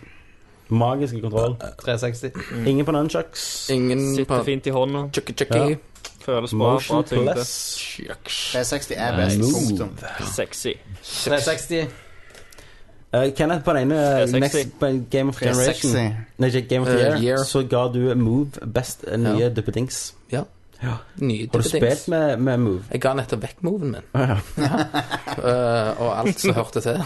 S10: Magiske kontroll. Mm.
S7: 360.
S10: Ingen på nunchucks.
S7: Mm,
S9: Ingen på
S6: Sitter fint i hånda.
S9: Chucky Chucky.
S6: Føles bra. Bra
S10: Motion
S6: tyngde.
S10: plus.
S8: 360 er best.
S10: Nice.
S8: Punktum.
S6: Sexy.
S7: 360.
S10: Eh, Kenneth, på den ene
S6: 360.
S10: Next på Game of Generation
S8: 360.
S10: Nei, ikke Game of the
S9: Eh,
S10: Year,
S9: Year.
S10: så ga du Move best eh, nye
S9: Ja.
S10: duppedings.
S9: Nydelig.
S10: Har du spilt med, med Move?
S9: Jeg ga nettopp vekk moven min.
S10: Ja.
S9: eh, og alt som hørte til.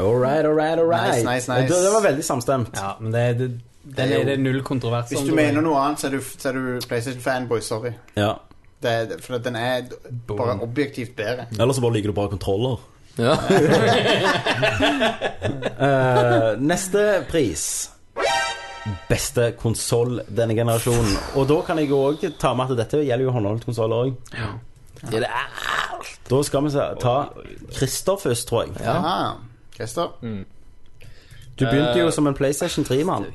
S10: All right, all right, all right.
S8: Nice, nice, nice.
S10: Det, det var veldig samstemt.
S7: Ja, men det, det, den
S8: Det er
S7: er
S8: jo-
S7: det null kontrovers
S8: Hvis
S7: om
S8: du mener noe annet, så er du, så er du PlayStation-fanboy. Sorry.
S10: Ja.
S8: Det, er- for at den er bare objektivt bedre.
S10: Eller så bare liker du bra kontroller.
S9: Ja.
S10: Eh, neste pris Beste konsoll denne generasjonen. Og da kan jeg jo også ta med at dette gjelder jo håndholdt konsoll òg.
S9: Ja, det er.
S10: Da skal vi se- ta Christer først, tror jeg.
S9: Ja.
S8: Ah, Christer.
S10: Du begynte jo
S6: Eh,
S10: som en PlayStation 3-mann.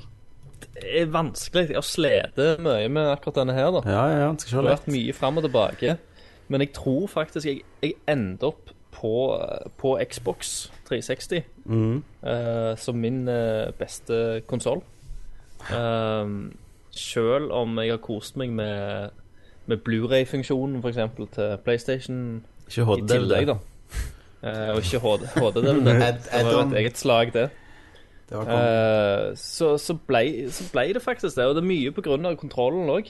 S6: Det er vanskelig. Jeg har slitt mye med akkurat denne her, da.
S10: Ja, ja, ja. det Skal
S6: Det
S10: ikke
S6: har vært mye fram og tilbake. Men jeg tror faktisk jeg, jeg ender opp på, på Xbox 360
S10: Mm.
S6: eh, som min eh, beste konsoll. selv om jeg har kost meg med, med Blu-ray-funksjonen for eksempel til PlayStation
S10: Ikke
S6: i
S10: HD.
S6: tillegg, da. Eh, og ikke HD. HD det, det,
S8: Add-
S6: det var jo
S8: add-on.
S6: et eget slag, det.
S8: Det var kongen.
S6: Eh, så, så, ble, så ble det faktisk det. Og det er mye på grunn av kontrollen òg.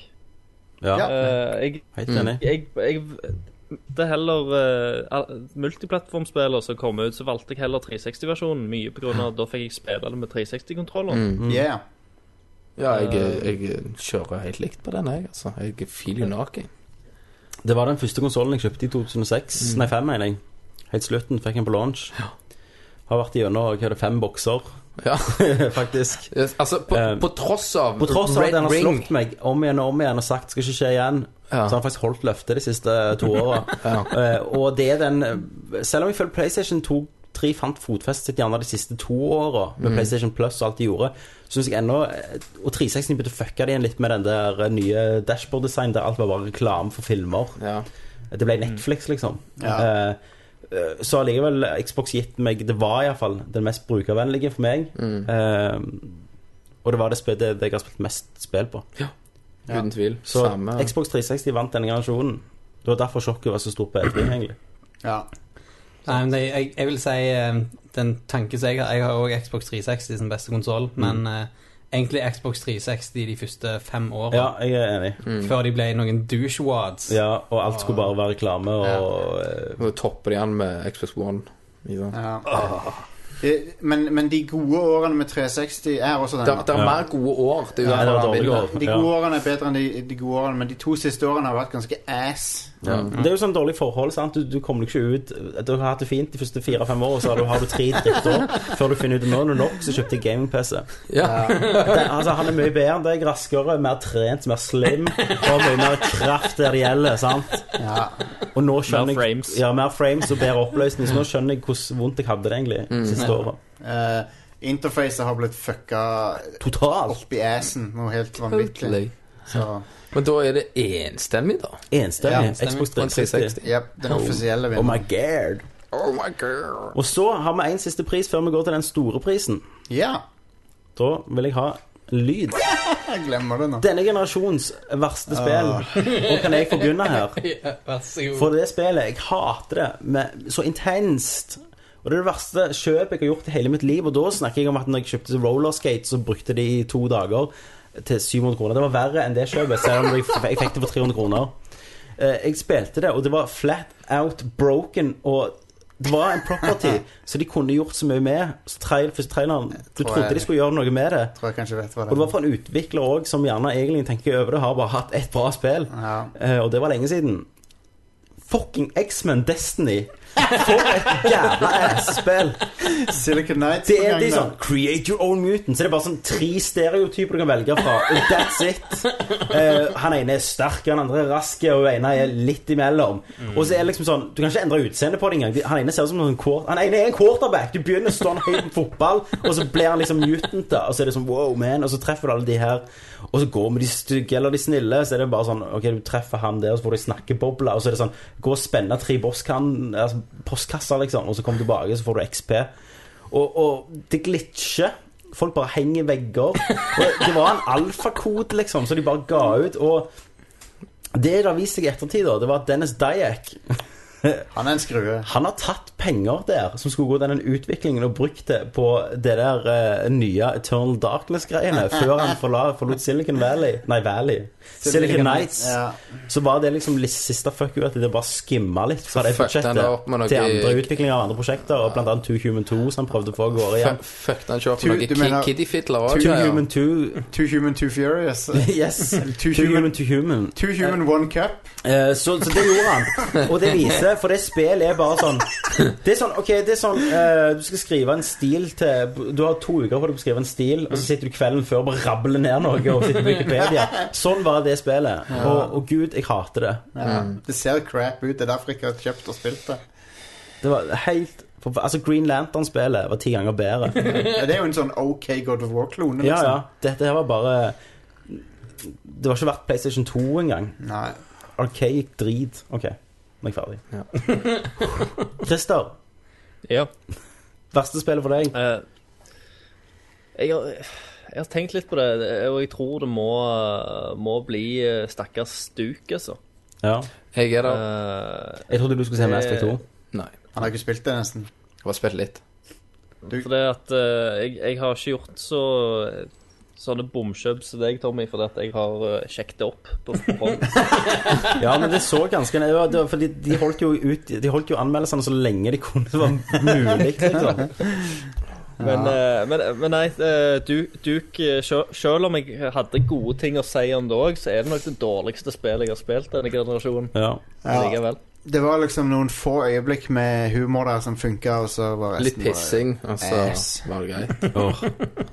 S10: Ja,
S8: Ja.
S6: jeg
S10: Helt enig.
S6: jeg, jeg Det er heller eh, al- Multiplattformspiller som kom ut, så valgte jeg heller 360-versjonen. Mye på grunn av at da fikk jeg spille det med
S8: Mm.
S6: 360-kontroller.
S8: Yeah.
S9: ja jeg, jeg kjører helt likt på den, jeg. Altså. Jeg feel you knock, jeg.
S10: Det var den første konsollen jeg kjøpte i 2006 Nei, 5 mener jeg Helt slutten, fikk den på launch Har vært igjennom, hva er det, fem bokser
S9: Ja.
S10: Faktisk
S9: Yes, Altså, på,
S10: Eh,
S9: på tross av
S10: På tross av
S9: Red
S10: at den har
S9: Ring
S10: slått meg om igjen og om igjen Og sagt, skal ikke skje igjen
S9: Ja.
S10: Så han har faktisk holdt løftet de siste to åra. Eh, og det er den eh, Selv om jeg føler PlayStation 2 3 fant fotfestet sitt gjerne de siste to åra med
S9: Mm.
S10: PlayStation Plus og alt de gjorde, syns jeg ennå eh, Og 360 begynte å fucke det igjen litt med den der eh, nye dashboard-design der alt var bare reklame for filmer.
S9: Ja.
S10: Det ble Netflix, liksom.
S8: Ja.
S10: Eh, eh, så allikevel Xbox gitt meg Det var iallfall den mest brukervennlige for meg. Eh, og det var det, sp- det, det jeg har spilt mest spill på.
S9: Uten tvil.
S10: Så
S9: Samme.
S10: Xbox 360 vant denne generasjonen. Det var derfor sjokket var så stort på E3, egentlig.
S8: Ja.
S7: Nei, men det, jeg, jeg vil si eh, den tanken som jeg har Jeg har òg Xbox 360 som beste konsoll, men eh, egentlig Xbox 360 de første fem årene.
S10: Ja, jeg er enig.
S7: Før de ble noen douchewads.
S10: Ja, og alt skulle bare være reklame og eh,
S9: Nå topper de an med Xbox One. ikke sant?
S8: ja. Eh, Men, men de gode årene med 360 er også
S9: Det
S8: denne.
S9: er, det er mer gode år. Det er jo
S10: Ja, det
S9: derfor
S10: var
S9: han vil
S10: dårlige
S9: det.
S10: år.
S8: De gode årene er bedre enn de, de gode årene, men de to siste årene har vært ganske ass.
S10: ja. Det er jo sånn dårlig forhold. sant? Du, du kommer deg ikke ut Du har hatt det fint de første fire-fem årene, så har du, har du tre drittår før du finner ut nå er det nok, så kjøpte jeg gaming-PC.
S9: Ja.
S10: Den- Altså, han er mye bedre enn deg. Raskere, mer trent, mer slim. Og mye mer kraft der det gjelder. sant?
S8: Ja.
S10: Og nå
S6: Mer
S10: skjønner jeg-
S6: frames.
S10: Ja, mer frames og bedre oppløsning. Så nå skjønner jeg hvordan vondt jeg hadde det egentlig siste året.
S8: Eh, interfacet har blitt fucka
S10: Totalt
S8: opp i assen. Noe helt vanvittig.
S9: Totally.
S8: Så
S9: Men da er det enstemmig, da.
S10: enstemmig.
S8: Ja,
S10: Xbox
S9: På en
S10: 360.
S9: 360.
S8: jep, den offisielle
S10: Oh my
S8: vinneren.
S10: god.
S9: Oh my god.
S10: Og så har vi en siste pris før vi går til den store prisen.
S8: Ja,
S10: Da vil jeg ha lyd.
S8: jeg glemmer det nå.
S10: Denne generasjons verste spill. Og kan jeg få begynne her?
S7: Ja, Eh, Vær så god.
S10: For det spillet, jeg hater det med, så intenst. Og det er det verste kjøpet jeg har gjort i hele mitt liv. Og da snakker jeg om at når jeg kjøpte rollerskate, så brukte de i to dager til 700 kroner. Det var verre enn det kjøpet, selv om jeg, f- jeg fikk det for 300 kroner. Eh, Jeg spilte det, og det var flat out broken. Og det var en property, så de kunne gjort så mye med. Så trail, første traileren Du
S8: Tror jeg-
S10: trodde de skulle gjøre noe med det.
S8: Tror jeg kanskje vet hva
S10: Og det
S8: det
S10: var fra en utvikler òg, som gjerne egentlig tenker over det, har bare hatt ett bra spill.
S8: er. Ja.
S10: Eh, og det var lenge siden. Fucking X-Men Destiny. For et jævla ass-spill.
S8: Silicon Nights
S10: Det
S8: på
S10: er
S8: gang
S10: de
S8: da.
S10: sånn Create your own mutant. Så det er bare sånn tre stereotyper du kan velge fra. Og that's it. Eh, han ene er sterk, han andre er rask, og hun ene er litt imellom. Og så er det liksom sånn Du kan ikke endre utseendet på det engang. De- Han ene ser ut som en quar- Han ene er en quarterback. Du begynner sånn høyt på fotball, og så blir han liksom mutant, da. Og så er det sånn wow, man. Og så treffer du alle de her. Og så går vi de stygge eller de snille, så er det bare sånn OK, du treffer han der, og så får du ei snakkeboble, og så er det sånn Gå og spenne tre postkan- altså, postkasser, liksom, og så kom tilbake, så får du XP. Og, og det glitcher. Folk bare henger i vegger. Og det var en alfakode, liksom, så de bare ga ut. Og det det har vist seg i ettertid, da, det var at Dennis Dyack
S8: Han er en skrue.
S10: han har tatt penger der som skulle gå til den utviklingen, og brukt det på det der eh, nye Eternal Darkness-greiene før han forla, forlot Silicon Valley Nei, Valley. Silicon Nights.
S8: Ja.
S10: Så var det liksom litt siste fuck you at de bare skimma litt fra det
S9: fucked han
S10: budsjettet
S9: det opp med noe-
S10: til andre utviklinger av andre prosjekter, og blant annet 2 Human 2, som han prøvde å få av gårde igjen.
S9: Fuck den
S8: Tu-
S9: kjøpen.
S8: du mener-
S9: Noen kiddiefidler
S10: Two
S9: òg.
S10: Human 2
S8: Too human, too furious.
S10: Yes.
S8: Two
S10: Two
S8: human-
S10: human to human.
S8: Too human, one cup.
S10: Eh, så, så det gjorde han. Og det viser For det spillet er bare sånn Det er sånn, ok, det er sånn eh, Du skal skrive en stil til Du har to uker på deg på å skrive en stil, og så sitter du kvelden før og bare rabler ned noe og sitter på Wikipedia. Sånn var det spillet. Og, og gud, jeg hater det.
S8: Ja. Det ser crap ut. Det er derfor jeg ikke har kjøpt og spilt det.
S10: Det var helt forf- Altså, Green Lantern-spillet var ti ganger bedre.
S8: Ja, liksom- Det er jo en sånn OK God of War-klone.
S10: Ja, ja. Dette her var bare Det var ikke verdt PlayStation 2 engang.
S8: Nei.
S10: Archaic drit. OK, nå er jeg ferdig.
S9: Ja.
S10: Christer,
S6: Ja.
S10: verste spillet for deg?
S6: Eh, jeg, har, jeg har tenkt litt på det, og jeg tror det må, må bli eh, stakkars Stuk, altså.
S10: Ja.
S9: Jeg er der.
S6: Eh,
S10: Jeg trodde du skulle si Mass Effect 2.
S9: Nei.
S8: Han har ikke spilt det, nesten.
S9: Jeg har bare spilt litt.
S8: Du-
S6: For det at eh, jeg, jeg har ikke gjort så sånne bomkjøp som deg, Tommy, fordi at jeg har eh, sjekket det opp på forhånd.
S10: Ja, men det så ganske det var, det var, fordi de, holdt jo ut, de holdt jo anmeldelsene så lenge de kunne. Det var mulig. Liksom.
S6: Men, eh, men, men nei, eh, du, Duke, eh, sjø- selv om jeg hadde gode ting å si om det òg, så er det nok det dårligste spillet jeg har spilt denne generasjonen.
S10: Ja.
S8: Ja.
S6: Likevel.
S8: Det var liksom noen få øyeblikk med humor der som funka, og så var
S9: Litt
S8: resten
S9: pissing, og
S8: Ass.
S9: så var det greit.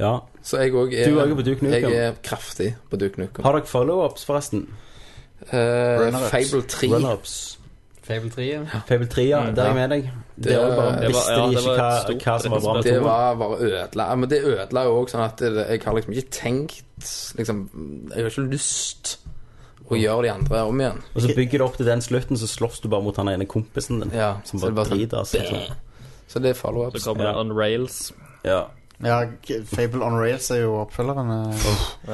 S10: ja.
S9: Så jeg òg
S10: Du er jo på Duke Nukem.
S9: Jeg er kraftig på Duke Nukem.
S10: Har dere follow-ups, forresten?
S9: Eh,
S8: Runner-ups.
S9: Fable 3.
S10: Run-ups.
S7: Fable eh. 3. ja.
S10: Fable 3, ja. Der er jeg med deg. Det var bare
S9: det var-
S10: visste
S6: ja,
S10: de
S6: det
S10: ikke
S6: var
S10: hva,
S6: et stort
S10: hva som var bra med
S9: Det
S10: toeren.
S9: var bare ødela. Ja, Men det ødela jo òg sånn at det, jeg har liksom ikke tenkt liksom, Jeg har ikke lyst å gjøre de andre om igjen.
S10: Og så bygger det opp til den slutten, så slåss du bare mot han ene kompisen din.
S9: Ja,
S10: som
S9: så det
S10: bare
S9: er bare sånn,
S10: driter seg. Liksom.
S9: Så det er follow-ups.
S6: Så kommer
S10: Ja.
S6: On Rails.
S10: Ja.
S8: Ja, G- Fable on Rails er jo oppfølgeren. eh.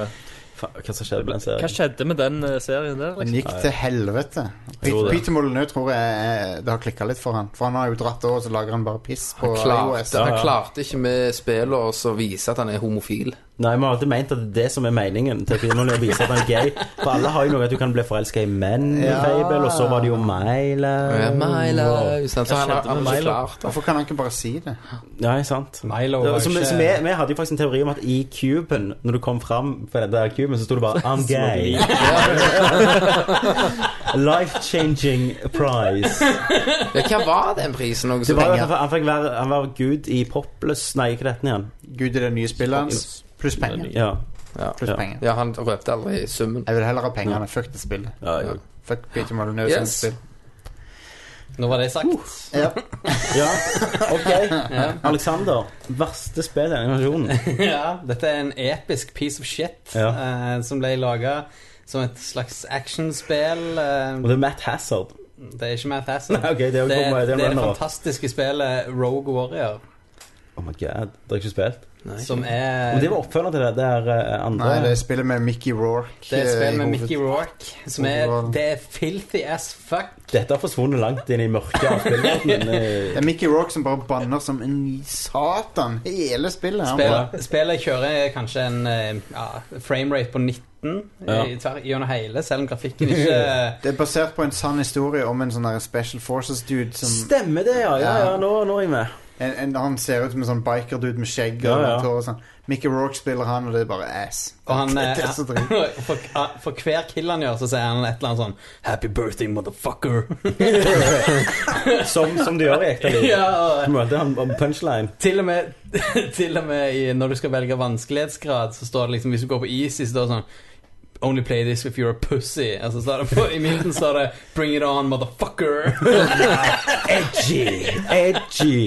S10: Faen, hva som skjedde med den
S6: Hva
S10: serien?
S6: skjedde med den eh, serien der?
S8: Den
S6: Liksom?
S8: gikk til helvete.
S10: Jo,
S8: Peter,
S10: det.
S8: Peter Molyneux tror jeg eh, det har klikka litt for han For han har jo dratt over, så lager han bare piss på
S9: Han klarte,
S8: iOS.
S10: ja.
S9: han klarte ikke med spillet å vise at han er homofil.
S10: Nei, vi har alltid ment at det er det som er meningen til filmen, å vise at han er gay. For alle har jo noe at du kan bli forelska i menn i
S8: Ja.
S10: Fable, og så var det jo Milo.
S9: Milo, sant? så
S6: Hva skjedde med
S9: han har han har ikke
S6: Milo?
S9: klart det.
S8: Hvorfor kan han ikke bare si det?
S10: Nei, sant.
S7: Milo
S10: Det
S7: var
S10: var
S7: jo
S10: som,
S7: ikke
S10: som vi, vi hadde jo faktisk en teori om at i kuben, når du kom fram på den der kuben, så sto det bare 'I'm gay'. Life-changing prize.
S9: Ja, hva var den prisen? Noe
S10: Det
S9: så
S10: var, jo
S9: lenge?
S10: at han, fikk være, han var gud i Poplus Nei, ikke dette igjen.
S8: Gud i det nye spillet hans. Pluss penger.
S10: Ja.
S8: Pluss
S10: Ja.
S8: penger.
S9: Ja, han røpte aldri summen.
S8: Jeg vil heller ha pengene. Fuck det spillet.
S10: ja, jo.
S8: Fuck Peter Molyneux
S9: Yes.
S8: yes. spill.
S7: Nå var det sagt.
S8: Ja.
S10: ja. Ok. Alexander. Verste spill i denne generasjonen.
S7: ja, dette er en episk piece of shit
S10: Ja.
S7: eh, som ble laga som et slags actionspill. eh,
S10: Og det er Matt Hazard.
S7: det er ikke Matt Hassel.
S10: Ok, det er jo
S7: det,
S10: kommet-
S7: det,
S10: det er en
S7: er det
S10: runner-up.
S7: fantastiske spillet Rogue Warrior,
S10: Oh my god, det har jeg ikke spilt.
S9: Nei.
S7: som er
S10: Men det var oppfølger til det der eh, andre.
S8: Nei, det er spillet med Mickey Rourke.
S7: det er et
S8: eh, i
S7: spill med
S8: hoved-
S7: Mickey Rourke, som er
S8: Hovedrollen.
S7: Det er filthy as fuck.
S10: Dette har forsvunnet langt inn i mørket av spillverdenen. eh.
S8: Det er Mickey Rourke som bare banner som en satan hele spillet. Han bare-
S7: Spillet, spillet kjører kanskje en eh, ja, framerate på 19
S10: Ja.
S7: i, tver- gjennom hele, selv om grafikken ikke
S8: Det er basert på en sann historie om en sånn der Special Forces-dude som
S10: Stemmer det, ja. Ja, ja, nå, nå er jeg med.
S8: en, en, Han ser ut som en sånn biker-dude med skjegg
S10: Ja,
S8: og
S10: ja.
S8: langt hår og sånn. Mickey Rourke spiller han, og det er bare ass.
S7: Og han,
S8: det, det
S7: eh,
S8: er så dritt.
S7: for, ah, for hver kill han gjør, så sier han et eller annet sånn Happy birthday, motherfucker.
S10: Som, som du gjør i ekte liv.
S7: ja, og
S10: Du møter han på punchline.
S7: til og med, til og med i, når du skal velge vanskelighetsgrad, så står det liksom Hvis du går på easy, så står det sånn Only play this if you're a pussy. Og så står det på, I midten står det Bring it on, motherfucker.
S10: Edgy! Edgy!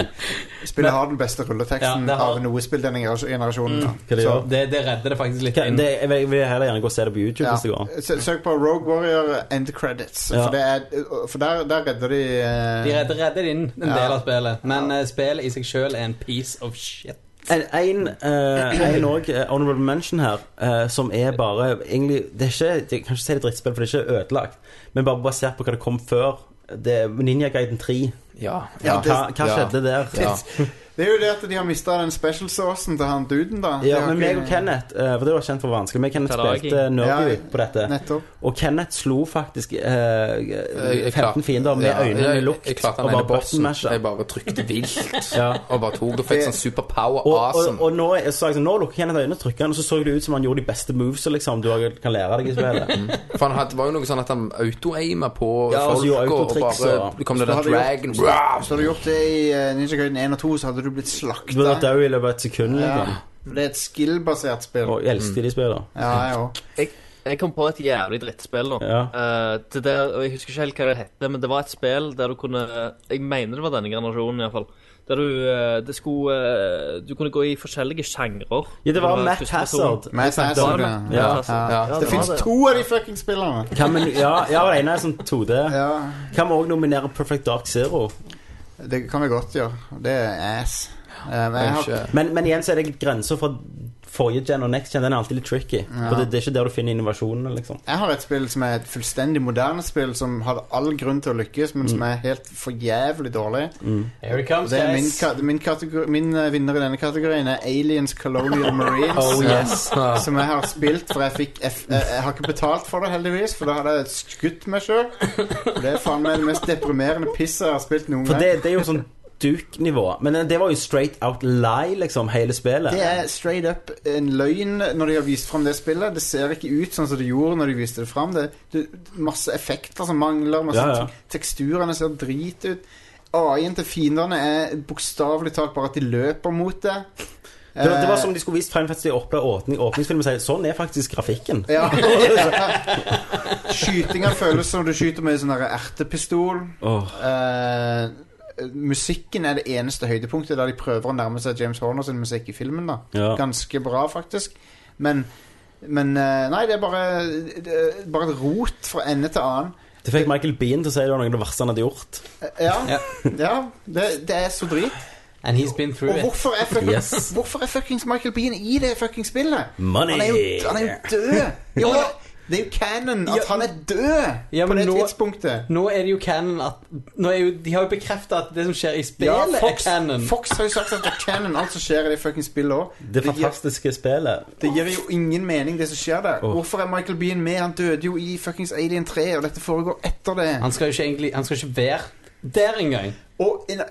S8: Spillet har den beste
S7: Ja,
S8: rulleteksten
S7: det har- Mm.
S8: av noe spill denne gener- generasjonen.
S10: Hva det
S8: Så-
S10: gjør?
S7: Det, det redder det faktisk litt
S10: Kan-
S7: inn.
S10: Det, jeg vil- jeg vil heller gjerne gå og se det på YouTube
S8: Ja.
S10: hvis det går.
S8: Sø- Søk på Rogue Warrior End Credits.
S10: Ja.
S8: For, det er, for der, der redder de, eh,
S7: De redder, redder inn en
S8: Ja.
S7: del av spillet, men eh, spillet i seg sjøl er en piece of shit.
S10: En, en, eh, en òg, eh, honorable mention her, eh, som er bare egentlig, det er ikke, Jeg kan ikke si det er drittspill, for det er ikke ødelagt, men bare basert på hva det kom før. Det er Ninja Guiden 3.
S9: Ja.
S8: Ja,
S10: Hva, hva
S9: ja.
S10: skjedde der?
S9: Ja.
S8: Det er jo det at de har mista den special saucen til han duden, da. De
S10: Ja,
S8: har
S10: men
S8: ikke-
S10: meg og Kenneth, eh, for det var kjent for vanskelig, meg og Kenneth
S6: Karagi.
S10: spilte Nerdy
S8: Ja,
S10: på dette.
S8: Nettopp.
S10: Og Kenneth slo faktisk eh,
S9: Jeg
S10: 15
S9: klarte-
S10: fiender med
S9: ja,
S10: øynene
S9: jeg-
S10: lukt
S9: Jeg klarte
S10: og
S9: den ene
S10: bare
S9: bossen.
S10: buttonmasha.
S9: Jeg bare trykte vilt.
S10: Ja.
S9: Og bare tok det fikk sånn superpower
S10: Og,
S9: awesome.
S10: og, og nå, er- så, er jeg sånn, nå lukker Kenneth øynene og trykker han, og så så det ut som han gjorde de beste movesa liksom, du har- kan lære deg i spillet.
S9: For han hadde, var jo noe sånn at han auto-aima på
S10: Ja, og så
S9: folk,
S10: gjorde
S9: og
S10: autotriks,
S9: bare
S10: og-
S9: det kom
S8: Så
S9: det der
S8: hadde jeg
S9: dragon
S8: Hvis du hadde gjort det i eh, Ninja Gaiden 1 og 2, så hadde du blitt slakta.
S10: Du ble vært død i løpet av et sekund. Liksom.
S8: ja. Det er et skill-basert spill.
S10: Og jeg elsket de spillene.
S8: Ja, jeg òg.
S6: Jeg kom på et jævlig drittspill nå.
S10: Ja.
S6: Eh, det der, og Jeg husker ikke helt hva det hette, men det var et spill der du kunne Jeg mener det var denne generasjonen, iallfall. Der du eh, det skulle eh, Du kunne gå i forskjellige sjangrer.
S10: Ja, det var
S6: Du
S10: Matt
S6: første person.
S10: Hazard.
S8: Matt
S6: Det var
S8: Hazard,
S6: Matt
S8: ja.
S10: Ja.
S6: Hazard.
S8: Ja.
S6: Ja,
S8: Det
S6: var
S8: fins to av de fucking spillene.
S10: Kan vi, ja, ja, det ene er sånn 2D.
S8: Ja,
S10: Kan vi òg nominere Perfect Dark Zero?
S8: det kan vi godt gjøre. Det er ass. Eh, Men jeg har
S9: Ikke-
S10: Men, men igjen så er det grenser fra forrige gen og next gen. Den er alltid litt tricky. For det, det er ikke der du finner innovasjonene, liksom.
S8: Jeg har et spill som er et fullstendig moderne spill som hadde all grunn til å lykkes, men som er helt for jævlig dårlig.
S7: Here it comes,
S8: Det er min,
S7: guys.
S8: ka- min, kategori- min eh, vinner i denne kategorien er Aliens Colonial Marines.
S9: Oh,
S8: Som jeg har spilt, for jeg fikk jeg, jeg, jeg har ikke betalt for det, heldigvis, for da hadde jeg skutt meg sjøl. Det er faen meg det mest deprimerende pisset jeg har spilt noen
S10: For
S8: gang.
S10: det, det er jo sånn Duke-nivå. Men det var jo straight out lie, liksom, hele spillet.
S8: Det er straight up en løgn når de har vist fram det spillet. Det ser ikke ut sånn som det gjorde når de viste det fram. Det, det, masse effekter som mangler, masse
S10: Ja, ja.
S8: te- teksturene ser drit ut. AI-en til fiendene er bokstavelig talt bare at de løper mot det.
S10: Det, var- det
S8: eh,
S10: var som om de skulle vist Final Fantasy 8 åpning, åpningsfilm og si sånn er faktisk grafikken.
S8: Eh, Ja. Skytinga føles som du skyter med en sånn der ertepistol.
S10: Åh.
S8: Eh, musikken er det eneste høydepunktet der de prøver å nærme seg James Horner sin musikk i filmen. da
S10: Ja.
S8: Ganske bra, faktisk. Men, men eh, nei, det er bare, det er bare et rot fra ende til annen.
S10: Det fikk Michael Bean til å si det var noe av det verste han hadde gjort.
S8: Eh, Ja, ja det, det er så drit.
S7: And he's been through
S8: Og
S7: it.
S8: hvorfor er, fuck,
S10: Yes.
S8: hvorfor er fuckings Michael Bean i det fuckings spillet?
S10: Money!
S8: Han er jo, han er jo død! Jo, det er jo canon at
S7: Ja.
S8: han er død
S7: Ja,
S8: på
S7: men
S8: det
S7: nå-
S8: tidspunktet.
S7: Nå er det jo canon at nå er jo, De har jo bekrefta at det som skjer i spillet,
S8: Ja, Fox,
S7: er canon.
S8: Fox har jo sagt at det er canon, alt som skjer i det fuckings spillet òg.
S10: Det fantastiske spillet.
S8: Det gir jo ingen mening, det som skjer der. Hvorfor er Michael Bean med? Han døde jo i fuckings Alien 3, og dette foregår etter det.
S7: Han skal jo ikke egentlig Han skal ikke være der engang.
S8: Og en,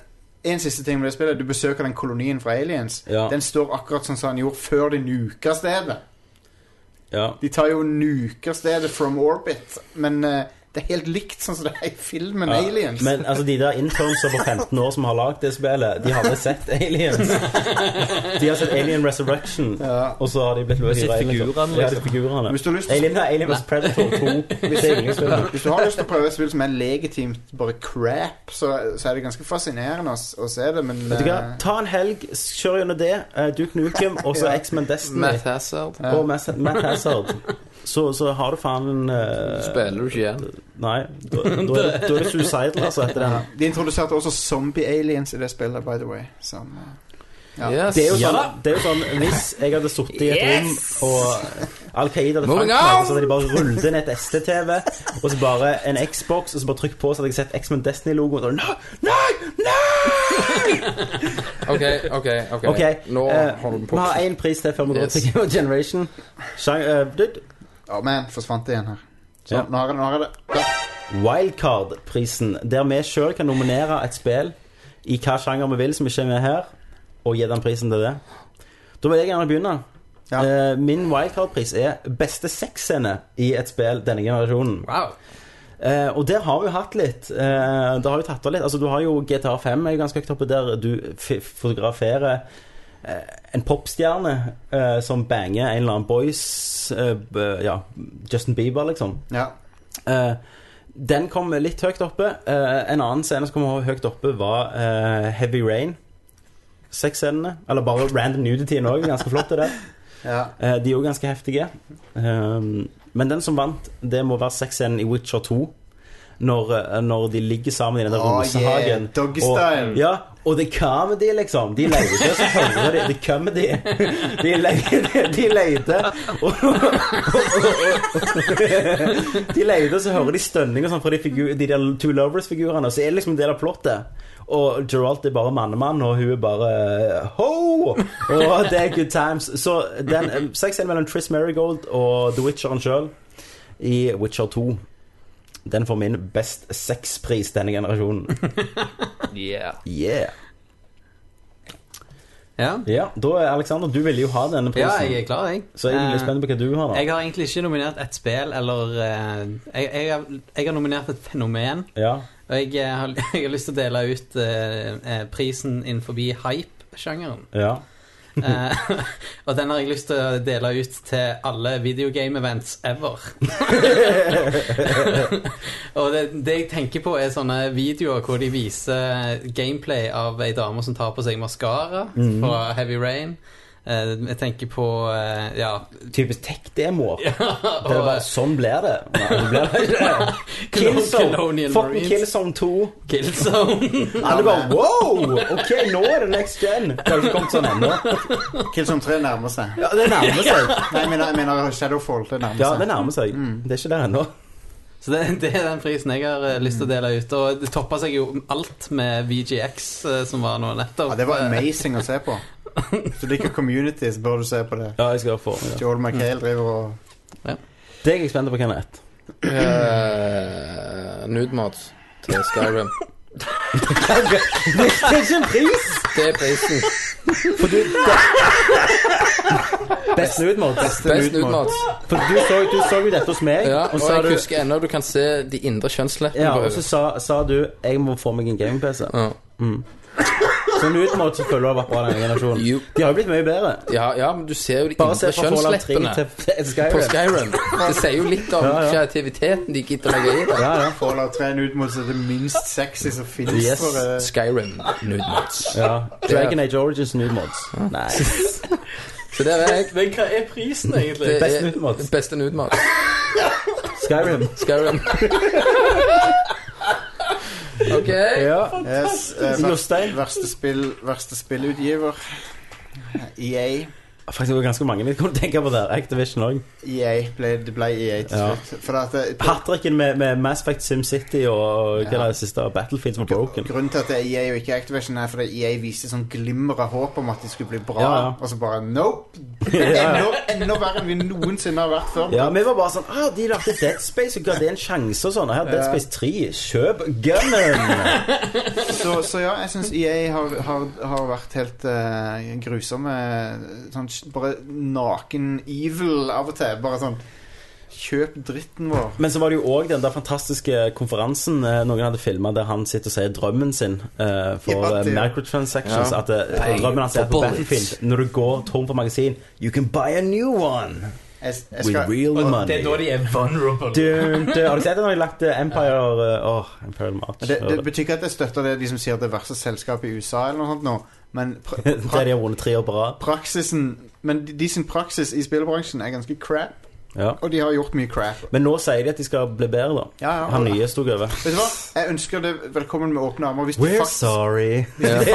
S8: en siste ting med det spillet. Du besøker den kolonien fra Aliens.
S10: Ja.
S8: Den står akkurat sånn som han gjorde før de nuka stedet.
S10: Ja.
S8: De tar jo og nuker stedet from orbit, men eh, det er helt likt sånn som det er i filmen
S10: Ja,
S8: Aliens.
S10: Men altså, de der internsa på 15 år som har lagd det spillet, de har aldri sett Aliens. De har sett Alien Resurrection,
S8: Ja.
S10: og så har de blitt lurt i
S6: sett
S10: regelen.
S6: figurene,
S10: Ja,
S6: liksom.
S10: de figurene.
S8: Hvis du har lyst-
S10: Alien, nei, Alien vs. Predator 2. Det er yndlingsfilmen.
S8: Hvis du har lyst til å prøve et spill som er legitimt bare crap, så, så er det ganske fascinerende å, s- å se det, men
S10: Vet du hva?
S8: eh,
S10: Ta en helg, kjør gjennom det. eh, Duke Nukem og så
S8: Ja.
S10: X-Men Destiny
S9: Matt Hazard.
S8: Ja.
S10: og Matt Matt Hazard. Så, så har du faen en eh,
S9: Spiller du ikke igjen?
S10: Nei, da, da, er, det- da er det suicidal, altså, etter den.
S8: De introduserte også zombie-aliens i det spillet, by the way. Som, eh, Ja.
S9: Yes.
S10: Det er jo
S9: Ja.
S10: sånn, det er jo sånn Hvis jeg hadde sittet i et rom og Al Qaida hadde fanget
S9: Moving
S10: meg,
S9: on!
S10: så hadde de bare rullet inn et ST-TV, og så bare en Xbox, og så bare trykt på, så hadde jeg sett X-Men Destiny-logoen. og da, Nei! Nei!
S9: OK, OK. ok
S10: OK.
S9: Nå
S10: eh,
S9: holder vi
S10: vi
S9: på.
S10: har én pris til før vi går
S9: Yes.
S10: til Game of Generation. Sjang, eh, dude,
S8: Å, men forsvant det igjen her. Så,
S10: Ja.
S8: nå har jeg det. Nå har jeg det. Ja.
S10: Wildcard-prisen, der vi sjøl kan nominere et spill i hva sjanger vi vil, som ikke er med her, og gi den prisen til det. Da vil jeg gjerne begynne.
S8: Ja.
S10: Eh, Min wildcard-pris er beste sexscene i et spill denne generasjonen.
S7: Wow.
S10: Eh, og der har vi jo hatt litt. Eh, det har jo tatt av litt. Altså, du har jo GTA 5 er jo ganske høyt oppe, der du f fotograferer eh, en popstjerne eh, som banger en eller annen boys eh, b- Ja, Justin Bieber, liksom.
S8: Ja.
S10: Eh, den kom litt høyt oppe. Eh, en annen scene som kom høyt oppe, var eh, Heavy Rain. Sexscenene. Eller bare random nudityen òg. Ganske flott, det der.
S8: Ja.
S10: Eh, de er jo ganske heftige. Ehm, men den som vant, det må være sexscenen i Witcher 2. Når, eh, når de ligger sammen i den der
S8: Oh, yeah.
S10: rosehagen.
S8: Doggystyle.
S10: Og, ja, og det er comedy, liksom. De leter ikke, så følger de. Det er comedy. De leter, de leter og, De leter, så hører de stønning og sånn fra de, figu- de der Two Lovers-figurene. og Så er det liksom en del av plottet. Og Geralt er bare mannemann, og hun er bare eh, ho! Og det er good times. Så den eh, sexscenen mellom Triss Marigold og The Witcheren sjøl i Witcher 2 den får min best sexpris denne generasjonen.
S6: Yeah.
S10: Yeah.
S7: Ja.
S10: Ja, da er Alexander, du ville jo ha denne
S7: ja,
S10: prisen.
S7: jeg er klar, jeg.
S10: Så jeg er
S7: Eh,
S10: litt spent på hva du har, da.
S7: Jeg har egentlig ikke nominert et spill eller eh, jeg, jeg, har, jeg har nominert et fenomen.
S10: Ja.
S7: Og jeg, eh, har, jeg har lyst til å dele ut eh, eh, prisen innenfor hype-sjangeren.
S10: ja.
S7: Eh, og den har jeg lyst til å dele ut til alle videogame-events ever. og det, det jeg tenker på, er sånne videoer hvor de viser gameplay av ei dame som tar på seg maskara
S8: Mm.
S7: fra Heavy Rain. Eh, jeg tenker på eh, ja,
S10: Typisk tech-demoer.
S7: ja
S10: Det er bare, sånn blir det. Nei, det blir det ikke. Killzone.
S7: Colonial
S10: Fucking
S7: Marines.
S10: Killzone 2.
S7: Killzone.
S10: Alle bare wow! Ok, nå er det next gen. Det har ikke kommet sånn ennå.
S8: Killzone 3 nærmer seg.
S10: Ja, det nærmer seg.
S8: Nei, jeg mener, jeg mener Shadowfall. Det nærmer
S10: Ja,
S8: seg.
S10: det nærmer seg. Det er ikke der ennå.
S7: Så det, det er den prisen jeg har eh, lyst til å dele ut. Og det toppa seg jo alt med VGX, eh, som var nå nettopp.
S8: Ja, det
S7: Eh,
S8: var amazing å se på. Hvis du liker Community, så bør du se på det.
S10: Ja, jeg skal få. Ja.
S8: Joel McHale driver og
S10: Det er jeg spent på hva er ett.
S9: Eh, Nudemat til Skyrim.
S10: Det er ikke en pris!
S9: Det er prisen.
S10: Best nude-mode. Best
S9: Best nudemat.
S10: For du så, du så jo dette hos meg,
S9: Ja,
S10: og
S9: og
S10: så har
S9: jeg
S10: du
S9: husker ennå du kan se de indre kjønnsleppene
S10: Ja,
S9: på
S10: og så
S9: henne.
S10: sa, sa du Jeg må få meg en gaming-PC
S9: Ja.
S10: Sånn utmålt Mm. så føler du det har vært bra denne generasjonen.
S9: Jo.
S10: De har jo blitt mye bedre.
S9: Ja, ja, men du ser jo de
S10: Bare se
S9: indre
S10: fra Fallout 3
S9: kjønnsleppene
S10: til til
S9: på
S10: Skyrim.
S9: Skyrim. Det sier jo litt om
S10: Ja, ja.
S9: kreativiteten de gidder å legge i det.
S10: Ja, ja.
S8: Fallout 3 er ut mot det minst sexy som finnes.
S10: Yes.
S8: For, eh,
S9: Skyrim Nudmods.
S10: ja. Dragon Age Origins New Mods. Nei.
S9: Så det er jeg.
S6: Men hva er prisen, egentlig?
S9: Det
S10: Beste
S9: er
S10: Nudmods.
S9: Beste Nudmods.
S10: Skyrim.
S9: Skyrim. OK.
S10: Ja.
S8: yes, eh,
S10: Jostein.
S8: ver- verste, spill, verste spillutgiver. E EA.
S10: Faktisk var det ganske mange vi kunne tenke på der. Activision òg.
S8: EA E ble, det ble EA til
S10: Ja.
S8: slutt. For at eh, det,
S10: Hattricken med, med Mass Effect, SimCity og hva er det siste Battlefield som er broken.
S8: Grunnen til at det er EA og ikke Activision, er fordi EA viste sånn glimra håp om at de skulle bli bra,
S10: Ja, ja.
S8: og så bare nope!
S10: ja.
S8: Enda, enda verre enn vi noensinne har vært før.
S10: Ja, vi var bare sånn ah, De lagde Dead Space og ga det en sjanse og sånn. Her, Dead Space 3, kjøp gunnen!
S8: Så, så ja, jeg syns EA har, har, har vært helt eh, grusomme. Sånn sk- bare naken evil av og til. Bare sånn Kjøp dritten vår.
S10: Men så var det jo òg den der fantastiske konferansen eh, noen hadde filma, der han sitter og sier drømmen sin eh, for
S8: Ja,
S10: eh,
S8: det-
S10: microtransactions.
S8: Ja.
S10: At eh,
S9: Pay
S10: drømmen hans er
S9: for
S10: på
S9: bullets.
S10: Battlefield. Når du går tom for magasin, you can buy a new one
S8: Jeg, jeg
S10: with
S8: skal,
S10: real money.
S7: Det er da de er vulnerable.
S10: Dun, dun. Har du sett det når de lagt eh, Empire eh, Åh, Imperial March.
S8: det, det betyr ikke at jeg støtter det de som sier at det er verste selskapet i USA, eller noe sånt nå, men pra, pra,
S10: Der de har vunnet tre år på rad.
S8: praksisen Men de, de sin praksis i spillbransjen er ganske crap.
S10: Ja.
S8: Og de har gjort mye crap.
S10: Men nå sier de at de skal bli bedre, da.
S8: Ja, ja.
S10: Han nye sto over.
S8: Vet du hva? Jeg ønsker det velkommen med åpne armer. Hvis de,
S10: We're
S8: faktisk,
S10: sorry.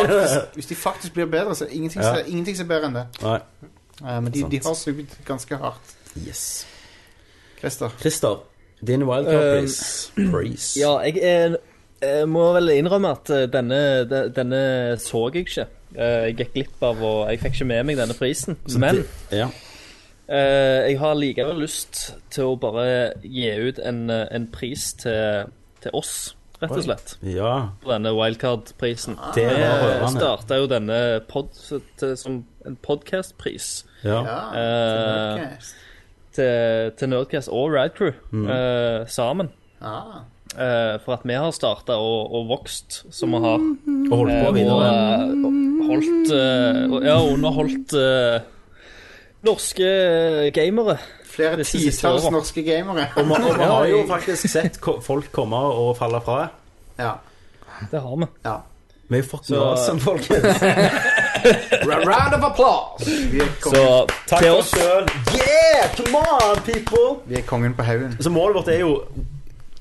S8: hvis de faktisk blir bedre, så er ingenting,
S10: Ja.
S8: som- ingenting som er bedre enn det.
S10: Nei.
S8: Eh, men de,
S10: Sant.
S8: de har sugd ganske hardt.
S10: Yes.
S8: Christer.
S10: Christer, din wildcard,
S6: Um,
S10: please. Please.
S6: Ja, jeg, er, jeg må vel innrømme at eh, denne, de- denne så jeg ikke. Eh, Jeg gikk glipp av og Jeg fikk ikke med meg denne prisen. Men
S10: ja.
S6: eh, jeg har likevel lyst til å bare gi ut en, eh, en pris til, til oss, rett og slett.
S10: ja.
S6: Denne wildcard-prisen.
S10: Det var
S6: Vi
S10: rørende.
S6: starta jo denne pod, til- som en podcast-pris.
S10: Ja.
S8: Ah,
S6: Eh,
S8: ok.
S6: til, til Nerdcast og Radcrew
S10: Mm.
S6: eh, sammen.
S8: Ah.
S6: Eh, for at vi har starta og, og vokst som vi har.
S10: Og Mm. holdt på
S6: Eh, og
S10: videre.
S6: eh, holdt eh, og- Ja, underholdt eh, norske eh, gamere.
S8: Flere
S6: Disse siste
S8: titalls
S6: årene.
S8: norske gamere.
S10: Og man, og man har jo faktisk sett ko- folk komme og falle fra.
S8: Ja.
S6: Det har vi.
S8: ja.
S10: Vi er jo fucking
S6: Så-
S10: awesome, folkens.
S9: Round of applause!
S8: Vi, er
S6: Så
S8: kongen,
S10: Takk
S6: til
S10: for
S6: oss
S10: sjøl. Yeah! Come on, people!
S8: vi er kongen på haugen.
S10: Så målet vårt er jo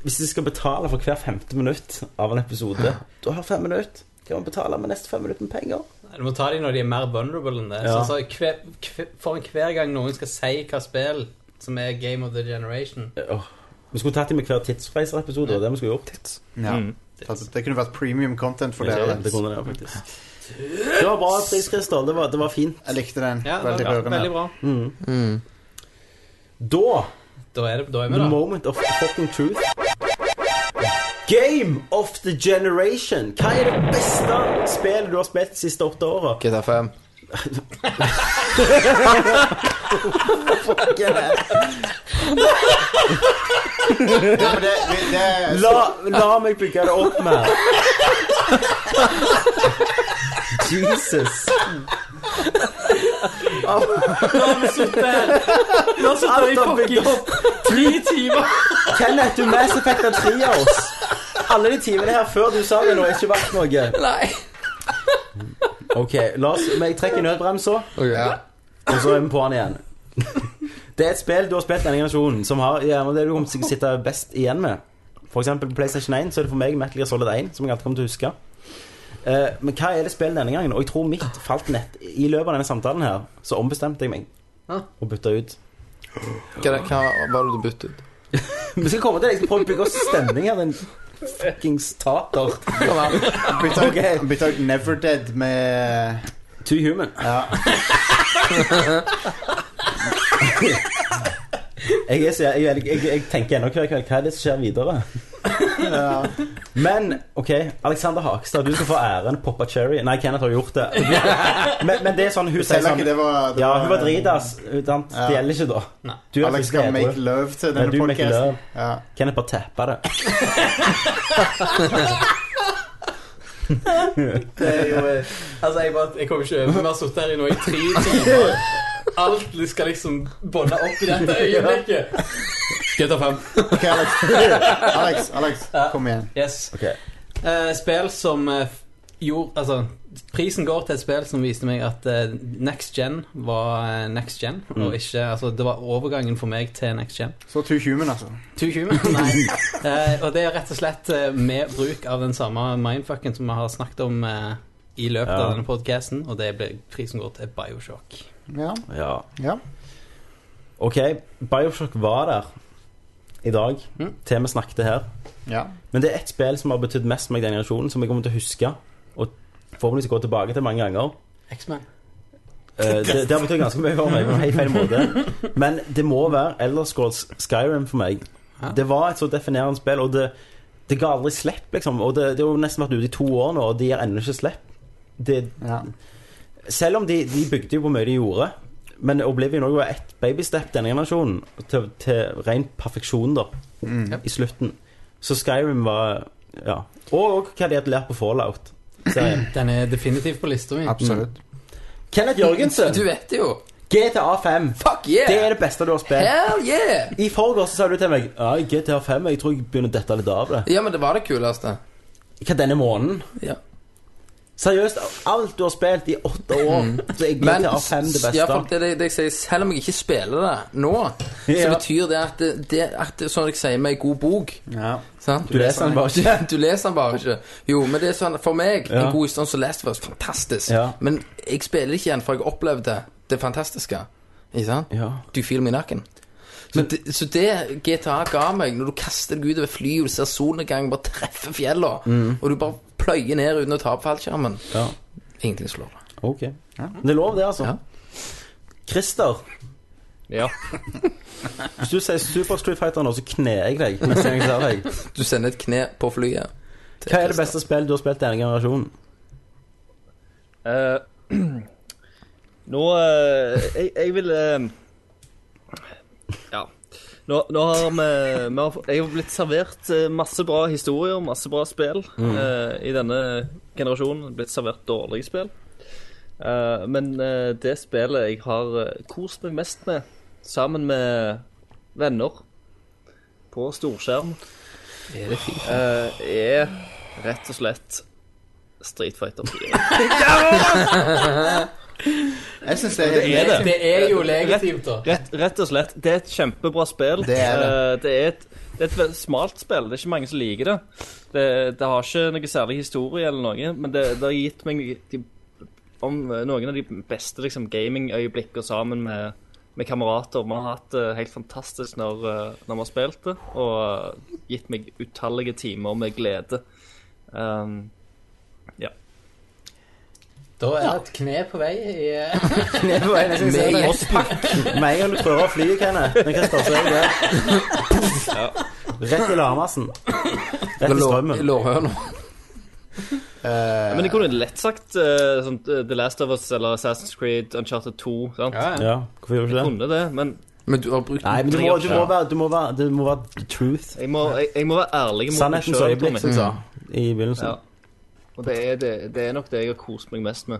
S10: Hvis de skal betale for hver femte minutt av en episode Du har fem minutter. Kan man betale med neste fem minutter med penger?
S7: Du må ta dem når de er mer vulnerable enn det. Sånn Så,
S10: Ja.
S7: så hver, hver, for hver gang noen skal si hva spill som er Game of the Generation
S10: Eh, Åh. Vi skulle tatt dem i hver Tidsreiser-episode. Det var det vi skulle gjort.
S8: Ja.
S6: Mm.
S8: Altså, det kunne vært premium content for dere.
S10: det, kunne det, faktisk. det var bra pris, Christer. Det var, det var fint.
S8: Jeg likte den.
S7: Ja,
S8: veldig
S7: veldig, ja,
S8: rørende.
S7: veldig bra.
S10: Da
S7: Da er, det, da er vi
S10: The
S7: der.
S10: moment of fucking truth. Game of the generation. Hva er det beste spillet du har spilt de siste åtte åra?
S9: GTA 5.
S8: Ja, men det, det, det er
S10: La, la meg bygge det opp mer. Jesus.
S7: Nå sitter
S10: Alt har bygd opp.
S7: tre timer!
S10: Kenneth, du Mass Effect av tre av oss. Alle de timene her før du sa det nå, har ikke vært noe.
S9: Nei.
S10: Ok, la oss, men Jeg trekker nødbremsa,
S8: ja.
S10: og så er vi på den igjen. Det er et spill du har spilt denne generasjonen, som har gjerne det du kommer til å sitte best igjen med. For eksempel på PlayStation 1 så er det for meg Metal Gear Solid 1, som jeg alltid kommer til å huske. Eh, men hva er det spillet denne gangen? Og jeg tror mitt falt nett. I løpet av denne samtalen her så ombestemte jeg meg og bytta ut.
S9: Hva, hva var det du byttet ut?
S10: Vi skal komme til det. Jeg skal prøve å bygge oss stemning her, din fuckings tater.
S8: Bytta ut,
S10: Ok.
S8: bytta ut Neverdead med
S10: Too human. jeg, er så, jeg, jeg, jeg, jeg tenker ennå hver kveld hva er det som skjer videre.
S8: eh,
S10: Men OK, Alexander Hakstad, du skal få æren. Poppa cherry. Nei, Kenneth har gjort det. Men, men det er sånn hun sier
S8: Selv ikke
S10: sånn
S8: det var det
S10: Ja, hun var dritass. sant?
S8: Ja.
S10: Det gjelder ikke da. Du er
S8: Alex
S10: ikke
S8: skal make
S10: edru.
S8: love til
S10: Men
S8: denne
S10: du make
S8: podcasten
S10: love.
S8: Ja.
S10: Kenneth bare tappa det.
S7: Det er jo eh, Altså, jeg, bare, jeg kommer ikke over. Vi har sittet her i nå i tre timer. Alt skal liksom bånde opp i dette øyeblikket. GTA 5.
S8: Ok, Alex. Alex, Alex, kom igjen.
S7: Yes.
S10: Ok.
S7: Eh, spill som eh, f- gjorde Altså, prisen går til et spill som viste meg at eh, next gen var eh, next gen, og ikke Altså, det var overgangen for meg til next gen.
S8: Så to human, altså.
S7: 220, nei. Eh, og det er rett og slett eh, med bruk av den samme mindfucken som vi har snakket om eh, i løpet
S10: Ja.
S7: av denne podcasten, og det blir prisen går til Bioshock.
S8: Ja.
S10: Ja.
S8: ja.
S10: Ok, Bioshock var der i dag,
S7: Mm.
S10: til vi snakket her.
S8: ja.
S10: Men det er ett spill som har betydd mest for meg i den generasjonen, som jeg kommer til å huske. Og forhåpentligvis gå tilbake til mange ganger.
S7: X-Man.
S10: Eh, det, det har betydd ganske mye for meg på en helt feil måte. Men det må være Elder Scrolls Skyrim for meg.
S7: Ja.
S10: Det var et så definerende spill, og det, det ga aldri slipp, liksom. Og det, det har jo nesten vært ute i to år nå, og de gir ennå ikke slipp. Det,
S8: ja.
S10: selv om de, de bygde jo på mye de gjorde, men Oblivion også var ett babystep denne generasjonen til, til ren perfeksjon, da,
S8: Mm.
S10: i slutten. Så Skyrim var Ja. Og, og hva de hadde lært på Fallout. serien.
S7: Den er definitivt på lista mi.
S8: Absolutt.
S10: Kenneth Jørgensen,
S9: Du vet det jo.
S10: GTA5.
S9: Fuck
S10: Det er
S9: yeah!
S10: det beste du har spilt.
S9: Hell yeah!
S10: I forgårs så sa du til meg Ja, i GTA 5, jeg tror jeg begynner å dette litt av det.
S9: Ja, men det var det kuleste.
S10: Hva, denne måneden?
S9: Ja.
S10: Seriøst, alt du har spilt i åtte år, så er
S9: Mm. Men
S10: GTA 5 det beste.
S9: ja, for det, det, det jeg sier, selv om jeg ikke spiller det nå, så
S10: Ja.
S9: betyr det at det, det, at det sånn jeg sier med en god bok
S8: Ja.
S9: sant?
S10: Du leser den bare ikke.
S9: Du leser den bare ikke. Jo, men det er sånn for meg
S10: Ja.
S9: En god historie som lest var fantastisk.
S10: Ja.
S9: Men jeg spiller det ikke igjen, for jeg opplevde det fantastiske. Ikke sant?
S10: Ja.
S9: Du filer meg i nakken. Så, det, så det GTA ga meg, når du kaster deg ut over flyet, og du ser solnedgangen bare treffer fjellene,
S10: Mm.
S9: og du bare pløyer ned uten å ta på fallskjermen
S10: Ja.
S9: Ingenting slår det.
S10: Ok. Det er lov, det, altså.
S9: Ja.
S10: Christer,
S6: Ja.
S10: hvis du sier Super Street Fighter nå, så kner jeg deg. neste gang jeg ser deg.
S9: Du sender et kne på flyet. til
S10: Hva er det
S9: Christer.
S10: beste spillet du har spilt denne generasjonen?
S6: Eh, nå eh, jeg, jeg vil eh, Ja. Nå, nå har vi, vi har, Jeg har blitt servert eh, masse bra historier, masse bra spill eh, i denne generasjonen. Blitt servert dårlige spill. Eh, men eh, det spillet jeg har eh, kost meg mest med, sammen med venner på storskjerm, eh, er, er rett og slett Street Fighter 4.
S8: Jeg syns det er helt
S6: er det.
S7: Det er jo legitimt, da.
S6: Rett, rett og slett. Det er et kjempebra spill.
S8: Det er det.
S6: Eh, det er et, det er et veldig smalt spill. Det er ikke mange som liker det. Det, det har ikke noe særlig historie eller noe, men det, det har gitt meg de, om eh, noen av de beste liksom, gamingøyeblikkene sammen med, med kamerater. Vi har hatt det helt fantastisk når, eh, når vi har spilt det, og eh, gitt meg utallige timer med glede. Um,
S7: Da er det et kne på vei i eh,
S10: Med en gang du prøver å fly, Kenneth, men Christer, så er jeg der. Rett i larmassen. Rett i
S9: Lår-
S10: strømmen.
S9: Lårhøna.
S8: eh,
S6: men jeg kunne lett sagt eh, sånn, eh, The Last of Us eller Assassin's Creed, Uncharted 2. Sant?
S7: Ja, ja.
S10: Ja, hvorfor gjorde du ikke det?
S6: Kunne det, men
S9: Men du har brukt
S10: Nei, men du må, du må, være, du må være Det må være the truth.
S6: Jeg må, jeg, jeg må være ærlig mot meg
S10: Sannhetens
S6: sjøl,
S10: øyeblikk,
S6: Tommy.
S10: som jeg sa i begynnelsen.
S6: Ja. Og det er, det, det er nok det jeg har kost meg mest med.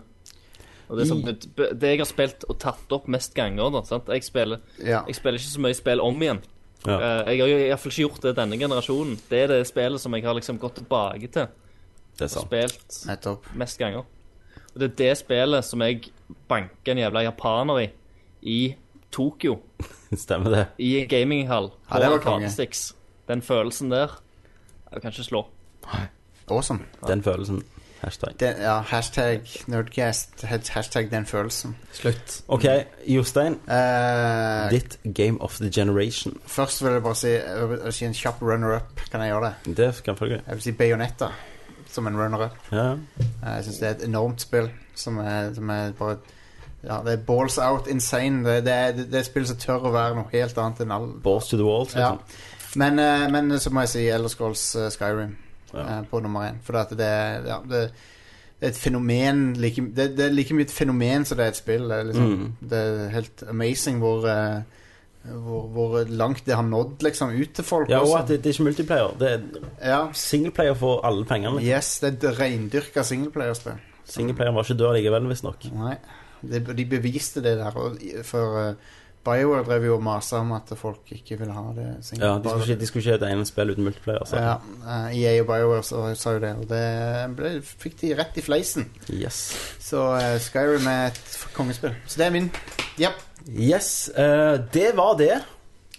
S6: Og det, som, det, det jeg har spilt og tatt opp mest ganger da, sant? Jeg, spiller,
S8: Ja.
S6: jeg spiller ikke så mye spill om igjen.
S10: Ja.
S6: Eh, Jeg har jo iallfall ikke gjort det denne generasjonen. Det er det spillet som jeg har liksom gått tilbake til
S10: Det
S6: og
S10: er sånn. sant.
S6: spilt
S8: Nettopp.
S6: mest ganger. Og det er det spillet som jeg banker en jævla japaner i i Tokyo.
S10: Stemmer det.
S6: I en gaminghall.
S8: Ja, det var
S6: på
S8: konge.
S6: Artsticks. Den følelsen der Jeg kan ikke slå.
S8: Awesome.
S10: Den følelsen. Hashtag.
S8: Den, ja, hashtag nerdcast. Hashtag den følelsen.
S7: Slutt.
S10: OK, Jostein.
S8: Eh,
S10: Ditt Game of the Generation.
S8: først vil jeg bare si, jeg vil si en kjapp runner-up. Kan jeg gjøre det?
S10: Det skal følge.
S8: Jeg vil si Bayonetta som en runner-up.
S10: Ja. ja.
S8: Eh, Jeg syns det er et enormt spill som er, som er bare ja, det er balls out insane. Det, det, er, det er et spill som tør å være noe helt annet enn all
S10: Balls to the walls,
S8: ja.
S10: liksom.
S8: men, eh, men så må jeg si Elder Scrolls eh, Skyrim
S10: Ja.
S8: eh, på nummer én. For at det, er- ja, det, det er et fenomen like, det, det er like mye et fenomen som det er et spill. Det er, liksom,
S10: Mm.
S8: det er helt amazing hvor eh, hvor, hvor langt det har nådd liksom ut til folk.
S10: Ja, og
S8: også.
S10: at det, det er ikke multiplayer. Det er
S8: ja.
S10: singleplayer for alle pengene. liksom.
S8: Yes, det er et reindyrka singleplayerspill.
S10: Singleplayer var ikke død likevel, visstnok.
S8: Nei, de, de beviste det der. Og, i- for eh, BioWare drev jo og masa om at folk ikke ville ha det. single-
S10: Ja, de skulle ikke, de skulle ikke ha et eneste spill uten multiplayer. altså. Så.
S8: ja, eh, EA og BioWare sa, sa jo det, og det ble, fikk de rett i fleisen.
S10: Yes.
S8: Så eh, Skyrim er et f- kongespill. Så det er min. Japp.
S10: Yes, eh, det var det.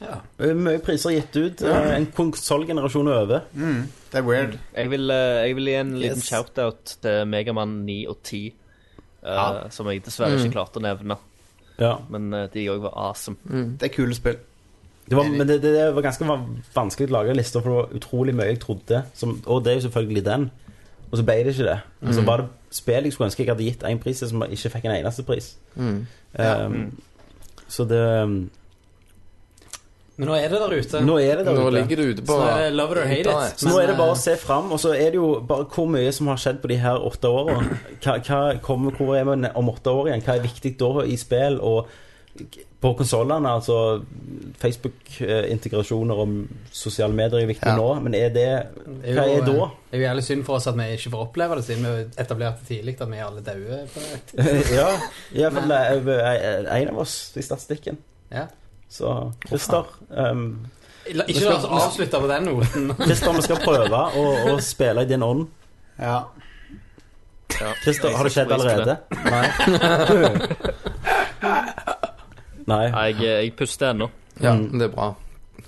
S9: Ja.
S10: Eh, Mye priser gitt ut. eh, en konsollgenerasjon er over.
S8: Mm, det er weird.
S6: Jeg vil, eh, jeg vil gi en liten
S8: Yes.
S6: shout-out til Megaman 9 og 10, eh,
S8: Ja.
S6: som jeg dessverre
S9: Mm.
S6: ikke klarte å nevne.
S10: Ja.
S6: Men eh, de òg var awesome.
S9: Mm.
S8: Det er kule spill.
S10: Det var,
S9: Eh,
S10: men det, det, det var ganske van- vanskelig å lage lister, for det var utrolig mye jeg trodde. Som, og det er jo selvfølgelig den. Og så ble det ikke det. Og
S9: Mm.
S10: så var det spill jeg skulle ønske jeg hadde gitt én pris, som ikke fikk en eneste pris.
S9: Mm.
S10: Eh, Så det ehm,
S7: Men nå er det der ute.
S10: Nå er det der
S9: Nå
S10: ute.
S9: ligger det ute
S7: Så
S9: på
S7: nå Sånn er det love it or hate it.
S9: Internet.
S10: Så nå
S7: Men,
S10: er det bare å
S7: eh,
S10: se fram, og så er det jo bare hvor mye som har skjedd på de her åtte åra. Hva, hva kommer, hvor er vi om åtte år igjen? Hva er viktig da i spill og på konsollene? Altså Facebook-integrasjoner og sosiale medier er viktig
S8: Ja.
S10: nå, men er det
S7: er
S10: Hva
S7: jo, eh,
S10: er da?
S7: Det er jo jævlig synd for oss at vi ikke får oppleve det, siden vi etablerte tidlig at vi er alle daue. på det.
S10: Eh, ja, i hvert fall eh, en av oss i statistikken.
S7: Ja.
S10: Så Christer, ehm,
S7: La-
S10: Vi
S7: Ikke
S10: skal-
S7: la oss avslutte på den noten.
S10: Christer, vi skal prøve å, å spille i din ånd.
S8: Ja.
S10: Christer, har det skjedd allerede? Nei.
S6: Nei, Jeg, eh, jeg puster ennå.
S9: Ja,
S10: Mm.
S9: det er bra.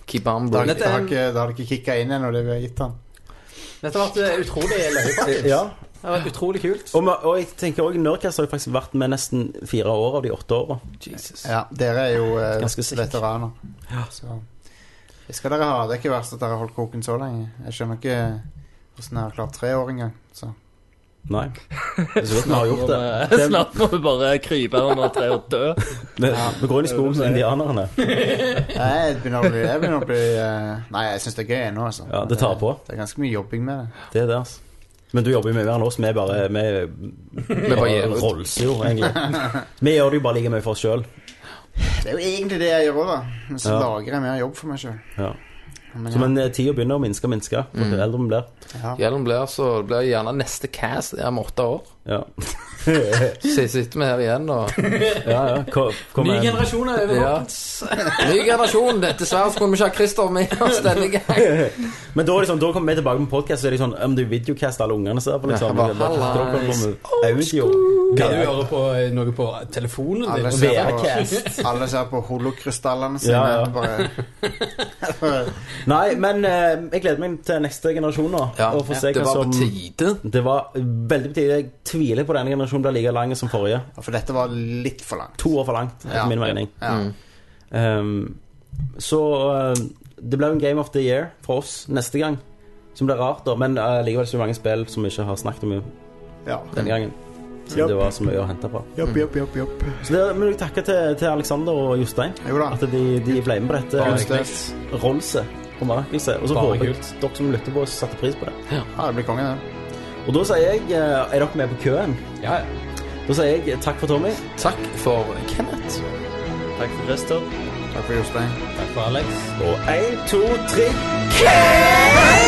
S9: Keep on
S8: Da har
S9: blowing.
S8: det har ikke, det har ikke kicka inn ennå, det vi har gitt han.
S7: Dette har vært eh, utrolig løye, faktisk.
S10: Eh, Ja.
S7: Det har vært utrolig kult.
S10: Og, ma- og jeg tenker også, Nerdcast har jo faktisk vært med nesten fire år av de åtte åra.
S8: Ja, dere er jo eh,
S10: Ganske sick.
S8: veteraner. Så det skal dere ha. Det er ikke verst at dere har holdt koken så lenge. Jeg skjønner ikke hvordan dere har klart tre år engang. Så.
S10: Nei. Det er så vidt vi har gjort det. Det-
S6: Snart må vi bare krype under treet og dø.
S10: Vi vi går inn i skogen som indianerne.
S8: Nei, Jeg begynner å bli, jeg begynner å bli eh, Nei, jeg syns det er gøy ennå, altså.
S10: Ja, det tar på.
S8: Det er ganske mye jobbing med det.
S10: Det er det, altså. Men du jobber jo mye mer enn oss. Vi er bare Vi
S9: Vi bare gir ut.
S10: rolser jo, egentlig. Vi gjør det jo bare like mye for oss sjøl.
S8: Det er jo egentlig det jeg gjør òg, da. Men så
S10: Ja.
S8: lager jeg mer jobb for meg sjøl.
S10: Ja.
S8: Men,
S10: Så, Men eh, tida begynner å minske og minske.
S9: Mm.
S10: For jo eldre vi blir.
S8: ja. ja.
S9: Gjelden blir så det blir gjerne neste cast er om åtte år.
S10: Ja.
S9: Så jeg sitter vi her igjen og
S10: ja, ja. Ko- Kom
S7: Ny
S10: igjen.
S7: generasjon er over.
S9: Ja. Ny generasjon. det- Dessverre så kunne vi ikke ha Christer med oss denne gangen.
S10: Men da, liksom, da kommer vi tilbake med podkast, så er det sånn Om det er videocast alle ungene ser på, liksom.
S9: Ja,
S10: Da
S9: det var
S10: kommer det
S9: hallais.
S10: audio.
S7: Kan du høre på noe på telefonen
S8: Alle
S7: din?
S8: ser
S10: VR-cast.
S8: på, alle ser på holokrystallene sine.
S10: Ja, ja.
S8: Bare,
S10: Nei, men eh, jeg gleder meg til neste generasjon nå.
S9: Ja,
S10: og får se
S9: det
S10: hva
S9: var på
S10: som
S9: tide.
S10: Det var veldig på tide. Jeg tviler på denne generasjonen blir like lang som forrige.
S8: for dette var litt for langt.
S10: To år for langt, etter
S8: Ja.
S10: min mening.
S8: Ja.
S9: Mm.
S10: Um, så uh, det blir jo en Game of the Year for oss neste gang. Som blir rart, da. Men uh, likevel så mange spill som vi ikke har snakket om
S8: Ja.
S10: denne gangen. Så
S8: Yep.
S10: det var så mye å hente på.
S8: Jopp, jopp, jopp, jopp.
S10: Så det vil jeg takke til, til Alexander og Jostein.
S8: Jo da.
S10: At de, de ble med på
S8: Bare
S10: dette
S8: støt.
S10: rollset og merkelse. Og så
S7: Bare
S10: håper jeg dere som lytter på, satte pris på det.
S8: Ja, det blir konge, det.
S10: Og da sier jeg eh, Er dere med på køen?
S7: Ja,
S10: Da sier jeg takk for Tommy.
S9: Takk for Kenneth.
S6: Takk for Christer.
S8: Takk for Jostein.
S7: takk for Alex.
S10: Og én, to, tre.
S4: Hey!